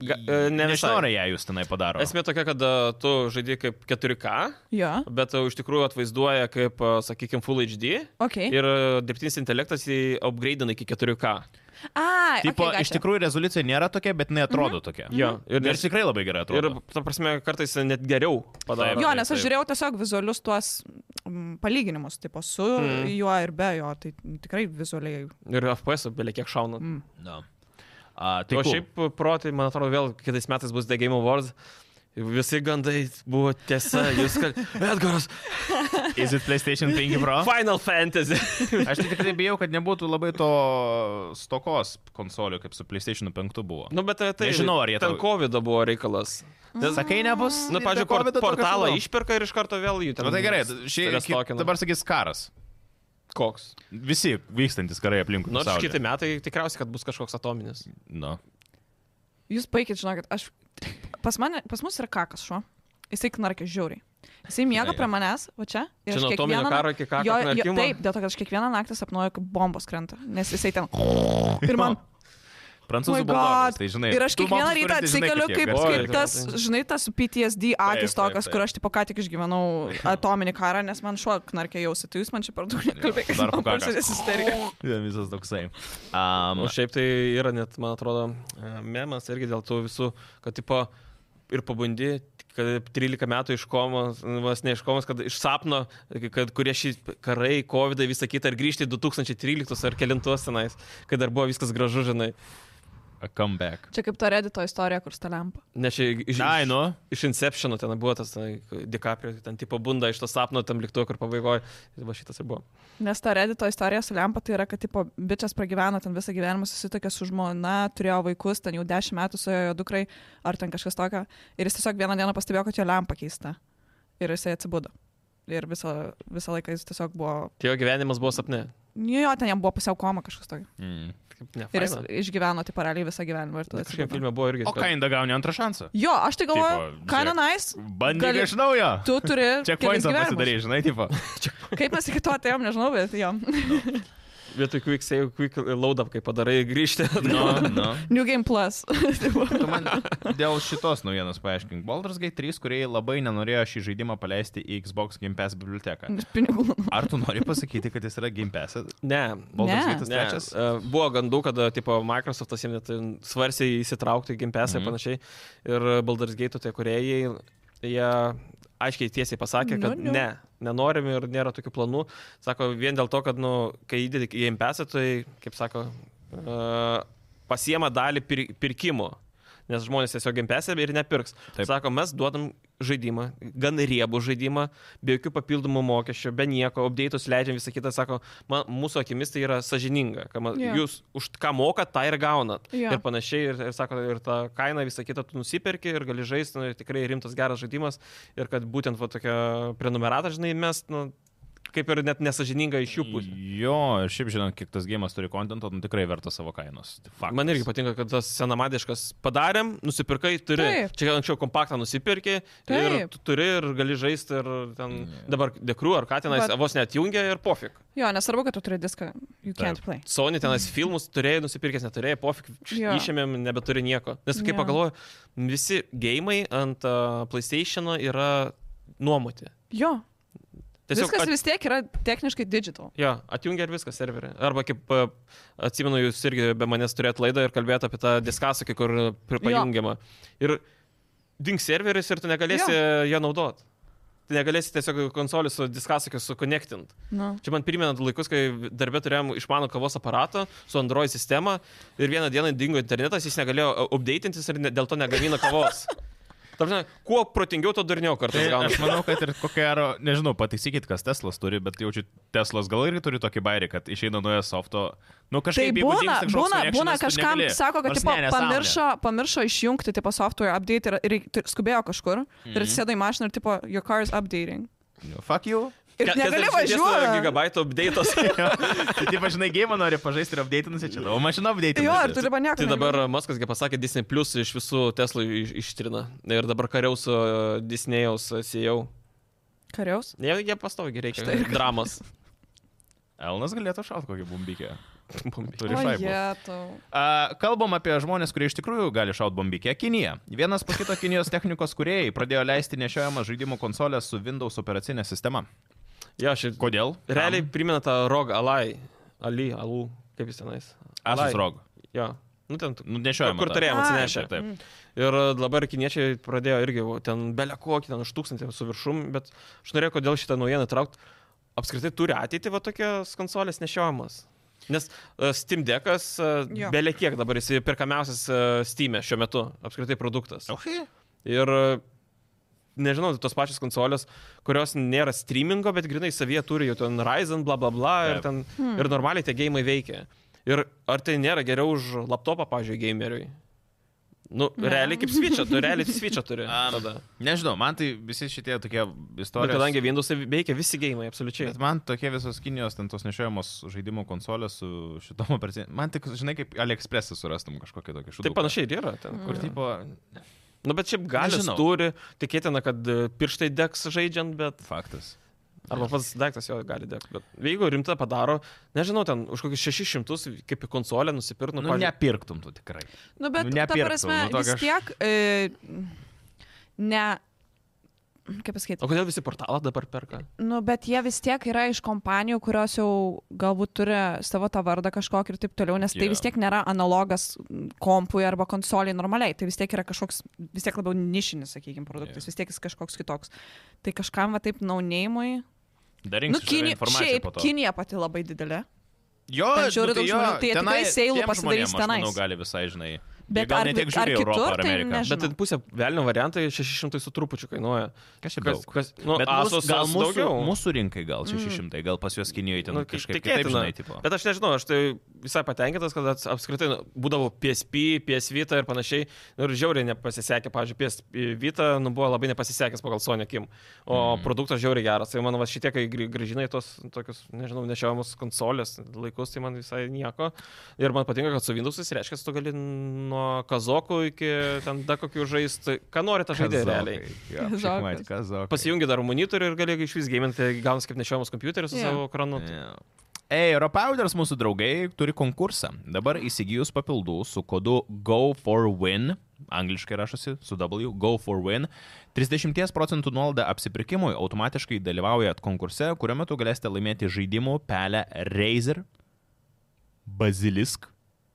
[SPEAKER 2] Ga- e, ne
[SPEAKER 1] Nežinau, ar
[SPEAKER 2] visai.
[SPEAKER 1] jie jūs tenai padaro.
[SPEAKER 2] Esmė tokia, kad e, tu žaidži kaip 4K,
[SPEAKER 3] Jo.
[SPEAKER 2] bet e, iš tikrųjų atvaizduoja kaip, sakykime, Full HD.
[SPEAKER 3] Okay.
[SPEAKER 2] Ir e, dirbtinis intelektas jį upgradeina iki 4K.
[SPEAKER 3] Ai,
[SPEAKER 1] Tipo,
[SPEAKER 3] okay,
[SPEAKER 1] okay, iš tikrųjų rezoliucija nėra tokia, bet jinai atrodo
[SPEAKER 3] Mhm.
[SPEAKER 1] tokia. Mhm.
[SPEAKER 2] Jo, ir
[SPEAKER 1] Ir
[SPEAKER 2] nes-
[SPEAKER 1] nes tikrai labai gerai
[SPEAKER 2] Ir,
[SPEAKER 1] atrodo.
[SPEAKER 2] ta prasme, kartais net geriau
[SPEAKER 1] Taip.
[SPEAKER 2] padaro.
[SPEAKER 3] Jo,
[SPEAKER 1] Taip,
[SPEAKER 3] nes aš
[SPEAKER 1] taip.
[SPEAKER 3] žiūrėjau tiesiog vizualius tuos mm, palyginimus, tipo su
[SPEAKER 2] Mm.
[SPEAKER 3] juo ir be jo, tai tikrai vizualiai.
[SPEAKER 2] Ir FPS beveik kiek šauna. e,
[SPEAKER 3] Mm.
[SPEAKER 1] Ir... No. A, tai
[SPEAKER 2] Tai o šiaip protai, man atrodo, vėl kitais metais bus The Game Awards. Visi gandai buvo tiesa, jūs kad... Edgaras,
[SPEAKER 1] Is it PlayStation 5 Pro?
[SPEAKER 2] Final Fantasy.
[SPEAKER 1] Aš tai tikrai bijau, kad nebūtų labai to stokos konsolių, kaip su PlayStation 5 buvo.
[SPEAKER 2] nu, bet tai... tai-
[SPEAKER 1] Nežinau, ar jie
[SPEAKER 2] Ten
[SPEAKER 1] tau-
[SPEAKER 2] COVID buvo reikalas. Nes,
[SPEAKER 1] Sakai, nebus.
[SPEAKER 2] nu, pažiūrėjau, port, portalą išperka ir iš karto vėl jų ten.
[SPEAKER 1] Na tai gerai, šie, ki,
[SPEAKER 2] restokina.
[SPEAKER 1] dabar sakys karas.
[SPEAKER 2] koks.
[SPEAKER 1] Visi vykstantis karai aplinkui.
[SPEAKER 2] Nors
[SPEAKER 1] pasaulyje.
[SPEAKER 2] kiti metai tikriausiai, kad bus kažkoks atominis.
[SPEAKER 1] Nu.
[SPEAKER 3] Jūs paikit, žinokit, aš... Pas, mane, pas mus yra kakas šuo. Jisai knarkia žiauriai. Jisai miega
[SPEAKER 1] Ai,
[SPEAKER 3] prie manęs, va čia. ir
[SPEAKER 2] Čia
[SPEAKER 3] aš
[SPEAKER 2] nuo atominio
[SPEAKER 3] kiekvieną
[SPEAKER 2] karo
[SPEAKER 3] nak-
[SPEAKER 2] iki kako
[SPEAKER 3] Jo, jo,
[SPEAKER 2] knarkimo?
[SPEAKER 3] taip, dėl to, kad aš kiekvieną naktį sapnuoju, kaip bombos krenta. Nes jisai ten... Ir man...
[SPEAKER 1] Prancūzų
[SPEAKER 3] Oh My
[SPEAKER 1] buldogas,
[SPEAKER 3] God.
[SPEAKER 1] tai žinai.
[SPEAKER 3] Ir aš
[SPEAKER 1] tu
[SPEAKER 3] kiekvieną
[SPEAKER 1] mokslus
[SPEAKER 3] rytą
[SPEAKER 1] turi, tai žinai,
[SPEAKER 3] atsikeliu kaip,
[SPEAKER 1] jie
[SPEAKER 2] garsiai
[SPEAKER 3] kaip
[SPEAKER 2] kalba.
[SPEAKER 3] tas, žinai, tas PTSD akis
[SPEAKER 1] taip,
[SPEAKER 3] tokias,
[SPEAKER 1] taip.
[SPEAKER 3] kur aš tipo ką tik išgyvenau atominį karą, nes man šuo knarkia jausi. Tai jūs man čia per daug nekalbėkite.
[SPEAKER 1] dar po kakas.
[SPEAKER 3] pusės isterija.
[SPEAKER 1] garsiai. Visas toksai.
[SPEAKER 2] O
[SPEAKER 1] Um,
[SPEAKER 2] šiaip tai yra net, man atrodo, e, memas irgi dėl tų visų, kad tipo ir pabandy, kad 13 metų iš komos, vas ne iš komos, kad iš sapno, kad kurie šį karai, COVID, visą kitą, ir grįžti į 2013 ar 2009 senais, kai dar buvo viskas gražu, žinai.
[SPEAKER 1] a comeback.
[SPEAKER 3] Čia kaip to redito istorija, kur stalempa.
[SPEAKER 2] Nes čia iš,
[SPEAKER 1] Ai, nu.
[SPEAKER 2] iš Inceptiono ten buvo tas, Dikaprio, ten tipo bunda iš to sapno, tam liktuo, kur pabaigoje, va šitas ir buvo.
[SPEAKER 3] Nes ta redito istorija su lempa tai yra, kad tipo, bičias pragyveno ten visą gyvenimą, susitokė su žmona, turėjo vaikus, ten jau dešimt metų su jo dukrai, ar ten kažkas tokio. Ir jis tiesiog vieną dieną pastebėjo, kad jo lempa keista. Ir jisai atsibudo. Ir visą, visą laiką jis tiesiog buvo...
[SPEAKER 2] Tai jo gyvenimas buvo sapne.
[SPEAKER 3] Nu Jo, ten jam buvo pusiau koma kažkas tokio.
[SPEAKER 1] Mm.
[SPEAKER 2] Kaip Ne,
[SPEAKER 3] Ir jis
[SPEAKER 2] faina.
[SPEAKER 3] išgyveno taip paraliai visą gyvenimą. Ir tada
[SPEAKER 2] Kažkaip
[SPEAKER 3] atsibudo.
[SPEAKER 2] filme buvo irgi.
[SPEAKER 1] O kainda gauni antrą šansą.
[SPEAKER 3] Jo, aš tai galvoju,
[SPEAKER 1] Tipo,
[SPEAKER 3] kind
[SPEAKER 1] žiūrėk.
[SPEAKER 3] of nice.
[SPEAKER 1] Bandyk
[SPEAKER 3] Gali-
[SPEAKER 1] iš naujo.
[SPEAKER 3] Tu turi...
[SPEAKER 1] Čia
[SPEAKER 3] kelis
[SPEAKER 1] koinsą
[SPEAKER 3] gyvenimus.
[SPEAKER 1] pasidarai, žinai, tipo.
[SPEAKER 3] Kaip mes iki to atėjom, nežinau, bet jo.
[SPEAKER 2] Vietoj quick save, quick load up, kai padarai grįžti.
[SPEAKER 1] No, no.
[SPEAKER 3] New Game Plus. Tipo.
[SPEAKER 1] Tu man dėl šitos naujienos paaiškink. Baldur's Gate 3, kurie labai nenorėjo šį žaidimą paleisti į Xbox Game Pass biblioteką.
[SPEAKER 3] Iš pinigų.
[SPEAKER 1] Ar tu nori pasakyti, kad jis yra Game Pass? E?
[SPEAKER 2] Ne.
[SPEAKER 1] Baldur's
[SPEAKER 3] Ne.
[SPEAKER 1] Gate
[SPEAKER 2] Ne,
[SPEAKER 1] 3?
[SPEAKER 2] e, buvo gandų, kad e, tipo, Microsoftas jiems net e, svarsė įsitraukti į Game Pass ir
[SPEAKER 1] Mhm.
[SPEAKER 2] panašiai. Ir e, Baldur's Gate tie kuriejai, jie aiškiai tiesiai pasakė, kad
[SPEAKER 3] Nu, nu.
[SPEAKER 2] ne, nenorim ir nėra tokių planų. Sako, vien dėl to, kad nu, kai įdedi į Game Pass, tai, kaip sako, e, pasiema dalį pir pirkimo. Nes žmonės tiesiog gimpesė ir nepirks. Taip.
[SPEAKER 1] Taip.
[SPEAKER 2] Sako, mes duodam žaidimą, gan riebų žaidimą, be jokių papildomų mokesčių, be nieko, update'us leidžiam visą kitą, sako, man, mūsų akimis tai yra sažininga, kad man,
[SPEAKER 3] Jo.
[SPEAKER 2] yeah. jūs už ką mokat, tą ir gaunat.
[SPEAKER 3] Jo.
[SPEAKER 2] Ir panašiai, ir, ir sako, ir tą kainą visą kitą tu nusiperki ir gali žaisti, nu, ir tikrai rimtas geras žaidimas, ir kad būtent va, tokia prenumerata, žinai, mes, nu, kaip ir net nesažininga iš jų pusės.
[SPEAKER 1] Jo, ir šiaip žinant, kiek tas gėjimas turi kontento, nu tikrai verta savo kainos. Tai Faktas.
[SPEAKER 2] Man irgi patinka, kad tas senamadiškas padarėm, nusipirkai, turi.
[SPEAKER 3] Taip.
[SPEAKER 2] Čia anksčiau kompaktą nusipirki ir
[SPEAKER 3] Taip.
[SPEAKER 2] tu turi ir gali žaisti ir ten
[SPEAKER 1] Ne.
[SPEAKER 2] dabar dekru ar ką tenais
[SPEAKER 3] Bet-
[SPEAKER 2] vos net jungia ir pofik.
[SPEAKER 3] Jo, nesvarbu, kad tu turi diską. You can't
[SPEAKER 1] Taip.
[SPEAKER 3] play.
[SPEAKER 2] Sony tenais filmus turėjai, nusipirkęs neturėjai, pofik,
[SPEAKER 3] Jo.
[SPEAKER 2] išėmėm, nebeturi nieko. Nes kaip
[SPEAKER 3] Jo.
[SPEAKER 2] pagalvoju, visi gėjimai ant uh, PlayStation yra nuomoti.
[SPEAKER 3] Jo, Tiesiog Viskas
[SPEAKER 2] at-
[SPEAKER 3] at... vis tiek yra techniškai digital.
[SPEAKER 2] Jo, atjungia ir viskas serverį. Arba kaip e, atsimenu, jūs irgi be manęs turėt laidą ir kalbėt apie tą diskasakį, kur e, pri-
[SPEAKER 3] Jo.
[SPEAKER 2] pajungiama. Ir ding serveris ir tu negalėsi jo, jo naudot. Tu negalėsi tiesiog konsolį su diskasakiu sukonektint.
[SPEAKER 3] Nu.
[SPEAKER 2] Čia man primenant laikus, kai darbė turėjom išmanų kavos aparatą su Android sistema ir vieną dieną dingo internetas, jis negalėjo updatintis ir ne, dėl to negamino kavos. Tarpsime, kuo protingiau, to durniau
[SPEAKER 1] Tai
[SPEAKER 2] kartais
[SPEAKER 1] aš
[SPEAKER 2] gaunasi.
[SPEAKER 1] manau, kad ir kokia yra, nežinau, pataisykit, kas Teslas turi, bet jaučiu, Teslas gal irgi turi tokį bairį, kad išeina naujas softo. Nu,
[SPEAKER 3] Tai
[SPEAKER 1] kažkaip jeigu
[SPEAKER 3] būna,
[SPEAKER 1] dingsta kažkoks
[SPEAKER 3] būna,
[SPEAKER 1] connectionas,
[SPEAKER 3] būna
[SPEAKER 1] tu
[SPEAKER 3] kažkam,
[SPEAKER 1] negali.
[SPEAKER 3] sako, kad
[SPEAKER 1] Nors
[SPEAKER 3] tipo,
[SPEAKER 1] ne,
[SPEAKER 3] ne,
[SPEAKER 1] nesąmonė.
[SPEAKER 3] pamiršo, pamiršo išjungti tipo, software update ir, ir, ir skubėjo kažkur mm.
[SPEAKER 1] Mhm.
[SPEAKER 3] ir sėdo į mašiną ir tipo, your car is updating.
[SPEAKER 1] Nu, Fuck you.
[SPEAKER 3] Ir negali važiuoti.
[SPEAKER 2] Gigabaitų update'as.
[SPEAKER 1] Tai taip, žinai, gėjimą nori pažaisti ir apdeitinasi, čia tavo mašina apdeitinasi.
[SPEAKER 3] Jo, ir tu dabar nieko.
[SPEAKER 2] Tai dabar
[SPEAKER 3] negali.
[SPEAKER 2] Maskas pasakė, Disney Plus iš visų Tesla iš, ištrina. Ir dabar kariaus e, Disneyaus e, CEO.
[SPEAKER 3] Kariaus?
[SPEAKER 2] Jie, jie pastovi reikia.
[SPEAKER 3] Štai
[SPEAKER 2] Štai
[SPEAKER 3] ir-
[SPEAKER 2] dramas.
[SPEAKER 1] Elnas galėtų šaut kokį bombikę.
[SPEAKER 2] Bumbi.
[SPEAKER 1] Turi
[SPEAKER 3] O,
[SPEAKER 1] šaibą.
[SPEAKER 3] jetau.
[SPEAKER 1] A, Kalbam apie žmonės, kurie iš tikrųjų gali šaut bombikę. Kinija. Vienas po kito Kinijos technikos kuriejai pradėjo leisti nešiojamą žaidimų konsolę su Windows operacinė sistema.
[SPEAKER 2] Jo, šiaip.
[SPEAKER 1] Kodėl?
[SPEAKER 2] Realiai primena tą Rog Alai. Ali, Alų. Kaip jis tenais?
[SPEAKER 1] Aš susirog.
[SPEAKER 2] Jo. Nu, ten, tu-
[SPEAKER 1] Nu, nešiojama.
[SPEAKER 2] Kur
[SPEAKER 1] ta.
[SPEAKER 2] turėjom
[SPEAKER 3] Ai. Mm.
[SPEAKER 2] atsinešę.
[SPEAKER 1] Taip.
[SPEAKER 2] Ir e, dabar kiniečiai pradėjo irgi va, ten belė kokį, ten už tūkstantį su viršum, bet aš norėjau, kodėl šitą naujieną traukti. Apskritai turi ateitį va tokios konsolės nešiojamas. Nes uh, Steam Deckas uh,
[SPEAKER 3] Jo.
[SPEAKER 2] belė e, kiek dabar jis perkamiausias uh, Steam'e šiuo metu, apskritai produktas.
[SPEAKER 1] Okay.
[SPEAKER 2] Ir uh, nežinau, tai tos pačios konsolės, kurios nėra streamingo, bet grinai savyje turi jau ten Ryzen, bla bla bla, ir, ten, ir normaliai tie gėjimai veikia. Ir ar tai nėra geriau už laptopą, pavyzdžiui, gameriui? Nu, realiai kaip switchą, tu realiai switchą turi. Tada.
[SPEAKER 1] Nežinau, man tai visi šitie tokie
[SPEAKER 2] Bet
[SPEAKER 1] istorijos.
[SPEAKER 2] kadangi Windows'e veikia visi gėjimai, absoliučiai.
[SPEAKER 1] Bet man tokie visos Kinijos ten tos nešiojamos žaidimų konsolės su šitom operacijom. Man tik, žinai, kaip AliExpress'e surastum kažkokį tokį šūdą.
[SPEAKER 2] Tai panašiai ir yra ten. Kur,
[SPEAKER 1] Kur, tipo,
[SPEAKER 2] nu, bet šiaip galios
[SPEAKER 1] Nežinau.
[SPEAKER 2] turi, tikėtina, kad e, pirštai degs žaidžiant, bet...
[SPEAKER 1] faktas.
[SPEAKER 2] Arba pats daiktas jo gali degti. Bet jeigu rimta padaro, nežinau, ten už kokius 600 kaip į konsolę nusipirktų.
[SPEAKER 1] Nu, nu nepirktum tu tikrai.
[SPEAKER 3] Nu, bet
[SPEAKER 1] Nu,
[SPEAKER 3] nu, ta
[SPEAKER 1] nepirktų,
[SPEAKER 3] prasme,
[SPEAKER 1] nu, tokio
[SPEAKER 3] nu, vis
[SPEAKER 1] aš-
[SPEAKER 3] tiek... E, ne... Kaip pasakyti?
[SPEAKER 2] O kodėl visi portalą dabar perka?
[SPEAKER 3] Nu, bet jie vis tiek yra iš kompanijų, kurios jau galbūt turi savo tą vardą kažkokį ir taip toliau, nes tai
[SPEAKER 4] Jo.
[SPEAKER 3] vis tiek nėra analogas mm, kompui arba konsoliai normaliai, tai vis tiek yra kažkoks, vis tiek labiau nišinis, sakykime, produktas,
[SPEAKER 4] Jo.
[SPEAKER 3] vis tiek jis kažkoks kitoks. Tai kažkam va taip naunėjimui.
[SPEAKER 1] Darinkai.
[SPEAKER 3] Nu, Kinija, šiaip, Kinija pati labai didelė,
[SPEAKER 1] Jo,
[SPEAKER 3] Ten
[SPEAKER 1] aš žiūriu
[SPEAKER 3] žiauriai
[SPEAKER 1] daug žmonių, tai
[SPEAKER 3] jie
[SPEAKER 1] tenai
[SPEAKER 3] tikrai seilų
[SPEAKER 1] tiem
[SPEAKER 3] pasidarys
[SPEAKER 1] žmonėm, aš
[SPEAKER 3] tenais.
[SPEAKER 1] Manau, gali visai, žinai.
[SPEAKER 3] Bet
[SPEAKER 1] Bet gal
[SPEAKER 3] ar
[SPEAKER 1] ne
[SPEAKER 3] vi-
[SPEAKER 1] tiek
[SPEAKER 3] ar
[SPEAKER 1] žiūri Europą
[SPEAKER 3] kitur,
[SPEAKER 1] ar
[SPEAKER 3] tai
[SPEAKER 1] Ameriką.
[SPEAKER 3] nežinau.
[SPEAKER 2] Bet ten pusė velnio variantai 600 su trupučiu kainuoja.
[SPEAKER 1] Kas čia daug?
[SPEAKER 2] Kas, nu,
[SPEAKER 1] Bet mūsų,
[SPEAKER 2] Asus
[SPEAKER 1] gal mūsų,
[SPEAKER 2] daugiau.
[SPEAKER 1] mūsų rinkai gal
[SPEAKER 3] Hmm.
[SPEAKER 1] 600, gal pas juos Kinijoje ten
[SPEAKER 2] Nu,
[SPEAKER 1] nu, kažkaip kitaip, žinai, tipo.
[SPEAKER 2] Bet aš nežinau, aš tai visai patenkintas, kad ats- apskritai nu, būdavo PSP, PS Vita ir panašiai. Nu, Ir žiauriai nepasisekė, pavyzdžiui, PS Vita nu, buvo labai nepasisekęs pagal Sony Kim. O mm. produktas žiauriai geras. Tai man va, šitie, kai grį- grįžinai tos, tokius, nežinau, nešiojamus konsolės laikus, tai man visai nieko. Ir man patinka, kad su Windows'ais reiškia, tu gali nuo kazokų iki ten dar kokių žaisti, ką nori tą žaidėją realiai.
[SPEAKER 3] Kazokas.
[SPEAKER 1] Žinai, kas daug.
[SPEAKER 2] Pasijungi dar monitorių ir gali iš vis gaiminti, gaunas kaip nešiojamas kompiuteris su
[SPEAKER 3] Jo.
[SPEAKER 2] savo ekranu.
[SPEAKER 1] Э, Ei, Europouders mūsų draugai turi konkursą. Dabar įsigijus papildų su kodu GO4WIN, angliškai rašosi su W, GO4WIN, 30 procentų nuolaida apsipirkimui automatiškai dalyvaujat konkurse, kuriuo metu galėsite laimėti žaidimų pelę Razer, Basilisk,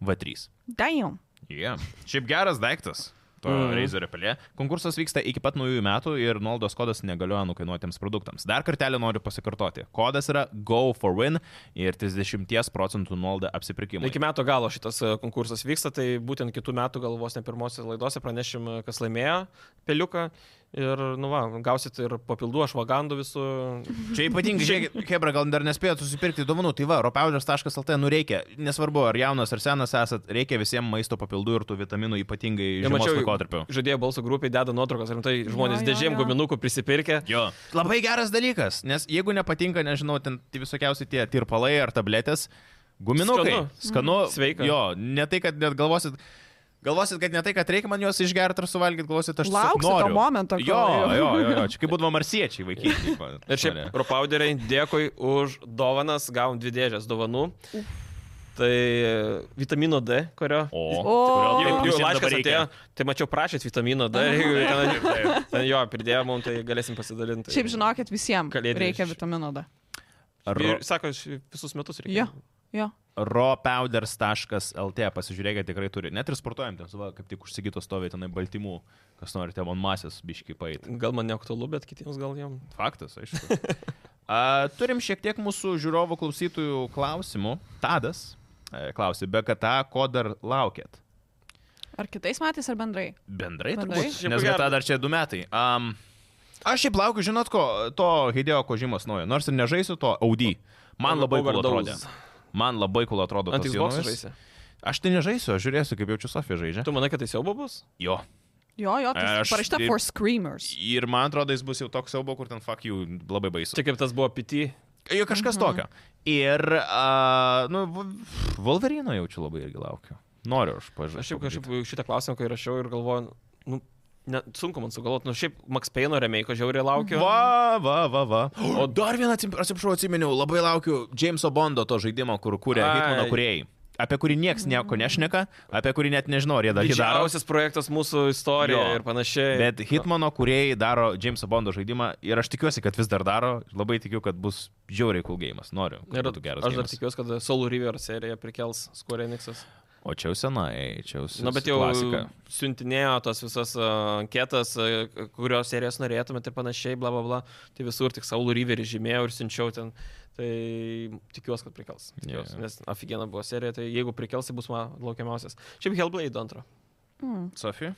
[SPEAKER 1] V3.
[SPEAKER 3] Daim.
[SPEAKER 1] Yeah. Šiaip geras daiktas. To
[SPEAKER 2] Mm.
[SPEAKER 1] mm. Razer pelė. Konkursas vyksta iki pat naujųjų metų ir nuolaidos kodas negalioja nukainuotiems produktams. Dar kartelį noriu pasikartoti. Kodas yra GoForWin ir 30 procentų nuolaida apsipirkimui.
[SPEAKER 2] Iki metų galo šitas e, konkursas vyksta, tai būtent kitų metų gal vos ne pirmosios laidose pranešim, e, kas laimėjo peliuką. Ir, nu, va, gausit ir papildų, aš vagandų visų.
[SPEAKER 1] Čia ypatingai, žiūrėkit, Hebra, gal dar nespėjot susipirkti duomenų, tai va, ropaudžers.lt, nu reikia, nesvarbu, ar jaunas ar senas esat, reikia visiems maisto papildų ir tų vitaminų ypatingai
[SPEAKER 2] Ir
[SPEAKER 1] žiemos
[SPEAKER 2] mačiau,
[SPEAKER 1] laikotarpiu.
[SPEAKER 2] Žadėjo balsų grupiai, deda nuotraukas, rimtai žmonės
[SPEAKER 3] jo,
[SPEAKER 2] dėžėm
[SPEAKER 3] jo.
[SPEAKER 2] guminukų prisipirkę.
[SPEAKER 1] Jo. Labai geras dalykas, nes jeigu nepatinka, nežinau, ten tie visokiausi tie tirpalai ar tabletės, guminukai. Mhm.
[SPEAKER 2] Skanu. Mhm.
[SPEAKER 1] Skanu.
[SPEAKER 2] Sveika.
[SPEAKER 1] Jo, ne tai, kad net galvosit. Galvosit, kad ne tai, kad reikia man juos išgerti ar suvalgyti, galvosit, aš tiesiog
[SPEAKER 3] Lauksit to
[SPEAKER 1] noriu.
[SPEAKER 3] momento, kol-
[SPEAKER 1] Jo, jo, jo, jo. Čia kaip būdavo marsiečiai vaikai.
[SPEAKER 2] Ir šiaip, ropauderiai, dėkui už dovanas, gavom dvi dėžės dovanų. Tai e, vitamino D, kurio.
[SPEAKER 1] O,
[SPEAKER 3] O.
[SPEAKER 1] kurio
[SPEAKER 2] Jau,
[SPEAKER 1] taip
[SPEAKER 2] jau
[SPEAKER 1] visiems dabar
[SPEAKER 2] laiškas atėjo,
[SPEAKER 1] reikia.
[SPEAKER 2] tai mačiau prašyt vitamino D, jeigu ten, ten jo pridėjo mums, tai galėsim pasidalinti.
[SPEAKER 3] Šiaip žinokit, visiems
[SPEAKER 2] Kalėdinis.
[SPEAKER 3] reikia vitamino D.
[SPEAKER 1] Ro-
[SPEAKER 2] Ir sako, aš visus metus reikia.
[SPEAKER 3] Jo, jo.
[SPEAKER 1] ropauders.lt pasižiūrėkit, tikrai turi. Net ir sportuojam, ten, va, kaip tik užsigytos stovi tenai baltymų, kas norite, man masės biški paėti.
[SPEAKER 2] Gal man neaktualu, bet kitiems gal jam.
[SPEAKER 1] Faktas, aišku. A, turim šiek tiek mūsų žiūrovų klausytojų klausimų. Tadas e, klausė, be kata, ko dar laukėt?
[SPEAKER 3] Ar kitais metais, ar bendrai?
[SPEAKER 1] Bendrai,
[SPEAKER 3] Bendrai.
[SPEAKER 1] turbūt.
[SPEAKER 2] Šiaip
[SPEAKER 1] Nes
[SPEAKER 2] ko gero-
[SPEAKER 1] kata dar čia du metai. Um, aš šiaip laukiu, žinot, ko, to Hideo Kožymos naujo. Nors ir nežaisiu to Audi. Man labai cool atrodė.
[SPEAKER 2] Overdose.
[SPEAKER 1] Man labai cool atrodo.
[SPEAKER 2] Ant
[SPEAKER 1] tas
[SPEAKER 2] Xbox
[SPEAKER 1] jaunas.
[SPEAKER 2] žaisi.
[SPEAKER 1] Aš tai nežaisiu, aš žiūrėsiu, kaip jaučiu Sofija žaidžia.
[SPEAKER 2] Tu manai, kad tai siaubo bus?
[SPEAKER 1] Jo.
[SPEAKER 3] Jo, jo, tai
[SPEAKER 1] Aš
[SPEAKER 3] parašyta
[SPEAKER 1] taip-
[SPEAKER 3] for screamers.
[SPEAKER 1] Ir man atrodo, jis bus jau toks siaubo, kur ten fuck you labai baisu.
[SPEAKER 2] Čia kaip tas buvo PT.
[SPEAKER 1] Jo kažkas tokio. Ir, uh, nu, v- Wolverino jaučiu labai irgi laukiu. Noriu aš pažiūrėti.
[SPEAKER 2] Aš jau kažkaip šitą klausimą, kai rašiau ir galvoju, nu, ne, sunku man sugalvoti, nu šiaip Max Payne remake žiauriai laukiu.
[SPEAKER 1] Va, va, va, va. O dar vieną, atsim- atsiprašau, atsiminiau, labai laukiu Jameso Bondo to žaidimo, kur kūrė Hitmano
[SPEAKER 2] Ai.
[SPEAKER 1] kuriejai. Apie kurį niekas nieko nešneka, apie kurį net nežinau, ar jie dar jį daro.
[SPEAKER 2] Didžiausias projektas mūsų istorijoje
[SPEAKER 1] Jo.
[SPEAKER 2] ir panašiai.
[SPEAKER 1] Bet Hitmano kuriejai daro Jameso Bondo žaidimą ir aš tikiuosi, kad vis dar daro. Labai tikiu, kad bus žiauriai cool gėjimas. Noriu. kad
[SPEAKER 2] Ir
[SPEAKER 1] būtų geras.
[SPEAKER 2] aš dar
[SPEAKER 1] geimas.
[SPEAKER 2] tikiuosi, kad Soul River seriją prikels Square Enixas.
[SPEAKER 1] O čia jau senai, čia jau senai.
[SPEAKER 2] Na, bet jau
[SPEAKER 1] Klasika.
[SPEAKER 2] siuntinėjo tas visas uh, anketas, uh, kurios serijos norėtumėt ir panašiai, bla bla bla. Tai visur tik Saulų Riverį žymėjau ir siunčiau ten. Tai tikiuosi, kad prikels. Tikiuosi,
[SPEAKER 1] Jo.
[SPEAKER 2] yeah. Nes aфиgena buvo serija, tai jeigu prikels, tai bus man laukiamiausias. Šiaip Helblade antro.
[SPEAKER 3] Mm.
[SPEAKER 1] Sofija?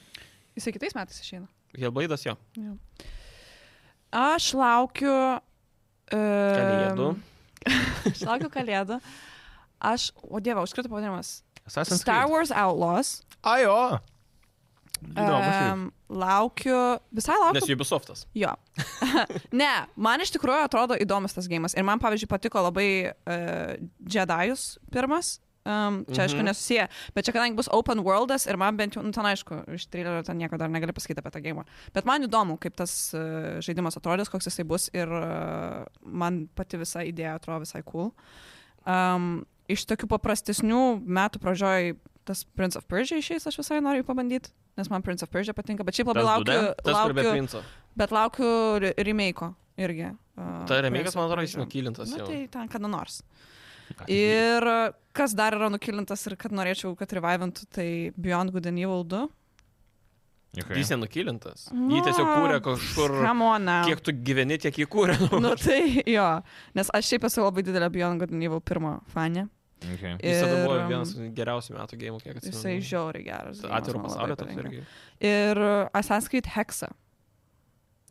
[SPEAKER 3] Jisai kitais metais išeina.
[SPEAKER 2] Helblade'as jo.
[SPEAKER 3] Jo. Aš laukiu. e,
[SPEAKER 2] Kalėdų.
[SPEAKER 3] Aš laukiu kalėdų. Aš, o dieve, užkrito pavadinimas.
[SPEAKER 4] Assassin's
[SPEAKER 3] Star
[SPEAKER 4] Creed.
[SPEAKER 3] Wars Outlaws.
[SPEAKER 1] Ajo.
[SPEAKER 4] Įdomu, šiaip.
[SPEAKER 3] Em, laukiu. Visai laukiu.
[SPEAKER 2] Nes Ubisoftas.
[SPEAKER 3] Jo. ne, man iš tikrųjų atrodo įdomus tas gėjimas. Ir man, pavyzdžiui, patiko labai uh, Jedajus pirmas. Um, čia, aišku,
[SPEAKER 2] Mhm.
[SPEAKER 3] nesusiję, bet čia, kadangi bus open worldas ir man bent jau, nu, ten aišku, iš trilerio ten nieko dar negali pasakyti apie tą gėjimą. Bet man įdomu, kaip tas uh, žaidimas atrodys, koks jisai bus ir uh, man pati visa idėja atrodo visai cool. Um, iš tokių paprastesnių metų pradžioj tas Prince of Persia išeis, aš visai noriu jį pabandyti, nes man Prince of Persia patinka, bet šiaip labai
[SPEAKER 2] Tas
[SPEAKER 3] laukiu,
[SPEAKER 2] Dude, Tas, kur be
[SPEAKER 3] laukiu
[SPEAKER 2] Princo.
[SPEAKER 3] Bet laukiu re- remake'o irgi. uh,
[SPEAKER 2] Ta Tai remake'as, man atrodo, jis
[SPEAKER 3] Prince of
[SPEAKER 2] nukilintas
[SPEAKER 3] Persia.
[SPEAKER 2] jau.
[SPEAKER 3] Na tai ten kada nors. Ir uh, kas dar yra nukilintas ir kad norėčiau, kad revivintų, tai Beyond Good and Evil 2.
[SPEAKER 4] Okay.
[SPEAKER 2] Jis nenukilintas.
[SPEAKER 3] Nu,
[SPEAKER 2] Jį tiesiog kūrė kažkur.
[SPEAKER 3] Ramona.
[SPEAKER 2] Kiek tu gyveni, tiek jį kūrė.
[SPEAKER 3] Nu tai jo, nes aš šiaip esu labai didelė Beyond Good and Evil pirmo fanė.
[SPEAKER 4] Okay.
[SPEAKER 2] Jis tada buvo
[SPEAKER 3] um,
[SPEAKER 2] vienas geriausių metų gėjimų, kiek atsimenu.
[SPEAKER 3] Jisai žiauriai geras. žaidimas,
[SPEAKER 2] Atviro
[SPEAKER 3] man
[SPEAKER 2] pasaulio
[SPEAKER 3] labai
[SPEAKER 2] toks
[SPEAKER 3] patinka.
[SPEAKER 2] irgi.
[SPEAKER 3] Ir uh, Assassin's Creed Hexa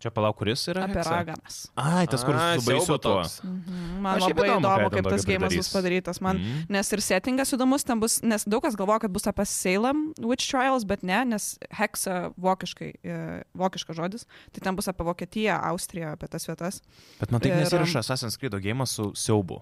[SPEAKER 1] Čia palauk, kuris yra?
[SPEAKER 3] apie
[SPEAKER 1] Heksa?
[SPEAKER 3] raganas.
[SPEAKER 1] Ai, tas, kur
[SPEAKER 2] Ai,
[SPEAKER 1] su baisiu
[SPEAKER 2] siaubo
[SPEAKER 1] tuo.
[SPEAKER 2] toks.
[SPEAKER 3] Mhm. Man
[SPEAKER 1] Aš šiaip
[SPEAKER 3] labai
[SPEAKER 1] įdomu, ką jie
[SPEAKER 3] įdomu,
[SPEAKER 1] ten
[SPEAKER 3] kaip tas
[SPEAKER 1] tokio
[SPEAKER 3] gėjimas
[SPEAKER 1] pridarys.
[SPEAKER 3] bus padarytas. Man
[SPEAKER 1] Mhm.
[SPEAKER 4] Mm.
[SPEAKER 3] Nes ir settingas įdomus, ten bus, nes daug kas galvoja, kad bus apie Salem Witch Trials, bet ne, nes heksa vokiškai, e, vokiškas žodis, tai ten bus apie Vokietiją, Austriją, apie tas vietas.
[SPEAKER 1] Bet man taip
[SPEAKER 3] Ir-
[SPEAKER 1] nesirašo Assassin's Creed gėjimas su siaubu.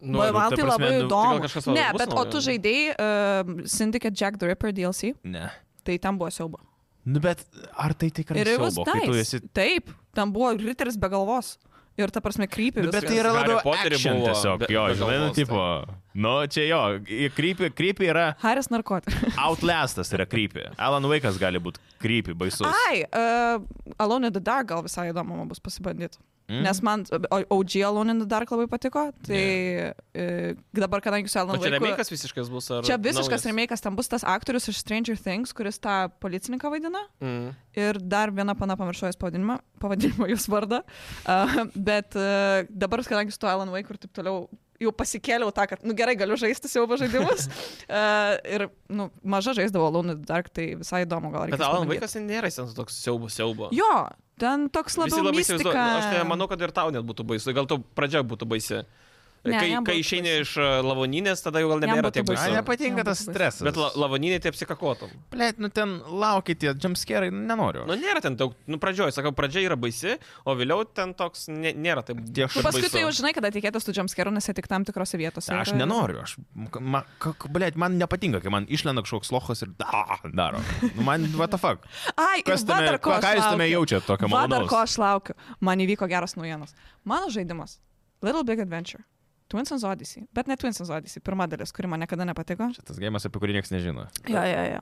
[SPEAKER 2] Nu,
[SPEAKER 3] Ba-
[SPEAKER 2] ir
[SPEAKER 1] va-
[SPEAKER 3] man
[SPEAKER 1] ta
[SPEAKER 3] tai
[SPEAKER 1] prasme,
[SPEAKER 3] labai
[SPEAKER 1] nu, tai
[SPEAKER 2] gal
[SPEAKER 3] įdomu.
[SPEAKER 2] kažkas va-
[SPEAKER 3] ne,
[SPEAKER 2] bus
[SPEAKER 3] bet o
[SPEAKER 2] naujo.
[SPEAKER 1] nu.
[SPEAKER 3] tu žaidėjai uh, Syndicate Jack the Ripper DLC,
[SPEAKER 1] Ne.
[SPEAKER 3] tai ten buvo siaubo.
[SPEAKER 1] Nu, bet ar tai tikrai
[SPEAKER 3] Ir it was
[SPEAKER 1] siaubo, kai tu
[SPEAKER 3] nice.
[SPEAKER 1] esi...
[SPEAKER 3] Taip, ten buvo Ritteris be galvos. Ir ta prasme, krypė.
[SPEAKER 1] Nu, bet tai yra
[SPEAKER 2] Harry
[SPEAKER 1] labiau
[SPEAKER 2] Pottery
[SPEAKER 1] action
[SPEAKER 2] buvo
[SPEAKER 1] tiesiog,
[SPEAKER 2] be-
[SPEAKER 1] jo,
[SPEAKER 2] be
[SPEAKER 1] žinai, nu,
[SPEAKER 2] galvos, tai.
[SPEAKER 1] tipo, nu, čia jo, krypi, krypi yra
[SPEAKER 3] Haris narkotikas.
[SPEAKER 1] Outlastas yra krypi. Alan Vaikas gali būti krypi, baisus.
[SPEAKER 3] Ai, uh, Alone in the Dark gal visai įdomu man bus pasibandyti. Mm. Nes man o- OG Alone in the Dark labai patiko, tai yeah. dabar, kadangi su
[SPEAKER 2] O
[SPEAKER 3] Alan
[SPEAKER 2] čia
[SPEAKER 3] Vaiku...
[SPEAKER 2] remake'as visiškas bus ar...
[SPEAKER 3] Čia visiškas
[SPEAKER 2] naujas?
[SPEAKER 3] remake'as, ten bus tas aktorius iš Stranger Things, kuris tą policininką vaidina.
[SPEAKER 2] Mm.
[SPEAKER 3] Ir dar viena pana pamiršau jos pavadinimą, pavadinimo jos vardą. Uh, bet uh, dabar, kadangi su tuo Alan Wake ir taip toliau, jau pasikėliau tą, kad, nu gerai, galiu žaisti siaubo žaidimus. uh, ir, nu, maža žaisdavo Alone in the Dark, tai visai įdomu gal.
[SPEAKER 2] Bet
[SPEAKER 3] reikės
[SPEAKER 2] Alan
[SPEAKER 3] pabandyt.
[SPEAKER 2] vaikas nėra jis ten toks siaubo siaubo.
[SPEAKER 3] Jo, ten toks
[SPEAKER 2] Visi
[SPEAKER 3] labiau
[SPEAKER 2] labai
[SPEAKER 3] mistika.
[SPEAKER 2] įsivaizduoja.
[SPEAKER 1] nu,
[SPEAKER 2] Aš tai manau, kad ir tau net būtų baisu. Gal tau pradžia būtų baisi.
[SPEAKER 3] Ne,
[SPEAKER 2] kai
[SPEAKER 3] jam
[SPEAKER 2] kai
[SPEAKER 3] būtų
[SPEAKER 2] išeini
[SPEAKER 3] baisu.
[SPEAKER 2] iš e, lavoninės, tada jau gal
[SPEAKER 3] Jam
[SPEAKER 2] nebėra
[SPEAKER 3] būtų
[SPEAKER 2] tiek
[SPEAKER 1] Man
[SPEAKER 2] baisu.
[SPEAKER 3] baisu.
[SPEAKER 1] nepatinka
[SPEAKER 3] Jam
[SPEAKER 1] tas
[SPEAKER 3] bus baisu.
[SPEAKER 1] stresas.
[SPEAKER 2] Bet la, lavoniniai tai apsikakotum.
[SPEAKER 1] Plėt, nu ten laukit, tie jumpscarai, nenoriu.
[SPEAKER 2] Nu, nėra ten daug, nu, pradžioj, sakau, pradžia yra baisi, o vėliau ten toks nė, nėra taip.
[SPEAKER 1] Tie
[SPEAKER 3] Nu,
[SPEAKER 1] šunys.
[SPEAKER 2] tai
[SPEAKER 3] paskui tu jau žinai, kada tikėtas tu jumpscare'ų, nes jie tik tam tikrose vietose.
[SPEAKER 1] Aš
[SPEAKER 3] yra.
[SPEAKER 1] nenoriu, aš, ma, kak, blėt, man nepatinka, kai man išlenda kažkoks lohas ir da, daro. Nu, man, what the fuck.
[SPEAKER 3] Ai, ir
[SPEAKER 1] Kas
[SPEAKER 3] va
[SPEAKER 1] tame,
[SPEAKER 3] dar ko
[SPEAKER 1] ką, ką
[SPEAKER 3] aš
[SPEAKER 1] jūs tame
[SPEAKER 3] laukiu.
[SPEAKER 1] jaučiat tokio
[SPEAKER 3] Va dar ko
[SPEAKER 1] malonaus?
[SPEAKER 3] aš laukiu. Man įvyko geros naujienos. Mano žaidimas Little Big Adventure. Twins and Odyssey. Bet ne Twins and Odyssey. Pirma dalis, kuri man niekada nepatiko.
[SPEAKER 1] Tas gėjimas, apie kurį niekas nežino.
[SPEAKER 3] Jo, jo, jo.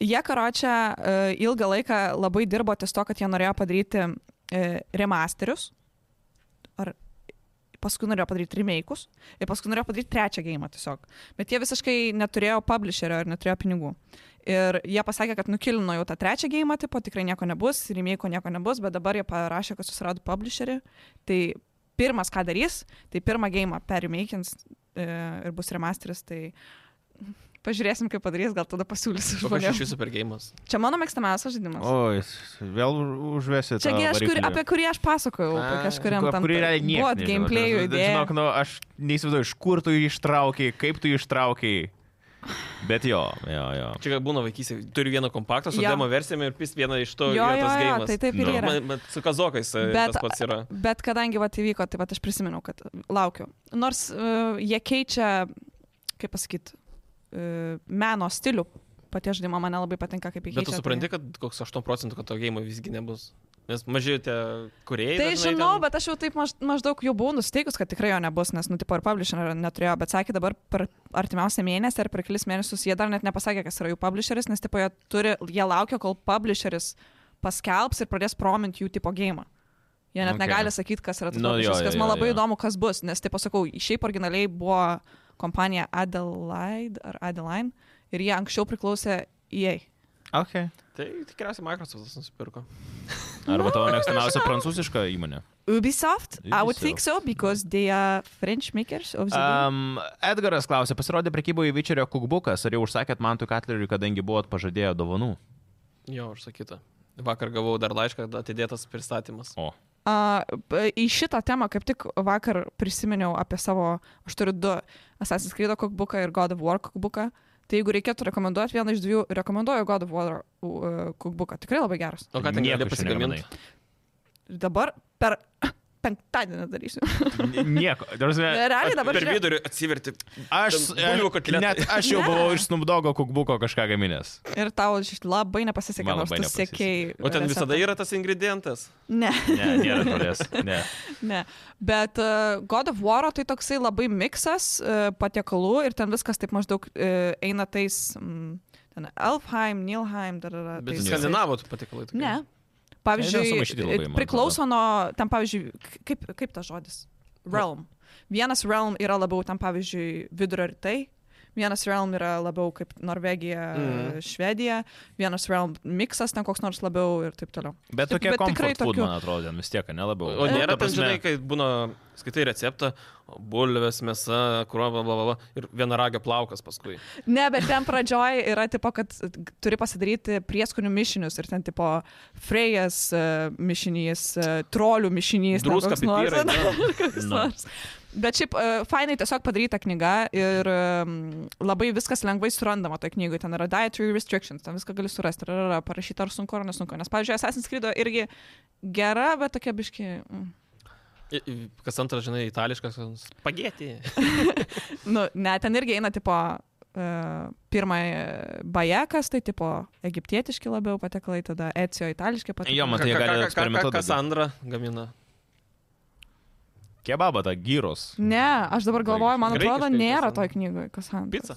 [SPEAKER 3] Jie karočią ilgą laiką labai dirbo ties to, kad jie norėjo padaryti e, remasterius. Ar paskui norėjo padaryti remake'us. Ir paskui norėjo padaryti trečią gėjimą tiesiog. Bet jie visiškai neturėjo publisherio ir neturėjo pinigų. Ir jie pasakė, kad nukilino jau tą trečią gėjimą, tipo tikrai nieko nebus, remake'o nieko nebus, bet dabar jie parašė, kad susirado publisherį. Tai pirmas, ką darys, tai pirmą gėjimą perimakins e, ir bus remasteris. Tai pažiūrėsim, kaip padarys, gal tada pasiūlysiu
[SPEAKER 2] Kokios iš
[SPEAKER 3] žmonėms.
[SPEAKER 2] jūsų pergėjimas?
[SPEAKER 3] Čia mano mėgstamiausias žaidimas.
[SPEAKER 1] O, tai vėl užvesit.
[SPEAKER 3] Čia gi aš, kur, apie kurį aš pasakojau,
[SPEAKER 2] Ai.
[SPEAKER 3] kažkuriam tam
[SPEAKER 1] kurį realiai niekas.
[SPEAKER 3] Buvo gameplay'ų idėja.
[SPEAKER 1] Žinok, nu, aš neįsivaizduoju, iš kur tu jį ištraukiai, kaip tu jį ištraukiai. Bet jo, jo, jo.
[SPEAKER 2] Čia gal būna vaikysi, turi vieną kompaktą su
[SPEAKER 3] Jo.
[SPEAKER 2] demo versijami ir pis vieną iš to
[SPEAKER 3] jo,
[SPEAKER 2] yra
[SPEAKER 3] jo,
[SPEAKER 2] tas
[SPEAKER 3] jo,
[SPEAKER 2] gėjimas.
[SPEAKER 3] tai taip ir
[SPEAKER 1] Nu.
[SPEAKER 3] yra.
[SPEAKER 2] Man, bet su kazokais e,
[SPEAKER 3] Bet-
[SPEAKER 2] tas pats yra.
[SPEAKER 3] Bet kadangi vat įvyko, tai vat aš prisimenu, kad laukiu. Nors uh, jie keičia, kaip pasakyti, uh, meno stilių. Pati žaidimo man nelabai patinka, kaip jie keičia. tai-
[SPEAKER 2] Bet tu supranti, kad koks 8 procentų to gėjimo visgi nebus. Nes mažiai tie kuriejai.
[SPEAKER 3] Tai žinau, bet aš jau taip maž, maždaug jau buvau nusteikus, kad tikrai jo nebus, nes, nu, tipo, ir publisherio neturėjo, bet sakė dabar per artimiausią mėnesį ar per kelis mėnesius jie dar net nepasakė, kas yra jų publisheris, nes, tipo, jie, turi, jie laukia, kol publisheris paskelbs ir pradės promint jų tipo gėjimą. Jie net
[SPEAKER 1] Okay.
[SPEAKER 3] okay. negali sakyti, kas yra tas
[SPEAKER 1] Nu,
[SPEAKER 3] no,
[SPEAKER 1] jo,
[SPEAKER 3] publisheris,
[SPEAKER 1] jo,
[SPEAKER 3] kas man
[SPEAKER 1] jo,
[SPEAKER 3] labai
[SPEAKER 1] jo.
[SPEAKER 3] įdomu, kas bus, nes, tipo, sakau, šiaip originaliai buvo kompanija Adelaide ar Adeline ir jie anksčiau priklausė E EA.
[SPEAKER 1] Ok.
[SPEAKER 2] Tai tikriausiai Microsoftas nusipirko.
[SPEAKER 1] Arba tavo mėgstamiausia prancūziška įmonė.
[SPEAKER 3] Ubisoft, Ubisoft, I would think
[SPEAKER 1] Ubisoft.
[SPEAKER 3] so, because they are French makers of the game.
[SPEAKER 1] Um, Edgaras klausė, pasirodė prekyboje Vyčerio kukbukas, ar jau užsakėt man tu katleriui, kadangi buvot pažadėję dovanų?
[SPEAKER 2] Jo, užsakyta. Vakar gavau dar laišką, kad atidėtas pristatymas.
[SPEAKER 1] O.
[SPEAKER 3] A, p- į šitą temą kaip tik vakar prisiminiau apie savo, aš turiu du Assassin's Creed kokbuką ir God of War kokbuką. Tai jeigu reikėtų rekomenduoti vieną iš dviejų, rekomenduoju God of War e, kokbuką. Tikrai labai geras.
[SPEAKER 2] O ką ten gali pasigaminti?
[SPEAKER 3] Ir dabar per penktadienį darysiu.
[SPEAKER 5] Nieko. Ta prasme,
[SPEAKER 3] Realiai dabar...
[SPEAKER 2] Per
[SPEAKER 3] žiūrėk-
[SPEAKER 2] vidurį atsiverti.
[SPEAKER 5] Aš,
[SPEAKER 2] Ten
[SPEAKER 1] e,
[SPEAKER 2] bulvių kotletai.
[SPEAKER 5] net aš jau
[SPEAKER 3] Ne.
[SPEAKER 5] buvau iš Snubdogo kukbuko kažką gaminęs.
[SPEAKER 3] Ir tau iš- labai nepasisekė,
[SPEAKER 1] Man
[SPEAKER 3] nors
[SPEAKER 1] labai
[SPEAKER 3] tu
[SPEAKER 1] nepasisekė.
[SPEAKER 3] siekiai.
[SPEAKER 2] O ten visada yra tas ingredientas.
[SPEAKER 3] Ne,
[SPEAKER 1] Ne, nėra žolės. Ne.
[SPEAKER 3] ne. Bet uh, God of War tai toksai labai miksas uh, patiekalų ir ten viskas taip maždaug uh, eina tais... Mm, ten Elfheim, Nilheim, dar yra.
[SPEAKER 2] Bet
[SPEAKER 3] tais-
[SPEAKER 2] skandinavų tų patiekalai. tokie.
[SPEAKER 3] tai Ne.
[SPEAKER 1] Ten sumaišyti labai,
[SPEAKER 3] Pavyzdžiui,
[SPEAKER 1] man
[SPEAKER 3] priklauso nuo, ten pavyzdžiui, k- kaip, kaip tas žodis? Realm. Vienas realm yra labiau ten, pavyzdžiui, vidurio rytai, vienas realm yra labiau kaip Norvegija,
[SPEAKER 2] Mhm.
[SPEAKER 3] mm. Švedija, vienas realm miksas ten koks nors labiau ir taip toliau.
[SPEAKER 1] Bet
[SPEAKER 3] Taip,
[SPEAKER 1] tokie
[SPEAKER 3] bet tikrai
[SPEAKER 1] komfort food,
[SPEAKER 3] tokių-
[SPEAKER 1] man atrodo, ten vis tiek, ne labiau.
[SPEAKER 2] O nėra
[SPEAKER 1] Ta
[SPEAKER 2] ten,
[SPEAKER 1] prasme,
[SPEAKER 2] žinai, kai būna, skaitai receptą, bulvės, mėsa, kruova, bla, bla, bla, ir vienaragio plaukas paskui.
[SPEAKER 3] Ne, bet ten pradžioj yra tipo, kad turi pasidaryti prieskonių mišinius ir ten tipo frejas uh, mišinys, uh, trolių mišinys, ten
[SPEAKER 2] Druska,
[SPEAKER 3] koks nors.
[SPEAKER 2] pipirai, ne?
[SPEAKER 3] Koks
[SPEAKER 1] Na.
[SPEAKER 3] nors. Bet šiaip, uh, fainai tiesiog padaryta knyga ir um, labai viskas lengvai surandama toje knygoje. Ten yra dietary restrictions, ten viską gali surasti, ar yra parašyta, ar sunku, ar nesunku. Nes, pavyzdžiui, Assassin's Creed irgi gera, bet tokia biški. mm,
[SPEAKER 2] I- i- Kas antras, žinai, itališkas. kas- Spageti.
[SPEAKER 3] Nu, ne, ten irgi eina tipo uh, pirmąjį bajekas, tai tipo egiptietiški labiau patekalai, tada ecijo itališki patekalai.
[SPEAKER 1] Jo, man tai jie
[SPEAKER 2] Ką- ką-
[SPEAKER 1] gali
[SPEAKER 2] ką- ką-
[SPEAKER 1] eksperimentuot
[SPEAKER 2] Kas
[SPEAKER 1] daugiau.
[SPEAKER 2] Andra gamina?
[SPEAKER 1] Kebabą, tą gyros.
[SPEAKER 3] Ne, aš dabar galvoju, man atrodo,
[SPEAKER 2] Graikiškai
[SPEAKER 3] nėra
[SPEAKER 2] kas
[SPEAKER 3] toj knygoje, kas ant.
[SPEAKER 2] Pica.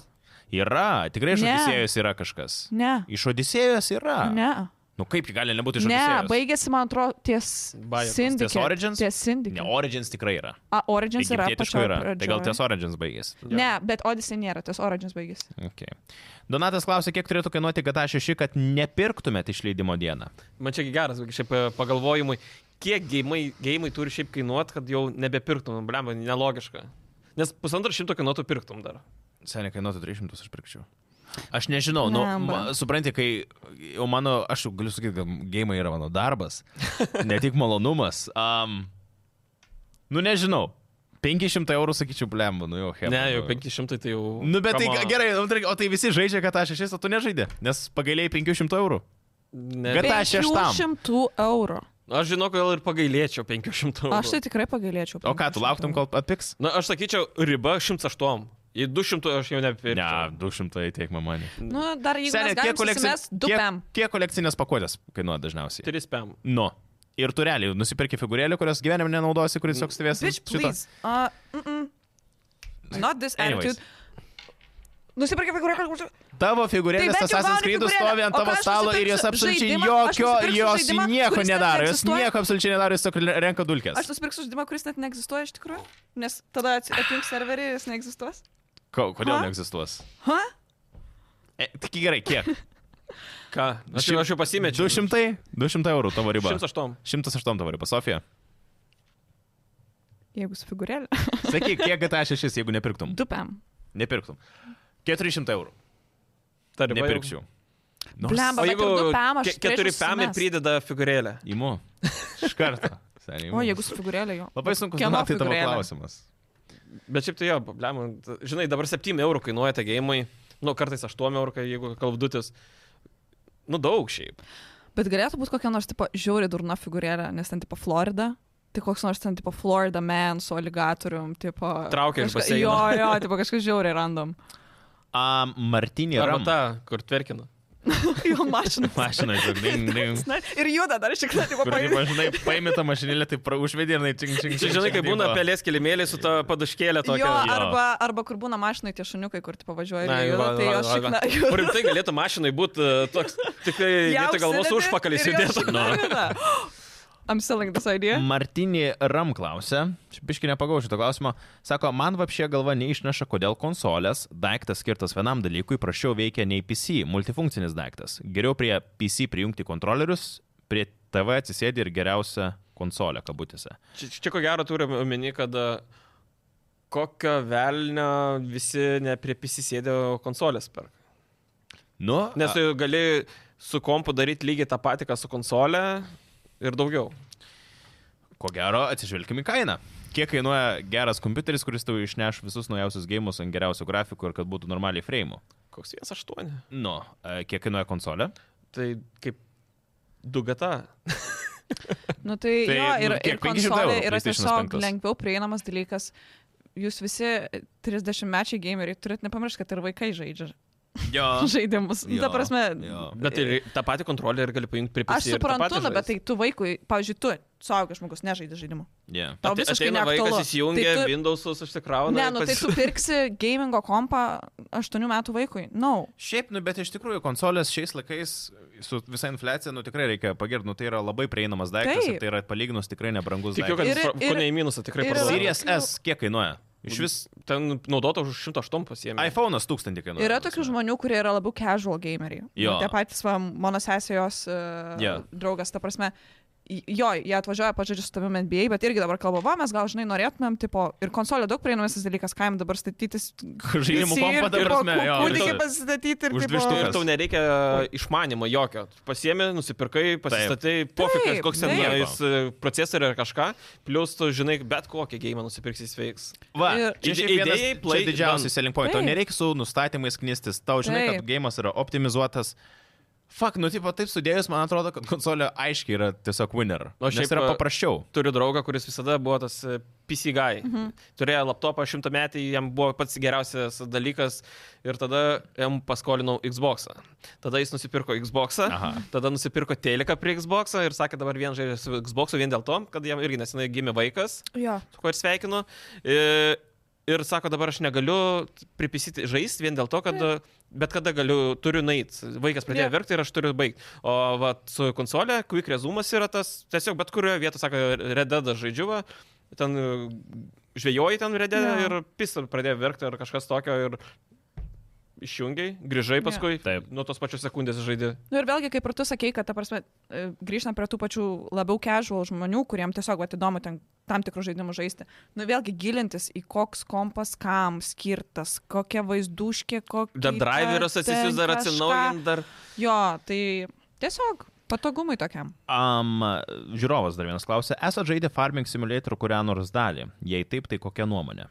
[SPEAKER 1] Yra, tikrai iš
[SPEAKER 3] Ne.
[SPEAKER 1] Odisėjos yra kažkas.
[SPEAKER 3] Ne.
[SPEAKER 1] Iš Odisėjos yra.
[SPEAKER 3] Ne.
[SPEAKER 1] Nu kaip ji gali nebūti iš
[SPEAKER 3] Ne,
[SPEAKER 1] Odisėjos?
[SPEAKER 3] baigėsi, man atrodo, ties
[SPEAKER 2] Bajekas.
[SPEAKER 3] Syndicate.
[SPEAKER 1] Ties Origins?
[SPEAKER 3] Ties
[SPEAKER 1] Ne,
[SPEAKER 3] Syndicate.
[SPEAKER 1] Origins tikrai yra.
[SPEAKER 3] A, Origins yra
[SPEAKER 1] Egiptietiškų
[SPEAKER 3] pačioj
[SPEAKER 1] yra. Tai gal
[SPEAKER 3] pradžioj.
[SPEAKER 1] ties Origins baigėsi.
[SPEAKER 3] Ne, bet Odyssey nėra, ties Origins baigėsi.
[SPEAKER 1] Okay. Donatas klausė, kiek turėtų kainuoti GTA 6, kad nepirktumėt išleidimo dieną.
[SPEAKER 2] Man čia geras, šiaip e, pagalvojimui, kiek geimai, geimai turi šiaip kainuot, kad jau nebepirktum, blemba, nelogiška. Nes pusantro šimto kainuotų pirktum dar.
[SPEAKER 1] Seniai kainuotų 300 aš pirkčiau. Aš nežinau, nu,
[SPEAKER 3] Blemba.
[SPEAKER 1] ma- supranti, kai jau mano, aš jau galiu sakyti, kad gėjimai yra mano darbas, ne tik malonumas. Um, nu nežinau, 500 eurų sakyčiau, blemba, nu jau,
[SPEAKER 2] Jep,
[SPEAKER 1] hemba.
[SPEAKER 2] ne, jau 500 tai jau.
[SPEAKER 1] Nu bet tai
[SPEAKER 2] come on.
[SPEAKER 1] gerai, nu, tarkim, o tai visi žaidžia GTA 6, o tu nežaidė, nes pagailėjai 500 eurų.
[SPEAKER 2] Ne,
[SPEAKER 1] Bet-
[SPEAKER 2] bet...
[SPEAKER 1] Tą šeštam.
[SPEAKER 3] 500 eurų.
[SPEAKER 2] Aš žinau, kodėl ir pagailėčiau 500 eurų.
[SPEAKER 3] Aš tai tikrai pagailėčiau.
[SPEAKER 1] O ką, tu
[SPEAKER 3] 500
[SPEAKER 1] lauktum,
[SPEAKER 3] eurų.
[SPEAKER 1] kol atpiks?
[SPEAKER 2] Na, aš sakyčiau, riba 108. Į 200 aš jau
[SPEAKER 1] Ne,
[SPEAKER 2] nebepirkčiau.
[SPEAKER 1] 200 tiek man manė.
[SPEAKER 3] Nu, dar jeigu... Seniai, kiek kolekcijas? Du pem.
[SPEAKER 1] kiek, kiek kolekcinės pakuotės kainuoja dažniausiai?
[SPEAKER 2] 3 pėm.
[SPEAKER 1] Nu. Ir tu realiai nusipirki figūrėlį, kurios gyvenime nenaudosi,
[SPEAKER 2] Mm.
[SPEAKER 1] kuris toks stovės.
[SPEAKER 3] Bitch, please. Uh, mm -mm. Not this
[SPEAKER 1] Anyways.
[SPEAKER 3] attitude. Nusipirkime figūrą.
[SPEAKER 1] Tavo
[SPEAKER 3] Tai
[SPEAKER 1] figūrėlės
[SPEAKER 3] bent jau
[SPEAKER 1] Assassin's
[SPEAKER 3] gauni
[SPEAKER 1] Creed
[SPEAKER 3] figūrėlę.
[SPEAKER 1] stovi ant
[SPEAKER 3] O
[SPEAKER 1] tavo
[SPEAKER 3] ką aš
[SPEAKER 1] stalo ir jos
[SPEAKER 3] nusipirksiu?
[SPEAKER 1] absoliučiai
[SPEAKER 3] Žaidimą? Aš
[SPEAKER 1] jokio,
[SPEAKER 3] nusipirksiu
[SPEAKER 1] jos
[SPEAKER 3] žaidimą,
[SPEAKER 1] nieko
[SPEAKER 3] kuris net
[SPEAKER 1] nedaro, jos
[SPEAKER 3] neegzistuoja?
[SPEAKER 1] nieko absoliučiai nedaro, jos tik renka
[SPEAKER 3] Aš
[SPEAKER 1] dulkes.
[SPEAKER 3] nusipirksiu žaidimą, kuris net neegzistuoja iš tikrųjų, nes tada atsi- atjungs serverį ir jis neegzistuos.
[SPEAKER 1] Ko, kodėl
[SPEAKER 3] Ha?
[SPEAKER 1] neegzistuos?
[SPEAKER 3] Ha?
[SPEAKER 1] E, tik gerai, kiek?
[SPEAKER 2] Ką? Aš jau, aš jau pasimečiau.
[SPEAKER 1] 200, 200 eurų tavo riba.
[SPEAKER 2] 108.
[SPEAKER 1] 108 tavo riba, Sofija.
[SPEAKER 3] Jeigu su figūrėlė.
[SPEAKER 1] Sakyk, kiek GTA 6, jeigu nepirktum?
[SPEAKER 3] Du pem.
[SPEAKER 1] Nepirktum. 400 eurų.
[SPEAKER 2] Ta riba jau-
[SPEAKER 1] Nepirkčiau. Nors-
[SPEAKER 3] Blemba.
[SPEAKER 2] O
[SPEAKER 3] Bet
[SPEAKER 2] jeigu
[SPEAKER 3] ir du pem aš
[SPEAKER 2] ke-
[SPEAKER 3] turėčiau
[SPEAKER 2] keturi pėm ir
[SPEAKER 3] sumest.
[SPEAKER 2] prideda figūrėlę.
[SPEAKER 1] Įmu. Iš karto. Seniai.
[SPEAKER 3] O, jeigu su figūrėlė jo.
[SPEAKER 1] Labai sunku
[SPEAKER 3] Kieno
[SPEAKER 1] žinoti tavo
[SPEAKER 3] figūrėlė?
[SPEAKER 1] klausimas.
[SPEAKER 2] Bet šiaip tai jo, problema. Žinai, dabar 7 eurų kainuoja tie gėjimai, nu kartais 8 eurų, kai jeigu kalbdutis. Nu daug šiaip.
[SPEAKER 3] Bet galėtų būti kokia nors tipo žiauri durna figūrėlė, nes ten tipo Florida. Tai koks nors ten tipo Florida man su aligatorium, tipo...
[SPEAKER 2] Traukia iš
[SPEAKER 3] kažką-
[SPEAKER 2] baseino.
[SPEAKER 3] Jo, jo, tipo kažkas žiauriai random.
[SPEAKER 1] A, Martinį
[SPEAKER 2] Arba
[SPEAKER 1] Ramtą.
[SPEAKER 2] ta, kur tverkina.
[SPEAKER 3] jo mašina.
[SPEAKER 1] Mašina, žinai,
[SPEAKER 3] Na, Ir juda dar šiek tiek, tipo, paimti.
[SPEAKER 1] žinai, paimė tą mašinėlę, tai pra- užvedė, jinai čing, čing,
[SPEAKER 2] Čia
[SPEAKER 1] čing,
[SPEAKER 2] žinai, kai
[SPEAKER 1] čing,
[SPEAKER 2] būna
[SPEAKER 1] dingo.
[SPEAKER 2] pelės kilimėlė su ta padaškėlė
[SPEAKER 3] Jo,
[SPEAKER 2] tokia.
[SPEAKER 1] jo.
[SPEAKER 3] arba, arba kur būna mašinai tie šuniukai, kur tu pavažiuoji ir jie juda,
[SPEAKER 2] va,
[SPEAKER 3] tai
[SPEAKER 2] va,
[SPEAKER 3] jos
[SPEAKER 2] va, va.
[SPEAKER 3] šikna
[SPEAKER 2] Kur rimtai galėtų mašinai būti toks, tik tai vietoj galvos užpakalis judėtų.
[SPEAKER 3] Nu. I'm selling this idea.
[SPEAKER 2] Mm.
[SPEAKER 1] Martinį Ram klausė, biški nepagau šito klausimo, sako, man vapšė galva neišneša, kodėl konsolės, daiktas skirtas vienam dalykui, prašiau veikia nei PC, multifunkcinis daiktas. Geriau prie PC prijungti kontrolerius, prie TV atsisėdi ir geriausia konsolė kabutėse.
[SPEAKER 2] Čia, čia ko gero turim omeny, kad a, kokio velnio visi ne prie prisisėdė konsolės per.
[SPEAKER 1] Nu,
[SPEAKER 2] Nes tu gali su kompu daryti lygiai tą patį, ką su konsolė ir daugiau.
[SPEAKER 1] Ko gero, atsižvelgime į kainą. Kiek kainuoja geras kompiuteris, kuris tau išneš visus naujausius gėjimus ant geriausių grafikų ir kad būtų normaliai frame'ų?
[SPEAKER 2] Koks 1.8?
[SPEAKER 1] Nu, e, kiek kainuoja konsolė?
[SPEAKER 2] Tai kaip dugata.
[SPEAKER 3] Nu tai,
[SPEAKER 1] Tai,
[SPEAKER 3] tai jo, ir,
[SPEAKER 1] nu, kiek, 500
[SPEAKER 3] ir konsolė
[SPEAKER 1] eurų
[SPEAKER 3] yra
[SPEAKER 1] PlayStation
[SPEAKER 3] tiesiog
[SPEAKER 1] 5?
[SPEAKER 3] lengviau prieinamas dalykas. Jūs visi 30-mečiai gameriai turite nepamiršti, kad ir vaikai žaidžia
[SPEAKER 1] Jo.
[SPEAKER 3] žaidimus. Nu,
[SPEAKER 1] Jo,
[SPEAKER 3] Ta prasme,
[SPEAKER 1] jo.
[SPEAKER 2] Bet ir tą patį kontrolerį gali pajungti prie
[SPEAKER 3] aš
[SPEAKER 2] PC ir tą
[SPEAKER 3] suprantu,
[SPEAKER 2] patį
[SPEAKER 3] nu, bet
[SPEAKER 2] žaist.
[SPEAKER 3] tai tu vaikui, pavyzdžiui, tu, suaugęs žmogus, nežaidži žaidimų.
[SPEAKER 1] Yeah.
[SPEAKER 3] Tau
[SPEAKER 2] Ate-
[SPEAKER 3] visiškai
[SPEAKER 2] tai ateina
[SPEAKER 3] neaktualu.
[SPEAKER 2] vaikas įsijungia,
[SPEAKER 3] Tai tu-
[SPEAKER 2] Windows'us užsikrauna.
[SPEAKER 3] Ne,
[SPEAKER 2] ir
[SPEAKER 3] nu tai
[SPEAKER 2] pats-
[SPEAKER 3] tu pirksi gamingo kompą 8 metų vaikui. No.
[SPEAKER 1] Šiaip, nu, bet iš tikrųjų konsolės šiais laikais su visa inflecija, nu, tikrai reikia pagirti, nu, tai yra labai prieinamas daiktas
[SPEAKER 3] Taip.
[SPEAKER 1] ir tai yra palyginus tikrai nebrangus daiktas.
[SPEAKER 2] Tikiu, kad
[SPEAKER 3] Ir-
[SPEAKER 2] ir, ir,
[SPEAKER 3] ir-
[SPEAKER 2] kone į minusą tikrai
[SPEAKER 3] ir-
[SPEAKER 2] parduoda.
[SPEAKER 1] Series S kiek kainuoja? Iš vis
[SPEAKER 2] Ten naudota už 108 pasiemė.
[SPEAKER 1] iPhone'as tūkstantį kainuoja.
[SPEAKER 3] Yra tokių žmonių, kurie yra labiau casual gameriai. Nu,
[SPEAKER 1] Jo.
[SPEAKER 3] Tie patys va, mano sesijos uh,
[SPEAKER 1] Jo.
[SPEAKER 3] yeah. draugas, ta prasme. j- Jo, jie atvažiuoja pažaidžiu su tavimi NBA, bet irgi dabar kalba, va, mes gal, žinai, norėtumėm, tipo, ir konsolė daug prieinamasis dalykas, ką jam dabar statytis.
[SPEAKER 1] Žaidimų
[SPEAKER 3] PC ir
[SPEAKER 1] kompą, ta
[SPEAKER 3] po
[SPEAKER 1] prasme, jo,
[SPEAKER 3] ku- kūdikį
[SPEAKER 1] ir-
[SPEAKER 3] pasistatyti ir
[SPEAKER 1] už
[SPEAKER 3] tipo-
[SPEAKER 1] dvi
[SPEAKER 2] Ir tau nereikia išmanimo jokio. Tu Pasiemi, nusipirkai, pasistatai, pofikas,
[SPEAKER 3] Taip,
[SPEAKER 2] koks ten
[SPEAKER 3] taip.
[SPEAKER 2] jis procesorius ar kažką, plus tu žinai, bet kokį gėjimą nusipirksi, jis veiks.
[SPEAKER 1] Va,
[SPEAKER 3] Ir-
[SPEAKER 1] čia šiaip
[SPEAKER 2] Idėjai
[SPEAKER 1] vienas čia
[SPEAKER 2] play done.
[SPEAKER 1] didžiausias selling point. Tau
[SPEAKER 3] Taip.
[SPEAKER 1] nereikia su nustatymais knistis, tau žinai, kad
[SPEAKER 3] Taip.
[SPEAKER 1] gėjimas yra optimizuotas. Fak, nu, tipo, taip sudėjus, man atrodo, kad konsolė aiškiai yra tiesiog winner.
[SPEAKER 2] O
[SPEAKER 1] O šiaip
[SPEAKER 2] šiaip,
[SPEAKER 1] yra
[SPEAKER 2] a,
[SPEAKER 1] paprasčiau.
[SPEAKER 2] Turiu draugą, kuris visada buvo tas e, PC guy. Mhm. Turėjo laptopą šimtą metį, jam buvo pats geriausias dalykas ir tada jam paskolinau Xboxą. Tada jis nusipirko Xboxą,
[SPEAKER 1] Aha.
[SPEAKER 2] Aha. tada nusipirko teleką prie Xboxą ir sakė dabar vien žaidžia su Xboxu vien dėl to, kad jam irgi nesenai gimė vaikas.
[SPEAKER 3] Jo.
[SPEAKER 2] su kuo ir sveikinu. I- Ir sako, dabar aš negaliu pripisyti žaisti vien dėl to, kad bet kada galiu, turiu nait. Vaikas pradėjo
[SPEAKER 3] Jo.
[SPEAKER 2] verkti ir aš turiu baigti. O vat, su konsolė, quick resumas yra tas, tiesiog bet kurioje vietoje, sako, rededa žaidžiuva, ten e, žvejoji ten redė
[SPEAKER 3] Jo.
[SPEAKER 2] ir pisa pradėjo verkti ar kažkas tokio ir išjungiai, grįžai paskui,
[SPEAKER 1] Taip.
[SPEAKER 2] nuo tos pačios sekundės žaidži.
[SPEAKER 3] Nu ir vėlgi, kaip ir tu sakei, kad, ta prasme, e, grįžtant prie tų pačių labiau casual žmonių, kuriem tiesiog vat, įdomu ten tam tikrų žaidimų žaisti. Nu vėlgi gilintis į koks kompas kam skirtas, kokia vaizduškė, kokia...
[SPEAKER 2] Dar driveris atsisius, dar atsinaujint, dar...
[SPEAKER 3] Jo, tai tiesiog patogumai tokiam.
[SPEAKER 1] Um, žiūrovas dar vienas klausė, esate žaidę Farming Simulator kurią nors dalį? Jei taip, tai kokia nuomonė?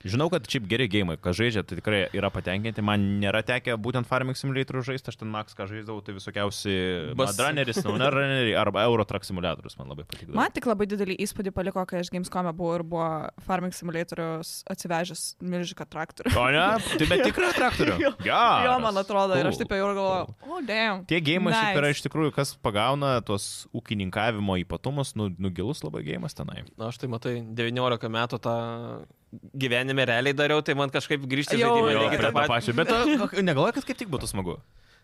[SPEAKER 1] Žinau, kad šiaip geri gėjimai, ką žaidžia, tai tikrai yra patenkinti. Man nėra tekę būtent Farming Simulator žaisti, aš ten Max, ką žaidžiau, tai visokiausi
[SPEAKER 2] Bas-
[SPEAKER 1] Badrunneris, Naunarunneris arba Eurotrack Simulatorius man labai patiko.
[SPEAKER 3] Man tik labai didelį įspūdį paliko, kai aš Gamescom'e buvau ir buvo Farming Simulatorius atsivežęs milžiką traktorių.
[SPEAKER 1] O ne? Tai bet tikrą traktorių.
[SPEAKER 3] Jo.
[SPEAKER 1] Geras.
[SPEAKER 3] Jo, man atrodo, ir aš
[SPEAKER 1] Ah, Cool.
[SPEAKER 3] taip jau ir galvoju, o, oh, damn.
[SPEAKER 1] Tie gėjimai nice. šiaip yra
[SPEAKER 3] Nice.
[SPEAKER 1] iš tikrųjų, kas pagauna tuos ūkininkavimo ypatumus, nu, nugilus labai gėjimas tenai.
[SPEAKER 2] Na, aš tai matai, 19 metų tą gyvenime realiai dariau, tai man kažkaip grįžti į
[SPEAKER 3] Jau,
[SPEAKER 2] žaidimą.
[SPEAKER 3] jau,
[SPEAKER 2] lygiai tą
[SPEAKER 1] Lygiai tai tą
[SPEAKER 2] patį.
[SPEAKER 1] pačią, bet negalvoju, kad kaip tik būtų smagu.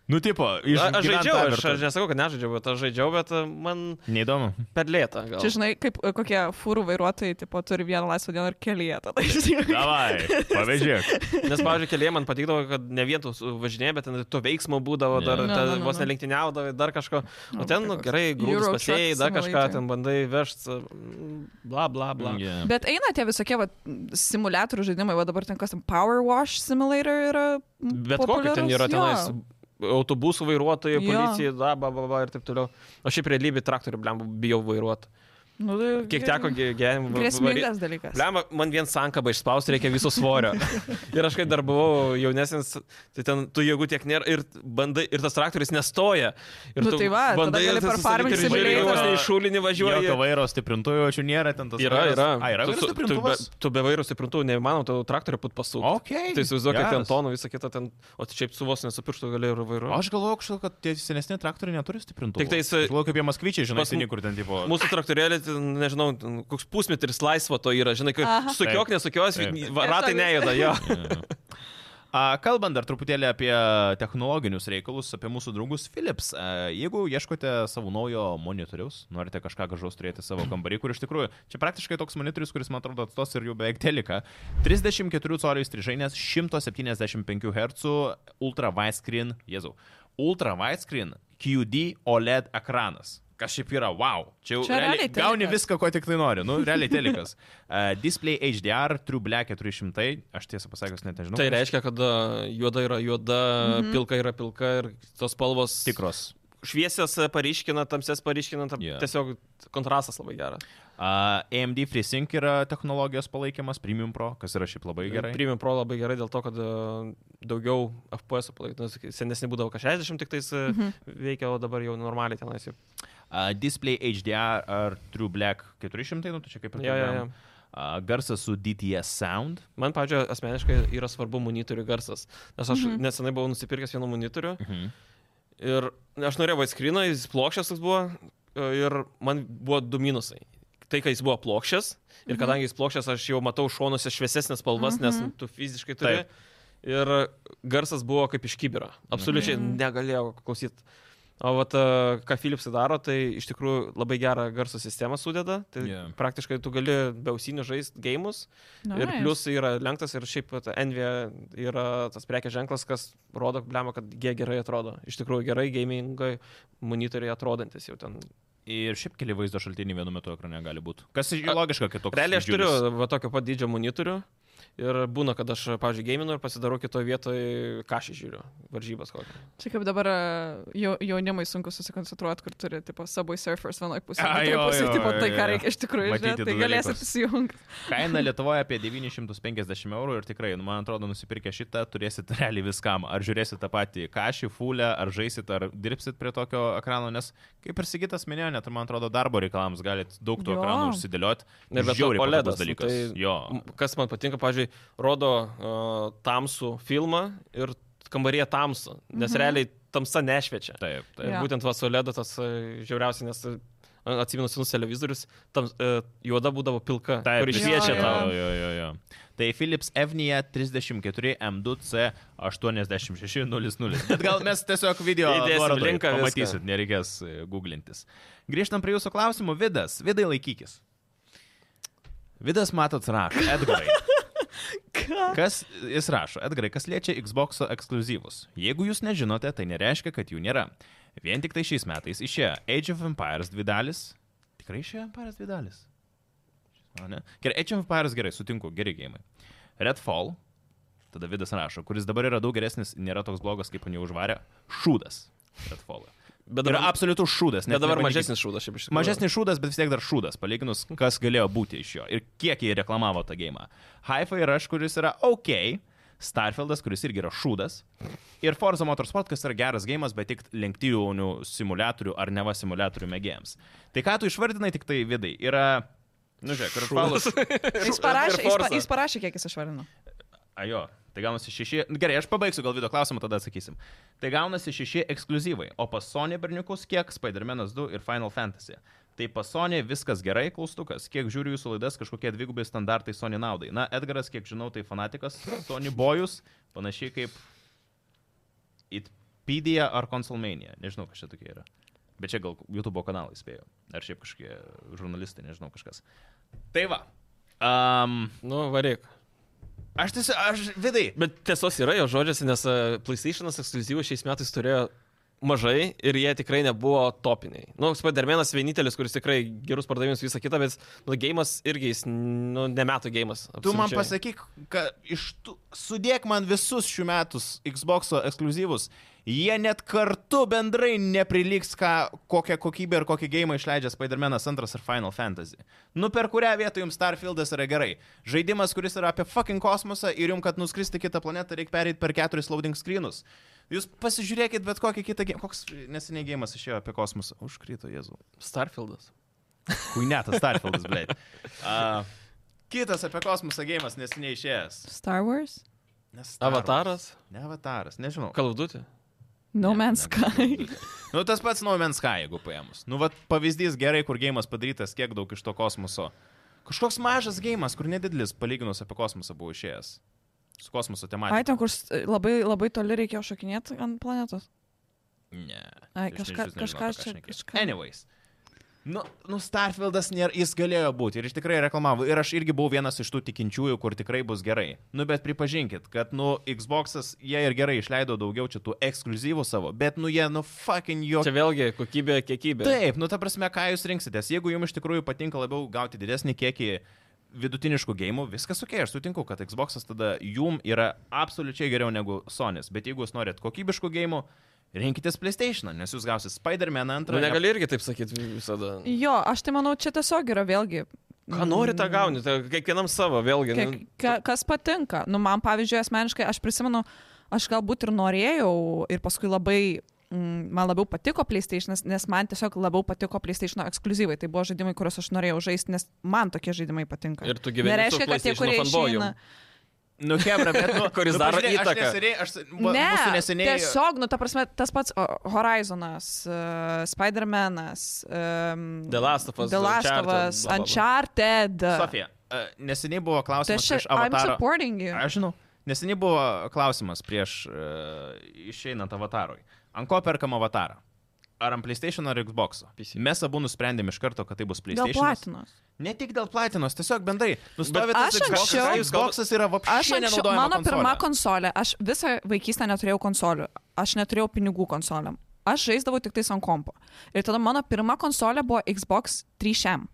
[SPEAKER 1] Nu, tipo, iš...
[SPEAKER 2] A- Aš žaidžiau, aš, aš nesakau, kad nežaidžiau, bet aš žaidžiau, bet a, man
[SPEAKER 1] Neįdomu.
[SPEAKER 2] per lėta. Gal.
[SPEAKER 3] Čia žinai, kaip e, kokie fūrų vairuotojai, tipo, turi vieną laisvą dieną ir kelyje. Tada išsijungia.
[SPEAKER 1] Davai, pavėžėk.
[SPEAKER 2] Nes, pavyzdžiui, kelyje man patikdavo, kad ne vien tu su- važinėjai, bet ten to veiksmo būdavo, dar
[SPEAKER 1] Jo.
[SPEAKER 2] yeah.
[SPEAKER 3] Na,
[SPEAKER 2] ta,
[SPEAKER 3] na, na,
[SPEAKER 2] vos
[SPEAKER 3] na.
[SPEAKER 2] nelenktyniaudavo, dar kažko.
[SPEAKER 3] Na,
[SPEAKER 2] O ten, nu,
[SPEAKER 3] koks
[SPEAKER 2] gerai, grūdus
[SPEAKER 3] Euro
[SPEAKER 2] pasėjai,
[SPEAKER 3] Truck
[SPEAKER 2] dar kažką
[SPEAKER 3] Simulator.
[SPEAKER 2] ten bandai vežti, bla, bla, bla.
[SPEAKER 1] Yeah.
[SPEAKER 3] Bet eina tie visokie va, simulatorių žaidimai, va dabar ten kas ten Power Wash Simulator yra. m,
[SPEAKER 2] Bet kokia ten
[SPEAKER 3] populiarus,
[SPEAKER 2] yra
[SPEAKER 3] jo.
[SPEAKER 2] tenais. Autobusų vairuotojai,
[SPEAKER 3] Jo.
[SPEAKER 2] policija, da, ba, ba, ba ir taip toliau. O šiaip realybė traktorių, blem, bijau vairuoti.
[SPEAKER 3] Nu, tai,
[SPEAKER 2] Kiek teko gyvenimo.
[SPEAKER 3] Grėsmingas dalykas.
[SPEAKER 2] Lemba, man vien sankabą išspausti reikia viso svorio. Ir aš kai dar buvau jaunesnis, tai ten tų jėgų tiek nėra ir, bandai, ir tas traktorius nestoja. Ir
[SPEAKER 3] Nu tai va, tada gali
[SPEAKER 2] ir
[SPEAKER 3] per
[SPEAKER 2] sustabdyti
[SPEAKER 3] farming
[SPEAKER 2] ir žiūri,
[SPEAKER 3] simulator.
[SPEAKER 2] vos ne į šulinį
[SPEAKER 1] Jokio
[SPEAKER 2] važiuoji.
[SPEAKER 1] vairo stiprintųjų, čia nėra ten tas.
[SPEAKER 2] Yra,
[SPEAKER 1] vairas.
[SPEAKER 2] yra.
[SPEAKER 1] A, yra vairo
[SPEAKER 2] Tu su- tu, be,
[SPEAKER 1] stiprintuvas.
[SPEAKER 2] tu be vairo stiprintuvų, neįmanoma, tau traktorių pat pasuk.
[SPEAKER 1] Okei,
[SPEAKER 2] Tai įsivaizduok, kiek ten
[SPEAKER 1] geras.
[SPEAKER 2] tonų, visą kitą ten, o tu šiaip su vos nesupirštų gali ir vairuoti.
[SPEAKER 1] Aš galvoju, kažkaip, kad tie senesni traktoriai neturi stiprintuvų.
[SPEAKER 2] Tik tais,
[SPEAKER 1] Aš Galvoju, kaip jie maskvyčiai, žinai,
[SPEAKER 2] pas Nu, mu-
[SPEAKER 1] seniai kur ten tipo.
[SPEAKER 2] Mūsų traktorėlė, ten, nežinau, ten koks pusmetris laisvo to yra, žinai, kaip
[SPEAKER 3] Aha.
[SPEAKER 2] sukiok,
[SPEAKER 1] Taip.
[SPEAKER 2] nesukios,
[SPEAKER 1] Taip.
[SPEAKER 2] va- ratai
[SPEAKER 3] Tiesiog-
[SPEAKER 2] nejuda, jo.
[SPEAKER 1] A, Kalbant dar truputėlį apie technologinius reikalus, apie mūsų draugus Philips. A, Jeigu ieškote savo naujo monitoriaus, norite kažką gražaus turėti savo kambarį, kur iš tikrųjų čia praktiškai toks monitorius, kuris man atrodo atstos ir jau beveik telika. 34 colių strižainės, 175 Hz, ultra widescreen, jezau, ultra widescreen QD OLED E ekranas. Kas šiaip yra, wow. Čia jau
[SPEAKER 3] Čia realiai
[SPEAKER 1] gauni
[SPEAKER 3] telikas.
[SPEAKER 1] viską, ko tik tai nori. Nu, realiai telikas. Uh, display HDR, True Black 400, aš tiesą pasakius net nežinau.
[SPEAKER 2] e, Tai reiškia, kad a, juoda yra juoda, mm -hmm. pilka yra pilka ir tos spalvos
[SPEAKER 1] tikros.
[SPEAKER 2] šviesias e, paryškina, tamsias paryškina, tam,
[SPEAKER 1] Jo.
[SPEAKER 2] yeah. tiesiog kontrastas labai geras.
[SPEAKER 1] A, AMD FreeSync yra technologijos palaikymas, Premium Pro, kas yra šiaip labai Tai gerai.
[SPEAKER 2] Premium Pro labai gerai dėl to, kad e, daugiau FPS palaikytų, senesni būdavo kažkaip 60 tik tais mm -hmm. veikia, o dabar jau normaliai tenais jau.
[SPEAKER 1] A, display HDR ar True Black 400, nu tai čia kaip ir
[SPEAKER 2] Jo, jo, jo.
[SPEAKER 1] kalbėjom. A, Garsas su DTS Sound.
[SPEAKER 2] Man, pavyzdžiui, asmeniškai yra svarbu monitorių garsas, nes aš mm -hmm. nesenai buvau nusipirkęs vieną monitorių
[SPEAKER 1] Mhm.
[SPEAKER 2] Ir aš norėjau atskryną, jis plokščias toks buvo ir man buvo du minusai. Tai, kad jis buvo plokščias ir kadangi jis plokščias, aš jau matau šonuose šviesesnės spalvas, nes
[SPEAKER 3] Mhm.
[SPEAKER 2] tu fiziškai turi. Taip. Ir garsas buvo kaip iš kibiro. Absoliučiai
[SPEAKER 3] Mhm.
[SPEAKER 2] negalėjau klausyti. O vat, a, ką Philipsai daro, tai iš tikrųjų labai gerą garso sistemą sudeda. Tai
[SPEAKER 1] Jo.
[SPEAKER 2] yeah. praktiškai tu gali be ausinių žaisti gėjimus.
[SPEAKER 3] Nu, Nice.
[SPEAKER 2] Ir plus yra lenktas ir šiaip ta Envy yra tas prekės ženklas, kas rodo, blemo, kad jie gerai atrodo. Iš tikrųjų gerai gamingai monitoriai atrodantis jau ten.
[SPEAKER 1] Ir šiaip keli vaizdo šaltiniai vienu metu ekrane gali būti. Kas ir logiška, kad toks.
[SPEAKER 2] Realiai aš
[SPEAKER 1] didžiulis-
[SPEAKER 2] turiu va, tokio pat dydžio monitorių ir būna, kad aš, pavyzdžiui, gaminu ir pasidarau kitoje vietoje, ką aš žiūriu, varžybas kokią.
[SPEAKER 3] Čia kaip dabar e, jau, jaunimui sunku susikoncentruoti, kur turi, tipo, Subway Surfers vienoje pusėje.
[SPEAKER 1] A,
[SPEAKER 3] kitoje
[SPEAKER 1] jo,
[SPEAKER 3] pusėje,
[SPEAKER 1] jo,
[SPEAKER 3] tipo,
[SPEAKER 1] jo,
[SPEAKER 3] tai ką
[SPEAKER 1] jo.
[SPEAKER 3] reikia iš tikrųjų
[SPEAKER 1] Matyti
[SPEAKER 3] žiūrėti, tai
[SPEAKER 1] du
[SPEAKER 3] galės
[SPEAKER 1] dalykus.
[SPEAKER 3] apsijungti.
[SPEAKER 1] Kaina Lietuvoje apie 950 eurų ir tikrai, nu, man atrodo, nusipirkę šitą turėsit realiai viskam. Ar žiūrėsit tą patį kažį, fulę, ar žaisit, ar dirbsit prie tokio ekrano, nes kaip ir Sigitas minėjo, net ir, man atrodo, darbo reikalams galit daug tų
[SPEAKER 3] Jo.
[SPEAKER 1] ekranų užsidėlioti.
[SPEAKER 2] Ir be to
[SPEAKER 1] Žiauriai patogus
[SPEAKER 2] OLEDas, nu,
[SPEAKER 1] dalykas.
[SPEAKER 2] tai-
[SPEAKER 1] Jo.
[SPEAKER 2] Kas man patinka, pavyzdžiui, rodo uh, tamsų filmą ir kambaryje tamsu, nes
[SPEAKER 3] Mhm.
[SPEAKER 2] mhm. realiai tamsa nešviečia.
[SPEAKER 1] Taip, taip.
[SPEAKER 2] Ir
[SPEAKER 3] Jo.
[SPEAKER 2] būtent Vasolėda tas e, žiauriausiai, nes e, atsimenu senus televizorius, tam e, juoda būdavo pilka,
[SPEAKER 1] Taip,
[SPEAKER 2] kur
[SPEAKER 3] visiškai.
[SPEAKER 2] išviečia
[SPEAKER 3] Jo,
[SPEAKER 2] tau.
[SPEAKER 3] jo.
[SPEAKER 1] Jo, jo, jo. Tai Philips Evnija 34 M2C 8600. Bet gal mes tiesiog video
[SPEAKER 2] Įdėsim
[SPEAKER 1] nuorodą
[SPEAKER 2] linką, viską.
[SPEAKER 1] pamatysit, nereikės e, googlintis. Grįžtam prie jūsų klausimų. Vidas, vidai laikykis. Vidas matot rašo, Edgarai. Kas jis rašo, Edgarai, kas liečia Xbox ekskluzyvus? Jeigu jūs nežinote, tai nereiškia, kad jų nėra. Vien tik tai šiais metais išėjo Age of Empires 2 dalis. Tikrai išėjo Empires 2 dalis. O ne? Gerai, Age of Empires gerai, sutinku, geri gėjimai. Redfall, tada Vidas rašo, kuris dabar yra daug geresnis, nėra toks blogas, kaip jį užvarė. Šūdas. Redfall.
[SPEAKER 2] Bet
[SPEAKER 1] Yra
[SPEAKER 2] dabar,
[SPEAKER 1] absoliutus šūdas.
[SPEAKER 2] bet
[SPEAKER 1] net
[SPEAKER 2] dabar
[SPEAKER 1] nebandykit-
[SPEAKER 2] mažesnis šūdas, šiaip iš tikrųjų.
[SPEAKER 1] Mažesnis šūdas, bet vis tiek dar šūdas, palyginus, kas galėjo būti iš jo ir kiek jie reklamavo tą gėjimą. Haifa ir aš, kuris yra OK, Starfieldas, kuris irgi yra šūdas, ir Forza Motorsport, kas yra geras gėjimas, bet tik lenktynių simuliatorių ar neva simuliatorių mėgėjams. Tai ką tu išvardinai tik tai vidai? Yra... Nu, žiūrėk, Redfallas.
[SPEAKER 3] Jis parašė, jis, pa,
[SPEAKER 2] Forza.
[SPEAKER 3] jis parašė, kiek jis išvarino.
[SPEAKER 1] Ajo, tai gaunasi šeši. nu, Gerai, aš pabaigsiu gal video klausimą, tada atsakysim. Tai gaunasi šeši ekskluzyvai, o pas Sony berniukus kiek Spider-Man'as 2 ir Final Fantasy. Tai pas Sony viskas gerai, klaustukas. Kiek žiūriu jūsų laidas, kažkokie dvigubai standartai Sony naudai. Na, Edgaras, kiek žinau, tai fanatikas Sony Bojus, panašiai kaip Itpedia ar Consolmania. Nežinau, kas čia tokie yra. Bet čia gal YouTube kanalai spėjo. Ar šiaip kažkokie žurnalistai, nežinau, kažkas. Tai va. Um,
[SPEAKER 2] Nu, varyk.
[SPEAKER 1] aš tiesiog, aš vidai.
[SPEAKER 2] Bet tiesos yra jo žodžiuose, nes e, PlayStation'as ekskluzyvų šiais metais turėjo mažai ir jie tikrai nebuvo topiniai. Nu, Spider-Man'as vienintelis, kuris tikrai gerus pardavimus visą kitą, bet nu, gėjimas irgi jis, nu, nemetų gėjimas.
[SPEAKER 6] Tu man pasakyk, kad iš tų, sudėk man visus šių metų Xbox ekskluzyvus. Jie net kartu bendrai nepriliks, ką, kokią kokybę ir kokį gėjimą išleidžia Spider-Man'as 2 ar Final Fantasy. Nu per kurią vietą jums Starfield'as yra gerai. Žaidimas, kuris yra apie fucking kosmosą ir jums, kad nuskristi į kitą planetą, reikia perėti per keturis loading screenus. Jūs pasižiūrėkit bet kokį kitą gėjimą. Koks neseniai gėjimas išėjo apie kosmosą? Užkrito, Jėzau.
[SPEAKER 2] Starfield'as.
[SPEAKER 1] Kuinetas Starfieldas, blei. Uh, kitas apie kosmosą gėjimas neseniai išėjęs.
[SPEAKER 3] Star Wars?
[SPEAKER 6] Ne Star Wars.
[SPEAKER 2] Avataras?
[SPEAKER 6] Ne avataras, nežinau.
[SPEAKER 2] Kalvdutė?
[SPEAKER 3] No
[SPEAKER 1] Ne,
[SPEAKER 3] Man's
[SPEAKER 1] ne,
[SPEAKER 3] Sky.
[SPEAKER 1] Nu, tas pats No Man's Sky, jeigu paėmus. Nu, va, pavyzdys gerai, kur gėjimas padarytas, kiek daug iš to kosmoso. Kažkoks mažas gėjimas, kur nedidelis, palyginus apie kosmosą buvo išėjęs. Su kosmoso
[SPEAKER 3] Ai,
[SPEAKER 1] tematika.
[SPEAKER 3] ten, kur s- labai, labai toli reikėjo šokinėti ant planetos.
[SPEAKER 1] Ne.
[SPEAKER 3] Ai,
[SPEAKER 1] Aš
[SPEAKER 3] kažką-
[SPEAKER 1] išvis nežinau,
[SPEAKER 3] kažką
[SPEAKER 1] apie
[SPEAKER 3] aš
[SPEAKER 1] ką
[SPEAKER 3] čia-
[SPEAKER 1] šneki.
[SPEAKER 3] kažką-
[SPEAKER 1] Anyways. Nu, nu Starfieldas, nėra, jis galėjo būti ir jis tikrai reklamavo. Ir aš irgi buvau vienas iš tų tikinčiųjų, kur tikrai bus gerai. Nu, bet pripažinkit, kad, nu, Xbox'as, jie ir gerai išleido daugiau čia tų ekskluzyvų savo, bet, nu, jie, nu, fucking jo
[SPEAKER 2] Čia vėlgi kokybė, kiekybė.
[SPEAKER 1] Taip, nu ta prasme, ką jūs rinksitės. Jeigu jums iš tikrųjų patinka labiau gauti didesnį kiekį vidutiniškų gėjimų, viskas ok, aš sutinku, kad Xbox'as tada jum yra absoliučiai geriau negu Sony's. Bet jeigu jūs norit kokybiškų gėjimų, rinkitės PlayStation, nes jūs gausite Spider-Man antrą.
[SPEAKER 2] Nu, negali irgi taip sakyti visada.
[SPEAKER 3] Jo, aš tai manau, čia tiesiog yra vėlgi. mm,
[SPEAKER 2] Ką nori, tą gauni, tai kiekvienam savo, vėlgi.
[SPEAKER 3] Kiek,
[SPEAKER 2] nu,
[SPEAKER 3] ka, kas patinka. Nu, man, pavyzdžiui, asmeniškai, aš prisimenu, aš galbūt ir norėjau ir paskui labai, mm, man labiau patiko PlayStation, nes man tiesiog labiau patiko PlayStation ekskluzyvai. Tai buvo žaidimai, kuriuos aš norėjau žaisti, nes man tokie žaidimai patinka.
[SPEAKER 2] Ir tu gyveni su
[SPEAKER 3] Nereiškia, kad tie,
[SPEAKER 2] PlayStation
[SPEAKER 3] kurie
[SPEAKER 2] fanboyum.
[SPEAKER 3] išeina.
[SPEAKER 1] Nu, Hebra, bet, nu,
[SPEAKER 2] Kuris
[SPEAKER 1] nu,
[SPEAKER 2] daro
[SPEAKER 1] pažiūrėk,
[SPEAKER 2] įtaką.
[SPEAKER 1] Aš neseniai, aš, va,
[SPEAKER 3] Ne,
[SPEAKER 1] mūsų neseniai.
[SPEAKER 3] tiesiog, nu, ta prasme, tas pats o, Horizonas, uh, Spider-Manas, um,
[SPEAKER 2] The Last of Us,
[SPEAKER 3] The Last
[SPEAKER 2] Uncharted,
[SPEAKER 3] of Us,
[SPEAKER 2] bla, bla, bla.
[SPEAKER 3] Uncharted.
[SPEAKER 1] Sofija, e, neseniai buvo
[SPEAKER 3] Tai
[SPEAKER 1] klausimas
[SPEAKER 3] aš
[SPEAKER 1] iš
[SPEAKER 3] čia, I'm
[SPEAKER 1] avataro.
[SPEAKER 3] supporting you.
[SPEAKER 1] Aš žinau. Neseniai buvo klausimas prieš uh, išeinant avatarui. Ant ko perkam avatarą? Ar ant PlayStation ar Xbox?
[SPEAKER 2] PC.
[SPEAKER 1] Mes abu nusprendėm iš karto, kad tai bus
[SPEAKER 3] Dėl
[SPEAKER 1] PlayStation.
[SPEAKER 3] platinos.
[SPEAKER 1] Ne tik dėl platinos, tiesiog bendrai. Nustovėtas
[SPEAKER 3] aš anksčiau-
[SPEAKER 1] Xboxas yra
[SPEAKER 3] Aš
[SPEAKER 1] vapšė
[SPEAKER 3] anksčiau,
[SPEAKER 1] nenaudojama.
[SPEAKER 3] mano pirma
[SPEAKER 1] konsolė.
[SPEAKER 3] konsolė, aš visą vaikystę neturėjau konsolių, aš neturėjau pinigų konsoliam, aš žaisdavau tik tais ant kompo. Ir tada mano pirma konsolė buvo Xbox 3M.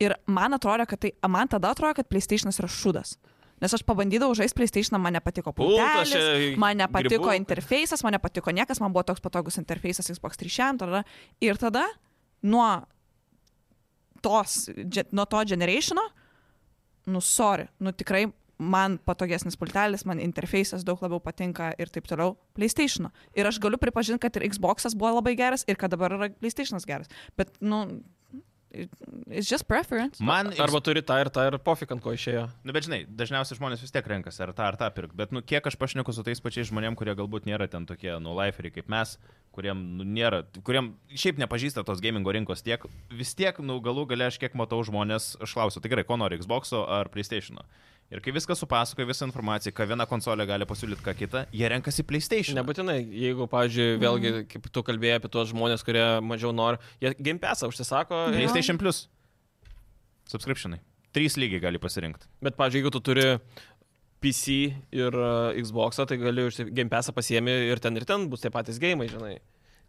[SPEAKER 3] Ir man atrodo, kad tai, man tada atrodo, kad PlayStation'as yra šūdas. Nes aš pabandydavau žaisti PlayStation'ą, man nepatiko
[SPEAKER 2] Pultas
[SPEAKER 3] pultelis,
[SPEAKER 2] čia,
[SPEAKER 3] man nepatiko
[SPEAKER 2] gribų.
[SPEAKER 3] interfejsas, man nepatiko niekas, man buvo toks patogus interfejsas Xbox 3M. Tada. Ir tada nuo, tos, dže- nuo to generationo nu, sorry, nu tikrai man patogesnis pultelis, man interfejsas daug labiau patinka ir taip toliau PlayStation. Ir aš galiu pripažinti, kad ir Xbox'as buvo labai geras ir kad dabar yra PlayStation'as geras. Bet, nu, it- it's just preference.
[SPEAKER 1] Man
[SPEAKER 2] nu, Arba turi tą ir tą ir pofik ant ko išėjo.
[SPEAKER 1] Nu, bet žinai, dažniausiai žmonės vis tiek renkasi ar tą, ar tą pirkti. Bet, nu, kiek aš pašneku su tais pačiais žmonėm, kurie galbūt nėra ten tokie, nu, liferiai kaip mes, kuriem, nu, nėra, kuriem šiaip nepažįsta tos gamingo rinkos tiek, vis tiek, nu, galų gale aš kiek matau žmonės, aš klausiu, tai gerai, ko nori, Xbox'o ar PlayStation'o. Ir kai viską supasakoja, visą informaciją, ką viena konsolė gali pasiūlyti, ką kitą, jie renkasi PlayStation.
[SPEAKER 2] Nebūtinai, jeigu, pavyzdžiui,
[SPEAKER 3] Mm.
[SPEAKER 2] vėlgi, kaip tu kalbėjai apie tuos žmonės, kurie mažiau nori, jie gimpesą užsisako,
[SPEAKER 3] Ne.
[SPEAKER 2] ir-
[SPEAKER 1] PlayStation Plus. Subscriptionai. Trys lygiai gali pasirinkti.
[SPEAKER 2] bet, pavyzdžiui, jeigu tu turi PC ir uh, Xbox, tai gali gimpesą pasiemi ir ten ir ten bus tie patys gėjimai, žinai.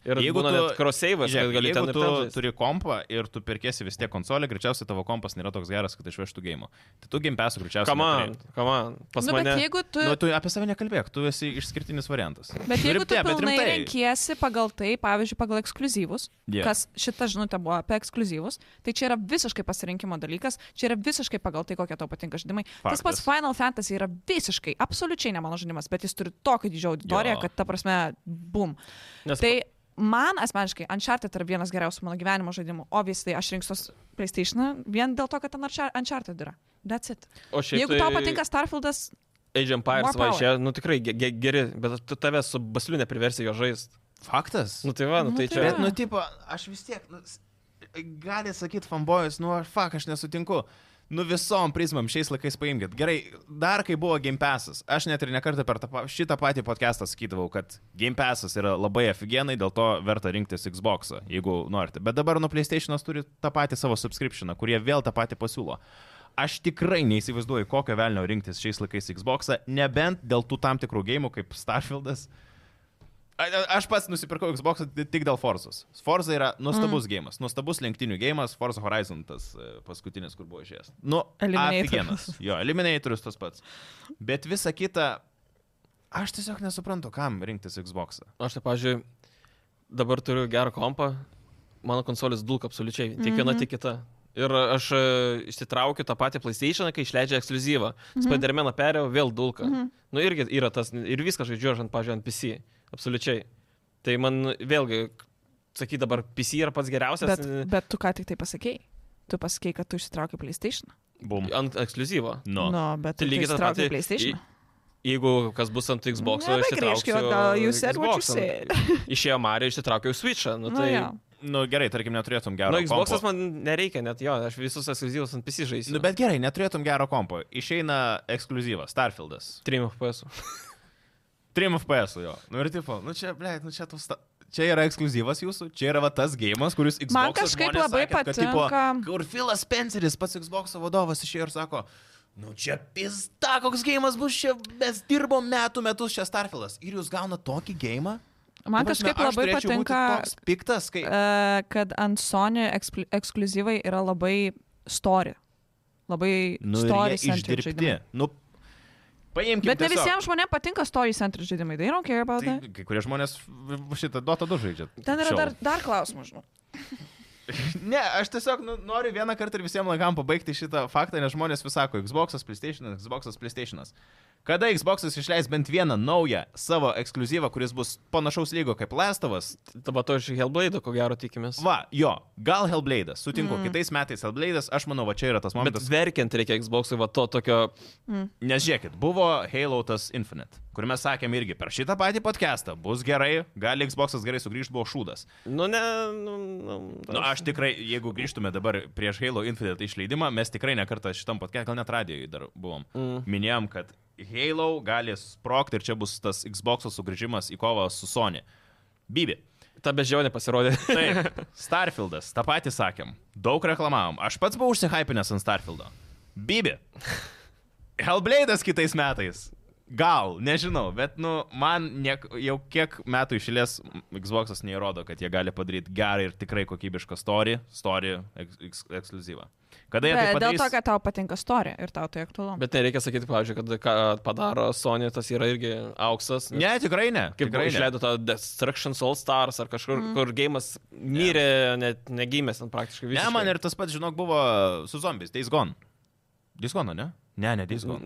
[SPEAKER 2] Ir
[SPEAKER 1] Jeigu
[SPEAKER 2] jeigu būna
[SPEAKER 1] tu-
[SPEAKER 2] net crossavers, kad
[SPEAKER 1] Žiūrėk,
[SPEAKER 2] gali ten
[SPEAKER 1] jeigu
[SPEAKER 2] ir
[SPEAKER 1] tu
[SPEAKER 2] ten. žaist.
[SPEAKER 1] turi kompą ir tu pirkėsi vis tiek konsolę, greičiausiai tavo kompas nėra toks geras, kad išvežtų gėjimų. Tai tu gimpesų greičiausiai.
[SPEAKER 2] Come on,
[SPEAKER 1] neturi.
[SPEAKER 2] come on. Pas
[SPEAKER 3] nu,
[SPEAKER 2] mane.
[SPEAKER 3] bet jeigu tu,
[SPEAKER 1] Nu, tu apie save nekalbėk, tu esi išskirtinis variantas.
[SPEAKER 3] bet jeigu
[SPEAKER 1] Rimtai,
[SPEAKER 3] tu pilnai
[SPEAKER 1] rimtai.
[SPEAKER 3] renkiesi pagal tai, pavyzdžiui, pagal ekskluzyvus,
[SPEAKER 1] Jo.
[SPEAKER 3] yeah. kas šita žinutė buvo apie ekskluzyvus, tai čia yra visiškai pasirinkimo dalykas, čia yra visiškai pagal tai, kokie tau patinka žaidimai. Tas pats
[SPEAKER 1] Faktas.
[SPEAKER 3] Final Fantasy yra visiškai, absoliučiai ne mano žaidimas, bet jis turi tokį didžią auditoriją,
[SPEAKER 1] Jo.
[SPEAKER 3] kad ta prasme, bum.
[SPEAKER 2] Nes-
[SPEAKER 3] Tai man asmeniškai Uncharted yra vienas geriausių mano gyvenimo žaidimų, o vis tai aš rinksiuos PlayStation vien dėl to, kad ten Unchar- Uncharted yra. That's it.
[SPEAKER 2] O šiaip
[SPEAKER 3] Jeigu
[SPEAKER 2] tai-
[SPEAKER 3] tau patinka Starfieldas,
[SPEAKER 2] Age
[SPEAKER 3] More
[SPEAKER 2] Empires va
[SPEAKER 3] power.
[SPEAKER 2] išėjo, nu tikrai ge ge geri, bet tu tave su basliu nepriversi jo žaisti.
[SPEAKER 1] Faktas.
[SPEAKER 2] Nu tai va, nu
[SPEAKER 3] Nu
[SPEAKER 2] tai
[SPEAKER 3] tai
[SPEAKER 2] čia.
[SPEAKER 3] va.
[SPEAKER 1] Bet, nu, tipo, aš vis tiek, nu, s- gali sakyti fanbojus, nu, aš fak, aš nesutinku. Nu visom prizmam šiais laikais paimkite. Gerai, dar kai buvo Game Passas, aš net ir nekartą per tą, pa- šitą patį podcastą sakydavau, kad Game Passas yra labai aфиgenai, dėl to verta rinktis Xbox, jeigu norite. Bet dabar nu PlayStation'as turi tą patį savo subscriptioną, kurie vėl tą patį pasiūlo. Aš tikrai neįsivaizduoju, kokio velnio rinktis šiais laikais Xboxą, nebent dėl tų tam tikrų gėjimų kaip Starfieldas. A- a- Aš pats nusipirkau Xbox tik dėl Forzos. Forza yra nuostabus mm. gėjimas, nuostabus lenktynių gėjimas, Forza Horizon tas e, paskutinis, kur buvo išėjęs. Nu,
[SPEAKER 3] Eliminatorius.
[SPEAKER 1] afigenas. Jo, eliminatorius tas pats. Bet visa kita, aš tiesiog nesuprantu, kam rinktis Xbox. Ą.
[SPEAKER 2] Aš tai, pažiūrėjau, dabar turiu gerą kompą, mano konsolės dulka absoliučiai, tiek viena,
[SPEAKER 3] Mhm.
[SPEAKER 2] tiek kita. Ir aš e, išsitraukiu tą patį PlayStation, kai išleidžia ekskluzyvą.
[SPEAKER 3] Mhm.
[SPEAKER 2] Mm -hmm. Spider-Man'ą perėjau, vėl dulka. Mm -hmm. Nu irgi yra tas, ir viską žaidžiu aš ant, pažiūrėjau, ant PC. Absoliučiai. Tai man vėlgi, sakyti dabar, PC yra pats geriausias
[SPEAKER 3] bet,
[SPEAKER 1] e,
[SPEAKER 2] bet...
[SPEAKER 3] bet tu ką tik tai pasakėjai. Tu pasakėjai, kad tu išsitraukai PlayStation.
[SPEAKER 1] Bum.
[SPEAKER 2] ant ekskluzyvo.
[SPEAKER 1] Nu.
[SPEAKER 3] Nu, bet
[SPEAKER 2] Tai
[SPEAKER 3] tu
[SPEAKER 2] lygiai tas
[SPEAKER 3] išsitraukai
[SPEAKER 2] pats-
[SPEAKER 3] PlayStation.
[SPEAKER 2] Jeigu kas bus ant Xbox,
[SPEAKER 3] Labai
[SPEAKER 2] aš
[SPEAKER 3] grįžkit
[SPEAKER 2] išsitraukiu.
[SPEAKER 3] atgal, you said what you
[SPEAKER 2] Xbox'ą.
[SPEAKER 3] said.
[SPEAKER 2] Išėjo Mario, išsitraukiau Switch'ą. Nu,
[SPEAKER 3] Nu,
[SPEAKER 2] tai...
[SPEAKER 3] jo.
[SPEAKER 1] nu gerai, tarkim, neturėtum gero.
[SPEAKER 2] Nu, Xbox'as
[SPEAKER 1] kompo.
[SPEAKER 2] man nereikia net jo, aš visus ekskluzyvus ant PC žaisiu.
[SPEAKER 1] Nu, bet gerai, neturėtum gero kompo. Išeina ekskluzyvas, Starfieldas.
[SPEAKER 2] 3 FPS.
[SPEAKER 1] 3 FPS jo. Nu ir tipo, nu čia, blei, nu čia tu sta... Čia yra ekskluzyvas jūsų, čia yra va tas gėjimas, kuris Xbox.
[SPEAKER 3] Man kažkaip labai patinka.
[SPEAKER 1] Kur Filas Spenceris, pats Xbox vadovas, išėjo ir sako, nu čia pizda, koks gėjimas bus čia, mes dirbom metų metus čia Starfieldas. Ir jūs gaunat tokį gėjimą?
[SPEAKER 3] Man
[SPEAKER 1] Nu,
[SPEAKER 3] kažkaip labai patinka,
[SPEAKER 1] Toks piktas, kai...
[SPEAKER 3] e, kad ant Sony ekspl- ekskluzyvai yra labai story. Labai
[SPEAKER 1] Nu, ir
[SPEAKER 3] story
[SPEAKER 1] jie išdirbti. Nu, Paimkime.
[SPEAKER 3] Bet ne visiems žmonėms patinka story centered žaidimai. They don't care about
[SPEAKER 1] Tai
[SPEAKER 3] that.
[SPEAKER 1] kai kurie žmonės v- šitą dotą du žaidžia.
[SPEAKER 3] Ten yra
[SPEAKER 1] Šiol.
[SPEAKER 3] dar, dar klausimų, žinau.
[SPEAKER 1] Ne, aš tiesiog nu, noriu vieną kartą ir visiems laikam pabaigti šitą faktą, nes žmonės vis sako, Xbox'as, PlayStation'as, Xbox'as, PlayStation'as. Kada Xbox'as išleis bent vieną naują savo ekskluzyvą, kuris bus panašaus lygo kaip Lestovas,
[SPEAKER 2] Dabar to iš Helblade, ko gero tikimės.
[SPEAKER 1] va, jo, gal Hellblade'as, sutinku, mm. kitais metais Hellblade'as, aš manau, va čia yra tas
[SPEAKER 2] Bet
[SPEAKER 1] momentas.
[SPEAKER 2] verkiant reikia Xbox'ui va to tokio...
[SPEAKER 1] Nes žiūrėkit, buvo Halo tas Infinite, kur mes sakėm irgi per šitą patį podcastą, bus gerai, gali Xbox'as gerai sugrįžti, buvo šūdas.
[SPEAKER 2] Nu, ne... Nu, nu,
[SPEAKER 1] Na, nu, aš tikrai, jeigu grįžtume dabar prieš Halo Infinite išleidimą, mes tikrai nekartą šitam podcast'e, gal net radijoje dar buvom, mm. minėjom, kad Halo gali sprokti ir čia bus tas Xbox'o sugrįžimas į kovą su Sony. Bibi.
[SPEAKER 2] Ta beždžionė pasirodė.
[SPEAKER 1] Taip, Starfieldas, tą patį sakėm, daug reklamavom. Aš pats buvau užsihypinęs ant Starfieldo. Bibi. Hellblade'as kitais metais. Gal, nežinau, bet nu, man niek, jau kiek metų išėlės Xbox'as neįrodo, kad jie gali padaryti gerą ir tikrai kokybišką story, story eks, eks, ekskluzyvą. Kada jie tai
[SPEAKER 3] Bet dėl
[SPEAKER 1] padarys?
[SPEAKER 3] to, kad tau patinka story ir tau tai aktualu.
[SPEAKER 2] Bet nereikia sakyti, pavyzdžiui, kad ką padaro Sony, tas yra irgi auksas. nes
[SPEAKER 1] Ne, tikrai ne.
[SPEAKER 2] Kaip
[SPEAKER 1] tikrai
[SPEAKER 2] Tikrai
[SPEAKER 1] ne.
[SPEAKER 2] išleido tą Destruction All Stars ar kažkur, mm. kur gėjimas mirė, net negimęs ten praktiškai
[SPEAKER 1] Ne,
[SPEAKER 2] viskas.
[SPEAKER 1] man ir tas pats, žinok, buvo su zombiais. Days gone. Days gone, ne? Ne, ne, Days gone.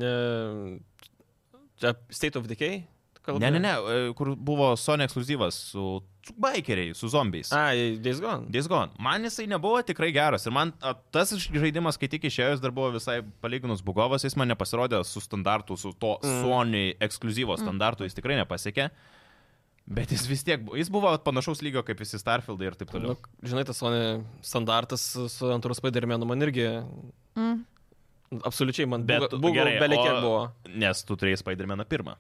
[SPEAKER 2] Čia State of Decay? Kalba?
[SPEAKER 1] Ne, ne, ne, e, kur buvo Sony ekskluzyvas su su bikeriai, su zombiais.
[SPEAKER 2] A, Days Gone.
[SPEAKER 1] Days Gone. Man jisai nebuvo tikrai geras. Ir man a, tas iš- žaidimas, kai tik išėjęs, dar buvo visai palyginus bugovas, jis man nepasirodė su standartu, su to mm. Sony ekskluzyvo
[SPEAKER 2] Mm.
[SPEAKER 1] standartu, jis tikrai nepasiekė. Bet jis vis tiek, bu- jis buvo panašaus lygio kaip visi Starfieldai ir taip
[SPEAKER 2] Nu,
[SPEAKER 1] toliau.
[SPEAKER 2] žinai, tas Sony standartas su- su antru Spidermenu man irgi...
[SPEAKER 3] Mm.
[SPEAKER 2] Absoliučiai man
[SPEAKER 1] Bet
[SPEAKER 2] buvo, buvo
[SPEAKER 1] gerai,
[SPEAKER 2] belekiek
[SPEAKER 1] o-
[SPEAKER 2] buvo.
[SPEAKER 1] Nes tu turėjai Spider-Maną pirmą.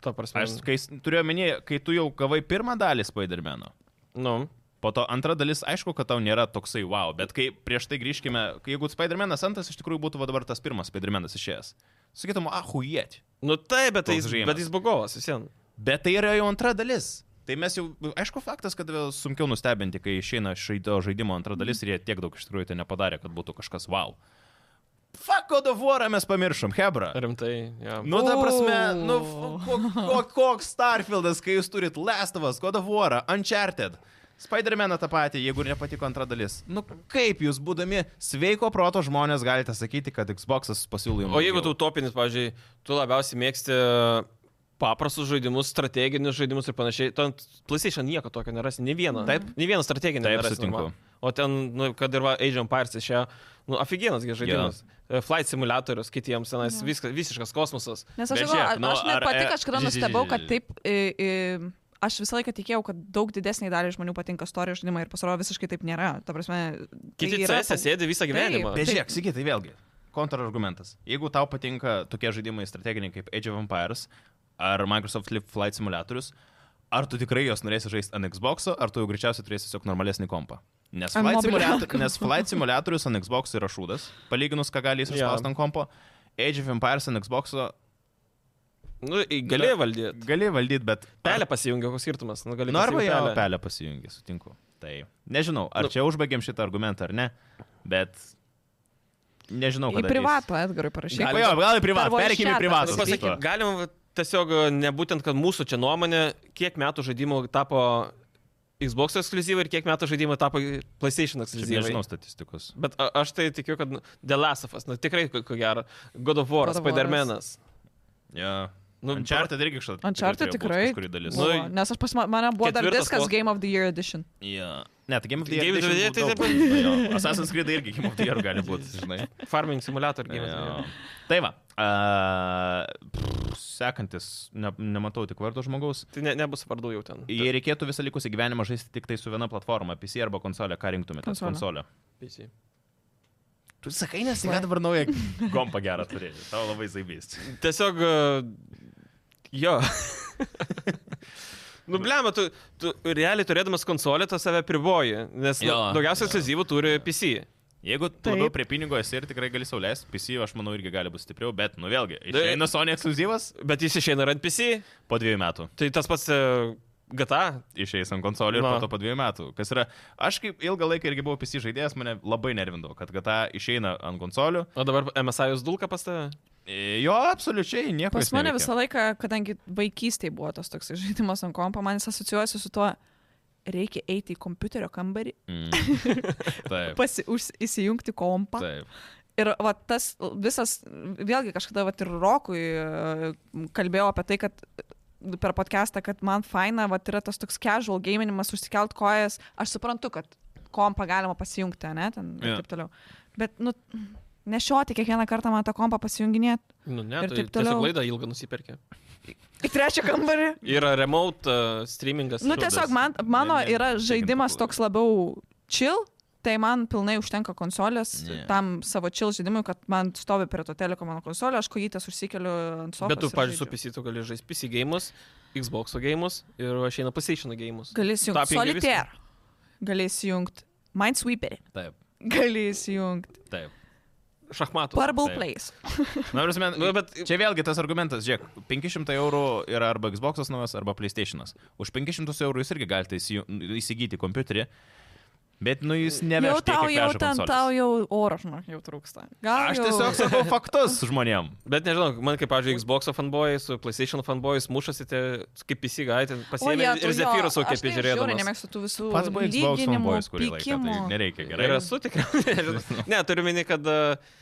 [SPEAKER 2] Ta prasme.
[SPEAKER 1] Aš kai, s- turiu omeny, kai tu jau gavai pirmą dalį Spider-Mano,
[SPEAKER 2] Nu.
[SPEAKER 1] Po to antra dalis, aišku, kad tau nėra toksai wow, bet kai prieš tai grįžkime, kai jeigu Spider-Man'as antras iš tikrųjų būtų va dabar tas pirmas Spider-Man'as išėjęs, sakytum, "Ah, ahujėt.
[SPEAKER 2] Nu taip, bet, tai
[SPEAKER 1] Toks
[SPEAKER 2] jis,
[SPEAKER 1] žaidimas.
[SPEAKER 2] bet jis bugovas visiems.
[SPEAKER 1] Bet tai yra jau antra dalis. Tai mes jau, aišku, faktas, kad vėl sunkiau nustebinti, kai išeina šaito žaidimo antra dalis ir jie tiek daug iš tikrųjų tai nepadarė, kad būtų kažkas wow. Fuck, o davorą mes pamiršom, Hebra.
[SPEAKER 2] Rimtai. Ja.
[SPEAKER 1] Nu, ta prasme, nu,
[SPEAKER 3] O.
[SPEAKER 1] f- ko, ko, koks Starfieldas, kai jūs turit Lestovas, God of War, Uncharted. Spider-Maną tą patį, jeigu ir nepatiko antra dalis. Nu, kaip jūs, būdami sveiko proto žmonės, galite sakyti, kad Xbox'as pasiūlė jums.
[SPEAKER 2] O jeigu tu utopinis, pavyzdžiui, tu labiausiai mėgsti e, paprastus žaidimus, strateginius žaidimus ir panašiai, tu ant PlayStation nieko tokio nerasi, nei vieno.
[SPEAKER 1] Taip.
[SPEAKER 2] Nei vieno strateginio.
[SPEAKER 1] Taip,
[SPEAKER 2] nerasi
[SPEAKER 1] sutinku.
[SPEAKER 2] normalaus. O ten, nu, kad ir va, Age of Empires išėjo, nu, aфигенasgi žaidimas. Yeah. Flight simulatorius kitiems tenais, yeah. viskas, visiškas kosmosas.
[SPEAKER 3] Nes aš,
[SPEAKER 1] Bet
[SPEAKER 3] žinau,
[SPEAKER 1] žiūrėk,
[SPEAKER 3] a-
[SPEAKER 1] nu,
[SPEAKER 3] aš net
[SPEAKER 1] ar,
[SPEAKER 3] pati
[SPEAKER 1] e,
[SPEAKER 3] kažkada
[SPEAKER 1] ži- ži-
[SPEAKER 3] nustebau,
[SPEAKER 1] ži-
[SPEAKER 3] kad
[SPEAKER 1] ži-
[SPEAKER 3] taip, i, i, aš visą laiką tikėjau, kad daug didesniai daliai žmonių patinka istorijos žaidimai ir pasirodo visiškai taip nėra. Ta prasme, tai
[SPEAKER 2] Kiti
[SPEAKER 3] yra-
[SPEAKER 2] CS sėdi visą gyvenimą.
[SPEAKER 1] Bet žiūrėk, sakyk, tai vėlgi. Kontrargumentas. Jeigu tau patinka tokie žaidimai strateginiai kaip Age of Empires ar Microsoft Flight Simulatorius, ar tu tikrai juos norėsi žaisti ant Xbox, ar tu jau greičiausiai turėsi tiesiog normalesnį kompą? Nes
[SPEAKER 3] Ant
[SPEAKER 1] Flight,
[SPEAKER 3] mobiliojo
[SPEAKER 1] simulator, nes Flight Simulatorius ant Xbox yra šūdas, palyginus, ką gali jis
[SPEAKER 2] Jo.
[SPEAKER 1] išspausti ant kompo. Age of Empires ant Xbox
[SPEAKER 2] Nu, i- gali valdyti.
[SPEAKER 1] gali valdyti, bet...
[SPEAKER 2] Pelė pasijungia, koks skirtumas. Nu, gali
[SPEAKER 1] Nu, arba
[SPEAKER 2] pasijungt
[SPEAKER 1] jau
[SPEAKER 2] pelę.
[SPEAKER 1] pelę pasijungi, sutinku. Tai nežinau, ar
[SPEAKER 2] Nu.
[SPEAKER 1] čia užbaigėm šitą argumentą ar ne, bet... Nežinau,
[SPEAKER 3] Į
[SPEAKER 1] kad...
[SPEAKER 3] privatų Edgarui parašyk.
[SPEAKER 2] Gali-
[SPEAKER 1] Gal, jo, gal į privatų,
[SPEAKER 3] Tavo
[SPEAKER 1] perkime
[SPEAKER 3] chatą
[SPEAKER 1] į privatų.
[SPEAKER 2] Nu, pasakyk, Galima va, tiesiog e, nebūtent, kad mūsų čia nuomonė, kiek metų žaidimų tapo Xbox ekskluzyvai ir kiek metų žaidimų tapo PlayStation
[SPEAKER 1] Šiaip
[SPEAKER 2] ekskluzyvai.
[SPEAKER 1] Nežinau statistikos.
[SPEAKER 2] Bet a, aš tai tikiu, kad nu, The Last of Us, nu, tikrai ko ko gero, God of War,
[SPEAKER 3] God of Waras.
[SPEAKER 2] Spider-Man'as.
[SPEAKER 1] Ja.
[SPEAKER 2] Nu,
[SPEAKER 1] Nu, Uncharted irgi kažkada.
[SPEAKER 3] Uncharted tikrai.
[SPEAKER 1] Kuri dalis.
[SPEAKER 2] Nu,
[SPEAKER 1] Nu,
[SPEAKER 3] buvo, Nes aš pas ma- mane buvo dar
[SPEAKER 2] ketvirtas
[SPEAKER 3] viskas
[SPEAKER 2] vos-
[SPEAKER 3] Game of the Year edition.
[SPEAKER 1] ja. Ne, tai Game of the
[SPEAKER 2] Game
[SPEAKER 1] Year.
[SPEAKER 2] of the
[SPEAKER 1] tai
[SPEAKER 2] Year,
[SPEAKER 1] šiaip
[SPEAKER 2] tai
[SPEAKER 1] daug- jo. Assassin's Creed irgi Game of the Year gali būti, žinai.
[SPEAKER 2] Farming Simulator
[SPEAKER 1] Jo.
[SPEAKER 2] gėjimas.
[SPEAKER 1] Tai va. a, pff, Sekantis, ne, nematau tik vardo žmogaus.
[SPEAKER 2] Tai ne, nebus vardų jau ten.
[SPEAKER 1] Jei reikėtų visą likusį gyvenimą žaisti tik tai su viena platforma, PC arba konsolė, ką rinktumėtės?
[SPEAKER 3] Konsolę.
[SPEAKER 1] Konsolė.
[SPEAKER 2] PC.
[SPEAKER 1] Tu sakai, nes tai dabar nauja kompa gerą turėti. Tau labai zaibys.
[SPEAKER 2] Tiesiog. e, Jo. nu, blema, tu, tu realiai turėdamas konsolę, tu save priboji, nes nu,
[SPEAKER 1] Jo,
[SPEAKER 2] daugiausiai ekskluzyvų turi PC.
[SPEAKER 1] Jeigu tu
[SPEAKER 3] Taip.
[SPEAKER 1] labiau prie pinigo esi ir tikrai gali sauliais, PC aš manau irgi gali būti stipriau, bet nu vėlgi, išeina Sony ekskluzyvas
[SPEAKER 2] Bet jis išeina ir ant PC,
[SPEAKER 1] po dviejų metų.
[SPEAKER 2] tai tas pats e, GTA.
[SPEAKER 1] Išeis ant konsolių ir
[SPEAKER 2] Na.
[SPEAKER 1] po to po dviejų metų. Kas yra, aš kaip ilgą laiką irgi buvau PC žaidėjas, mane labai nervindavo, kad GTA išeina ant konsolių. E,
[SPEAKER 2] O dabar MSI jūs dulka pas tave?
[SPEAKER 1] Jo, absoliučiai nieko.
[SPEAKER 3] Pas
[SPEAKER 1] jis
[SPEAKER 3] mane
[SPEAKER 1] neveikia.
[SPEAKER 3] visą laiką, kadangi vaikystėje buvo tas toks žaidimas ant kompo, man jis asociuojasi su tuo, reikia eiti į kompiuterio kambarį,
[SPEAKER 1] Mm. Taip.
[SPEAKER 3] pasi, už, įsijungti kompą.
[SPEAKER 1] Taip.
[SPEAKER 3] Ir va, tas visas, vėlgi kažkada va, ir Rokui e, kalbėjau apie tai, kad per podcastą, kad man faina, va, yra tas toks casual gaminimas, užsikelt kojas. Aš suprantu, kad kompą galima pasijungti, ne, ten ir
[SPEAKER 1] Jo.
[SPEAKER 3] taip toliau. Bet, nu, nešioti kiekvieną kartą man tą kompą pasijunginėti.
[SPEAKER 2] Nu, ne,
[SPEAKER 3] Ir
[SPEAKER 2] tai
[SPEAKER 3] taip
[SPEAKER 2] tiesiog
[SPEAKER 3] toliau.
[SPEAKER 2] laidą ilgą nusipirkė.
[SPEAKER 3] Į trečią kambarį.
[SPEAKER 2] Yra remote uh, streamingas.
[SPEAKER 3] Nu,
[SPEAKER 2] liudas.
[SPEAKER 3] tiesiog man, mano
[SPEAKER 1] Ne- ne-
[SPEAKER 3] yra žaidimas
[SPEAKER 1] paklaidą.
[SPEAKER 3] toks labiau chill, tai man pilnai užtenka konsolės
[SPEAKER 1] Ne.
[SPEAKER 3] tam savo chill žaidimui, kad man stovi prie to teleko mano konsolė, aš kojytės užsikeliu ant sofos.
[SPEAKER 2] Bet tu,
[SPEAKER 3] ir
[SPEAKER 2] pavyzdžiui, su
[SPEAKER 3] žaidžiu.
[SPEAKER 2] PC tu gali žaisti PC games, Xbox games ir aš eina PlayStation games.
[SPEAKER 3] Gali įsijungti
[SPEAKER 2] Tapping ir viskas.
[SPEAKER 3] Solitaire. Gali įsijungti Minesweeper.
[SPEAKER 1] Taip.
[SPEAKER 3] Gali įsijungti
[SPEAKER 1] Taip.
[SPEAKER 2] Šachmatų.
[SPEAKER 3] Purple
[SPEAKER 1] Taip.
[SPEAKER 3] Place.
[SPEAKER 1] Na, prasme,
[SPEAKER 2] Nu, bet
[SPEAKER 1] Čia vėlgi tas argumentas, žiūrėk, 500 eurų yra arba Xbox naujas, arba PlayStation'as. Už 500 eurų jūs irgi galite įsiju- įsigyti kompiuterį, bet nu jūs
[SPEAKER 3] Jau
[SPEAKER 1] nevežate.
[SPEAKER 3] tau, jau ten, tau jau oro, žinok, jau trūksta. Gal
[SPEAKER 1] Aš
[SPEAKER 3] jau...
[SPEAKER 1] tiesiog sakau faktus žmonėm.
[SPEAKER 2] Bet nežinau, man kaip, pavyzdžiui, Xbox fanboy, su PlayStation fanboy mušasi, tie, kaip PC gaitė, pasiemi
[SPEAKER 3] jėtau,
[SPEAKER 2] ir
[SPEAKER 3] jo,
[SPEAKER 2] Zephyras jau
[SPEAKER 3] aš
[SPEAKER 2] kaip
[SPEAKER 3] tai žiauriai
[SPEAKER 2] žiūrėdamas.
[SPEAKER 3] Nemėgstu tų visų.
[SPEAKER 1] Pats buvai Xbox
[SPEAKER 3] lyginimų,
[SPEAKER 1] fanboys kurį laiką, tai
[SPEAKER 3] pykimų.
[SPEAKER 1] nereikia gerai.
[SPEAKER 2] Ir esu tikras. ne, turiu meni, kad... e, a,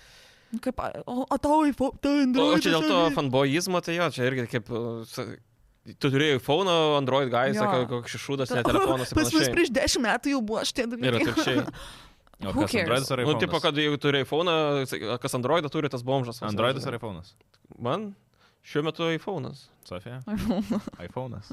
[SPEAKER 3] Nu, Kaip, o, o tau į tau
[SPEAKER 2] O,
[SPEAKER 3] Android.
[SPEAKER 2] o čia dėl to fanboyizmo, tai jo, čia irgi kaip... a, sa- Tu turėjai iPhone, Android gaisą,
[SPEAKER 3] Jo.
[SPEAKER 2] koks šešūdas, ne telefonas. ir
[SPEAKER 3] Pas mus
[SPEAKER 2] panašiai.
[SPEAKER 3] prieš dešimt metų jau buvo tai šitie
[SPEAKER 2] Ir
[SPEAKER 3] dalykai.
[SPEAKER 2] atvirkščiai.
[SPEAKER 1] O
[SPEAKER 3] Who
[SPEAKER 1] kas
[SPEAKER 3] cares?
[SPEAKER 1] Androidas ar
[SPEAKER 2] Nu,
[SPEAKER 1] iPhone?
[SPEAKER 2] tipo, kad jeigu turi iPhone, kas Androidą turi, tas bomžas.
[SPEAKER 1] Androidas ar iPhone'as?
[SPEAKER 2] Man šiuo metu iPhone'as.
[SPEAKER 1] Sofija? iPhone'as.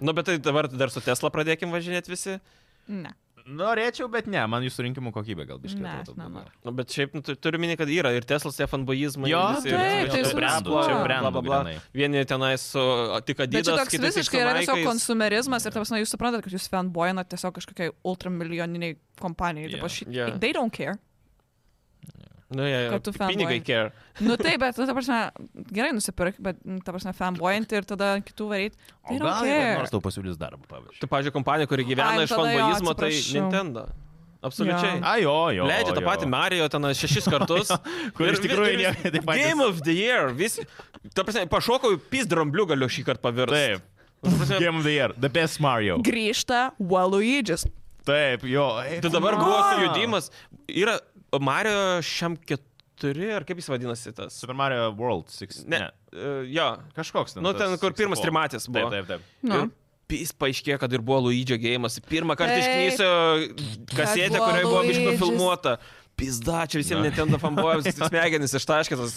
[SPEAKER 2] Nu, bet tai dabar dar su Tesla pradėkim važinėti visi.
[SPEAKER 3] Ne.
[SPEAKER 1] Norėčiau, bet ne, man jūsų rinkimų kokybė gal biškai.
[SPEAKER 3] Ne,
[SPEAKER 1] atrodo
[SPEAKER 3] aš
[SPEAKER 1] daugiau.
[SPEAKER 3] nenoriu.
[SPEAKER 2] Nu, bet šiaip nu, tu- turiu minėti, kad yra ir Teslas, tie fanboyizmai.
[SPEAKER 1] Jo,
[SPEAKER 2] visi,
[SPEAKER 3] taip,
[SPEAKER 2] ir-
[SPEAKER 3] tai
[SPEAKER 2] ir
[SPEAKER 3] su
[SPEAKER 2] brandų,
[SPEAKER 3] viskuo.
[SPEAKER 2] čia brandų,
[SPEAKER 1] Brandų
[SPEAKER 2] bla, bla.
[SPEAKER 1] grynai.
[SPEAKER 2] Vieni tenais su a, tik
[SPEAKER 3] Bet čia
[SPEAKER 2] Adidas,
[SPEAKER 3] toks
[SPEAKER 2] kiti tik su
[SPEAKER 3] visiškai yra tiesiog
[SPEAKER 2] Nike'ais.
[SPEAKER 3] konsumerizmas ir, tarsi, jūs suprantat, kad jūs fanboyinat tiesiog kažkokiai ultramilijoniniai kompanijai.
[SPEAKER 1] Jo.
[SPEAKER 3] Yeah. Ši...
[SPEAKER 2] Jo.
[SPEAKER 3] Yeah. They don't care.
[SPEAKER 2] Nu, jie,
[SPEAKER 3] kad tu
[SPEAKER 2] jie, pinigai
[SPEAKER 3] fanboy.
[SPEAKER 2] care.
[SPEAKER 3] Nu taip, bet, ta prasme, gerai nusipirk, bet, nu, ta prasme, fanboyinti ir tada kitų varyt.
[SPEAKER 1] O
[SPEAKER 3] They don't
[SPEAKER 1] gal jie
[SPEAKER 3] care.
[SPEAKER 1] nors tau pasiūlys darbą, pavyzdžiui.
[SPEAKER 2] Tu, pažiūrėjau, Tai, kompanija, kuri gyvena
[SPEAKER 3] Ai,
[SPEAKER 2] iš
[SPEAKER 3] tada jo,
[SPEAKER 2] fanboyizmo, tai
[SPEAKER 3] atsiprašau.
[SPEAKER 2] Nintendo. Absoliučiai.
[SPEAKER 3] Jo.
[SPEAKER 1] A, jo, jo.
[SPEAKER 2] Leidžia tą
[SPEAKER 1] jo.
[SPEAKER 2] patį Mario ten šešis kartus.
[SPEAKER 1] Kur iš
[SPEAKER 2] vi-
[SPEAKER 1] tikrųjų
[SPEAKER 2] vis-
[SPEAKER 1] nieko tai taip pat.
[SPEAKER 2] Game of the Year. Vis, ta prasme, pašokau, pizdrambliu galiu šį kartą pavirsti.
[SPEAKER 1] Taip. Game of the Year. The best Mario.
[SPEAKER 3] Grįžta Waluigi's.
[SPEAKER 1] Taip, jo.
[SPEAKER 2] Tai dabar buvo sujudimas. Yra Mario šiam keturi, ar kaip jis vadinasi tas?
[SPEAKER 1] Super Mario World 6.
[SPEAKER 2] Ne. e, Jo.
[SPEAKER 1] Kažkoks ten.
[SPEAKER 2] Nu,
[SPEAKER 1] tas
[SPEAKER 2] ten, kur pirmas
[SPEAKER 1] 64.
[SPEAKER 2] trimatis buvo.
[SPEAKER 1] Taip, taip, taip.
[SPEAKER 3] Nu.
[SPEAKER 2] Ir Jis paaiškėjo, kad ir buvo Luidžio gėjimas. Pirmą kartą
[SPEAKER 3] Taip.
[SPEAKER 2] išknysio kasetę,
[SPEAKER 3] Kad buvo
[SPEAKER 2] kurioje buvo
[SPEAKER 3] Luidžis.
[SPEAKER 2] išnufilmuota. Pizda, čia visiems
[SPEAKER 1] Na.
[SPEAKER 2] netenda fanbojams, smegenys ištaškytas.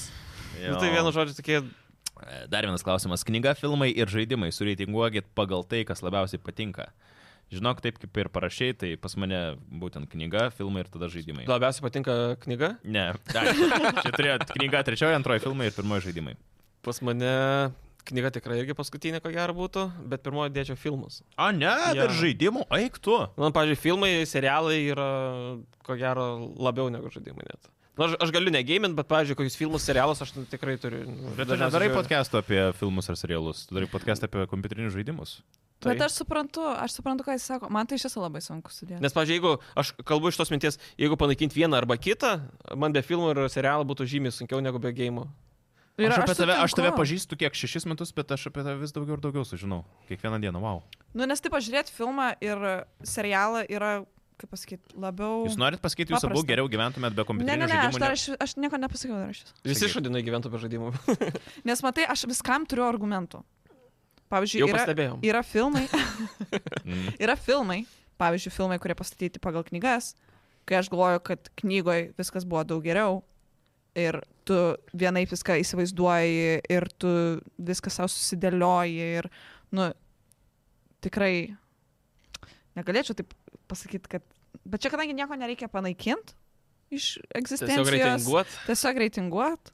[SPEAKER 2] Nu, tai
[SPEAKER 1] Jo.
[SPEAKER 2] vienu žodžiu tokie.
[SPEAKER 1] E, Dar vienas klausimas. Knyga, filmai ir žaidimai sureitinguokit pagal tai, kas labiausiai patinka. Žinok, taip kaip ir parašiai, tai pas mane būtent knyga, filmai ir tada žaidimai.
[SPEAKER 2] Labiausiai patinka knyga.
[SPEAKER 1] Ne, dar. Čia turėjo knyga trečioji, antroji filmai ir pirmoji žaidimai.
[SPEAKER 2] Pas mane knyga tikrai irgi paskutinė, ko gero būtų, bet pirmoji dėčiau filmus.
[SPEAKER 1] A, ne,
[SPEAKER 2] dar
[SPEAKER 1] dar žaidimų, eik tu.
[SPEAKER 2] Man, pavyzdžiui, filmai, serialai yra, ko gero, labiau negu žaidimai net. Na, aš, aš galiu negamint, bet, pavyzdžiui, kokius filmus, serialus aš nu, tikrai turiu. nu,
[SPEAKER 1] Bet tu
[SPEAKER 2] dažniausiai
[SPEAKER 1] nedarai
[SPEAKER 2] žiūriu.
[SPEAKER 1] podcast'o apie filmus ar serialus, tu darai podcast'ą apie kompiuterinius žaidimus.
[SPEAKER 2] Tai.
[SPEAKER 3] Bet aš suprantu, aš suprantu, ką jis sako. Man tai iš tiesų labai sunku sudėti.
[SPEAKER 2] Nes, pavyzdžiui, jeigu aš kalbu iš tos minties, jeigu panaikinti vieną arba kitą, man be filmų ir serialų būtų žymiai sunkiau negu be gėjimų.
[SPEAKER 3] Ir
[SPEAKER 1] aš, apie tave, aš tave
[SPEAKER 3] Tai sutinku.
[SPEAKER 1] pažįstu kiek šešis metus, bet aš apie tave vis daugiau ir daugiau sužinau. Kiekvieną dieną, wow.
[SPEAKER 3] Nu, nes taip pažiūrėti filmą ir serialą yra, kaip pasakyti, labiau...
[SPEAKER 1] Jūs norit pasakyti, jūs abu
[SPEAKER 3] Paprasta.
[SPEAKER 1] geriau gyventumėt be
[SPEAKER 3] Ne, ne,
[SPEAKER 1] kompiuterinių
[SPEAKER 3] ne, aš,
[SPEAKER 1] žaidimų?
[SPEAKER 3] dar, aš, aš nieko nepasakiau dar iš viso.
[SPEAKER 2] Visi
[SPEAKER 1] Sakyk.
[SPEAKER 2] šudinai gyventų be žaidimų.
[SPEAKER 3] Nes matai, aš viskam turiu argumentų. Pavyzdžiui,
[SPEAKER 2] Jau
[SPEAKER 3] yra,
[SPEAKER 2] pastebėjom.
[SPEAKER 3] yra filmai,
[SPEAKER 1] Mm.
[SPEAKER 3] yra filmai, pavyzdžiui, filmai, kurie pastatyti pagal knygas, kai aš galvoju, kad knygoje viskas buvo daug geriau ir tu vienaip viską įsivaizduoji ir tu viską savo susidėlioji ir, nu, tikrai negalėčiau taip pasakyti, kad... Bet čia kadangi nieko nereikia panaikinti iš
[SPEAKER 2] Tiesiog
[SPEAKER 3] egzistencijos,
[SPEAKER 2] reitinguot.
[SPEAKER 3] tiesiog reitinguot.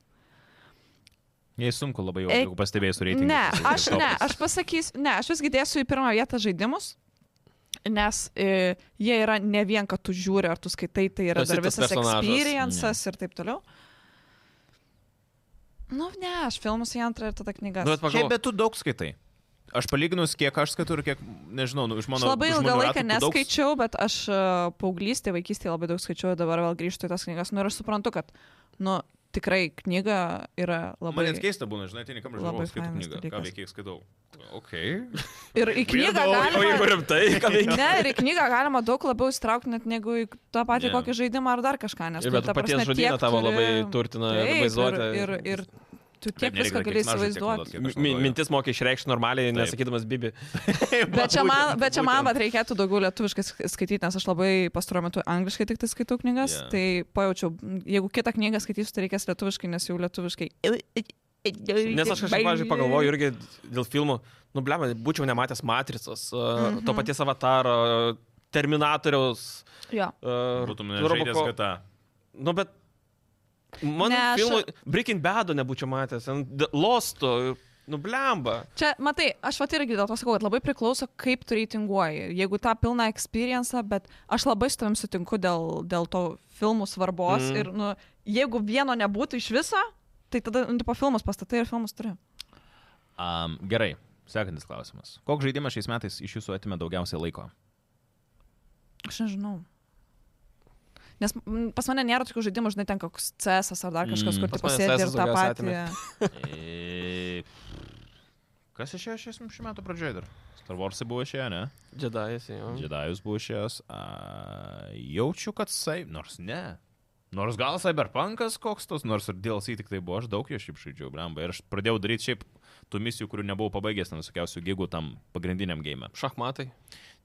[SPEAKER 1] Jei sunku labai jau,
[SPEAKER 3] Eik-
[SPEAKER 1] jeigu pastebėjai su reitingu.
[SPEAKER 3] Ne, aš ne, aš pasakysiu, ne, aš visgi dėsiu į pirmą vietą žaidimus, nes e, jie yra ne vien, kad tu žiūri ar tu skaitai, tai yra
[SPEAKER 2] Tu esi
[SPEAKER 3] dar
[SPEAKER 2] tas
[SPEAKER 3] visas
[SPEAKER 2] personažas.
[SPEAKER 3] experiences ir taip toliau. Nu, ne, aš filmus į antrą ir tada knygas.
[SPEAKER 2] Nu, bet
[SPEAKER 1] Šiaip,
[SPEAKER 2] pagalvoju.
[SPEAKER 1] bet tu daug skaitai. Aš palyginus, kiek aš skaitau ir kiek, nežinau, nu, iš
[SPEAKER 3] Aš
[SPEAKER 1] mano...
[SPEAKER 3] labai
[SPEAKER 1] žmonių
[SPEAKER 3] ilgą
[SPEAKER 1] rato,
[SPEAKER 3] laiką
[SPEAKER 1] tu daug-
[SPEAKER 3] neskaičiau, bet aš e, paauglystėje, vaikystėje labai daug skaičiau, dabar vėl grįžtu į tas knygas. Nu ir aš suprantu, kad, nu, tikrai knyga yra
[SPEAKER 7] Man
[SPEAKER 2] Nu,
[SPEAKER 3] labai...
[SPEAKER 7] net keista būna, žinai, tai nekam
[SPEAKER 3] Labai
[SPEAKER 7] žinau, skaitau
[SPEAKER 3] fainas
[SPEAKER 7] knygą. Ką
[SPEAKER 3] dalykas.
[SPEAKER 7] veikiai skaitau? Ok.
[SPEAKER 3] Ir į knygą
[SPEAKER 2] Weirdo, O jeigu
[SPEAKER 3] galima...
[SPEAKER 2] rimtai, ką veikia?
[SPEAKER 3] Ne, ir į knygą galima daug labiau įstraukti net negu į tą patį
[SPEAKER 7] Jo.
[SPEAKER 3] kokį žaidimą ar dar kažką, nes
[SPEAKER 2] Ir
[SPEAKER 3] tu,
[SPEAKER 2] bet
[SPEAKER 3] ta
[SPEAKER 2] paties
[SPEAKER 3] prasme,
[SPEAKER 2] žodyną
[SPEAKER 3] tiek
[SPEAKER 2] tavo
[SPEAKER 3] turi-
[SPEAKER 2] labai turtina ir
[SPEAKER 3] Taip,
[SPEAKER 2] vaizduotę.
[SPEAKER 3] Ir, ir, ir tu tiek viską gali įsivaizduoti.
[SPEAKER 2] Mi- mi- Mintis mokia išreikšti normaliai, nesakydamas Bibi.
[SPEAKER 3] Bet čia man, bet čia man vat, reikėtų daugiau lietuviškai sk- skaityti, nes aš labai pastaruoju metu angliškai tik tai skaitau knygas,
[SPEAKER 7] Jo.
[SPEAKER 3] yeah. tai pajaučiau, m, jeigu kitą knygą skaitysiu, tai reikės lietuviškai, nes jau lietuviškai. Tai
[SPEAKER 2] Nes aš kažkaip, pavyzdžiui, pagalvoju irgi dėl filmų, nu, blem, būčiau nematęs Matricos, mm -hmm. to paties avataro, Terminatoriaus.
[SPEAKER 3] Jo.
[SPEAKER 2] Uh,
[SPEAKER 7] Būtum žaidęs GTA.
[SPEAKER 2] Nu, bet... Man
[SPEAKER 3] Ne, aš-
[SPEAKER 2] filmų aš... Breaking Bado nebūčiau matęs, ant The Losto, nu, blemba.
[SPEAKER 3] Čia, matai, aš vat irgi dėl to sakau, kad labai priklauso, kaip tu reitinguoji. Jeigu tą pilną experienciją, bet aš labai su tavim sutinku dėl, dėl to filmų svarbos.
[SPEAKER 1] Mhm.
[SPEAKER 2] Mm.
[SPEAKER 3] Mm. Ir, nu, jeigu vieno nebūtų iš viso, tai tada, nu, po filmus pastatai ir filmus turi.
[SPEAKER 1] Um, gerai, sekantis klausimas. Koks žaidimas šiais metais iš jūsų atimė daugiausiai laiko?
[SPEAKER 3] Aš nežinau. Nes mm, pas mane nėra tokių žaidimų, žinai, ten koks CS ar dar
[SPEAKER 1] Mm.
[SPEAKER 3] kažkas, mm, kur
[SPEAKER 2] Pas
[SPEAKER 3] tu
[SPEAKER 2] mane
[SPEAKER 3] pasėdi
[SPEAKER 2] CS
[SPEAKER 3] ir tą
[SPEAKER 2] daugiausia
[SPEAKER 3] patį.
[SPEAKER 1] E, Kas išėjo šiais šių metų pradžioje dar? Star Warsai buvo išėję, ne?
[SPEAKER 2] Jedi, esi, jo.
[SPEAKER 1] Jedajus buvo išėjęs. A, jaučiu, kad sai, nors ne. Nors gal Cyberpunkas koks tos, nors ir DLC tik tai buvo, aš daug jo šiaip žaidžiau, blamba. Ir aš pradėjau daryti šiaip tų misijų, kurių nebuvau pabaigęs, ten visokiausių gigų tam pagrindiniam game.
[SPEAKER 2] Šachmatai.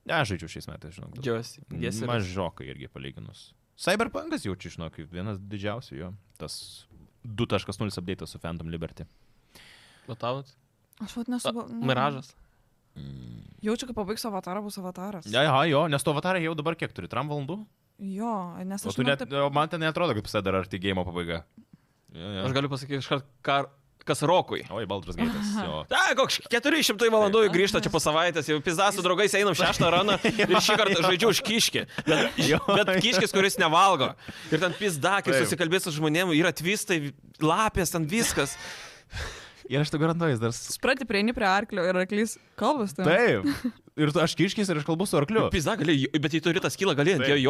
[SPEAKER 1] Ne, aš žaidžiu šiais metais, žinok. daug.
[SPEAKER 2] Džiaugiuosi. Džiaugiuosi.
[SPEAKER 1] Mažokai irgi palyginus. Cyberpunkas jaučiu, žinok, vienas didžiausių jo. Tas 2.0 update su Phantom Liberty.
[SPEAKER 2] Matavot?
[SPEAKER 3] Aš vad nesu.
[SPEAKER 2] Miražas.
[SPEAKER 3] Jaučiu, kad pabaigsiu avatarą, bus avataras.
[SPEAKER 1] Ja, ja, jo, nes to avatarai jau dabar kiek turi, tram valandų?
[SPEAKER 3] Jo, nes
[SPEAKER 1] O
[SPEAKER 3] aš...
[SPEAKER 1] tu
[SPEAKER 3] žinau,
[SPEAKER 1] net,
[SPEAKER 3] taip-
[SPEAKER 1] o man ten netrodo, kad pusė dar arti game pabaiga. Ja, ja.
[SPEAKER 2] Aš galiu pasakyti iškart, ką- kas Rokui.
[SPEAKER 1] Oi, Baldras Gaitas. Jo.
[SPEAKER 2] A, koks 400 valandų
[SPEAKER 3] Tai-
[SPEAKER 2] jau grįžta čia po savaitės, jau pizda su draugais einam šeštą raną ir šį kartą žaidžiu už kiškį. Bet, bet kiškis, kuris nevalgo. Ir ten pizda, kai
[SPEAKER 1] Taip.
[SPEAKER 2] susikalbės su žmonėm, yra tvistai, lapės, ten viskas.
[SPEAKER 1] Ir aš tai garantuoju, jis dar. s-
[SPEAKER 3] Supranti, prieini prie arklio ir arklys kalbas. tavim.
[SPEAKER 1] Taip. Ir tu- aš kiškis ir aš kalbu su arkliu.
[SPEAKER 2] Pizda gali, bet jei turi tą skylą, gali ant jo
[SPEAKER 1] Taip.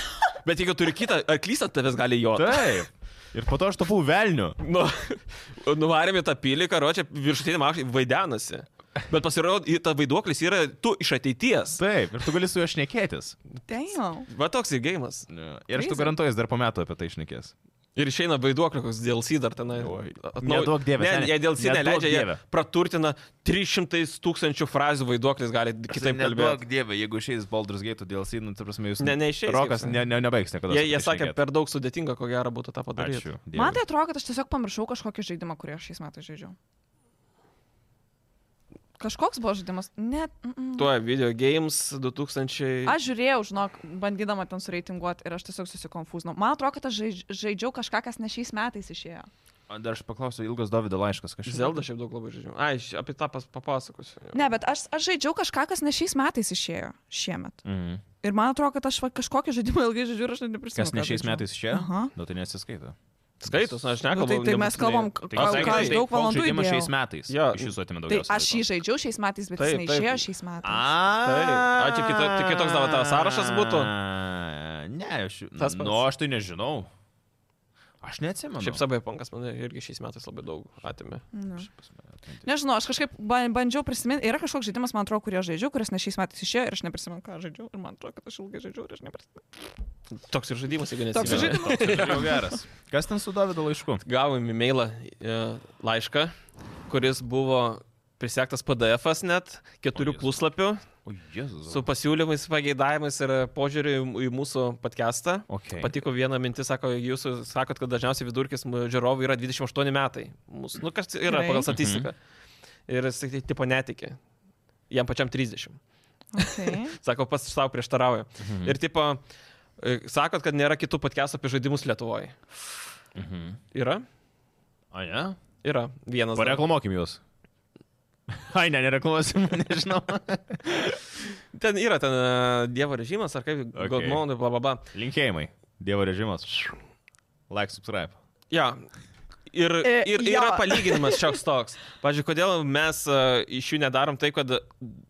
[SPEAKER 2] jot. Bet jeigu turi kitą, arklys ant tavęs gali jot.
[SPEAKER 1] Taip. Ir po to aš tapau velniu.
[SPEAKER 2] Nu, nuvarėme tą pilį, karo čia viršutinė mašina vaidenasi. Bet pasirodo, i- ta vaiduoklis yra tu iš ateities.
[SPEAKER 1] Taip. Ir tu gali su juo šnekėtis.
[SPEAKER 3] Damn.
[SPEAKER 2] Va toks ir gėjimas.
[SPEAKER 1] Ir aš tu
[SPEAKER 3] Crazy.
[SPEAKER 1] garantuoju, jis dar po metų apie tai išnekės.
[SPEAKER 2] Ir išeina vaiduoklio, koks DLC dar tenai.
[SPEAKER 1] Oi.
[SPEAKER 2] Atnau-
[SPEAKER 1] Neduok dieve,
[SPEAKER 2] Ne,
[SPEAKER 1] seni,
[SPEAKER 2] jie DLC
[SPEAKER 1] neduok
[SPEAKER 2] neleidžia, jie
[SPEAKER 1] dieve.
[SPEAKER 2] praturtina 300 tūkstančių frazių vaiduoklis, gali kitaip kalbėti.
[SPEAKER 1] dieve, jeigu išeis Baldur's Gate, DLC, nu, tai prasme, jūs...
[SPEAKER 2] Ne, neišeis,
[SPEAKER 1] Rokas
[SPEAKER 2] kaip
[SPEAKER 1] ne, ne, nebaigs niekada. tai
[SPEAKER 2] Jie, jie sakė, per daug sudėtinga, ko gero būtų tą padaryti.
[SPEAKER 1] Ačiū.
[SPEAKER 3] Man tai atrodo, kad aš tiesiog pamiršau kažkokį žaidimą, kurį aš šiais metais žaidžiau. Kažkoks buvo žaidimas. Net. mm, mm.
[SPEAKER 2] Tuo video games 2000.
[SPEAKER 3] Aš žiūrėjau, žinok, bandydama ten sureitinguoti ir aš tiesiog susikonfuzinau. Man atrodo, kad aš žaidž- žaidžiau kažką, kas ne šiais metais išėjo.
[SPEAKER 1] Dar aš paklausiu, ilgas Davido laiškas kažkas.
[SPEAKER 2] Zelda šiaip daug labai žaidžiu. Ai, aš apie tą pas- papasakosiu.
[SPEAKER 3] Ne, bet aš, aš žaidžiau kažką, kas ne šiais metais išėjo šiemet.
[SPEAKER 1] Mhm.
[SPEAKER 3] Ir man atrodo, kad aš va, kažkokį žaidimą ilgai žaidžiu ir aš net neprisimenu.
[SPEAKER 1] Kas ne
[SPEAKER 3] ką
[SPEAKER 1] šiais
[SPEAKER 3] žaidžiau.
[SPEAKER 1] metais išėjo?
[SPEAKER 3] Aha.
[SPEAKER 1] Nu, tai nesiskaito.
[SPEAKER 2] Skaitus, na, aš
[SPEAKER 3] Nu,
[SPEAKER 2] nekalbu.
[SPEAKER 3] tai, tai mes
[SPEAKER 2] nebūtinai.
[SPEAKER 3] kalbam, k- ką
[SPEAKER 2] sakė,
[SPEAKER 3] ką aš
[SPEAKER 2] tai
[SPEAKER 3] daug valandų
[SPEAKER 1] žaidimą šiais
[SPEAKER 3] žaidžiau.
[SPEAKER 1] metais.
[SPEAKER 2] Jo.
[SPEAKER 1] Iš jūsų atėmė
[SPEAKER 3] Tai
[SPEAKER 1] daugiau.
[SPEAKER 3] aš jį žaidžiau šiais metais, bet jis
[SPEAKER 2] Taip, taip.
[SPEAKER 3] neišėjo šiais metais.
[SPEAKER 1] A,
[SPEAKER 2] Taip. A, čia kita- tai kitoks tavo- tavo sąrašas būtų?
[SPEAKER 1] Ne, aš.
[SPEAKER 2] Tas pats.
[SPEAKER 1] Nu, aš tai nežinau. Aš neatsimenu.
[SPEAKER 2] Šiaip Cyberpunkas mane irgi šiais metais labai daug atimė.
[SPEAKER 3] Nu.
[SPEAKER 1] atmintis.
[SPEAKER 3] Nežinau, aš kažkaip ba- bandžiau prisiminti, yra kažkoks žaidimas, man atrodo, kurį aš žaidžiau, kuris ne šiais metais išėjo ir aš neprisimenu, ką aš žaidžiau. Ir man atrodo, kad aš ilgai žaidžiau ir aš neprisimenu.
[SPEAKER 2] Toks ir žaidimas, jeigu
[SPEAKER 3] Toks ir
[SPEAKER 2] nesimenu.
[SPEAKER 1] Jau geras. Kas ten su Davido laišku?
[SPEAKER 2] Gavom e-mailą e, laišką, kuris buvo prisektas PDF-as net, keturių
[SPEAKER 1] O, Jėzau.
[SPEAKER 2] puslapių,
[SPEAKER 1] O, Jėzus.
[SPEAKER 2] su pasiūlymais, pageidavimais ir požiūriu į- į mūsų podcastą.
[SPEAKER 1] Okay.
[SPEAKER 2] Patiko viena mintis, sako, jūs sakot, kad dažniausiai vidurkis m- žiūrovų yra 28 metai. Mūsų, nu, kas yra
[SPEAKER 3] Gerai.
[SPEAKER 2] pagal statistiką. Ir jis, tai, tipo, netikė. Jam pačiam 30.
[SPEAKER 3] Okay.
[SPEAKER 2] Sako, pas savo prieštarauju. Mhm. Ir tipo, e, sakot, kad nėra kitų podcastų apie žaidimus Lietuvoje.
[SPEAKER 1] Mhm.
[SPEAKER 2] Yra?
[SPEAKER 1] O, ne?
[SPEAKER 2] Yra. Vienas. dar.
[SPEAKER 1] Pareklamuokim juos. Ai, ne, nereklamuosim, nežinau.
[SPEAKER 2] Ten yra ten e, dievo režimas, ar kaip okay.
[SPEAKER 1] Okay.
[SPEAKER 2] Godmonai, bla bla bla.
[SPEAKER 1] Linkėjimai. Dievo režimas. Like, subscribe.
[SPEAKER 2] Ja. Ir,
[SPEAKER 3] E,
[SPEAKER 2] ir
[SPEAKER 3] jo.
[SPEAKER 2] yra palyginimas šioks toks. Pavyzdžiui, kodėl mes e, iš jų nedarom tai, kad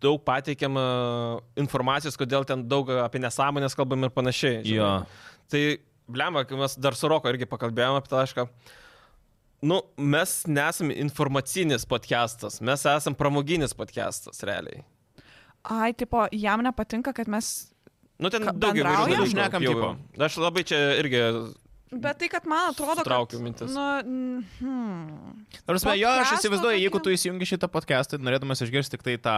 [SPEAKER 2] daug pateikiam e, informacijos, kodėl ten daug apie nesąmonės kalbam ir panašiai. žinai. Tai blemba, kai mes dar su Roko irgi pakalbėjome apie tą tašką. Nu, mes nesame informacinis podcastas, mes esame pramoginis podcastas, realiai.
[SPEAKER 3] Ai, tipo, jam nepatinka, kad mes...
[SPEAKER 2] Nu, ten
[SPEAKER 3] Ka-
[SPEAKER 2] daugiau įvairių
[SPEAKER 3] bendraujam?
[SPEAKER 2] dalykų
[SPEAKER 1] Šnekam,
[SPEAKER 2] jau-
[SPEAKER 1] tipo.
[SPEAKER 2] Aš labai čia irgi...
[SPEAKER 3] Bet tai, kad man atrodo...
[SPEAKER 2] Sutraukiau
[SPEAKER 3] kad,
[SPEAKER 2] mintis.
[SPEAKER 3] Nu, n- hmm.
[SPEAKER 1] Nors be jo, aš
[SPEAKER 3] Podcasto
[SPEAKER 1] įsivaizduoju, jeigu
[SPEAKER 3] tokio-
[SPEAKER 1] tu įsijungi šitą podcastą, ir norėdamas išgirsti tik tai tą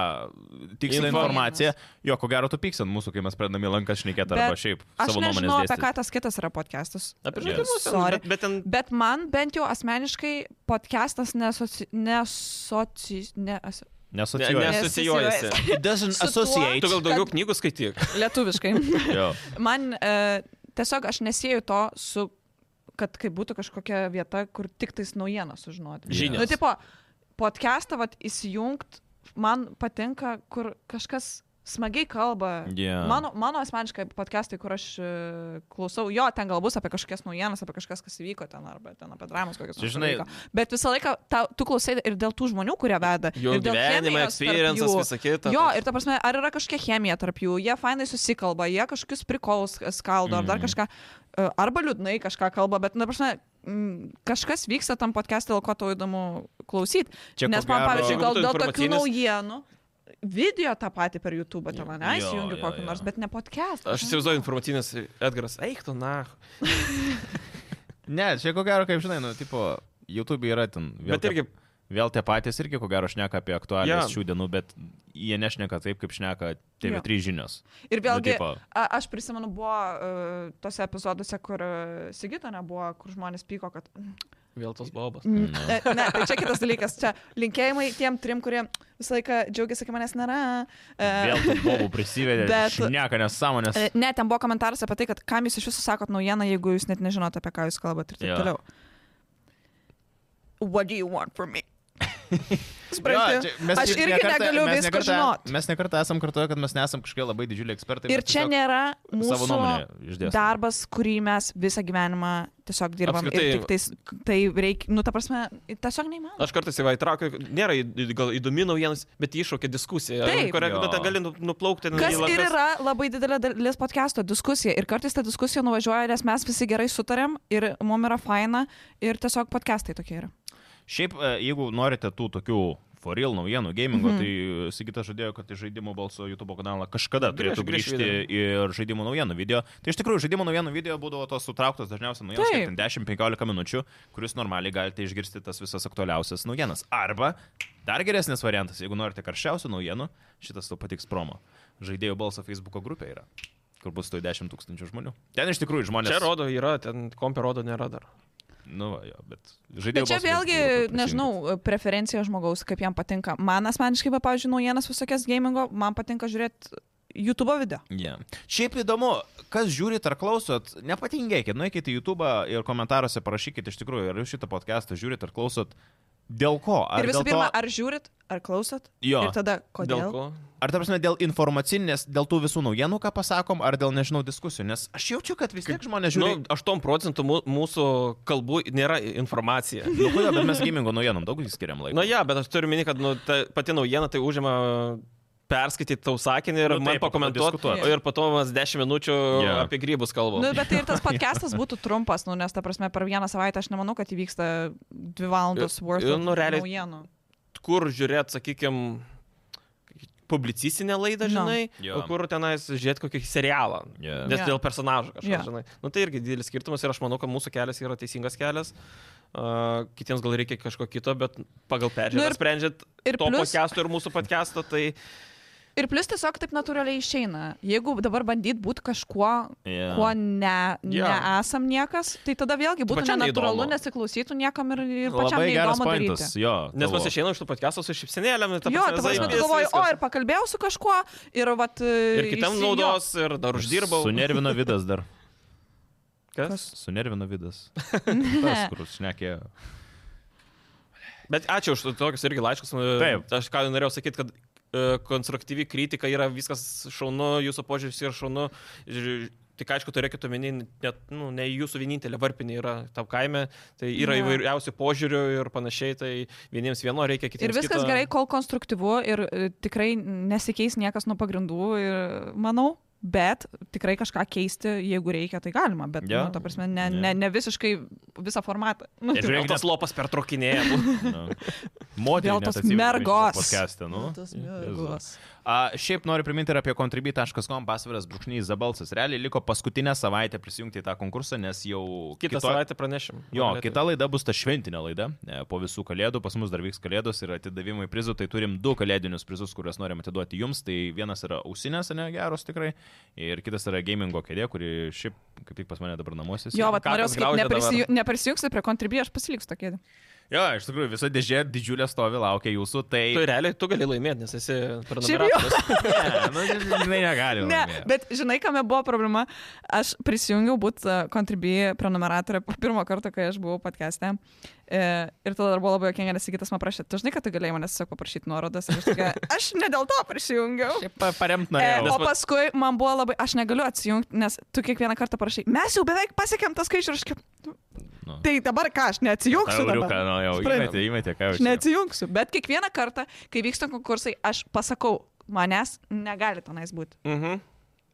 [SPEAKER 1] tikslią
[SPEAKER 2] Info.
[SPEAKER 1] informaciją, jo, ko gero, tu pyks ant mūsų, kai mes pradedame lankas šnekėti arba
[SPEAKER 3] Bet
[SPEAKER 1] šiaip
[SPEAKER 3] Aš
[SPEAKER 1] savo
[SPEAKER 3] nežinau,
[SPEAKER 1] nuomonės
[SPEAKER 3] apie
[SPEAKER 1] dėstyti.
[SPEAKER 3] ką tas kitas yra podcastas.
[SPEAKER 2] Apie
[SPEAKER 1] Yes.
[SPEAKER 2] žaidimus. ten,
[SPEAKER 3] Sorry.
[SPEAKER 2] Bet, bet ten...
[SPEAKER 3] Bet man bent jau asmeniškai podcastas nesoci... nesoci... neas...
[SPEAKER 2] Ne,
[SPEAKER 1] Nesocijuoju.
[SPEAKER 2] nesasijojasi.
[SPEAKER 1] It doesn't
[SPEAKER 3] Su tuo-
[SPEAKER 1] associate.
[SPEAKER 2] Tu gal daugiau
[SPEAKER 3] Kad-
[SPEAKER 2] knygų skaityk.
[SPEAKER 3] lietuviškai.
[SPEAKER 1] Jo.
[SPEAKER 3] Man e, tiesiog aš nesieju to su, kad kai būtų kažkokia vieta, kur tik tais naujienas sužinoti.
[SPEAKER 2] Žinios.
[SPEAKER 3] Nu, tipo, podcastą vat, įsijungt, man patinka, kur kažkas smagiai kalba.
[SPEAKER 1] Yeah.
[SPEAKER 3] Mano, mano asmeniškai podcastai, kur aš e, klausau, jo, ten gal bus apie kažkokias naujienas, apie kažkas, kas įvyko ten, arba ten apie dramas kokias.
[SPEAKER 1] Čia,
[SPEAKER 3] nors
[SPEAKER 1] žinai-
[SPEAKER 3] įvyko. bet visą laiką ta, tu klausai ir dėl tų žmonių, kurie veda.
[SPEAKER 2] Jų
[SPEAKER 3] ir dėl
[SPEAKER 2] gyvenimą,
[SPEAKER 3] chemijos tarp
[SPEAKER 2] experiences,
[SPEAKER 3] jų.
[SPEAKER 2] visą kitą.
[SPEAKER 3] Jo, ir ta prasme, ar yra kažkokia chemija tarp jų, jie fainai susikalba, jie kažkokius prikolus skaldo, ar dar
[SPEAKER 1] Mhm.
[SPEAKER 3] kažką, e, arba liūdnai kažką kalba, bet, na, prasme, m, kažkas vyksta tam podcast'e, dėl ko tau įdomu klausyti.
[SPEAKER 1] Čia ko
[SPEAKER 3] Nes man,
[SPEAKER 1] gero-
[SPEAKER 3] pavyzdžiui,
[SPEAKER 2] Čia
[SPEAKER 3] gal
[SPEAKER 2] būtų
[SPEAKER 3] dėl tokių
[SPEAKER 2] informacinis-
[SPEAKER 3] naujienų. Video tą patį per YouTube, ten man
[SPEAKER 1] Jo,
[SPEAKER 3] įsijungiu
[SPEAKER 1] jo,
[SPEAKER 3] kokį
[SPEAKER 1] jo.
[SPEAKER 3] nors, bet ne podcast.
[SPEAKER 2] Aš įsivaizduoju informacinis Edgaras. Eik tu, na.
[SPEAKER 1] Ne, čia ko gero, kaip žinai, nu, tipo, YouTube yra ten. Vėl,
[SPEAKER 2] Bet irgi,
[SPEAKER 1] tie, vėl tie patys irgi ko gero šneka apie aktualijas
[SPEAKER 2] Jo.
[SPEAKER 1] šių dienų, bet jie nešneka taip, kaip šneka TV3 žinios. Nu,
[SPEAKER 3] Ir vėlgi,
[SPEAKER 1] tipo-
[SPEAKER 3] a, aš prisimenu, buvo uh, tose epizoduose, kur uh, Sigita nebuvo, kur žmonės pyko, kad mm,
[SPEAKER 2] vėl tos bobos.
[SPEAKER 3] Mm, Ne, ne, tai čia kitas dalykas. Čia linkėjimai tiem trim, kurie visą laiką džiaugiasi, kai manęs nėra. E,
[SPEAKER 1] Vėl tų bobų prisivedė.
[SPEAKER 3] Bet-
[SPEAKER 1] Šneka nesąmonės.
[SPEAKER 3] e, Ne, ten buvo komentaras apie tai, kad kam jūs iš viso sakot naujieną, jeigu jūs net nežinote, apie ką jūs kalbate ir
[SPEAKER 1] Jo.
[SPEAKER 3] taip toliau. What do you want from me?
[SPEAKER 1] Jo,
[SPEAKER 3] Supranti?
[SPEAKER 1] čia mes
[SPEAKER 3] Aš
[SPEAKER 1] ne
[SPEAKER 3] irgi
[SPEAKER 1] kartą-
[SPEAKER 3] negaliu
[SPEAKER 1] mes ne
[SPEAKER 3] visko
[SPEAKER 1] kartą-
[SPEAKER 3] žinot.
[SPEAKER 1] Mes nekartą esam kartuoję, kad mes nesam kažkokie labai didžiuliai ekspertai.
[SPEAKER 3] Ir
[SPEAKER 1] mes
[SPEAKER 3] čia
[SPEAKER 1] tai tiesiog
[SPEAKER 3] nėra
[SPEAKER 1] savo nuomonę
[SPEAKER 3] mūsų
[SPEAKER 1] išdėstome.
[SPEAKER 3] darbas, kurį mes visą gyvenimą tiesiog dirbam.
[SPEAKER 2] Apskritai-
[SPEAKER 3] Ir tik tais, tai reikia, nu, ta prasme, tiesiog neįmanoma.
[SPEAKER 2] Aš kartais į įtraukiu, nėra į- į- gal įdomi naujienas, bet jį iššaukia diskusija,
[SPEAKER 3] Taip.
[SPEAKER 2] kurią
[SPEAKER 1] Jo.
[SPEAKER 2] tada gali nu- nuplaukti. nu,
[SPEAKER 3] Kas
[SPEAKER 2] į
[SPEAKER 3] ir
[SPEAKER 2] lankas.
[SPEAKER 3] yra labai didelė dalis podcast'o diskusija. Ir kartais ta diskusija nuvažiuoja, nes mes visi gerai sutarėm ir mum yra faina ir tiesiog podcast'ai tokie yra.
[SPEAKER 1] Šiaip, e, jeigu norite tų tokių for real naujienų gamingo, mm.
[SPEAKER 3] Mhm.
[SPEAKER 1] tai Sigita žadėjo, kad į žaidimų balso YouTube kanalą kažkada
[SPEAKER 2] Grįš-
[SPEAKER 1] turėtų
[SPEAKER 2] grįš
[SPEAKER 1] grįžti ir žaidimų naujienų video. Tai iš tikrųjų, žaidimų naujienų video būdavo tos sutrauktos dažniausiai naujienos
[SPEAKER 3] Taip.
[SPEAKER 1] kiek ten 10-15 minučių, kuris normaliai galite išgirsti tas visas aktualiausias naujienas. Arba dar geresnis variantas, jeigu norite karščiausių naujienų, šitas tau patiks promo. Žaidėjų balso Facebook grupė yra kur bus to 10 tūkstančių žmonių. Ten iš tikrųjų žmonės.
[SPEAKER 2] Čia rodo, yra, ten kompė rodo, nėra dar.
[SPEAKER 1] Nu, va, jo, bet žaidėjų
[SPEAKER 3] Bet čia
[SPEAKER 1] balso Facebook
[SPEAKER 3] vėlgi,
[SPEAKER 1] grupė prisijungit.
[SPEAKER 3] nežinau, preferencija žmogaus, kaip jam patinka. Man asmeniškai, va, pavyzdžiui, naujienas visokias gamingo, man patinka žiūrėti YouTube video.
[SPEAKER 1] Yeah. Šiaip įdomu, kas žiūrit ar klausot, nepatingėkit, nueikit į YouTube ir komentaruose parašykit iš tikrųjų, ar jūs šitą podcastą žiūrit ar klausot, dėl ko? Ar
[SPEAKER 3] ir
[SPEAKER 1] dėl
[SPEAKER 3] visų pirma,
[SPEAKER 1] to,
[SPEAKER 3] ar žiūrit, ar klausot.
[SPEAKER 1] Jo.
[SPEAKER 3] Ir tada, kodėl?
[SPEAKER 2] Dėl ko?
[SPEAKER 1] ar ta prasme, dėl informacinės, dėl tų visų naujienų, ką pasakom, ar dėl, nežinau, diskusijų, nes aš jaučiu, kad vis tiek žmonės žiūri.
[SPEAKER 2] Nu, 8 procentų mū- mūsų kalbų nėra informacija.
[SPEAKER 1] Nu, kodėl, bet mes gamingo naujienom daug skiriam laiko.
[SPEAKER 2] Na, ja, bet aš turiu minį, kad nu, ta, pati naujiena tai užima perskaityti tau sakinį ir
[SPEAKER 1] Nu,
[SPEAKER 2] nu, man
[SPEAKER 1] taip, o po to
[SPEAKER 2] pakomentuoti.
[SPEAKER 1] diskutuot.
[SPEAKER 2] Ir po to mes 10 minučių
[SPEAKER 1] Jo.
[SPEAKER 2] yeah. apie grybus kalbam.
[SPEAKER 3] Nu, bet tai ir tas podcastas būtų trumpas, nu, nes, ta prasme, per vieną savaitę aš nemanau, kad įvyksta dvi valandos
[SPEAKER 2] Ir-
[SPEAKER 3] worth
[SPEAKER 2] ir,
[SPEAKER 3] of
[SPEAKER 2] nu, realiai-
[SPEAKER 3] naujienų.
[SPEAKER 2] kur žiūrėt, sakykime, publicistinę laidą,
[SPEAKER 3] No.
[SPEAKER 2] žinai,
[SPEAKER 1] Jo.
[SPEAKER 2] no. o kur tenais žiūrėt kokį serialą.
[SPEAKER 1] Yeah.
[SPEAKER 2] Nes
[SPEAKER 3] Jo.
[SPEAKER 2] dėl personažų kažkas,
[SPEAKER 3] Jo.
[SPEAKER 2] yeah. žinai. Nu, tai irgi didelis skirtumas ir aš manau, kad mūsų kelias yra teisingas kelias. Uh, kitiems gal reikia kažko kito, bet pagal peržiūrą
[SPEAKER 3] Nu
[SPEAKER 2] nu
[SPEAKER 3] ir-
[SPEAKER 2] sprendžiat
[SPEAKER 3] ir
[SPEAKER 2] to
[SPEAKER 3] plius-
[SPEAKER 2] podcast'o ir mūsų podcast'o, tai
[SPEAKER 3] Ir plus tiesiog taip natūraliai išeina. Jeigu dabar bandyt būti kažkuo,
[SPEAKER 1] Jo.
[SPEAKER 3] yeah. kuo ne,
[SPEAKER 2] Jo.
[SPEAKER 3] yeah. nesam niekas, tai tada vėlgi būtų
[SPEAKER 2] pačiam
[SPEAKER 3] nenatūralu,
[SPEAKER 2] neįdomu.
[SPEAKER 3] nesiklausytų niekam ir, ir pačiam
[SPEAKER 1] Labai geras
[SPEAKER 3] neįdomu
[SPEAKER 1] pointas,
[SPEAKER 3] daryti.
[SPEAKER 1] jo.
[SPEAKER 2] nes
[SPEAKER 1] tavo.
[SPEAKER 2] mes išeinam iš tų podcast'o su šipsenėlėm.
[SPEAKER 3] Jo, ta prasme, tu
[SPEAKER 2] zaibis,
[SPEAKER 3] galvoji, o
[SPEAKER 2] tai viskas.
[SPEAKER 3] ir pakalbėjau su kažkuo, ir vat... e,
[SPEAKER 2] Ir kitam
[SPEAKER 3] įsijo-
[SPEAKER 2] naudos, ir dar uždirbau.
[SPEAKER 1] Sunervino vidas dar.
[SPEAKER 2] Kas?
[SPEAKER 1] Sunervino vidas. Tas, kur šnekė.
[SPEAKER 2] Bet ačiū už tokius irgi laiškus. E,
[SPEAKER 1] Taip.
[SPEAKER 2] Aš ką norėjau sakyti, kad e, konstruktyvi kritika yra viskas šaunu, jūsų požiūris yra šaunu. Ž- Tik aišku, turėkite omeny, net, nu, ne jūsų vienintelė varpinė yra tam kaime, tai yra
[SPEAKER 3] Ne.
[SPEAKER 2] įvairiausių požiūrių ir panašiai, tai vieniems vieno reikia, kitiems
[SPEAKER 3] Ir viskas
[SPEAKER 2] kito.
[SPEAKER 3] gerai, kol konstruktyvu ir e, tikrai nesikeis niekas nuo pagrindų, ir, manau. bet tikrai kažką keisti, jeigu reikia, tai galima, bet,
[SPEAKER 1] Jo.
[SPEAKER 3] yeah. nu, ta prasme, ne,
[SPEAKER 1] Jo.
[SPEAKER 3] ne, ne visiškai visą formatą. Nu,
[SPEAKER 1] Ir
[SPEAKER 3] tai-
[SPEAKER 2] Žiūrėk, tas lopas pertraukinėja.
[SPEAKER 1] Nu. Moteriai.
[SPEAKER 3] Vėl tos mergos.
[SPEAKER 1] Podcast'e, nu.
[SPEAKER 3] Tas
[SPEAKER 1] Jėzus.
[SPEAKER 3] mergos.
[SPEAKER 1] A, šiaip noriu priminti ir apie contribui.com pasviras brūkšnys Zabalsas. Realiai liko paskutinę savaitę prisijungti į tą konkursą, nes jau
[SPEAKER 2] Kitą
[SPEAKER 1] kitoj-
[SPEAKER 2] savaitę pranešim.
[SPEAKER 1] Jo,
[SPEAKER 2] Galėtų.
[SPEAKER 1] kita laida bus ta šventinė laida. e, Po visų kalėdų, pas mus dar vyks kalėdos ir atidavimai prizų, tai turim du kalėdinius prizus, kuriuos norim atiduoti jums. Tai vienas yra ausinės, ne geros tikrai, ir kitas yra gamingo kėdė, kuri šiaip kaip tik pas mane dabar namuose. sėdi.
[SPEAKER 3] Jo, vat, norėjau
[SPEAKER 2] kapas
[SPEAKER 3] sakyti,
[SPEAKER 2] graužia
[SPEAKER 3] neprisiju, neprisijungsi prie kontribijos, aš pasiliksiu tokį.
[SPEAKER 1] jo, iš tikrųjų, visa dėžė didžiulė stovi, laukia jūsų, tai...
[SPEAKER 2] Tu realiai, tu gali laimėti, nes esi
[SPEAKER 3] Šiaip
[SPEAKER 2] pranumeratas.
[SPEAKER 1] Ne, nu, žinai, negali.
[SPEAKER 3] Ne,
[SPEAKER 1] laimėt.
[SPEAKER 3] bet žinai, kame buvo problema? Aš prisijungiau būti kontribijai prenumeratorė po pirmą kartą, kai aš buvau podcast'e. E, Ir tada dar buvo labai jokinga, nes kitas man prašė, tu žinai, kad tu galėjai manęs tiesiog paprašyti nuorodas. Ir Aš, tokia, aš ne dėl to prisijungiau.
[SPEAKER 1] Šiaip pa- paremt
[SPEAKER 3] E,
[SPEAKER 1] norėjau.
[SPEAKER 3] o paskui man buvo labai, aš negaliu atsijungti, nes tu kiekvieną kartą parašai, mes jau beveik pasiekėm tą skaičių, ir aš kaip,
[SPEAKER 1] Nu.
[SPEAKER 3] tai dabar ką, aš neatsijungsiu. dabar?"
[SPEAKER 1] Tauriuką, nu, jau
[SPEAKER 3] Supranti?
[SPEAKER 1] įmetė, įmetė, ką jau.
[SPEAKER 3] Aš neatsijungsiu, bet kiekvieną kartą, kai vyksta konkursai, aš pasakau, manęs negali tenais būti.
[SPEAKER 2] Mhm.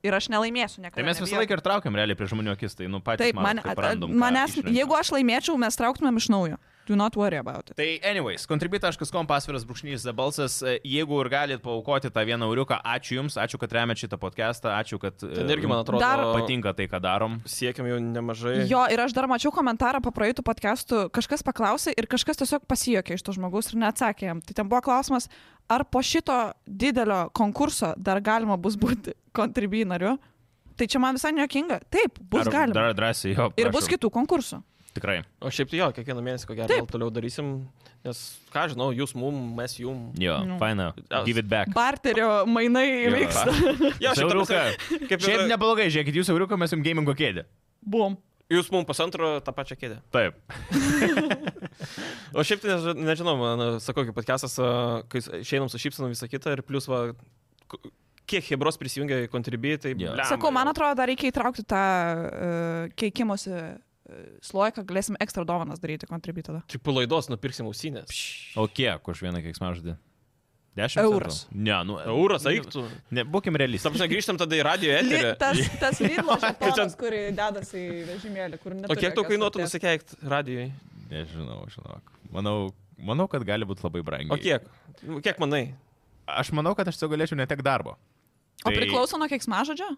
[SPEAKER 3] Ir aš nelaimėsiu niekada.
[SPEAKER 1] Tai mes visą
[SPEAKER 3] nebijok.
[SPEAKER 1] laiką ir traukiam realiai prie žmonių akis, tai nu patys.
[SPEAKER 3] Taip, man,
[SPEAKER 1] matot, kaip randam, ką
[SPEAKER 3] manęs,
[SPEAKER 1] išrenkam.
[SPEAKER 3] jeigu aš laimėčiau, mes trauktumėm iš naujo. Do not worry about it.
[SPEAKER 1] Tai anyways, contribui.com pasviras brūkšnys zabalsas, E, jeigu ir galit paukoti tą vieną euriuką, ačiū Jums, ačiū, kad remiat šitą podcastą, ačiū, kad... e,
[SPEAKER 2] Ten irgi, man atrodo,
[SPEAKER 3] Dar-
[SPEAKER 1] Patinka tai, ką darom.
[SPEAKER 2] Siekiam jau nemažai.
[SPEAKER 1] Tai-
[SPEAKER 3] Jo, ir aš dar mačiau komentarą po praeitų podcastų, kažkas paklausė ir kažkas tiesiog pasijokė iš to žmogaus ir neatsakė jam. Tai ten buvo klausimas, ar po šito didelio konkurso dar galima bus būti kontribui nariu. Tai čia man visai nejuokinga. Taip, bus
[SPEAKER 1] Ar-
[SPEAKER 3] galima.
[SPEAKER 1] Dar drąsiai, jo.
[SPEAKER 3] Ir bus
[SPEAKER 1] prašom.
[SPEAKER 3] kitų konkursų.
[SPEAKER 1] Tikrai.
[SPEAKER 2] O šiaip tai jo, kiekvieną mėnesį ko gero
[SPEAKER 3] Taip.
[SPEAKER 2] vėl toliau darysim, nes, ką žinau, jūs mum, mes jum.
[SPEAKER 1] Jo,
[SPEAKER 3] Nu.
[SPEAKER 1] faina.
[SPEAKER 2] As-
[SPEAKER 1] Give it back.
[SPEAKER 3] Barterio mainai
[SPEAKER 1] Jo.
[SPEAKER 3] vyksta.
[SPEAKER 2] Jo, šiaip, ta prasme, kaip
[SPEAKER 1] Šiaip
[SPEAKER 2] ir, ne...
[SPEAKER 1] neblogai, žiūrėkit, jūs euriuką mes jums gamingo kėdė.
[SPEAKER 3] Bum.
[SPEAKER 2] jūs mum pusantro tą pačią kėdę.
[SPEAKER 1] Taip.
[SPEAKER 2] O šiaip tai neži- nežinau, man, sakau, kaip podcastas, a, kai s- išeinam su šypsenu visą kitą ir plus, va, k- kiek hebros prisijungia į kontribį, tai...
[SPEAKER 1] Jo.
[SPEAKER 2] blemba
[SPEAKER 3] Sakau, man
[SPEAKER 2] jau.
[SPEAKER 3] atrodo, dar reikia įtraukti tą uh, keikimosi uh, sloiką, galėsim ekstra dovanas daryti kontribui tada.
[SPEAKER 2] Tik po laidos nupirksim ausinės.
[SPEAKER 1] O kiek už vieną keiksmažodį? 10
[SPEAKER 3] Euras.
[SPEAKER 1] Ne, nu.
[SPEAKER 2] Euras, eiktų.
[SPEAKER 1] Ne, būkim realistai.
[SPEAKER 2] Sapna, grįžtam tada į radio
[SPEAKER 3] Li,
[SPEAKER 2] eterį.
[SPEAKER 3] tas tas Lidlo
[SPEAKER 2] žetonas,
[SPEAKER 3] žetonas, kurį dedasi į vežimėlį, kur neturi.
[SPEAKER 2] O kiek tau kainuotų nusikeikti radijui?
[SPEAKER 1] Nežinau, žinok. Manau, manau, kad gali būti labai brangiai.
[SPEAKER 2] O kiek? Nu, Kiek manai?
[SPEAKER 1] Aš manau, kad aš tiesiog galėčiau netek darbo.
[SPEAKER 2] Tai-
[SPEAKER 1] Tai,
[SPEAKER 3] O priklauso nuo keiksmažodžio?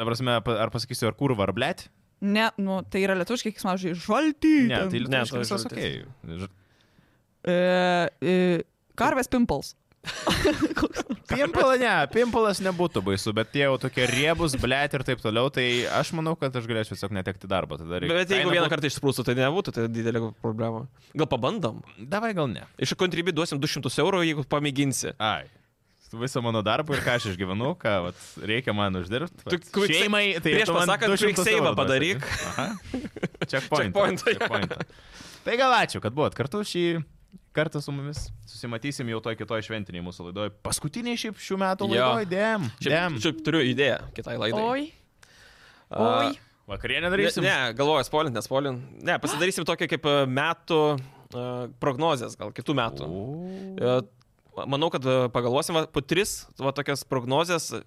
[SPEAKER 1] Dabar, ar pasakysiu, ar kurva, ar blėt?
[SPEAKER 3] Ne, nu, tai yra lietuviškai keiksmažodžiai. Žalty.
[SPEAKER 1] Ne, tai
[SPEAKER 2] Ne,
[SPEAKER 1] lietuviškai
[SPEAKER 2] tai
[SPEAKER 1] viskas ok.
[SPEAKER 2] žaltis.
[SPEAKER 1] Ž-
[SPEAKER 3] E, e, karvės pimples.
[SPEAKER 1] Pimpala ne, pimpalas nebūtų baisu, bet tie jau tokie riebus, blėt ir taip toliau, tai aš manau, kad aš galėčiau tiesiog netekti darbo. Tada reikia.
[SPEAKER 2] Bet jeigu vieną kartą išsprūstų, tai nebūtų tai didelė problema. Gal pabandom?
[SPEAKER 1] Davai gal ne.
[SPEAKER 2] Iš kontribį duosim 200 eurų, jeigu pamėginsi.
[SPEAKER 1] Ai. Su Visą mano darbą ir ką aš išgyvenu, ką vat, reikia man uždirbti.
[SPEAKER 2] Tu quick-
[SPEAKER 1] šeimai, tai
[SPEAKER 2] prieš
[SPEAKER 1] tu man
[SPEAKER 2] pasakant,
[SPEAKER 1] 200
[SPEAKER 2] quick save'ą
[SPEAKER 1] eurų duosi.
[SPEAKER 2] padaryk.
[SPEAKER 1] Aha. Checkpoint.
[SPEAKER 2] Checkpointą, jo.
[SPEAKER 1] Tai gal ačiū, kad buvot kartu šį kartą su mumis. Susimatysim jau toj kitoj šventiniai mūsų laidoje. Paskutiniai šiaip šių metų
[SPEAKER 2] Jo.
[SPEAKER 1] laidoje. Dėm. Dėm.
[SPEAKER 2] Šiaip, šiaip turiu idėją kitai laidai.
[SPEAKER 3] Oi,
[SPEAKER 2] tai- A,
[SPEAKER 3] oi.
[SPEAKER 1] Vakarienę
[SPEAKER 2] Ne,
[SPEAKER 1] darysim.
[SPEAKER 2] ne galvoju, spolin, nespolin. Ne, pasidarysim tokią kaip a, metų a, prognozes, gal kitų metų. A, Manau, kad a, pagalvosim va, po tris va, tokias prognozes, a,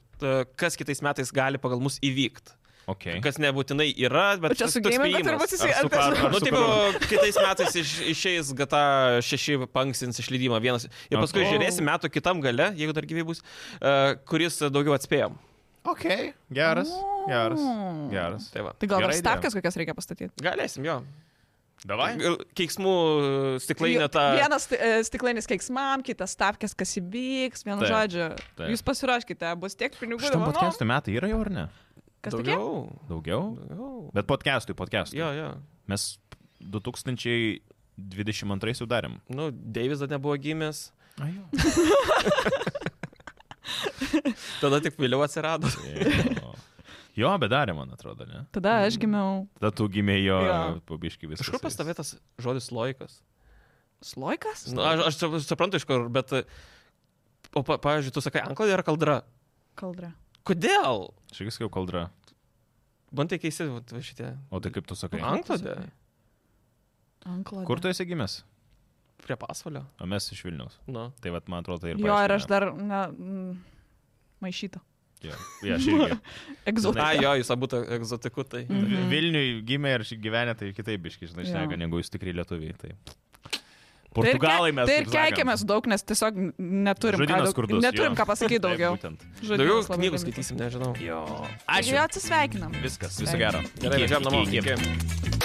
[SPEAKER 2] kas kitais metais gali pagal mus įvykti.
[SPEAKER 1] Okay.
[SPEAKER 2] Kas nebūtinai yra, bet
[SPEAKER 3] O čia
[SPEAKER 2] tas-
[SPEAKER 3] su
[SPEAKER 2] toks
[SPEAKER 3] gėjimu
[SPEAKER 2] spėjimas.
[SPEAKER 3] turbūt
[SPEAKER 1] Ar su
[SPEAKER 3] susijęs.
[SPEAKER 1] karve?
[SPEAKER 2] Nu, taip, jau kitais metais iš, išeis GTA 6, panksins išleidimą vienas. Ir paskui
[SPEAKER 1] Okay.
[SPEAKER 2] žiūrėsim metų kitam gale, jeigu dar gyvai bus, e, kuris daugiau atspėjom.
[SPEAKER 1] ok. Geras. Geras.
[SPEAKER 3] Mm.
[SPEAKER 1] Geras.
[SPEAKER 2] Tai va.
[SPEAKER 3] Tai gal
[SPEAKER 1] Gera
[SPEAKER 3] dar
[SPEAKER 1] idėja.
[SPEAKER 3] stapkas kokias reikia pastatyti?
[SPEAKER 2] Galėsim jo.
[SPEAKER 1] Davai.
[SPEAKER 2] Ir Keiksmų e, stiklainė
[SPEAKER 3] Ju-
[SPEAKER 2] tą.
[SPEAKER 3] Vienas e, stiklainis keiksmam, kitas tapkės, kas įvyks, vienu
[SPEAKER 1] Taip,
[SPEAKER 3] žodžiu.
[SPEAKER 1] taip.
[SPEAKER 3] Jūs pasiraškite, bus tiek pinigų.
[SPEAKER 1] Šitam
[SPEAKER 3] dovanom.
[SPEAKER 1] podcast'ui metai yra jau ar ne?
[SPEAKER 3] Kas tokie?
[SPEAKER 2] daugiau.
[SPEAKER 1] Daugiau?
[SPEAKER 2] Daugiau.
[SPEAKER 1] Bet podcast'ui, podcast'ui.
[SPEAKER 2] Jo, jo.
[SPEAKER 1] Mes 2022 jau darėm.
[SPEAKER 2] Nu, Deivis dar nebuvo gimęs,
[SPEAKER 1] Ajo.
[SPEAKER 2] tada tik vėliau atsirado.
[SPEAKER 1] Jo. Jo, bet darė, man atrodo, ne?
[SPEAKER 3] Tada aš gimiau.
[SPEAKER 1] Tada tu gimė jo, jo.
[SPEAKER 3] Jo.
[SPEAKER 1] pabiškai visą.
[SPEAKER 2] Iš kur pastavėtas žodis loikas?
[SPEAKER 3] Sloikas?
[SPEAKER 2] Nu, aš, aš sup- suprantu iš kur, bet... e, O, pa, pavyzdžiui, tu sakai, anklodė yra kaldra.
[SPEAKER 3] Kaldra.
[SPEAKER 2] Kodėl?
[SPEAKER 1] Čia viskas jau kaldra.
[SPEAKER 2] Man tai keisti vat, va šitie.
[SPEAKER 1] O tai kaip tu sakai?
[SPEAKER 3] An-
[SPEAKER 2] Anklodė?
[SPEAKER 3] Anklodė.
[SPEAKER 1] Kur tu esi gimęs?
[SPEAKER 2] Prie pasvalio.
[SPEAKER 1] O mes iš Vilniaus.
[SPEAKER 2] Nu.
[SPEAKER 1] Tai vad, man atrodo, tai ir
[SPEAKER 3] Jo, ir
[SPEAKER 1] paaiškina.
[SPEAKER 3] aš dar, na, mm, maišyta.
[SPEAKER 1] Jo, jo, aš irgi.
[SPEAKER 2] Na,
[SPEAKER 3] Egzotika.
[SPEAKER 2] jo, jūs abu ta- egzotiku, tai.
[SPEAKER 1] Mm. Vilniui gimė ir ši- gyvenę, tai kitaip biškai, žinai,
[SPEAKER 3] Jo.
[SPEAKER 1] šneka, negu jūs tikrai lietuviai. Tai.
[SPEAKER 3] Tai ir ke-
[SPEAKER 1] Portugalai mes.
[SPEAKER 3] Tai ir
[SPEAKER 1] kaip sakant.
[SPEAKER 3] keikiamės daug, nes tiesiog neturim, ką,
[SPEAKER 1] Žodynas
[SPEAKER 3] daug,
[SPEAKER 1] skurdus,
[SPEAKER 3] neturim
[SPEAKER 1] jo.
[SPEAKER 3] ką pasakyti
[SPEAKER 1] Taip,
[SPEAKER 3] daugiau.
[SPEAKER 1] būtent.
[SPEAKER 3] Žodynas
[SPEAKER 2] Daugiau
[SPEAKER 3] labai
[SPEAKER 2] knygų
[SPEAKER 3] limitas.
[SPEAKER 2] skaitysim, nežinau.
[SPEAKER 1] Jo.
[SPEAKER 3] Ačiū.
[SPEAKER 1] Ačiū.
[SPEAKER 3] Atsisveikinam.
[SPEAKER 1] Viskas, viso gero.
[SPEAKER 2] Gerai,
[SPEAKER 1] Iki,
[SPEAKER 2] važiuojam namo.
[SPEAKER 1] iki, iki.
[SPEAKER 2] Iki.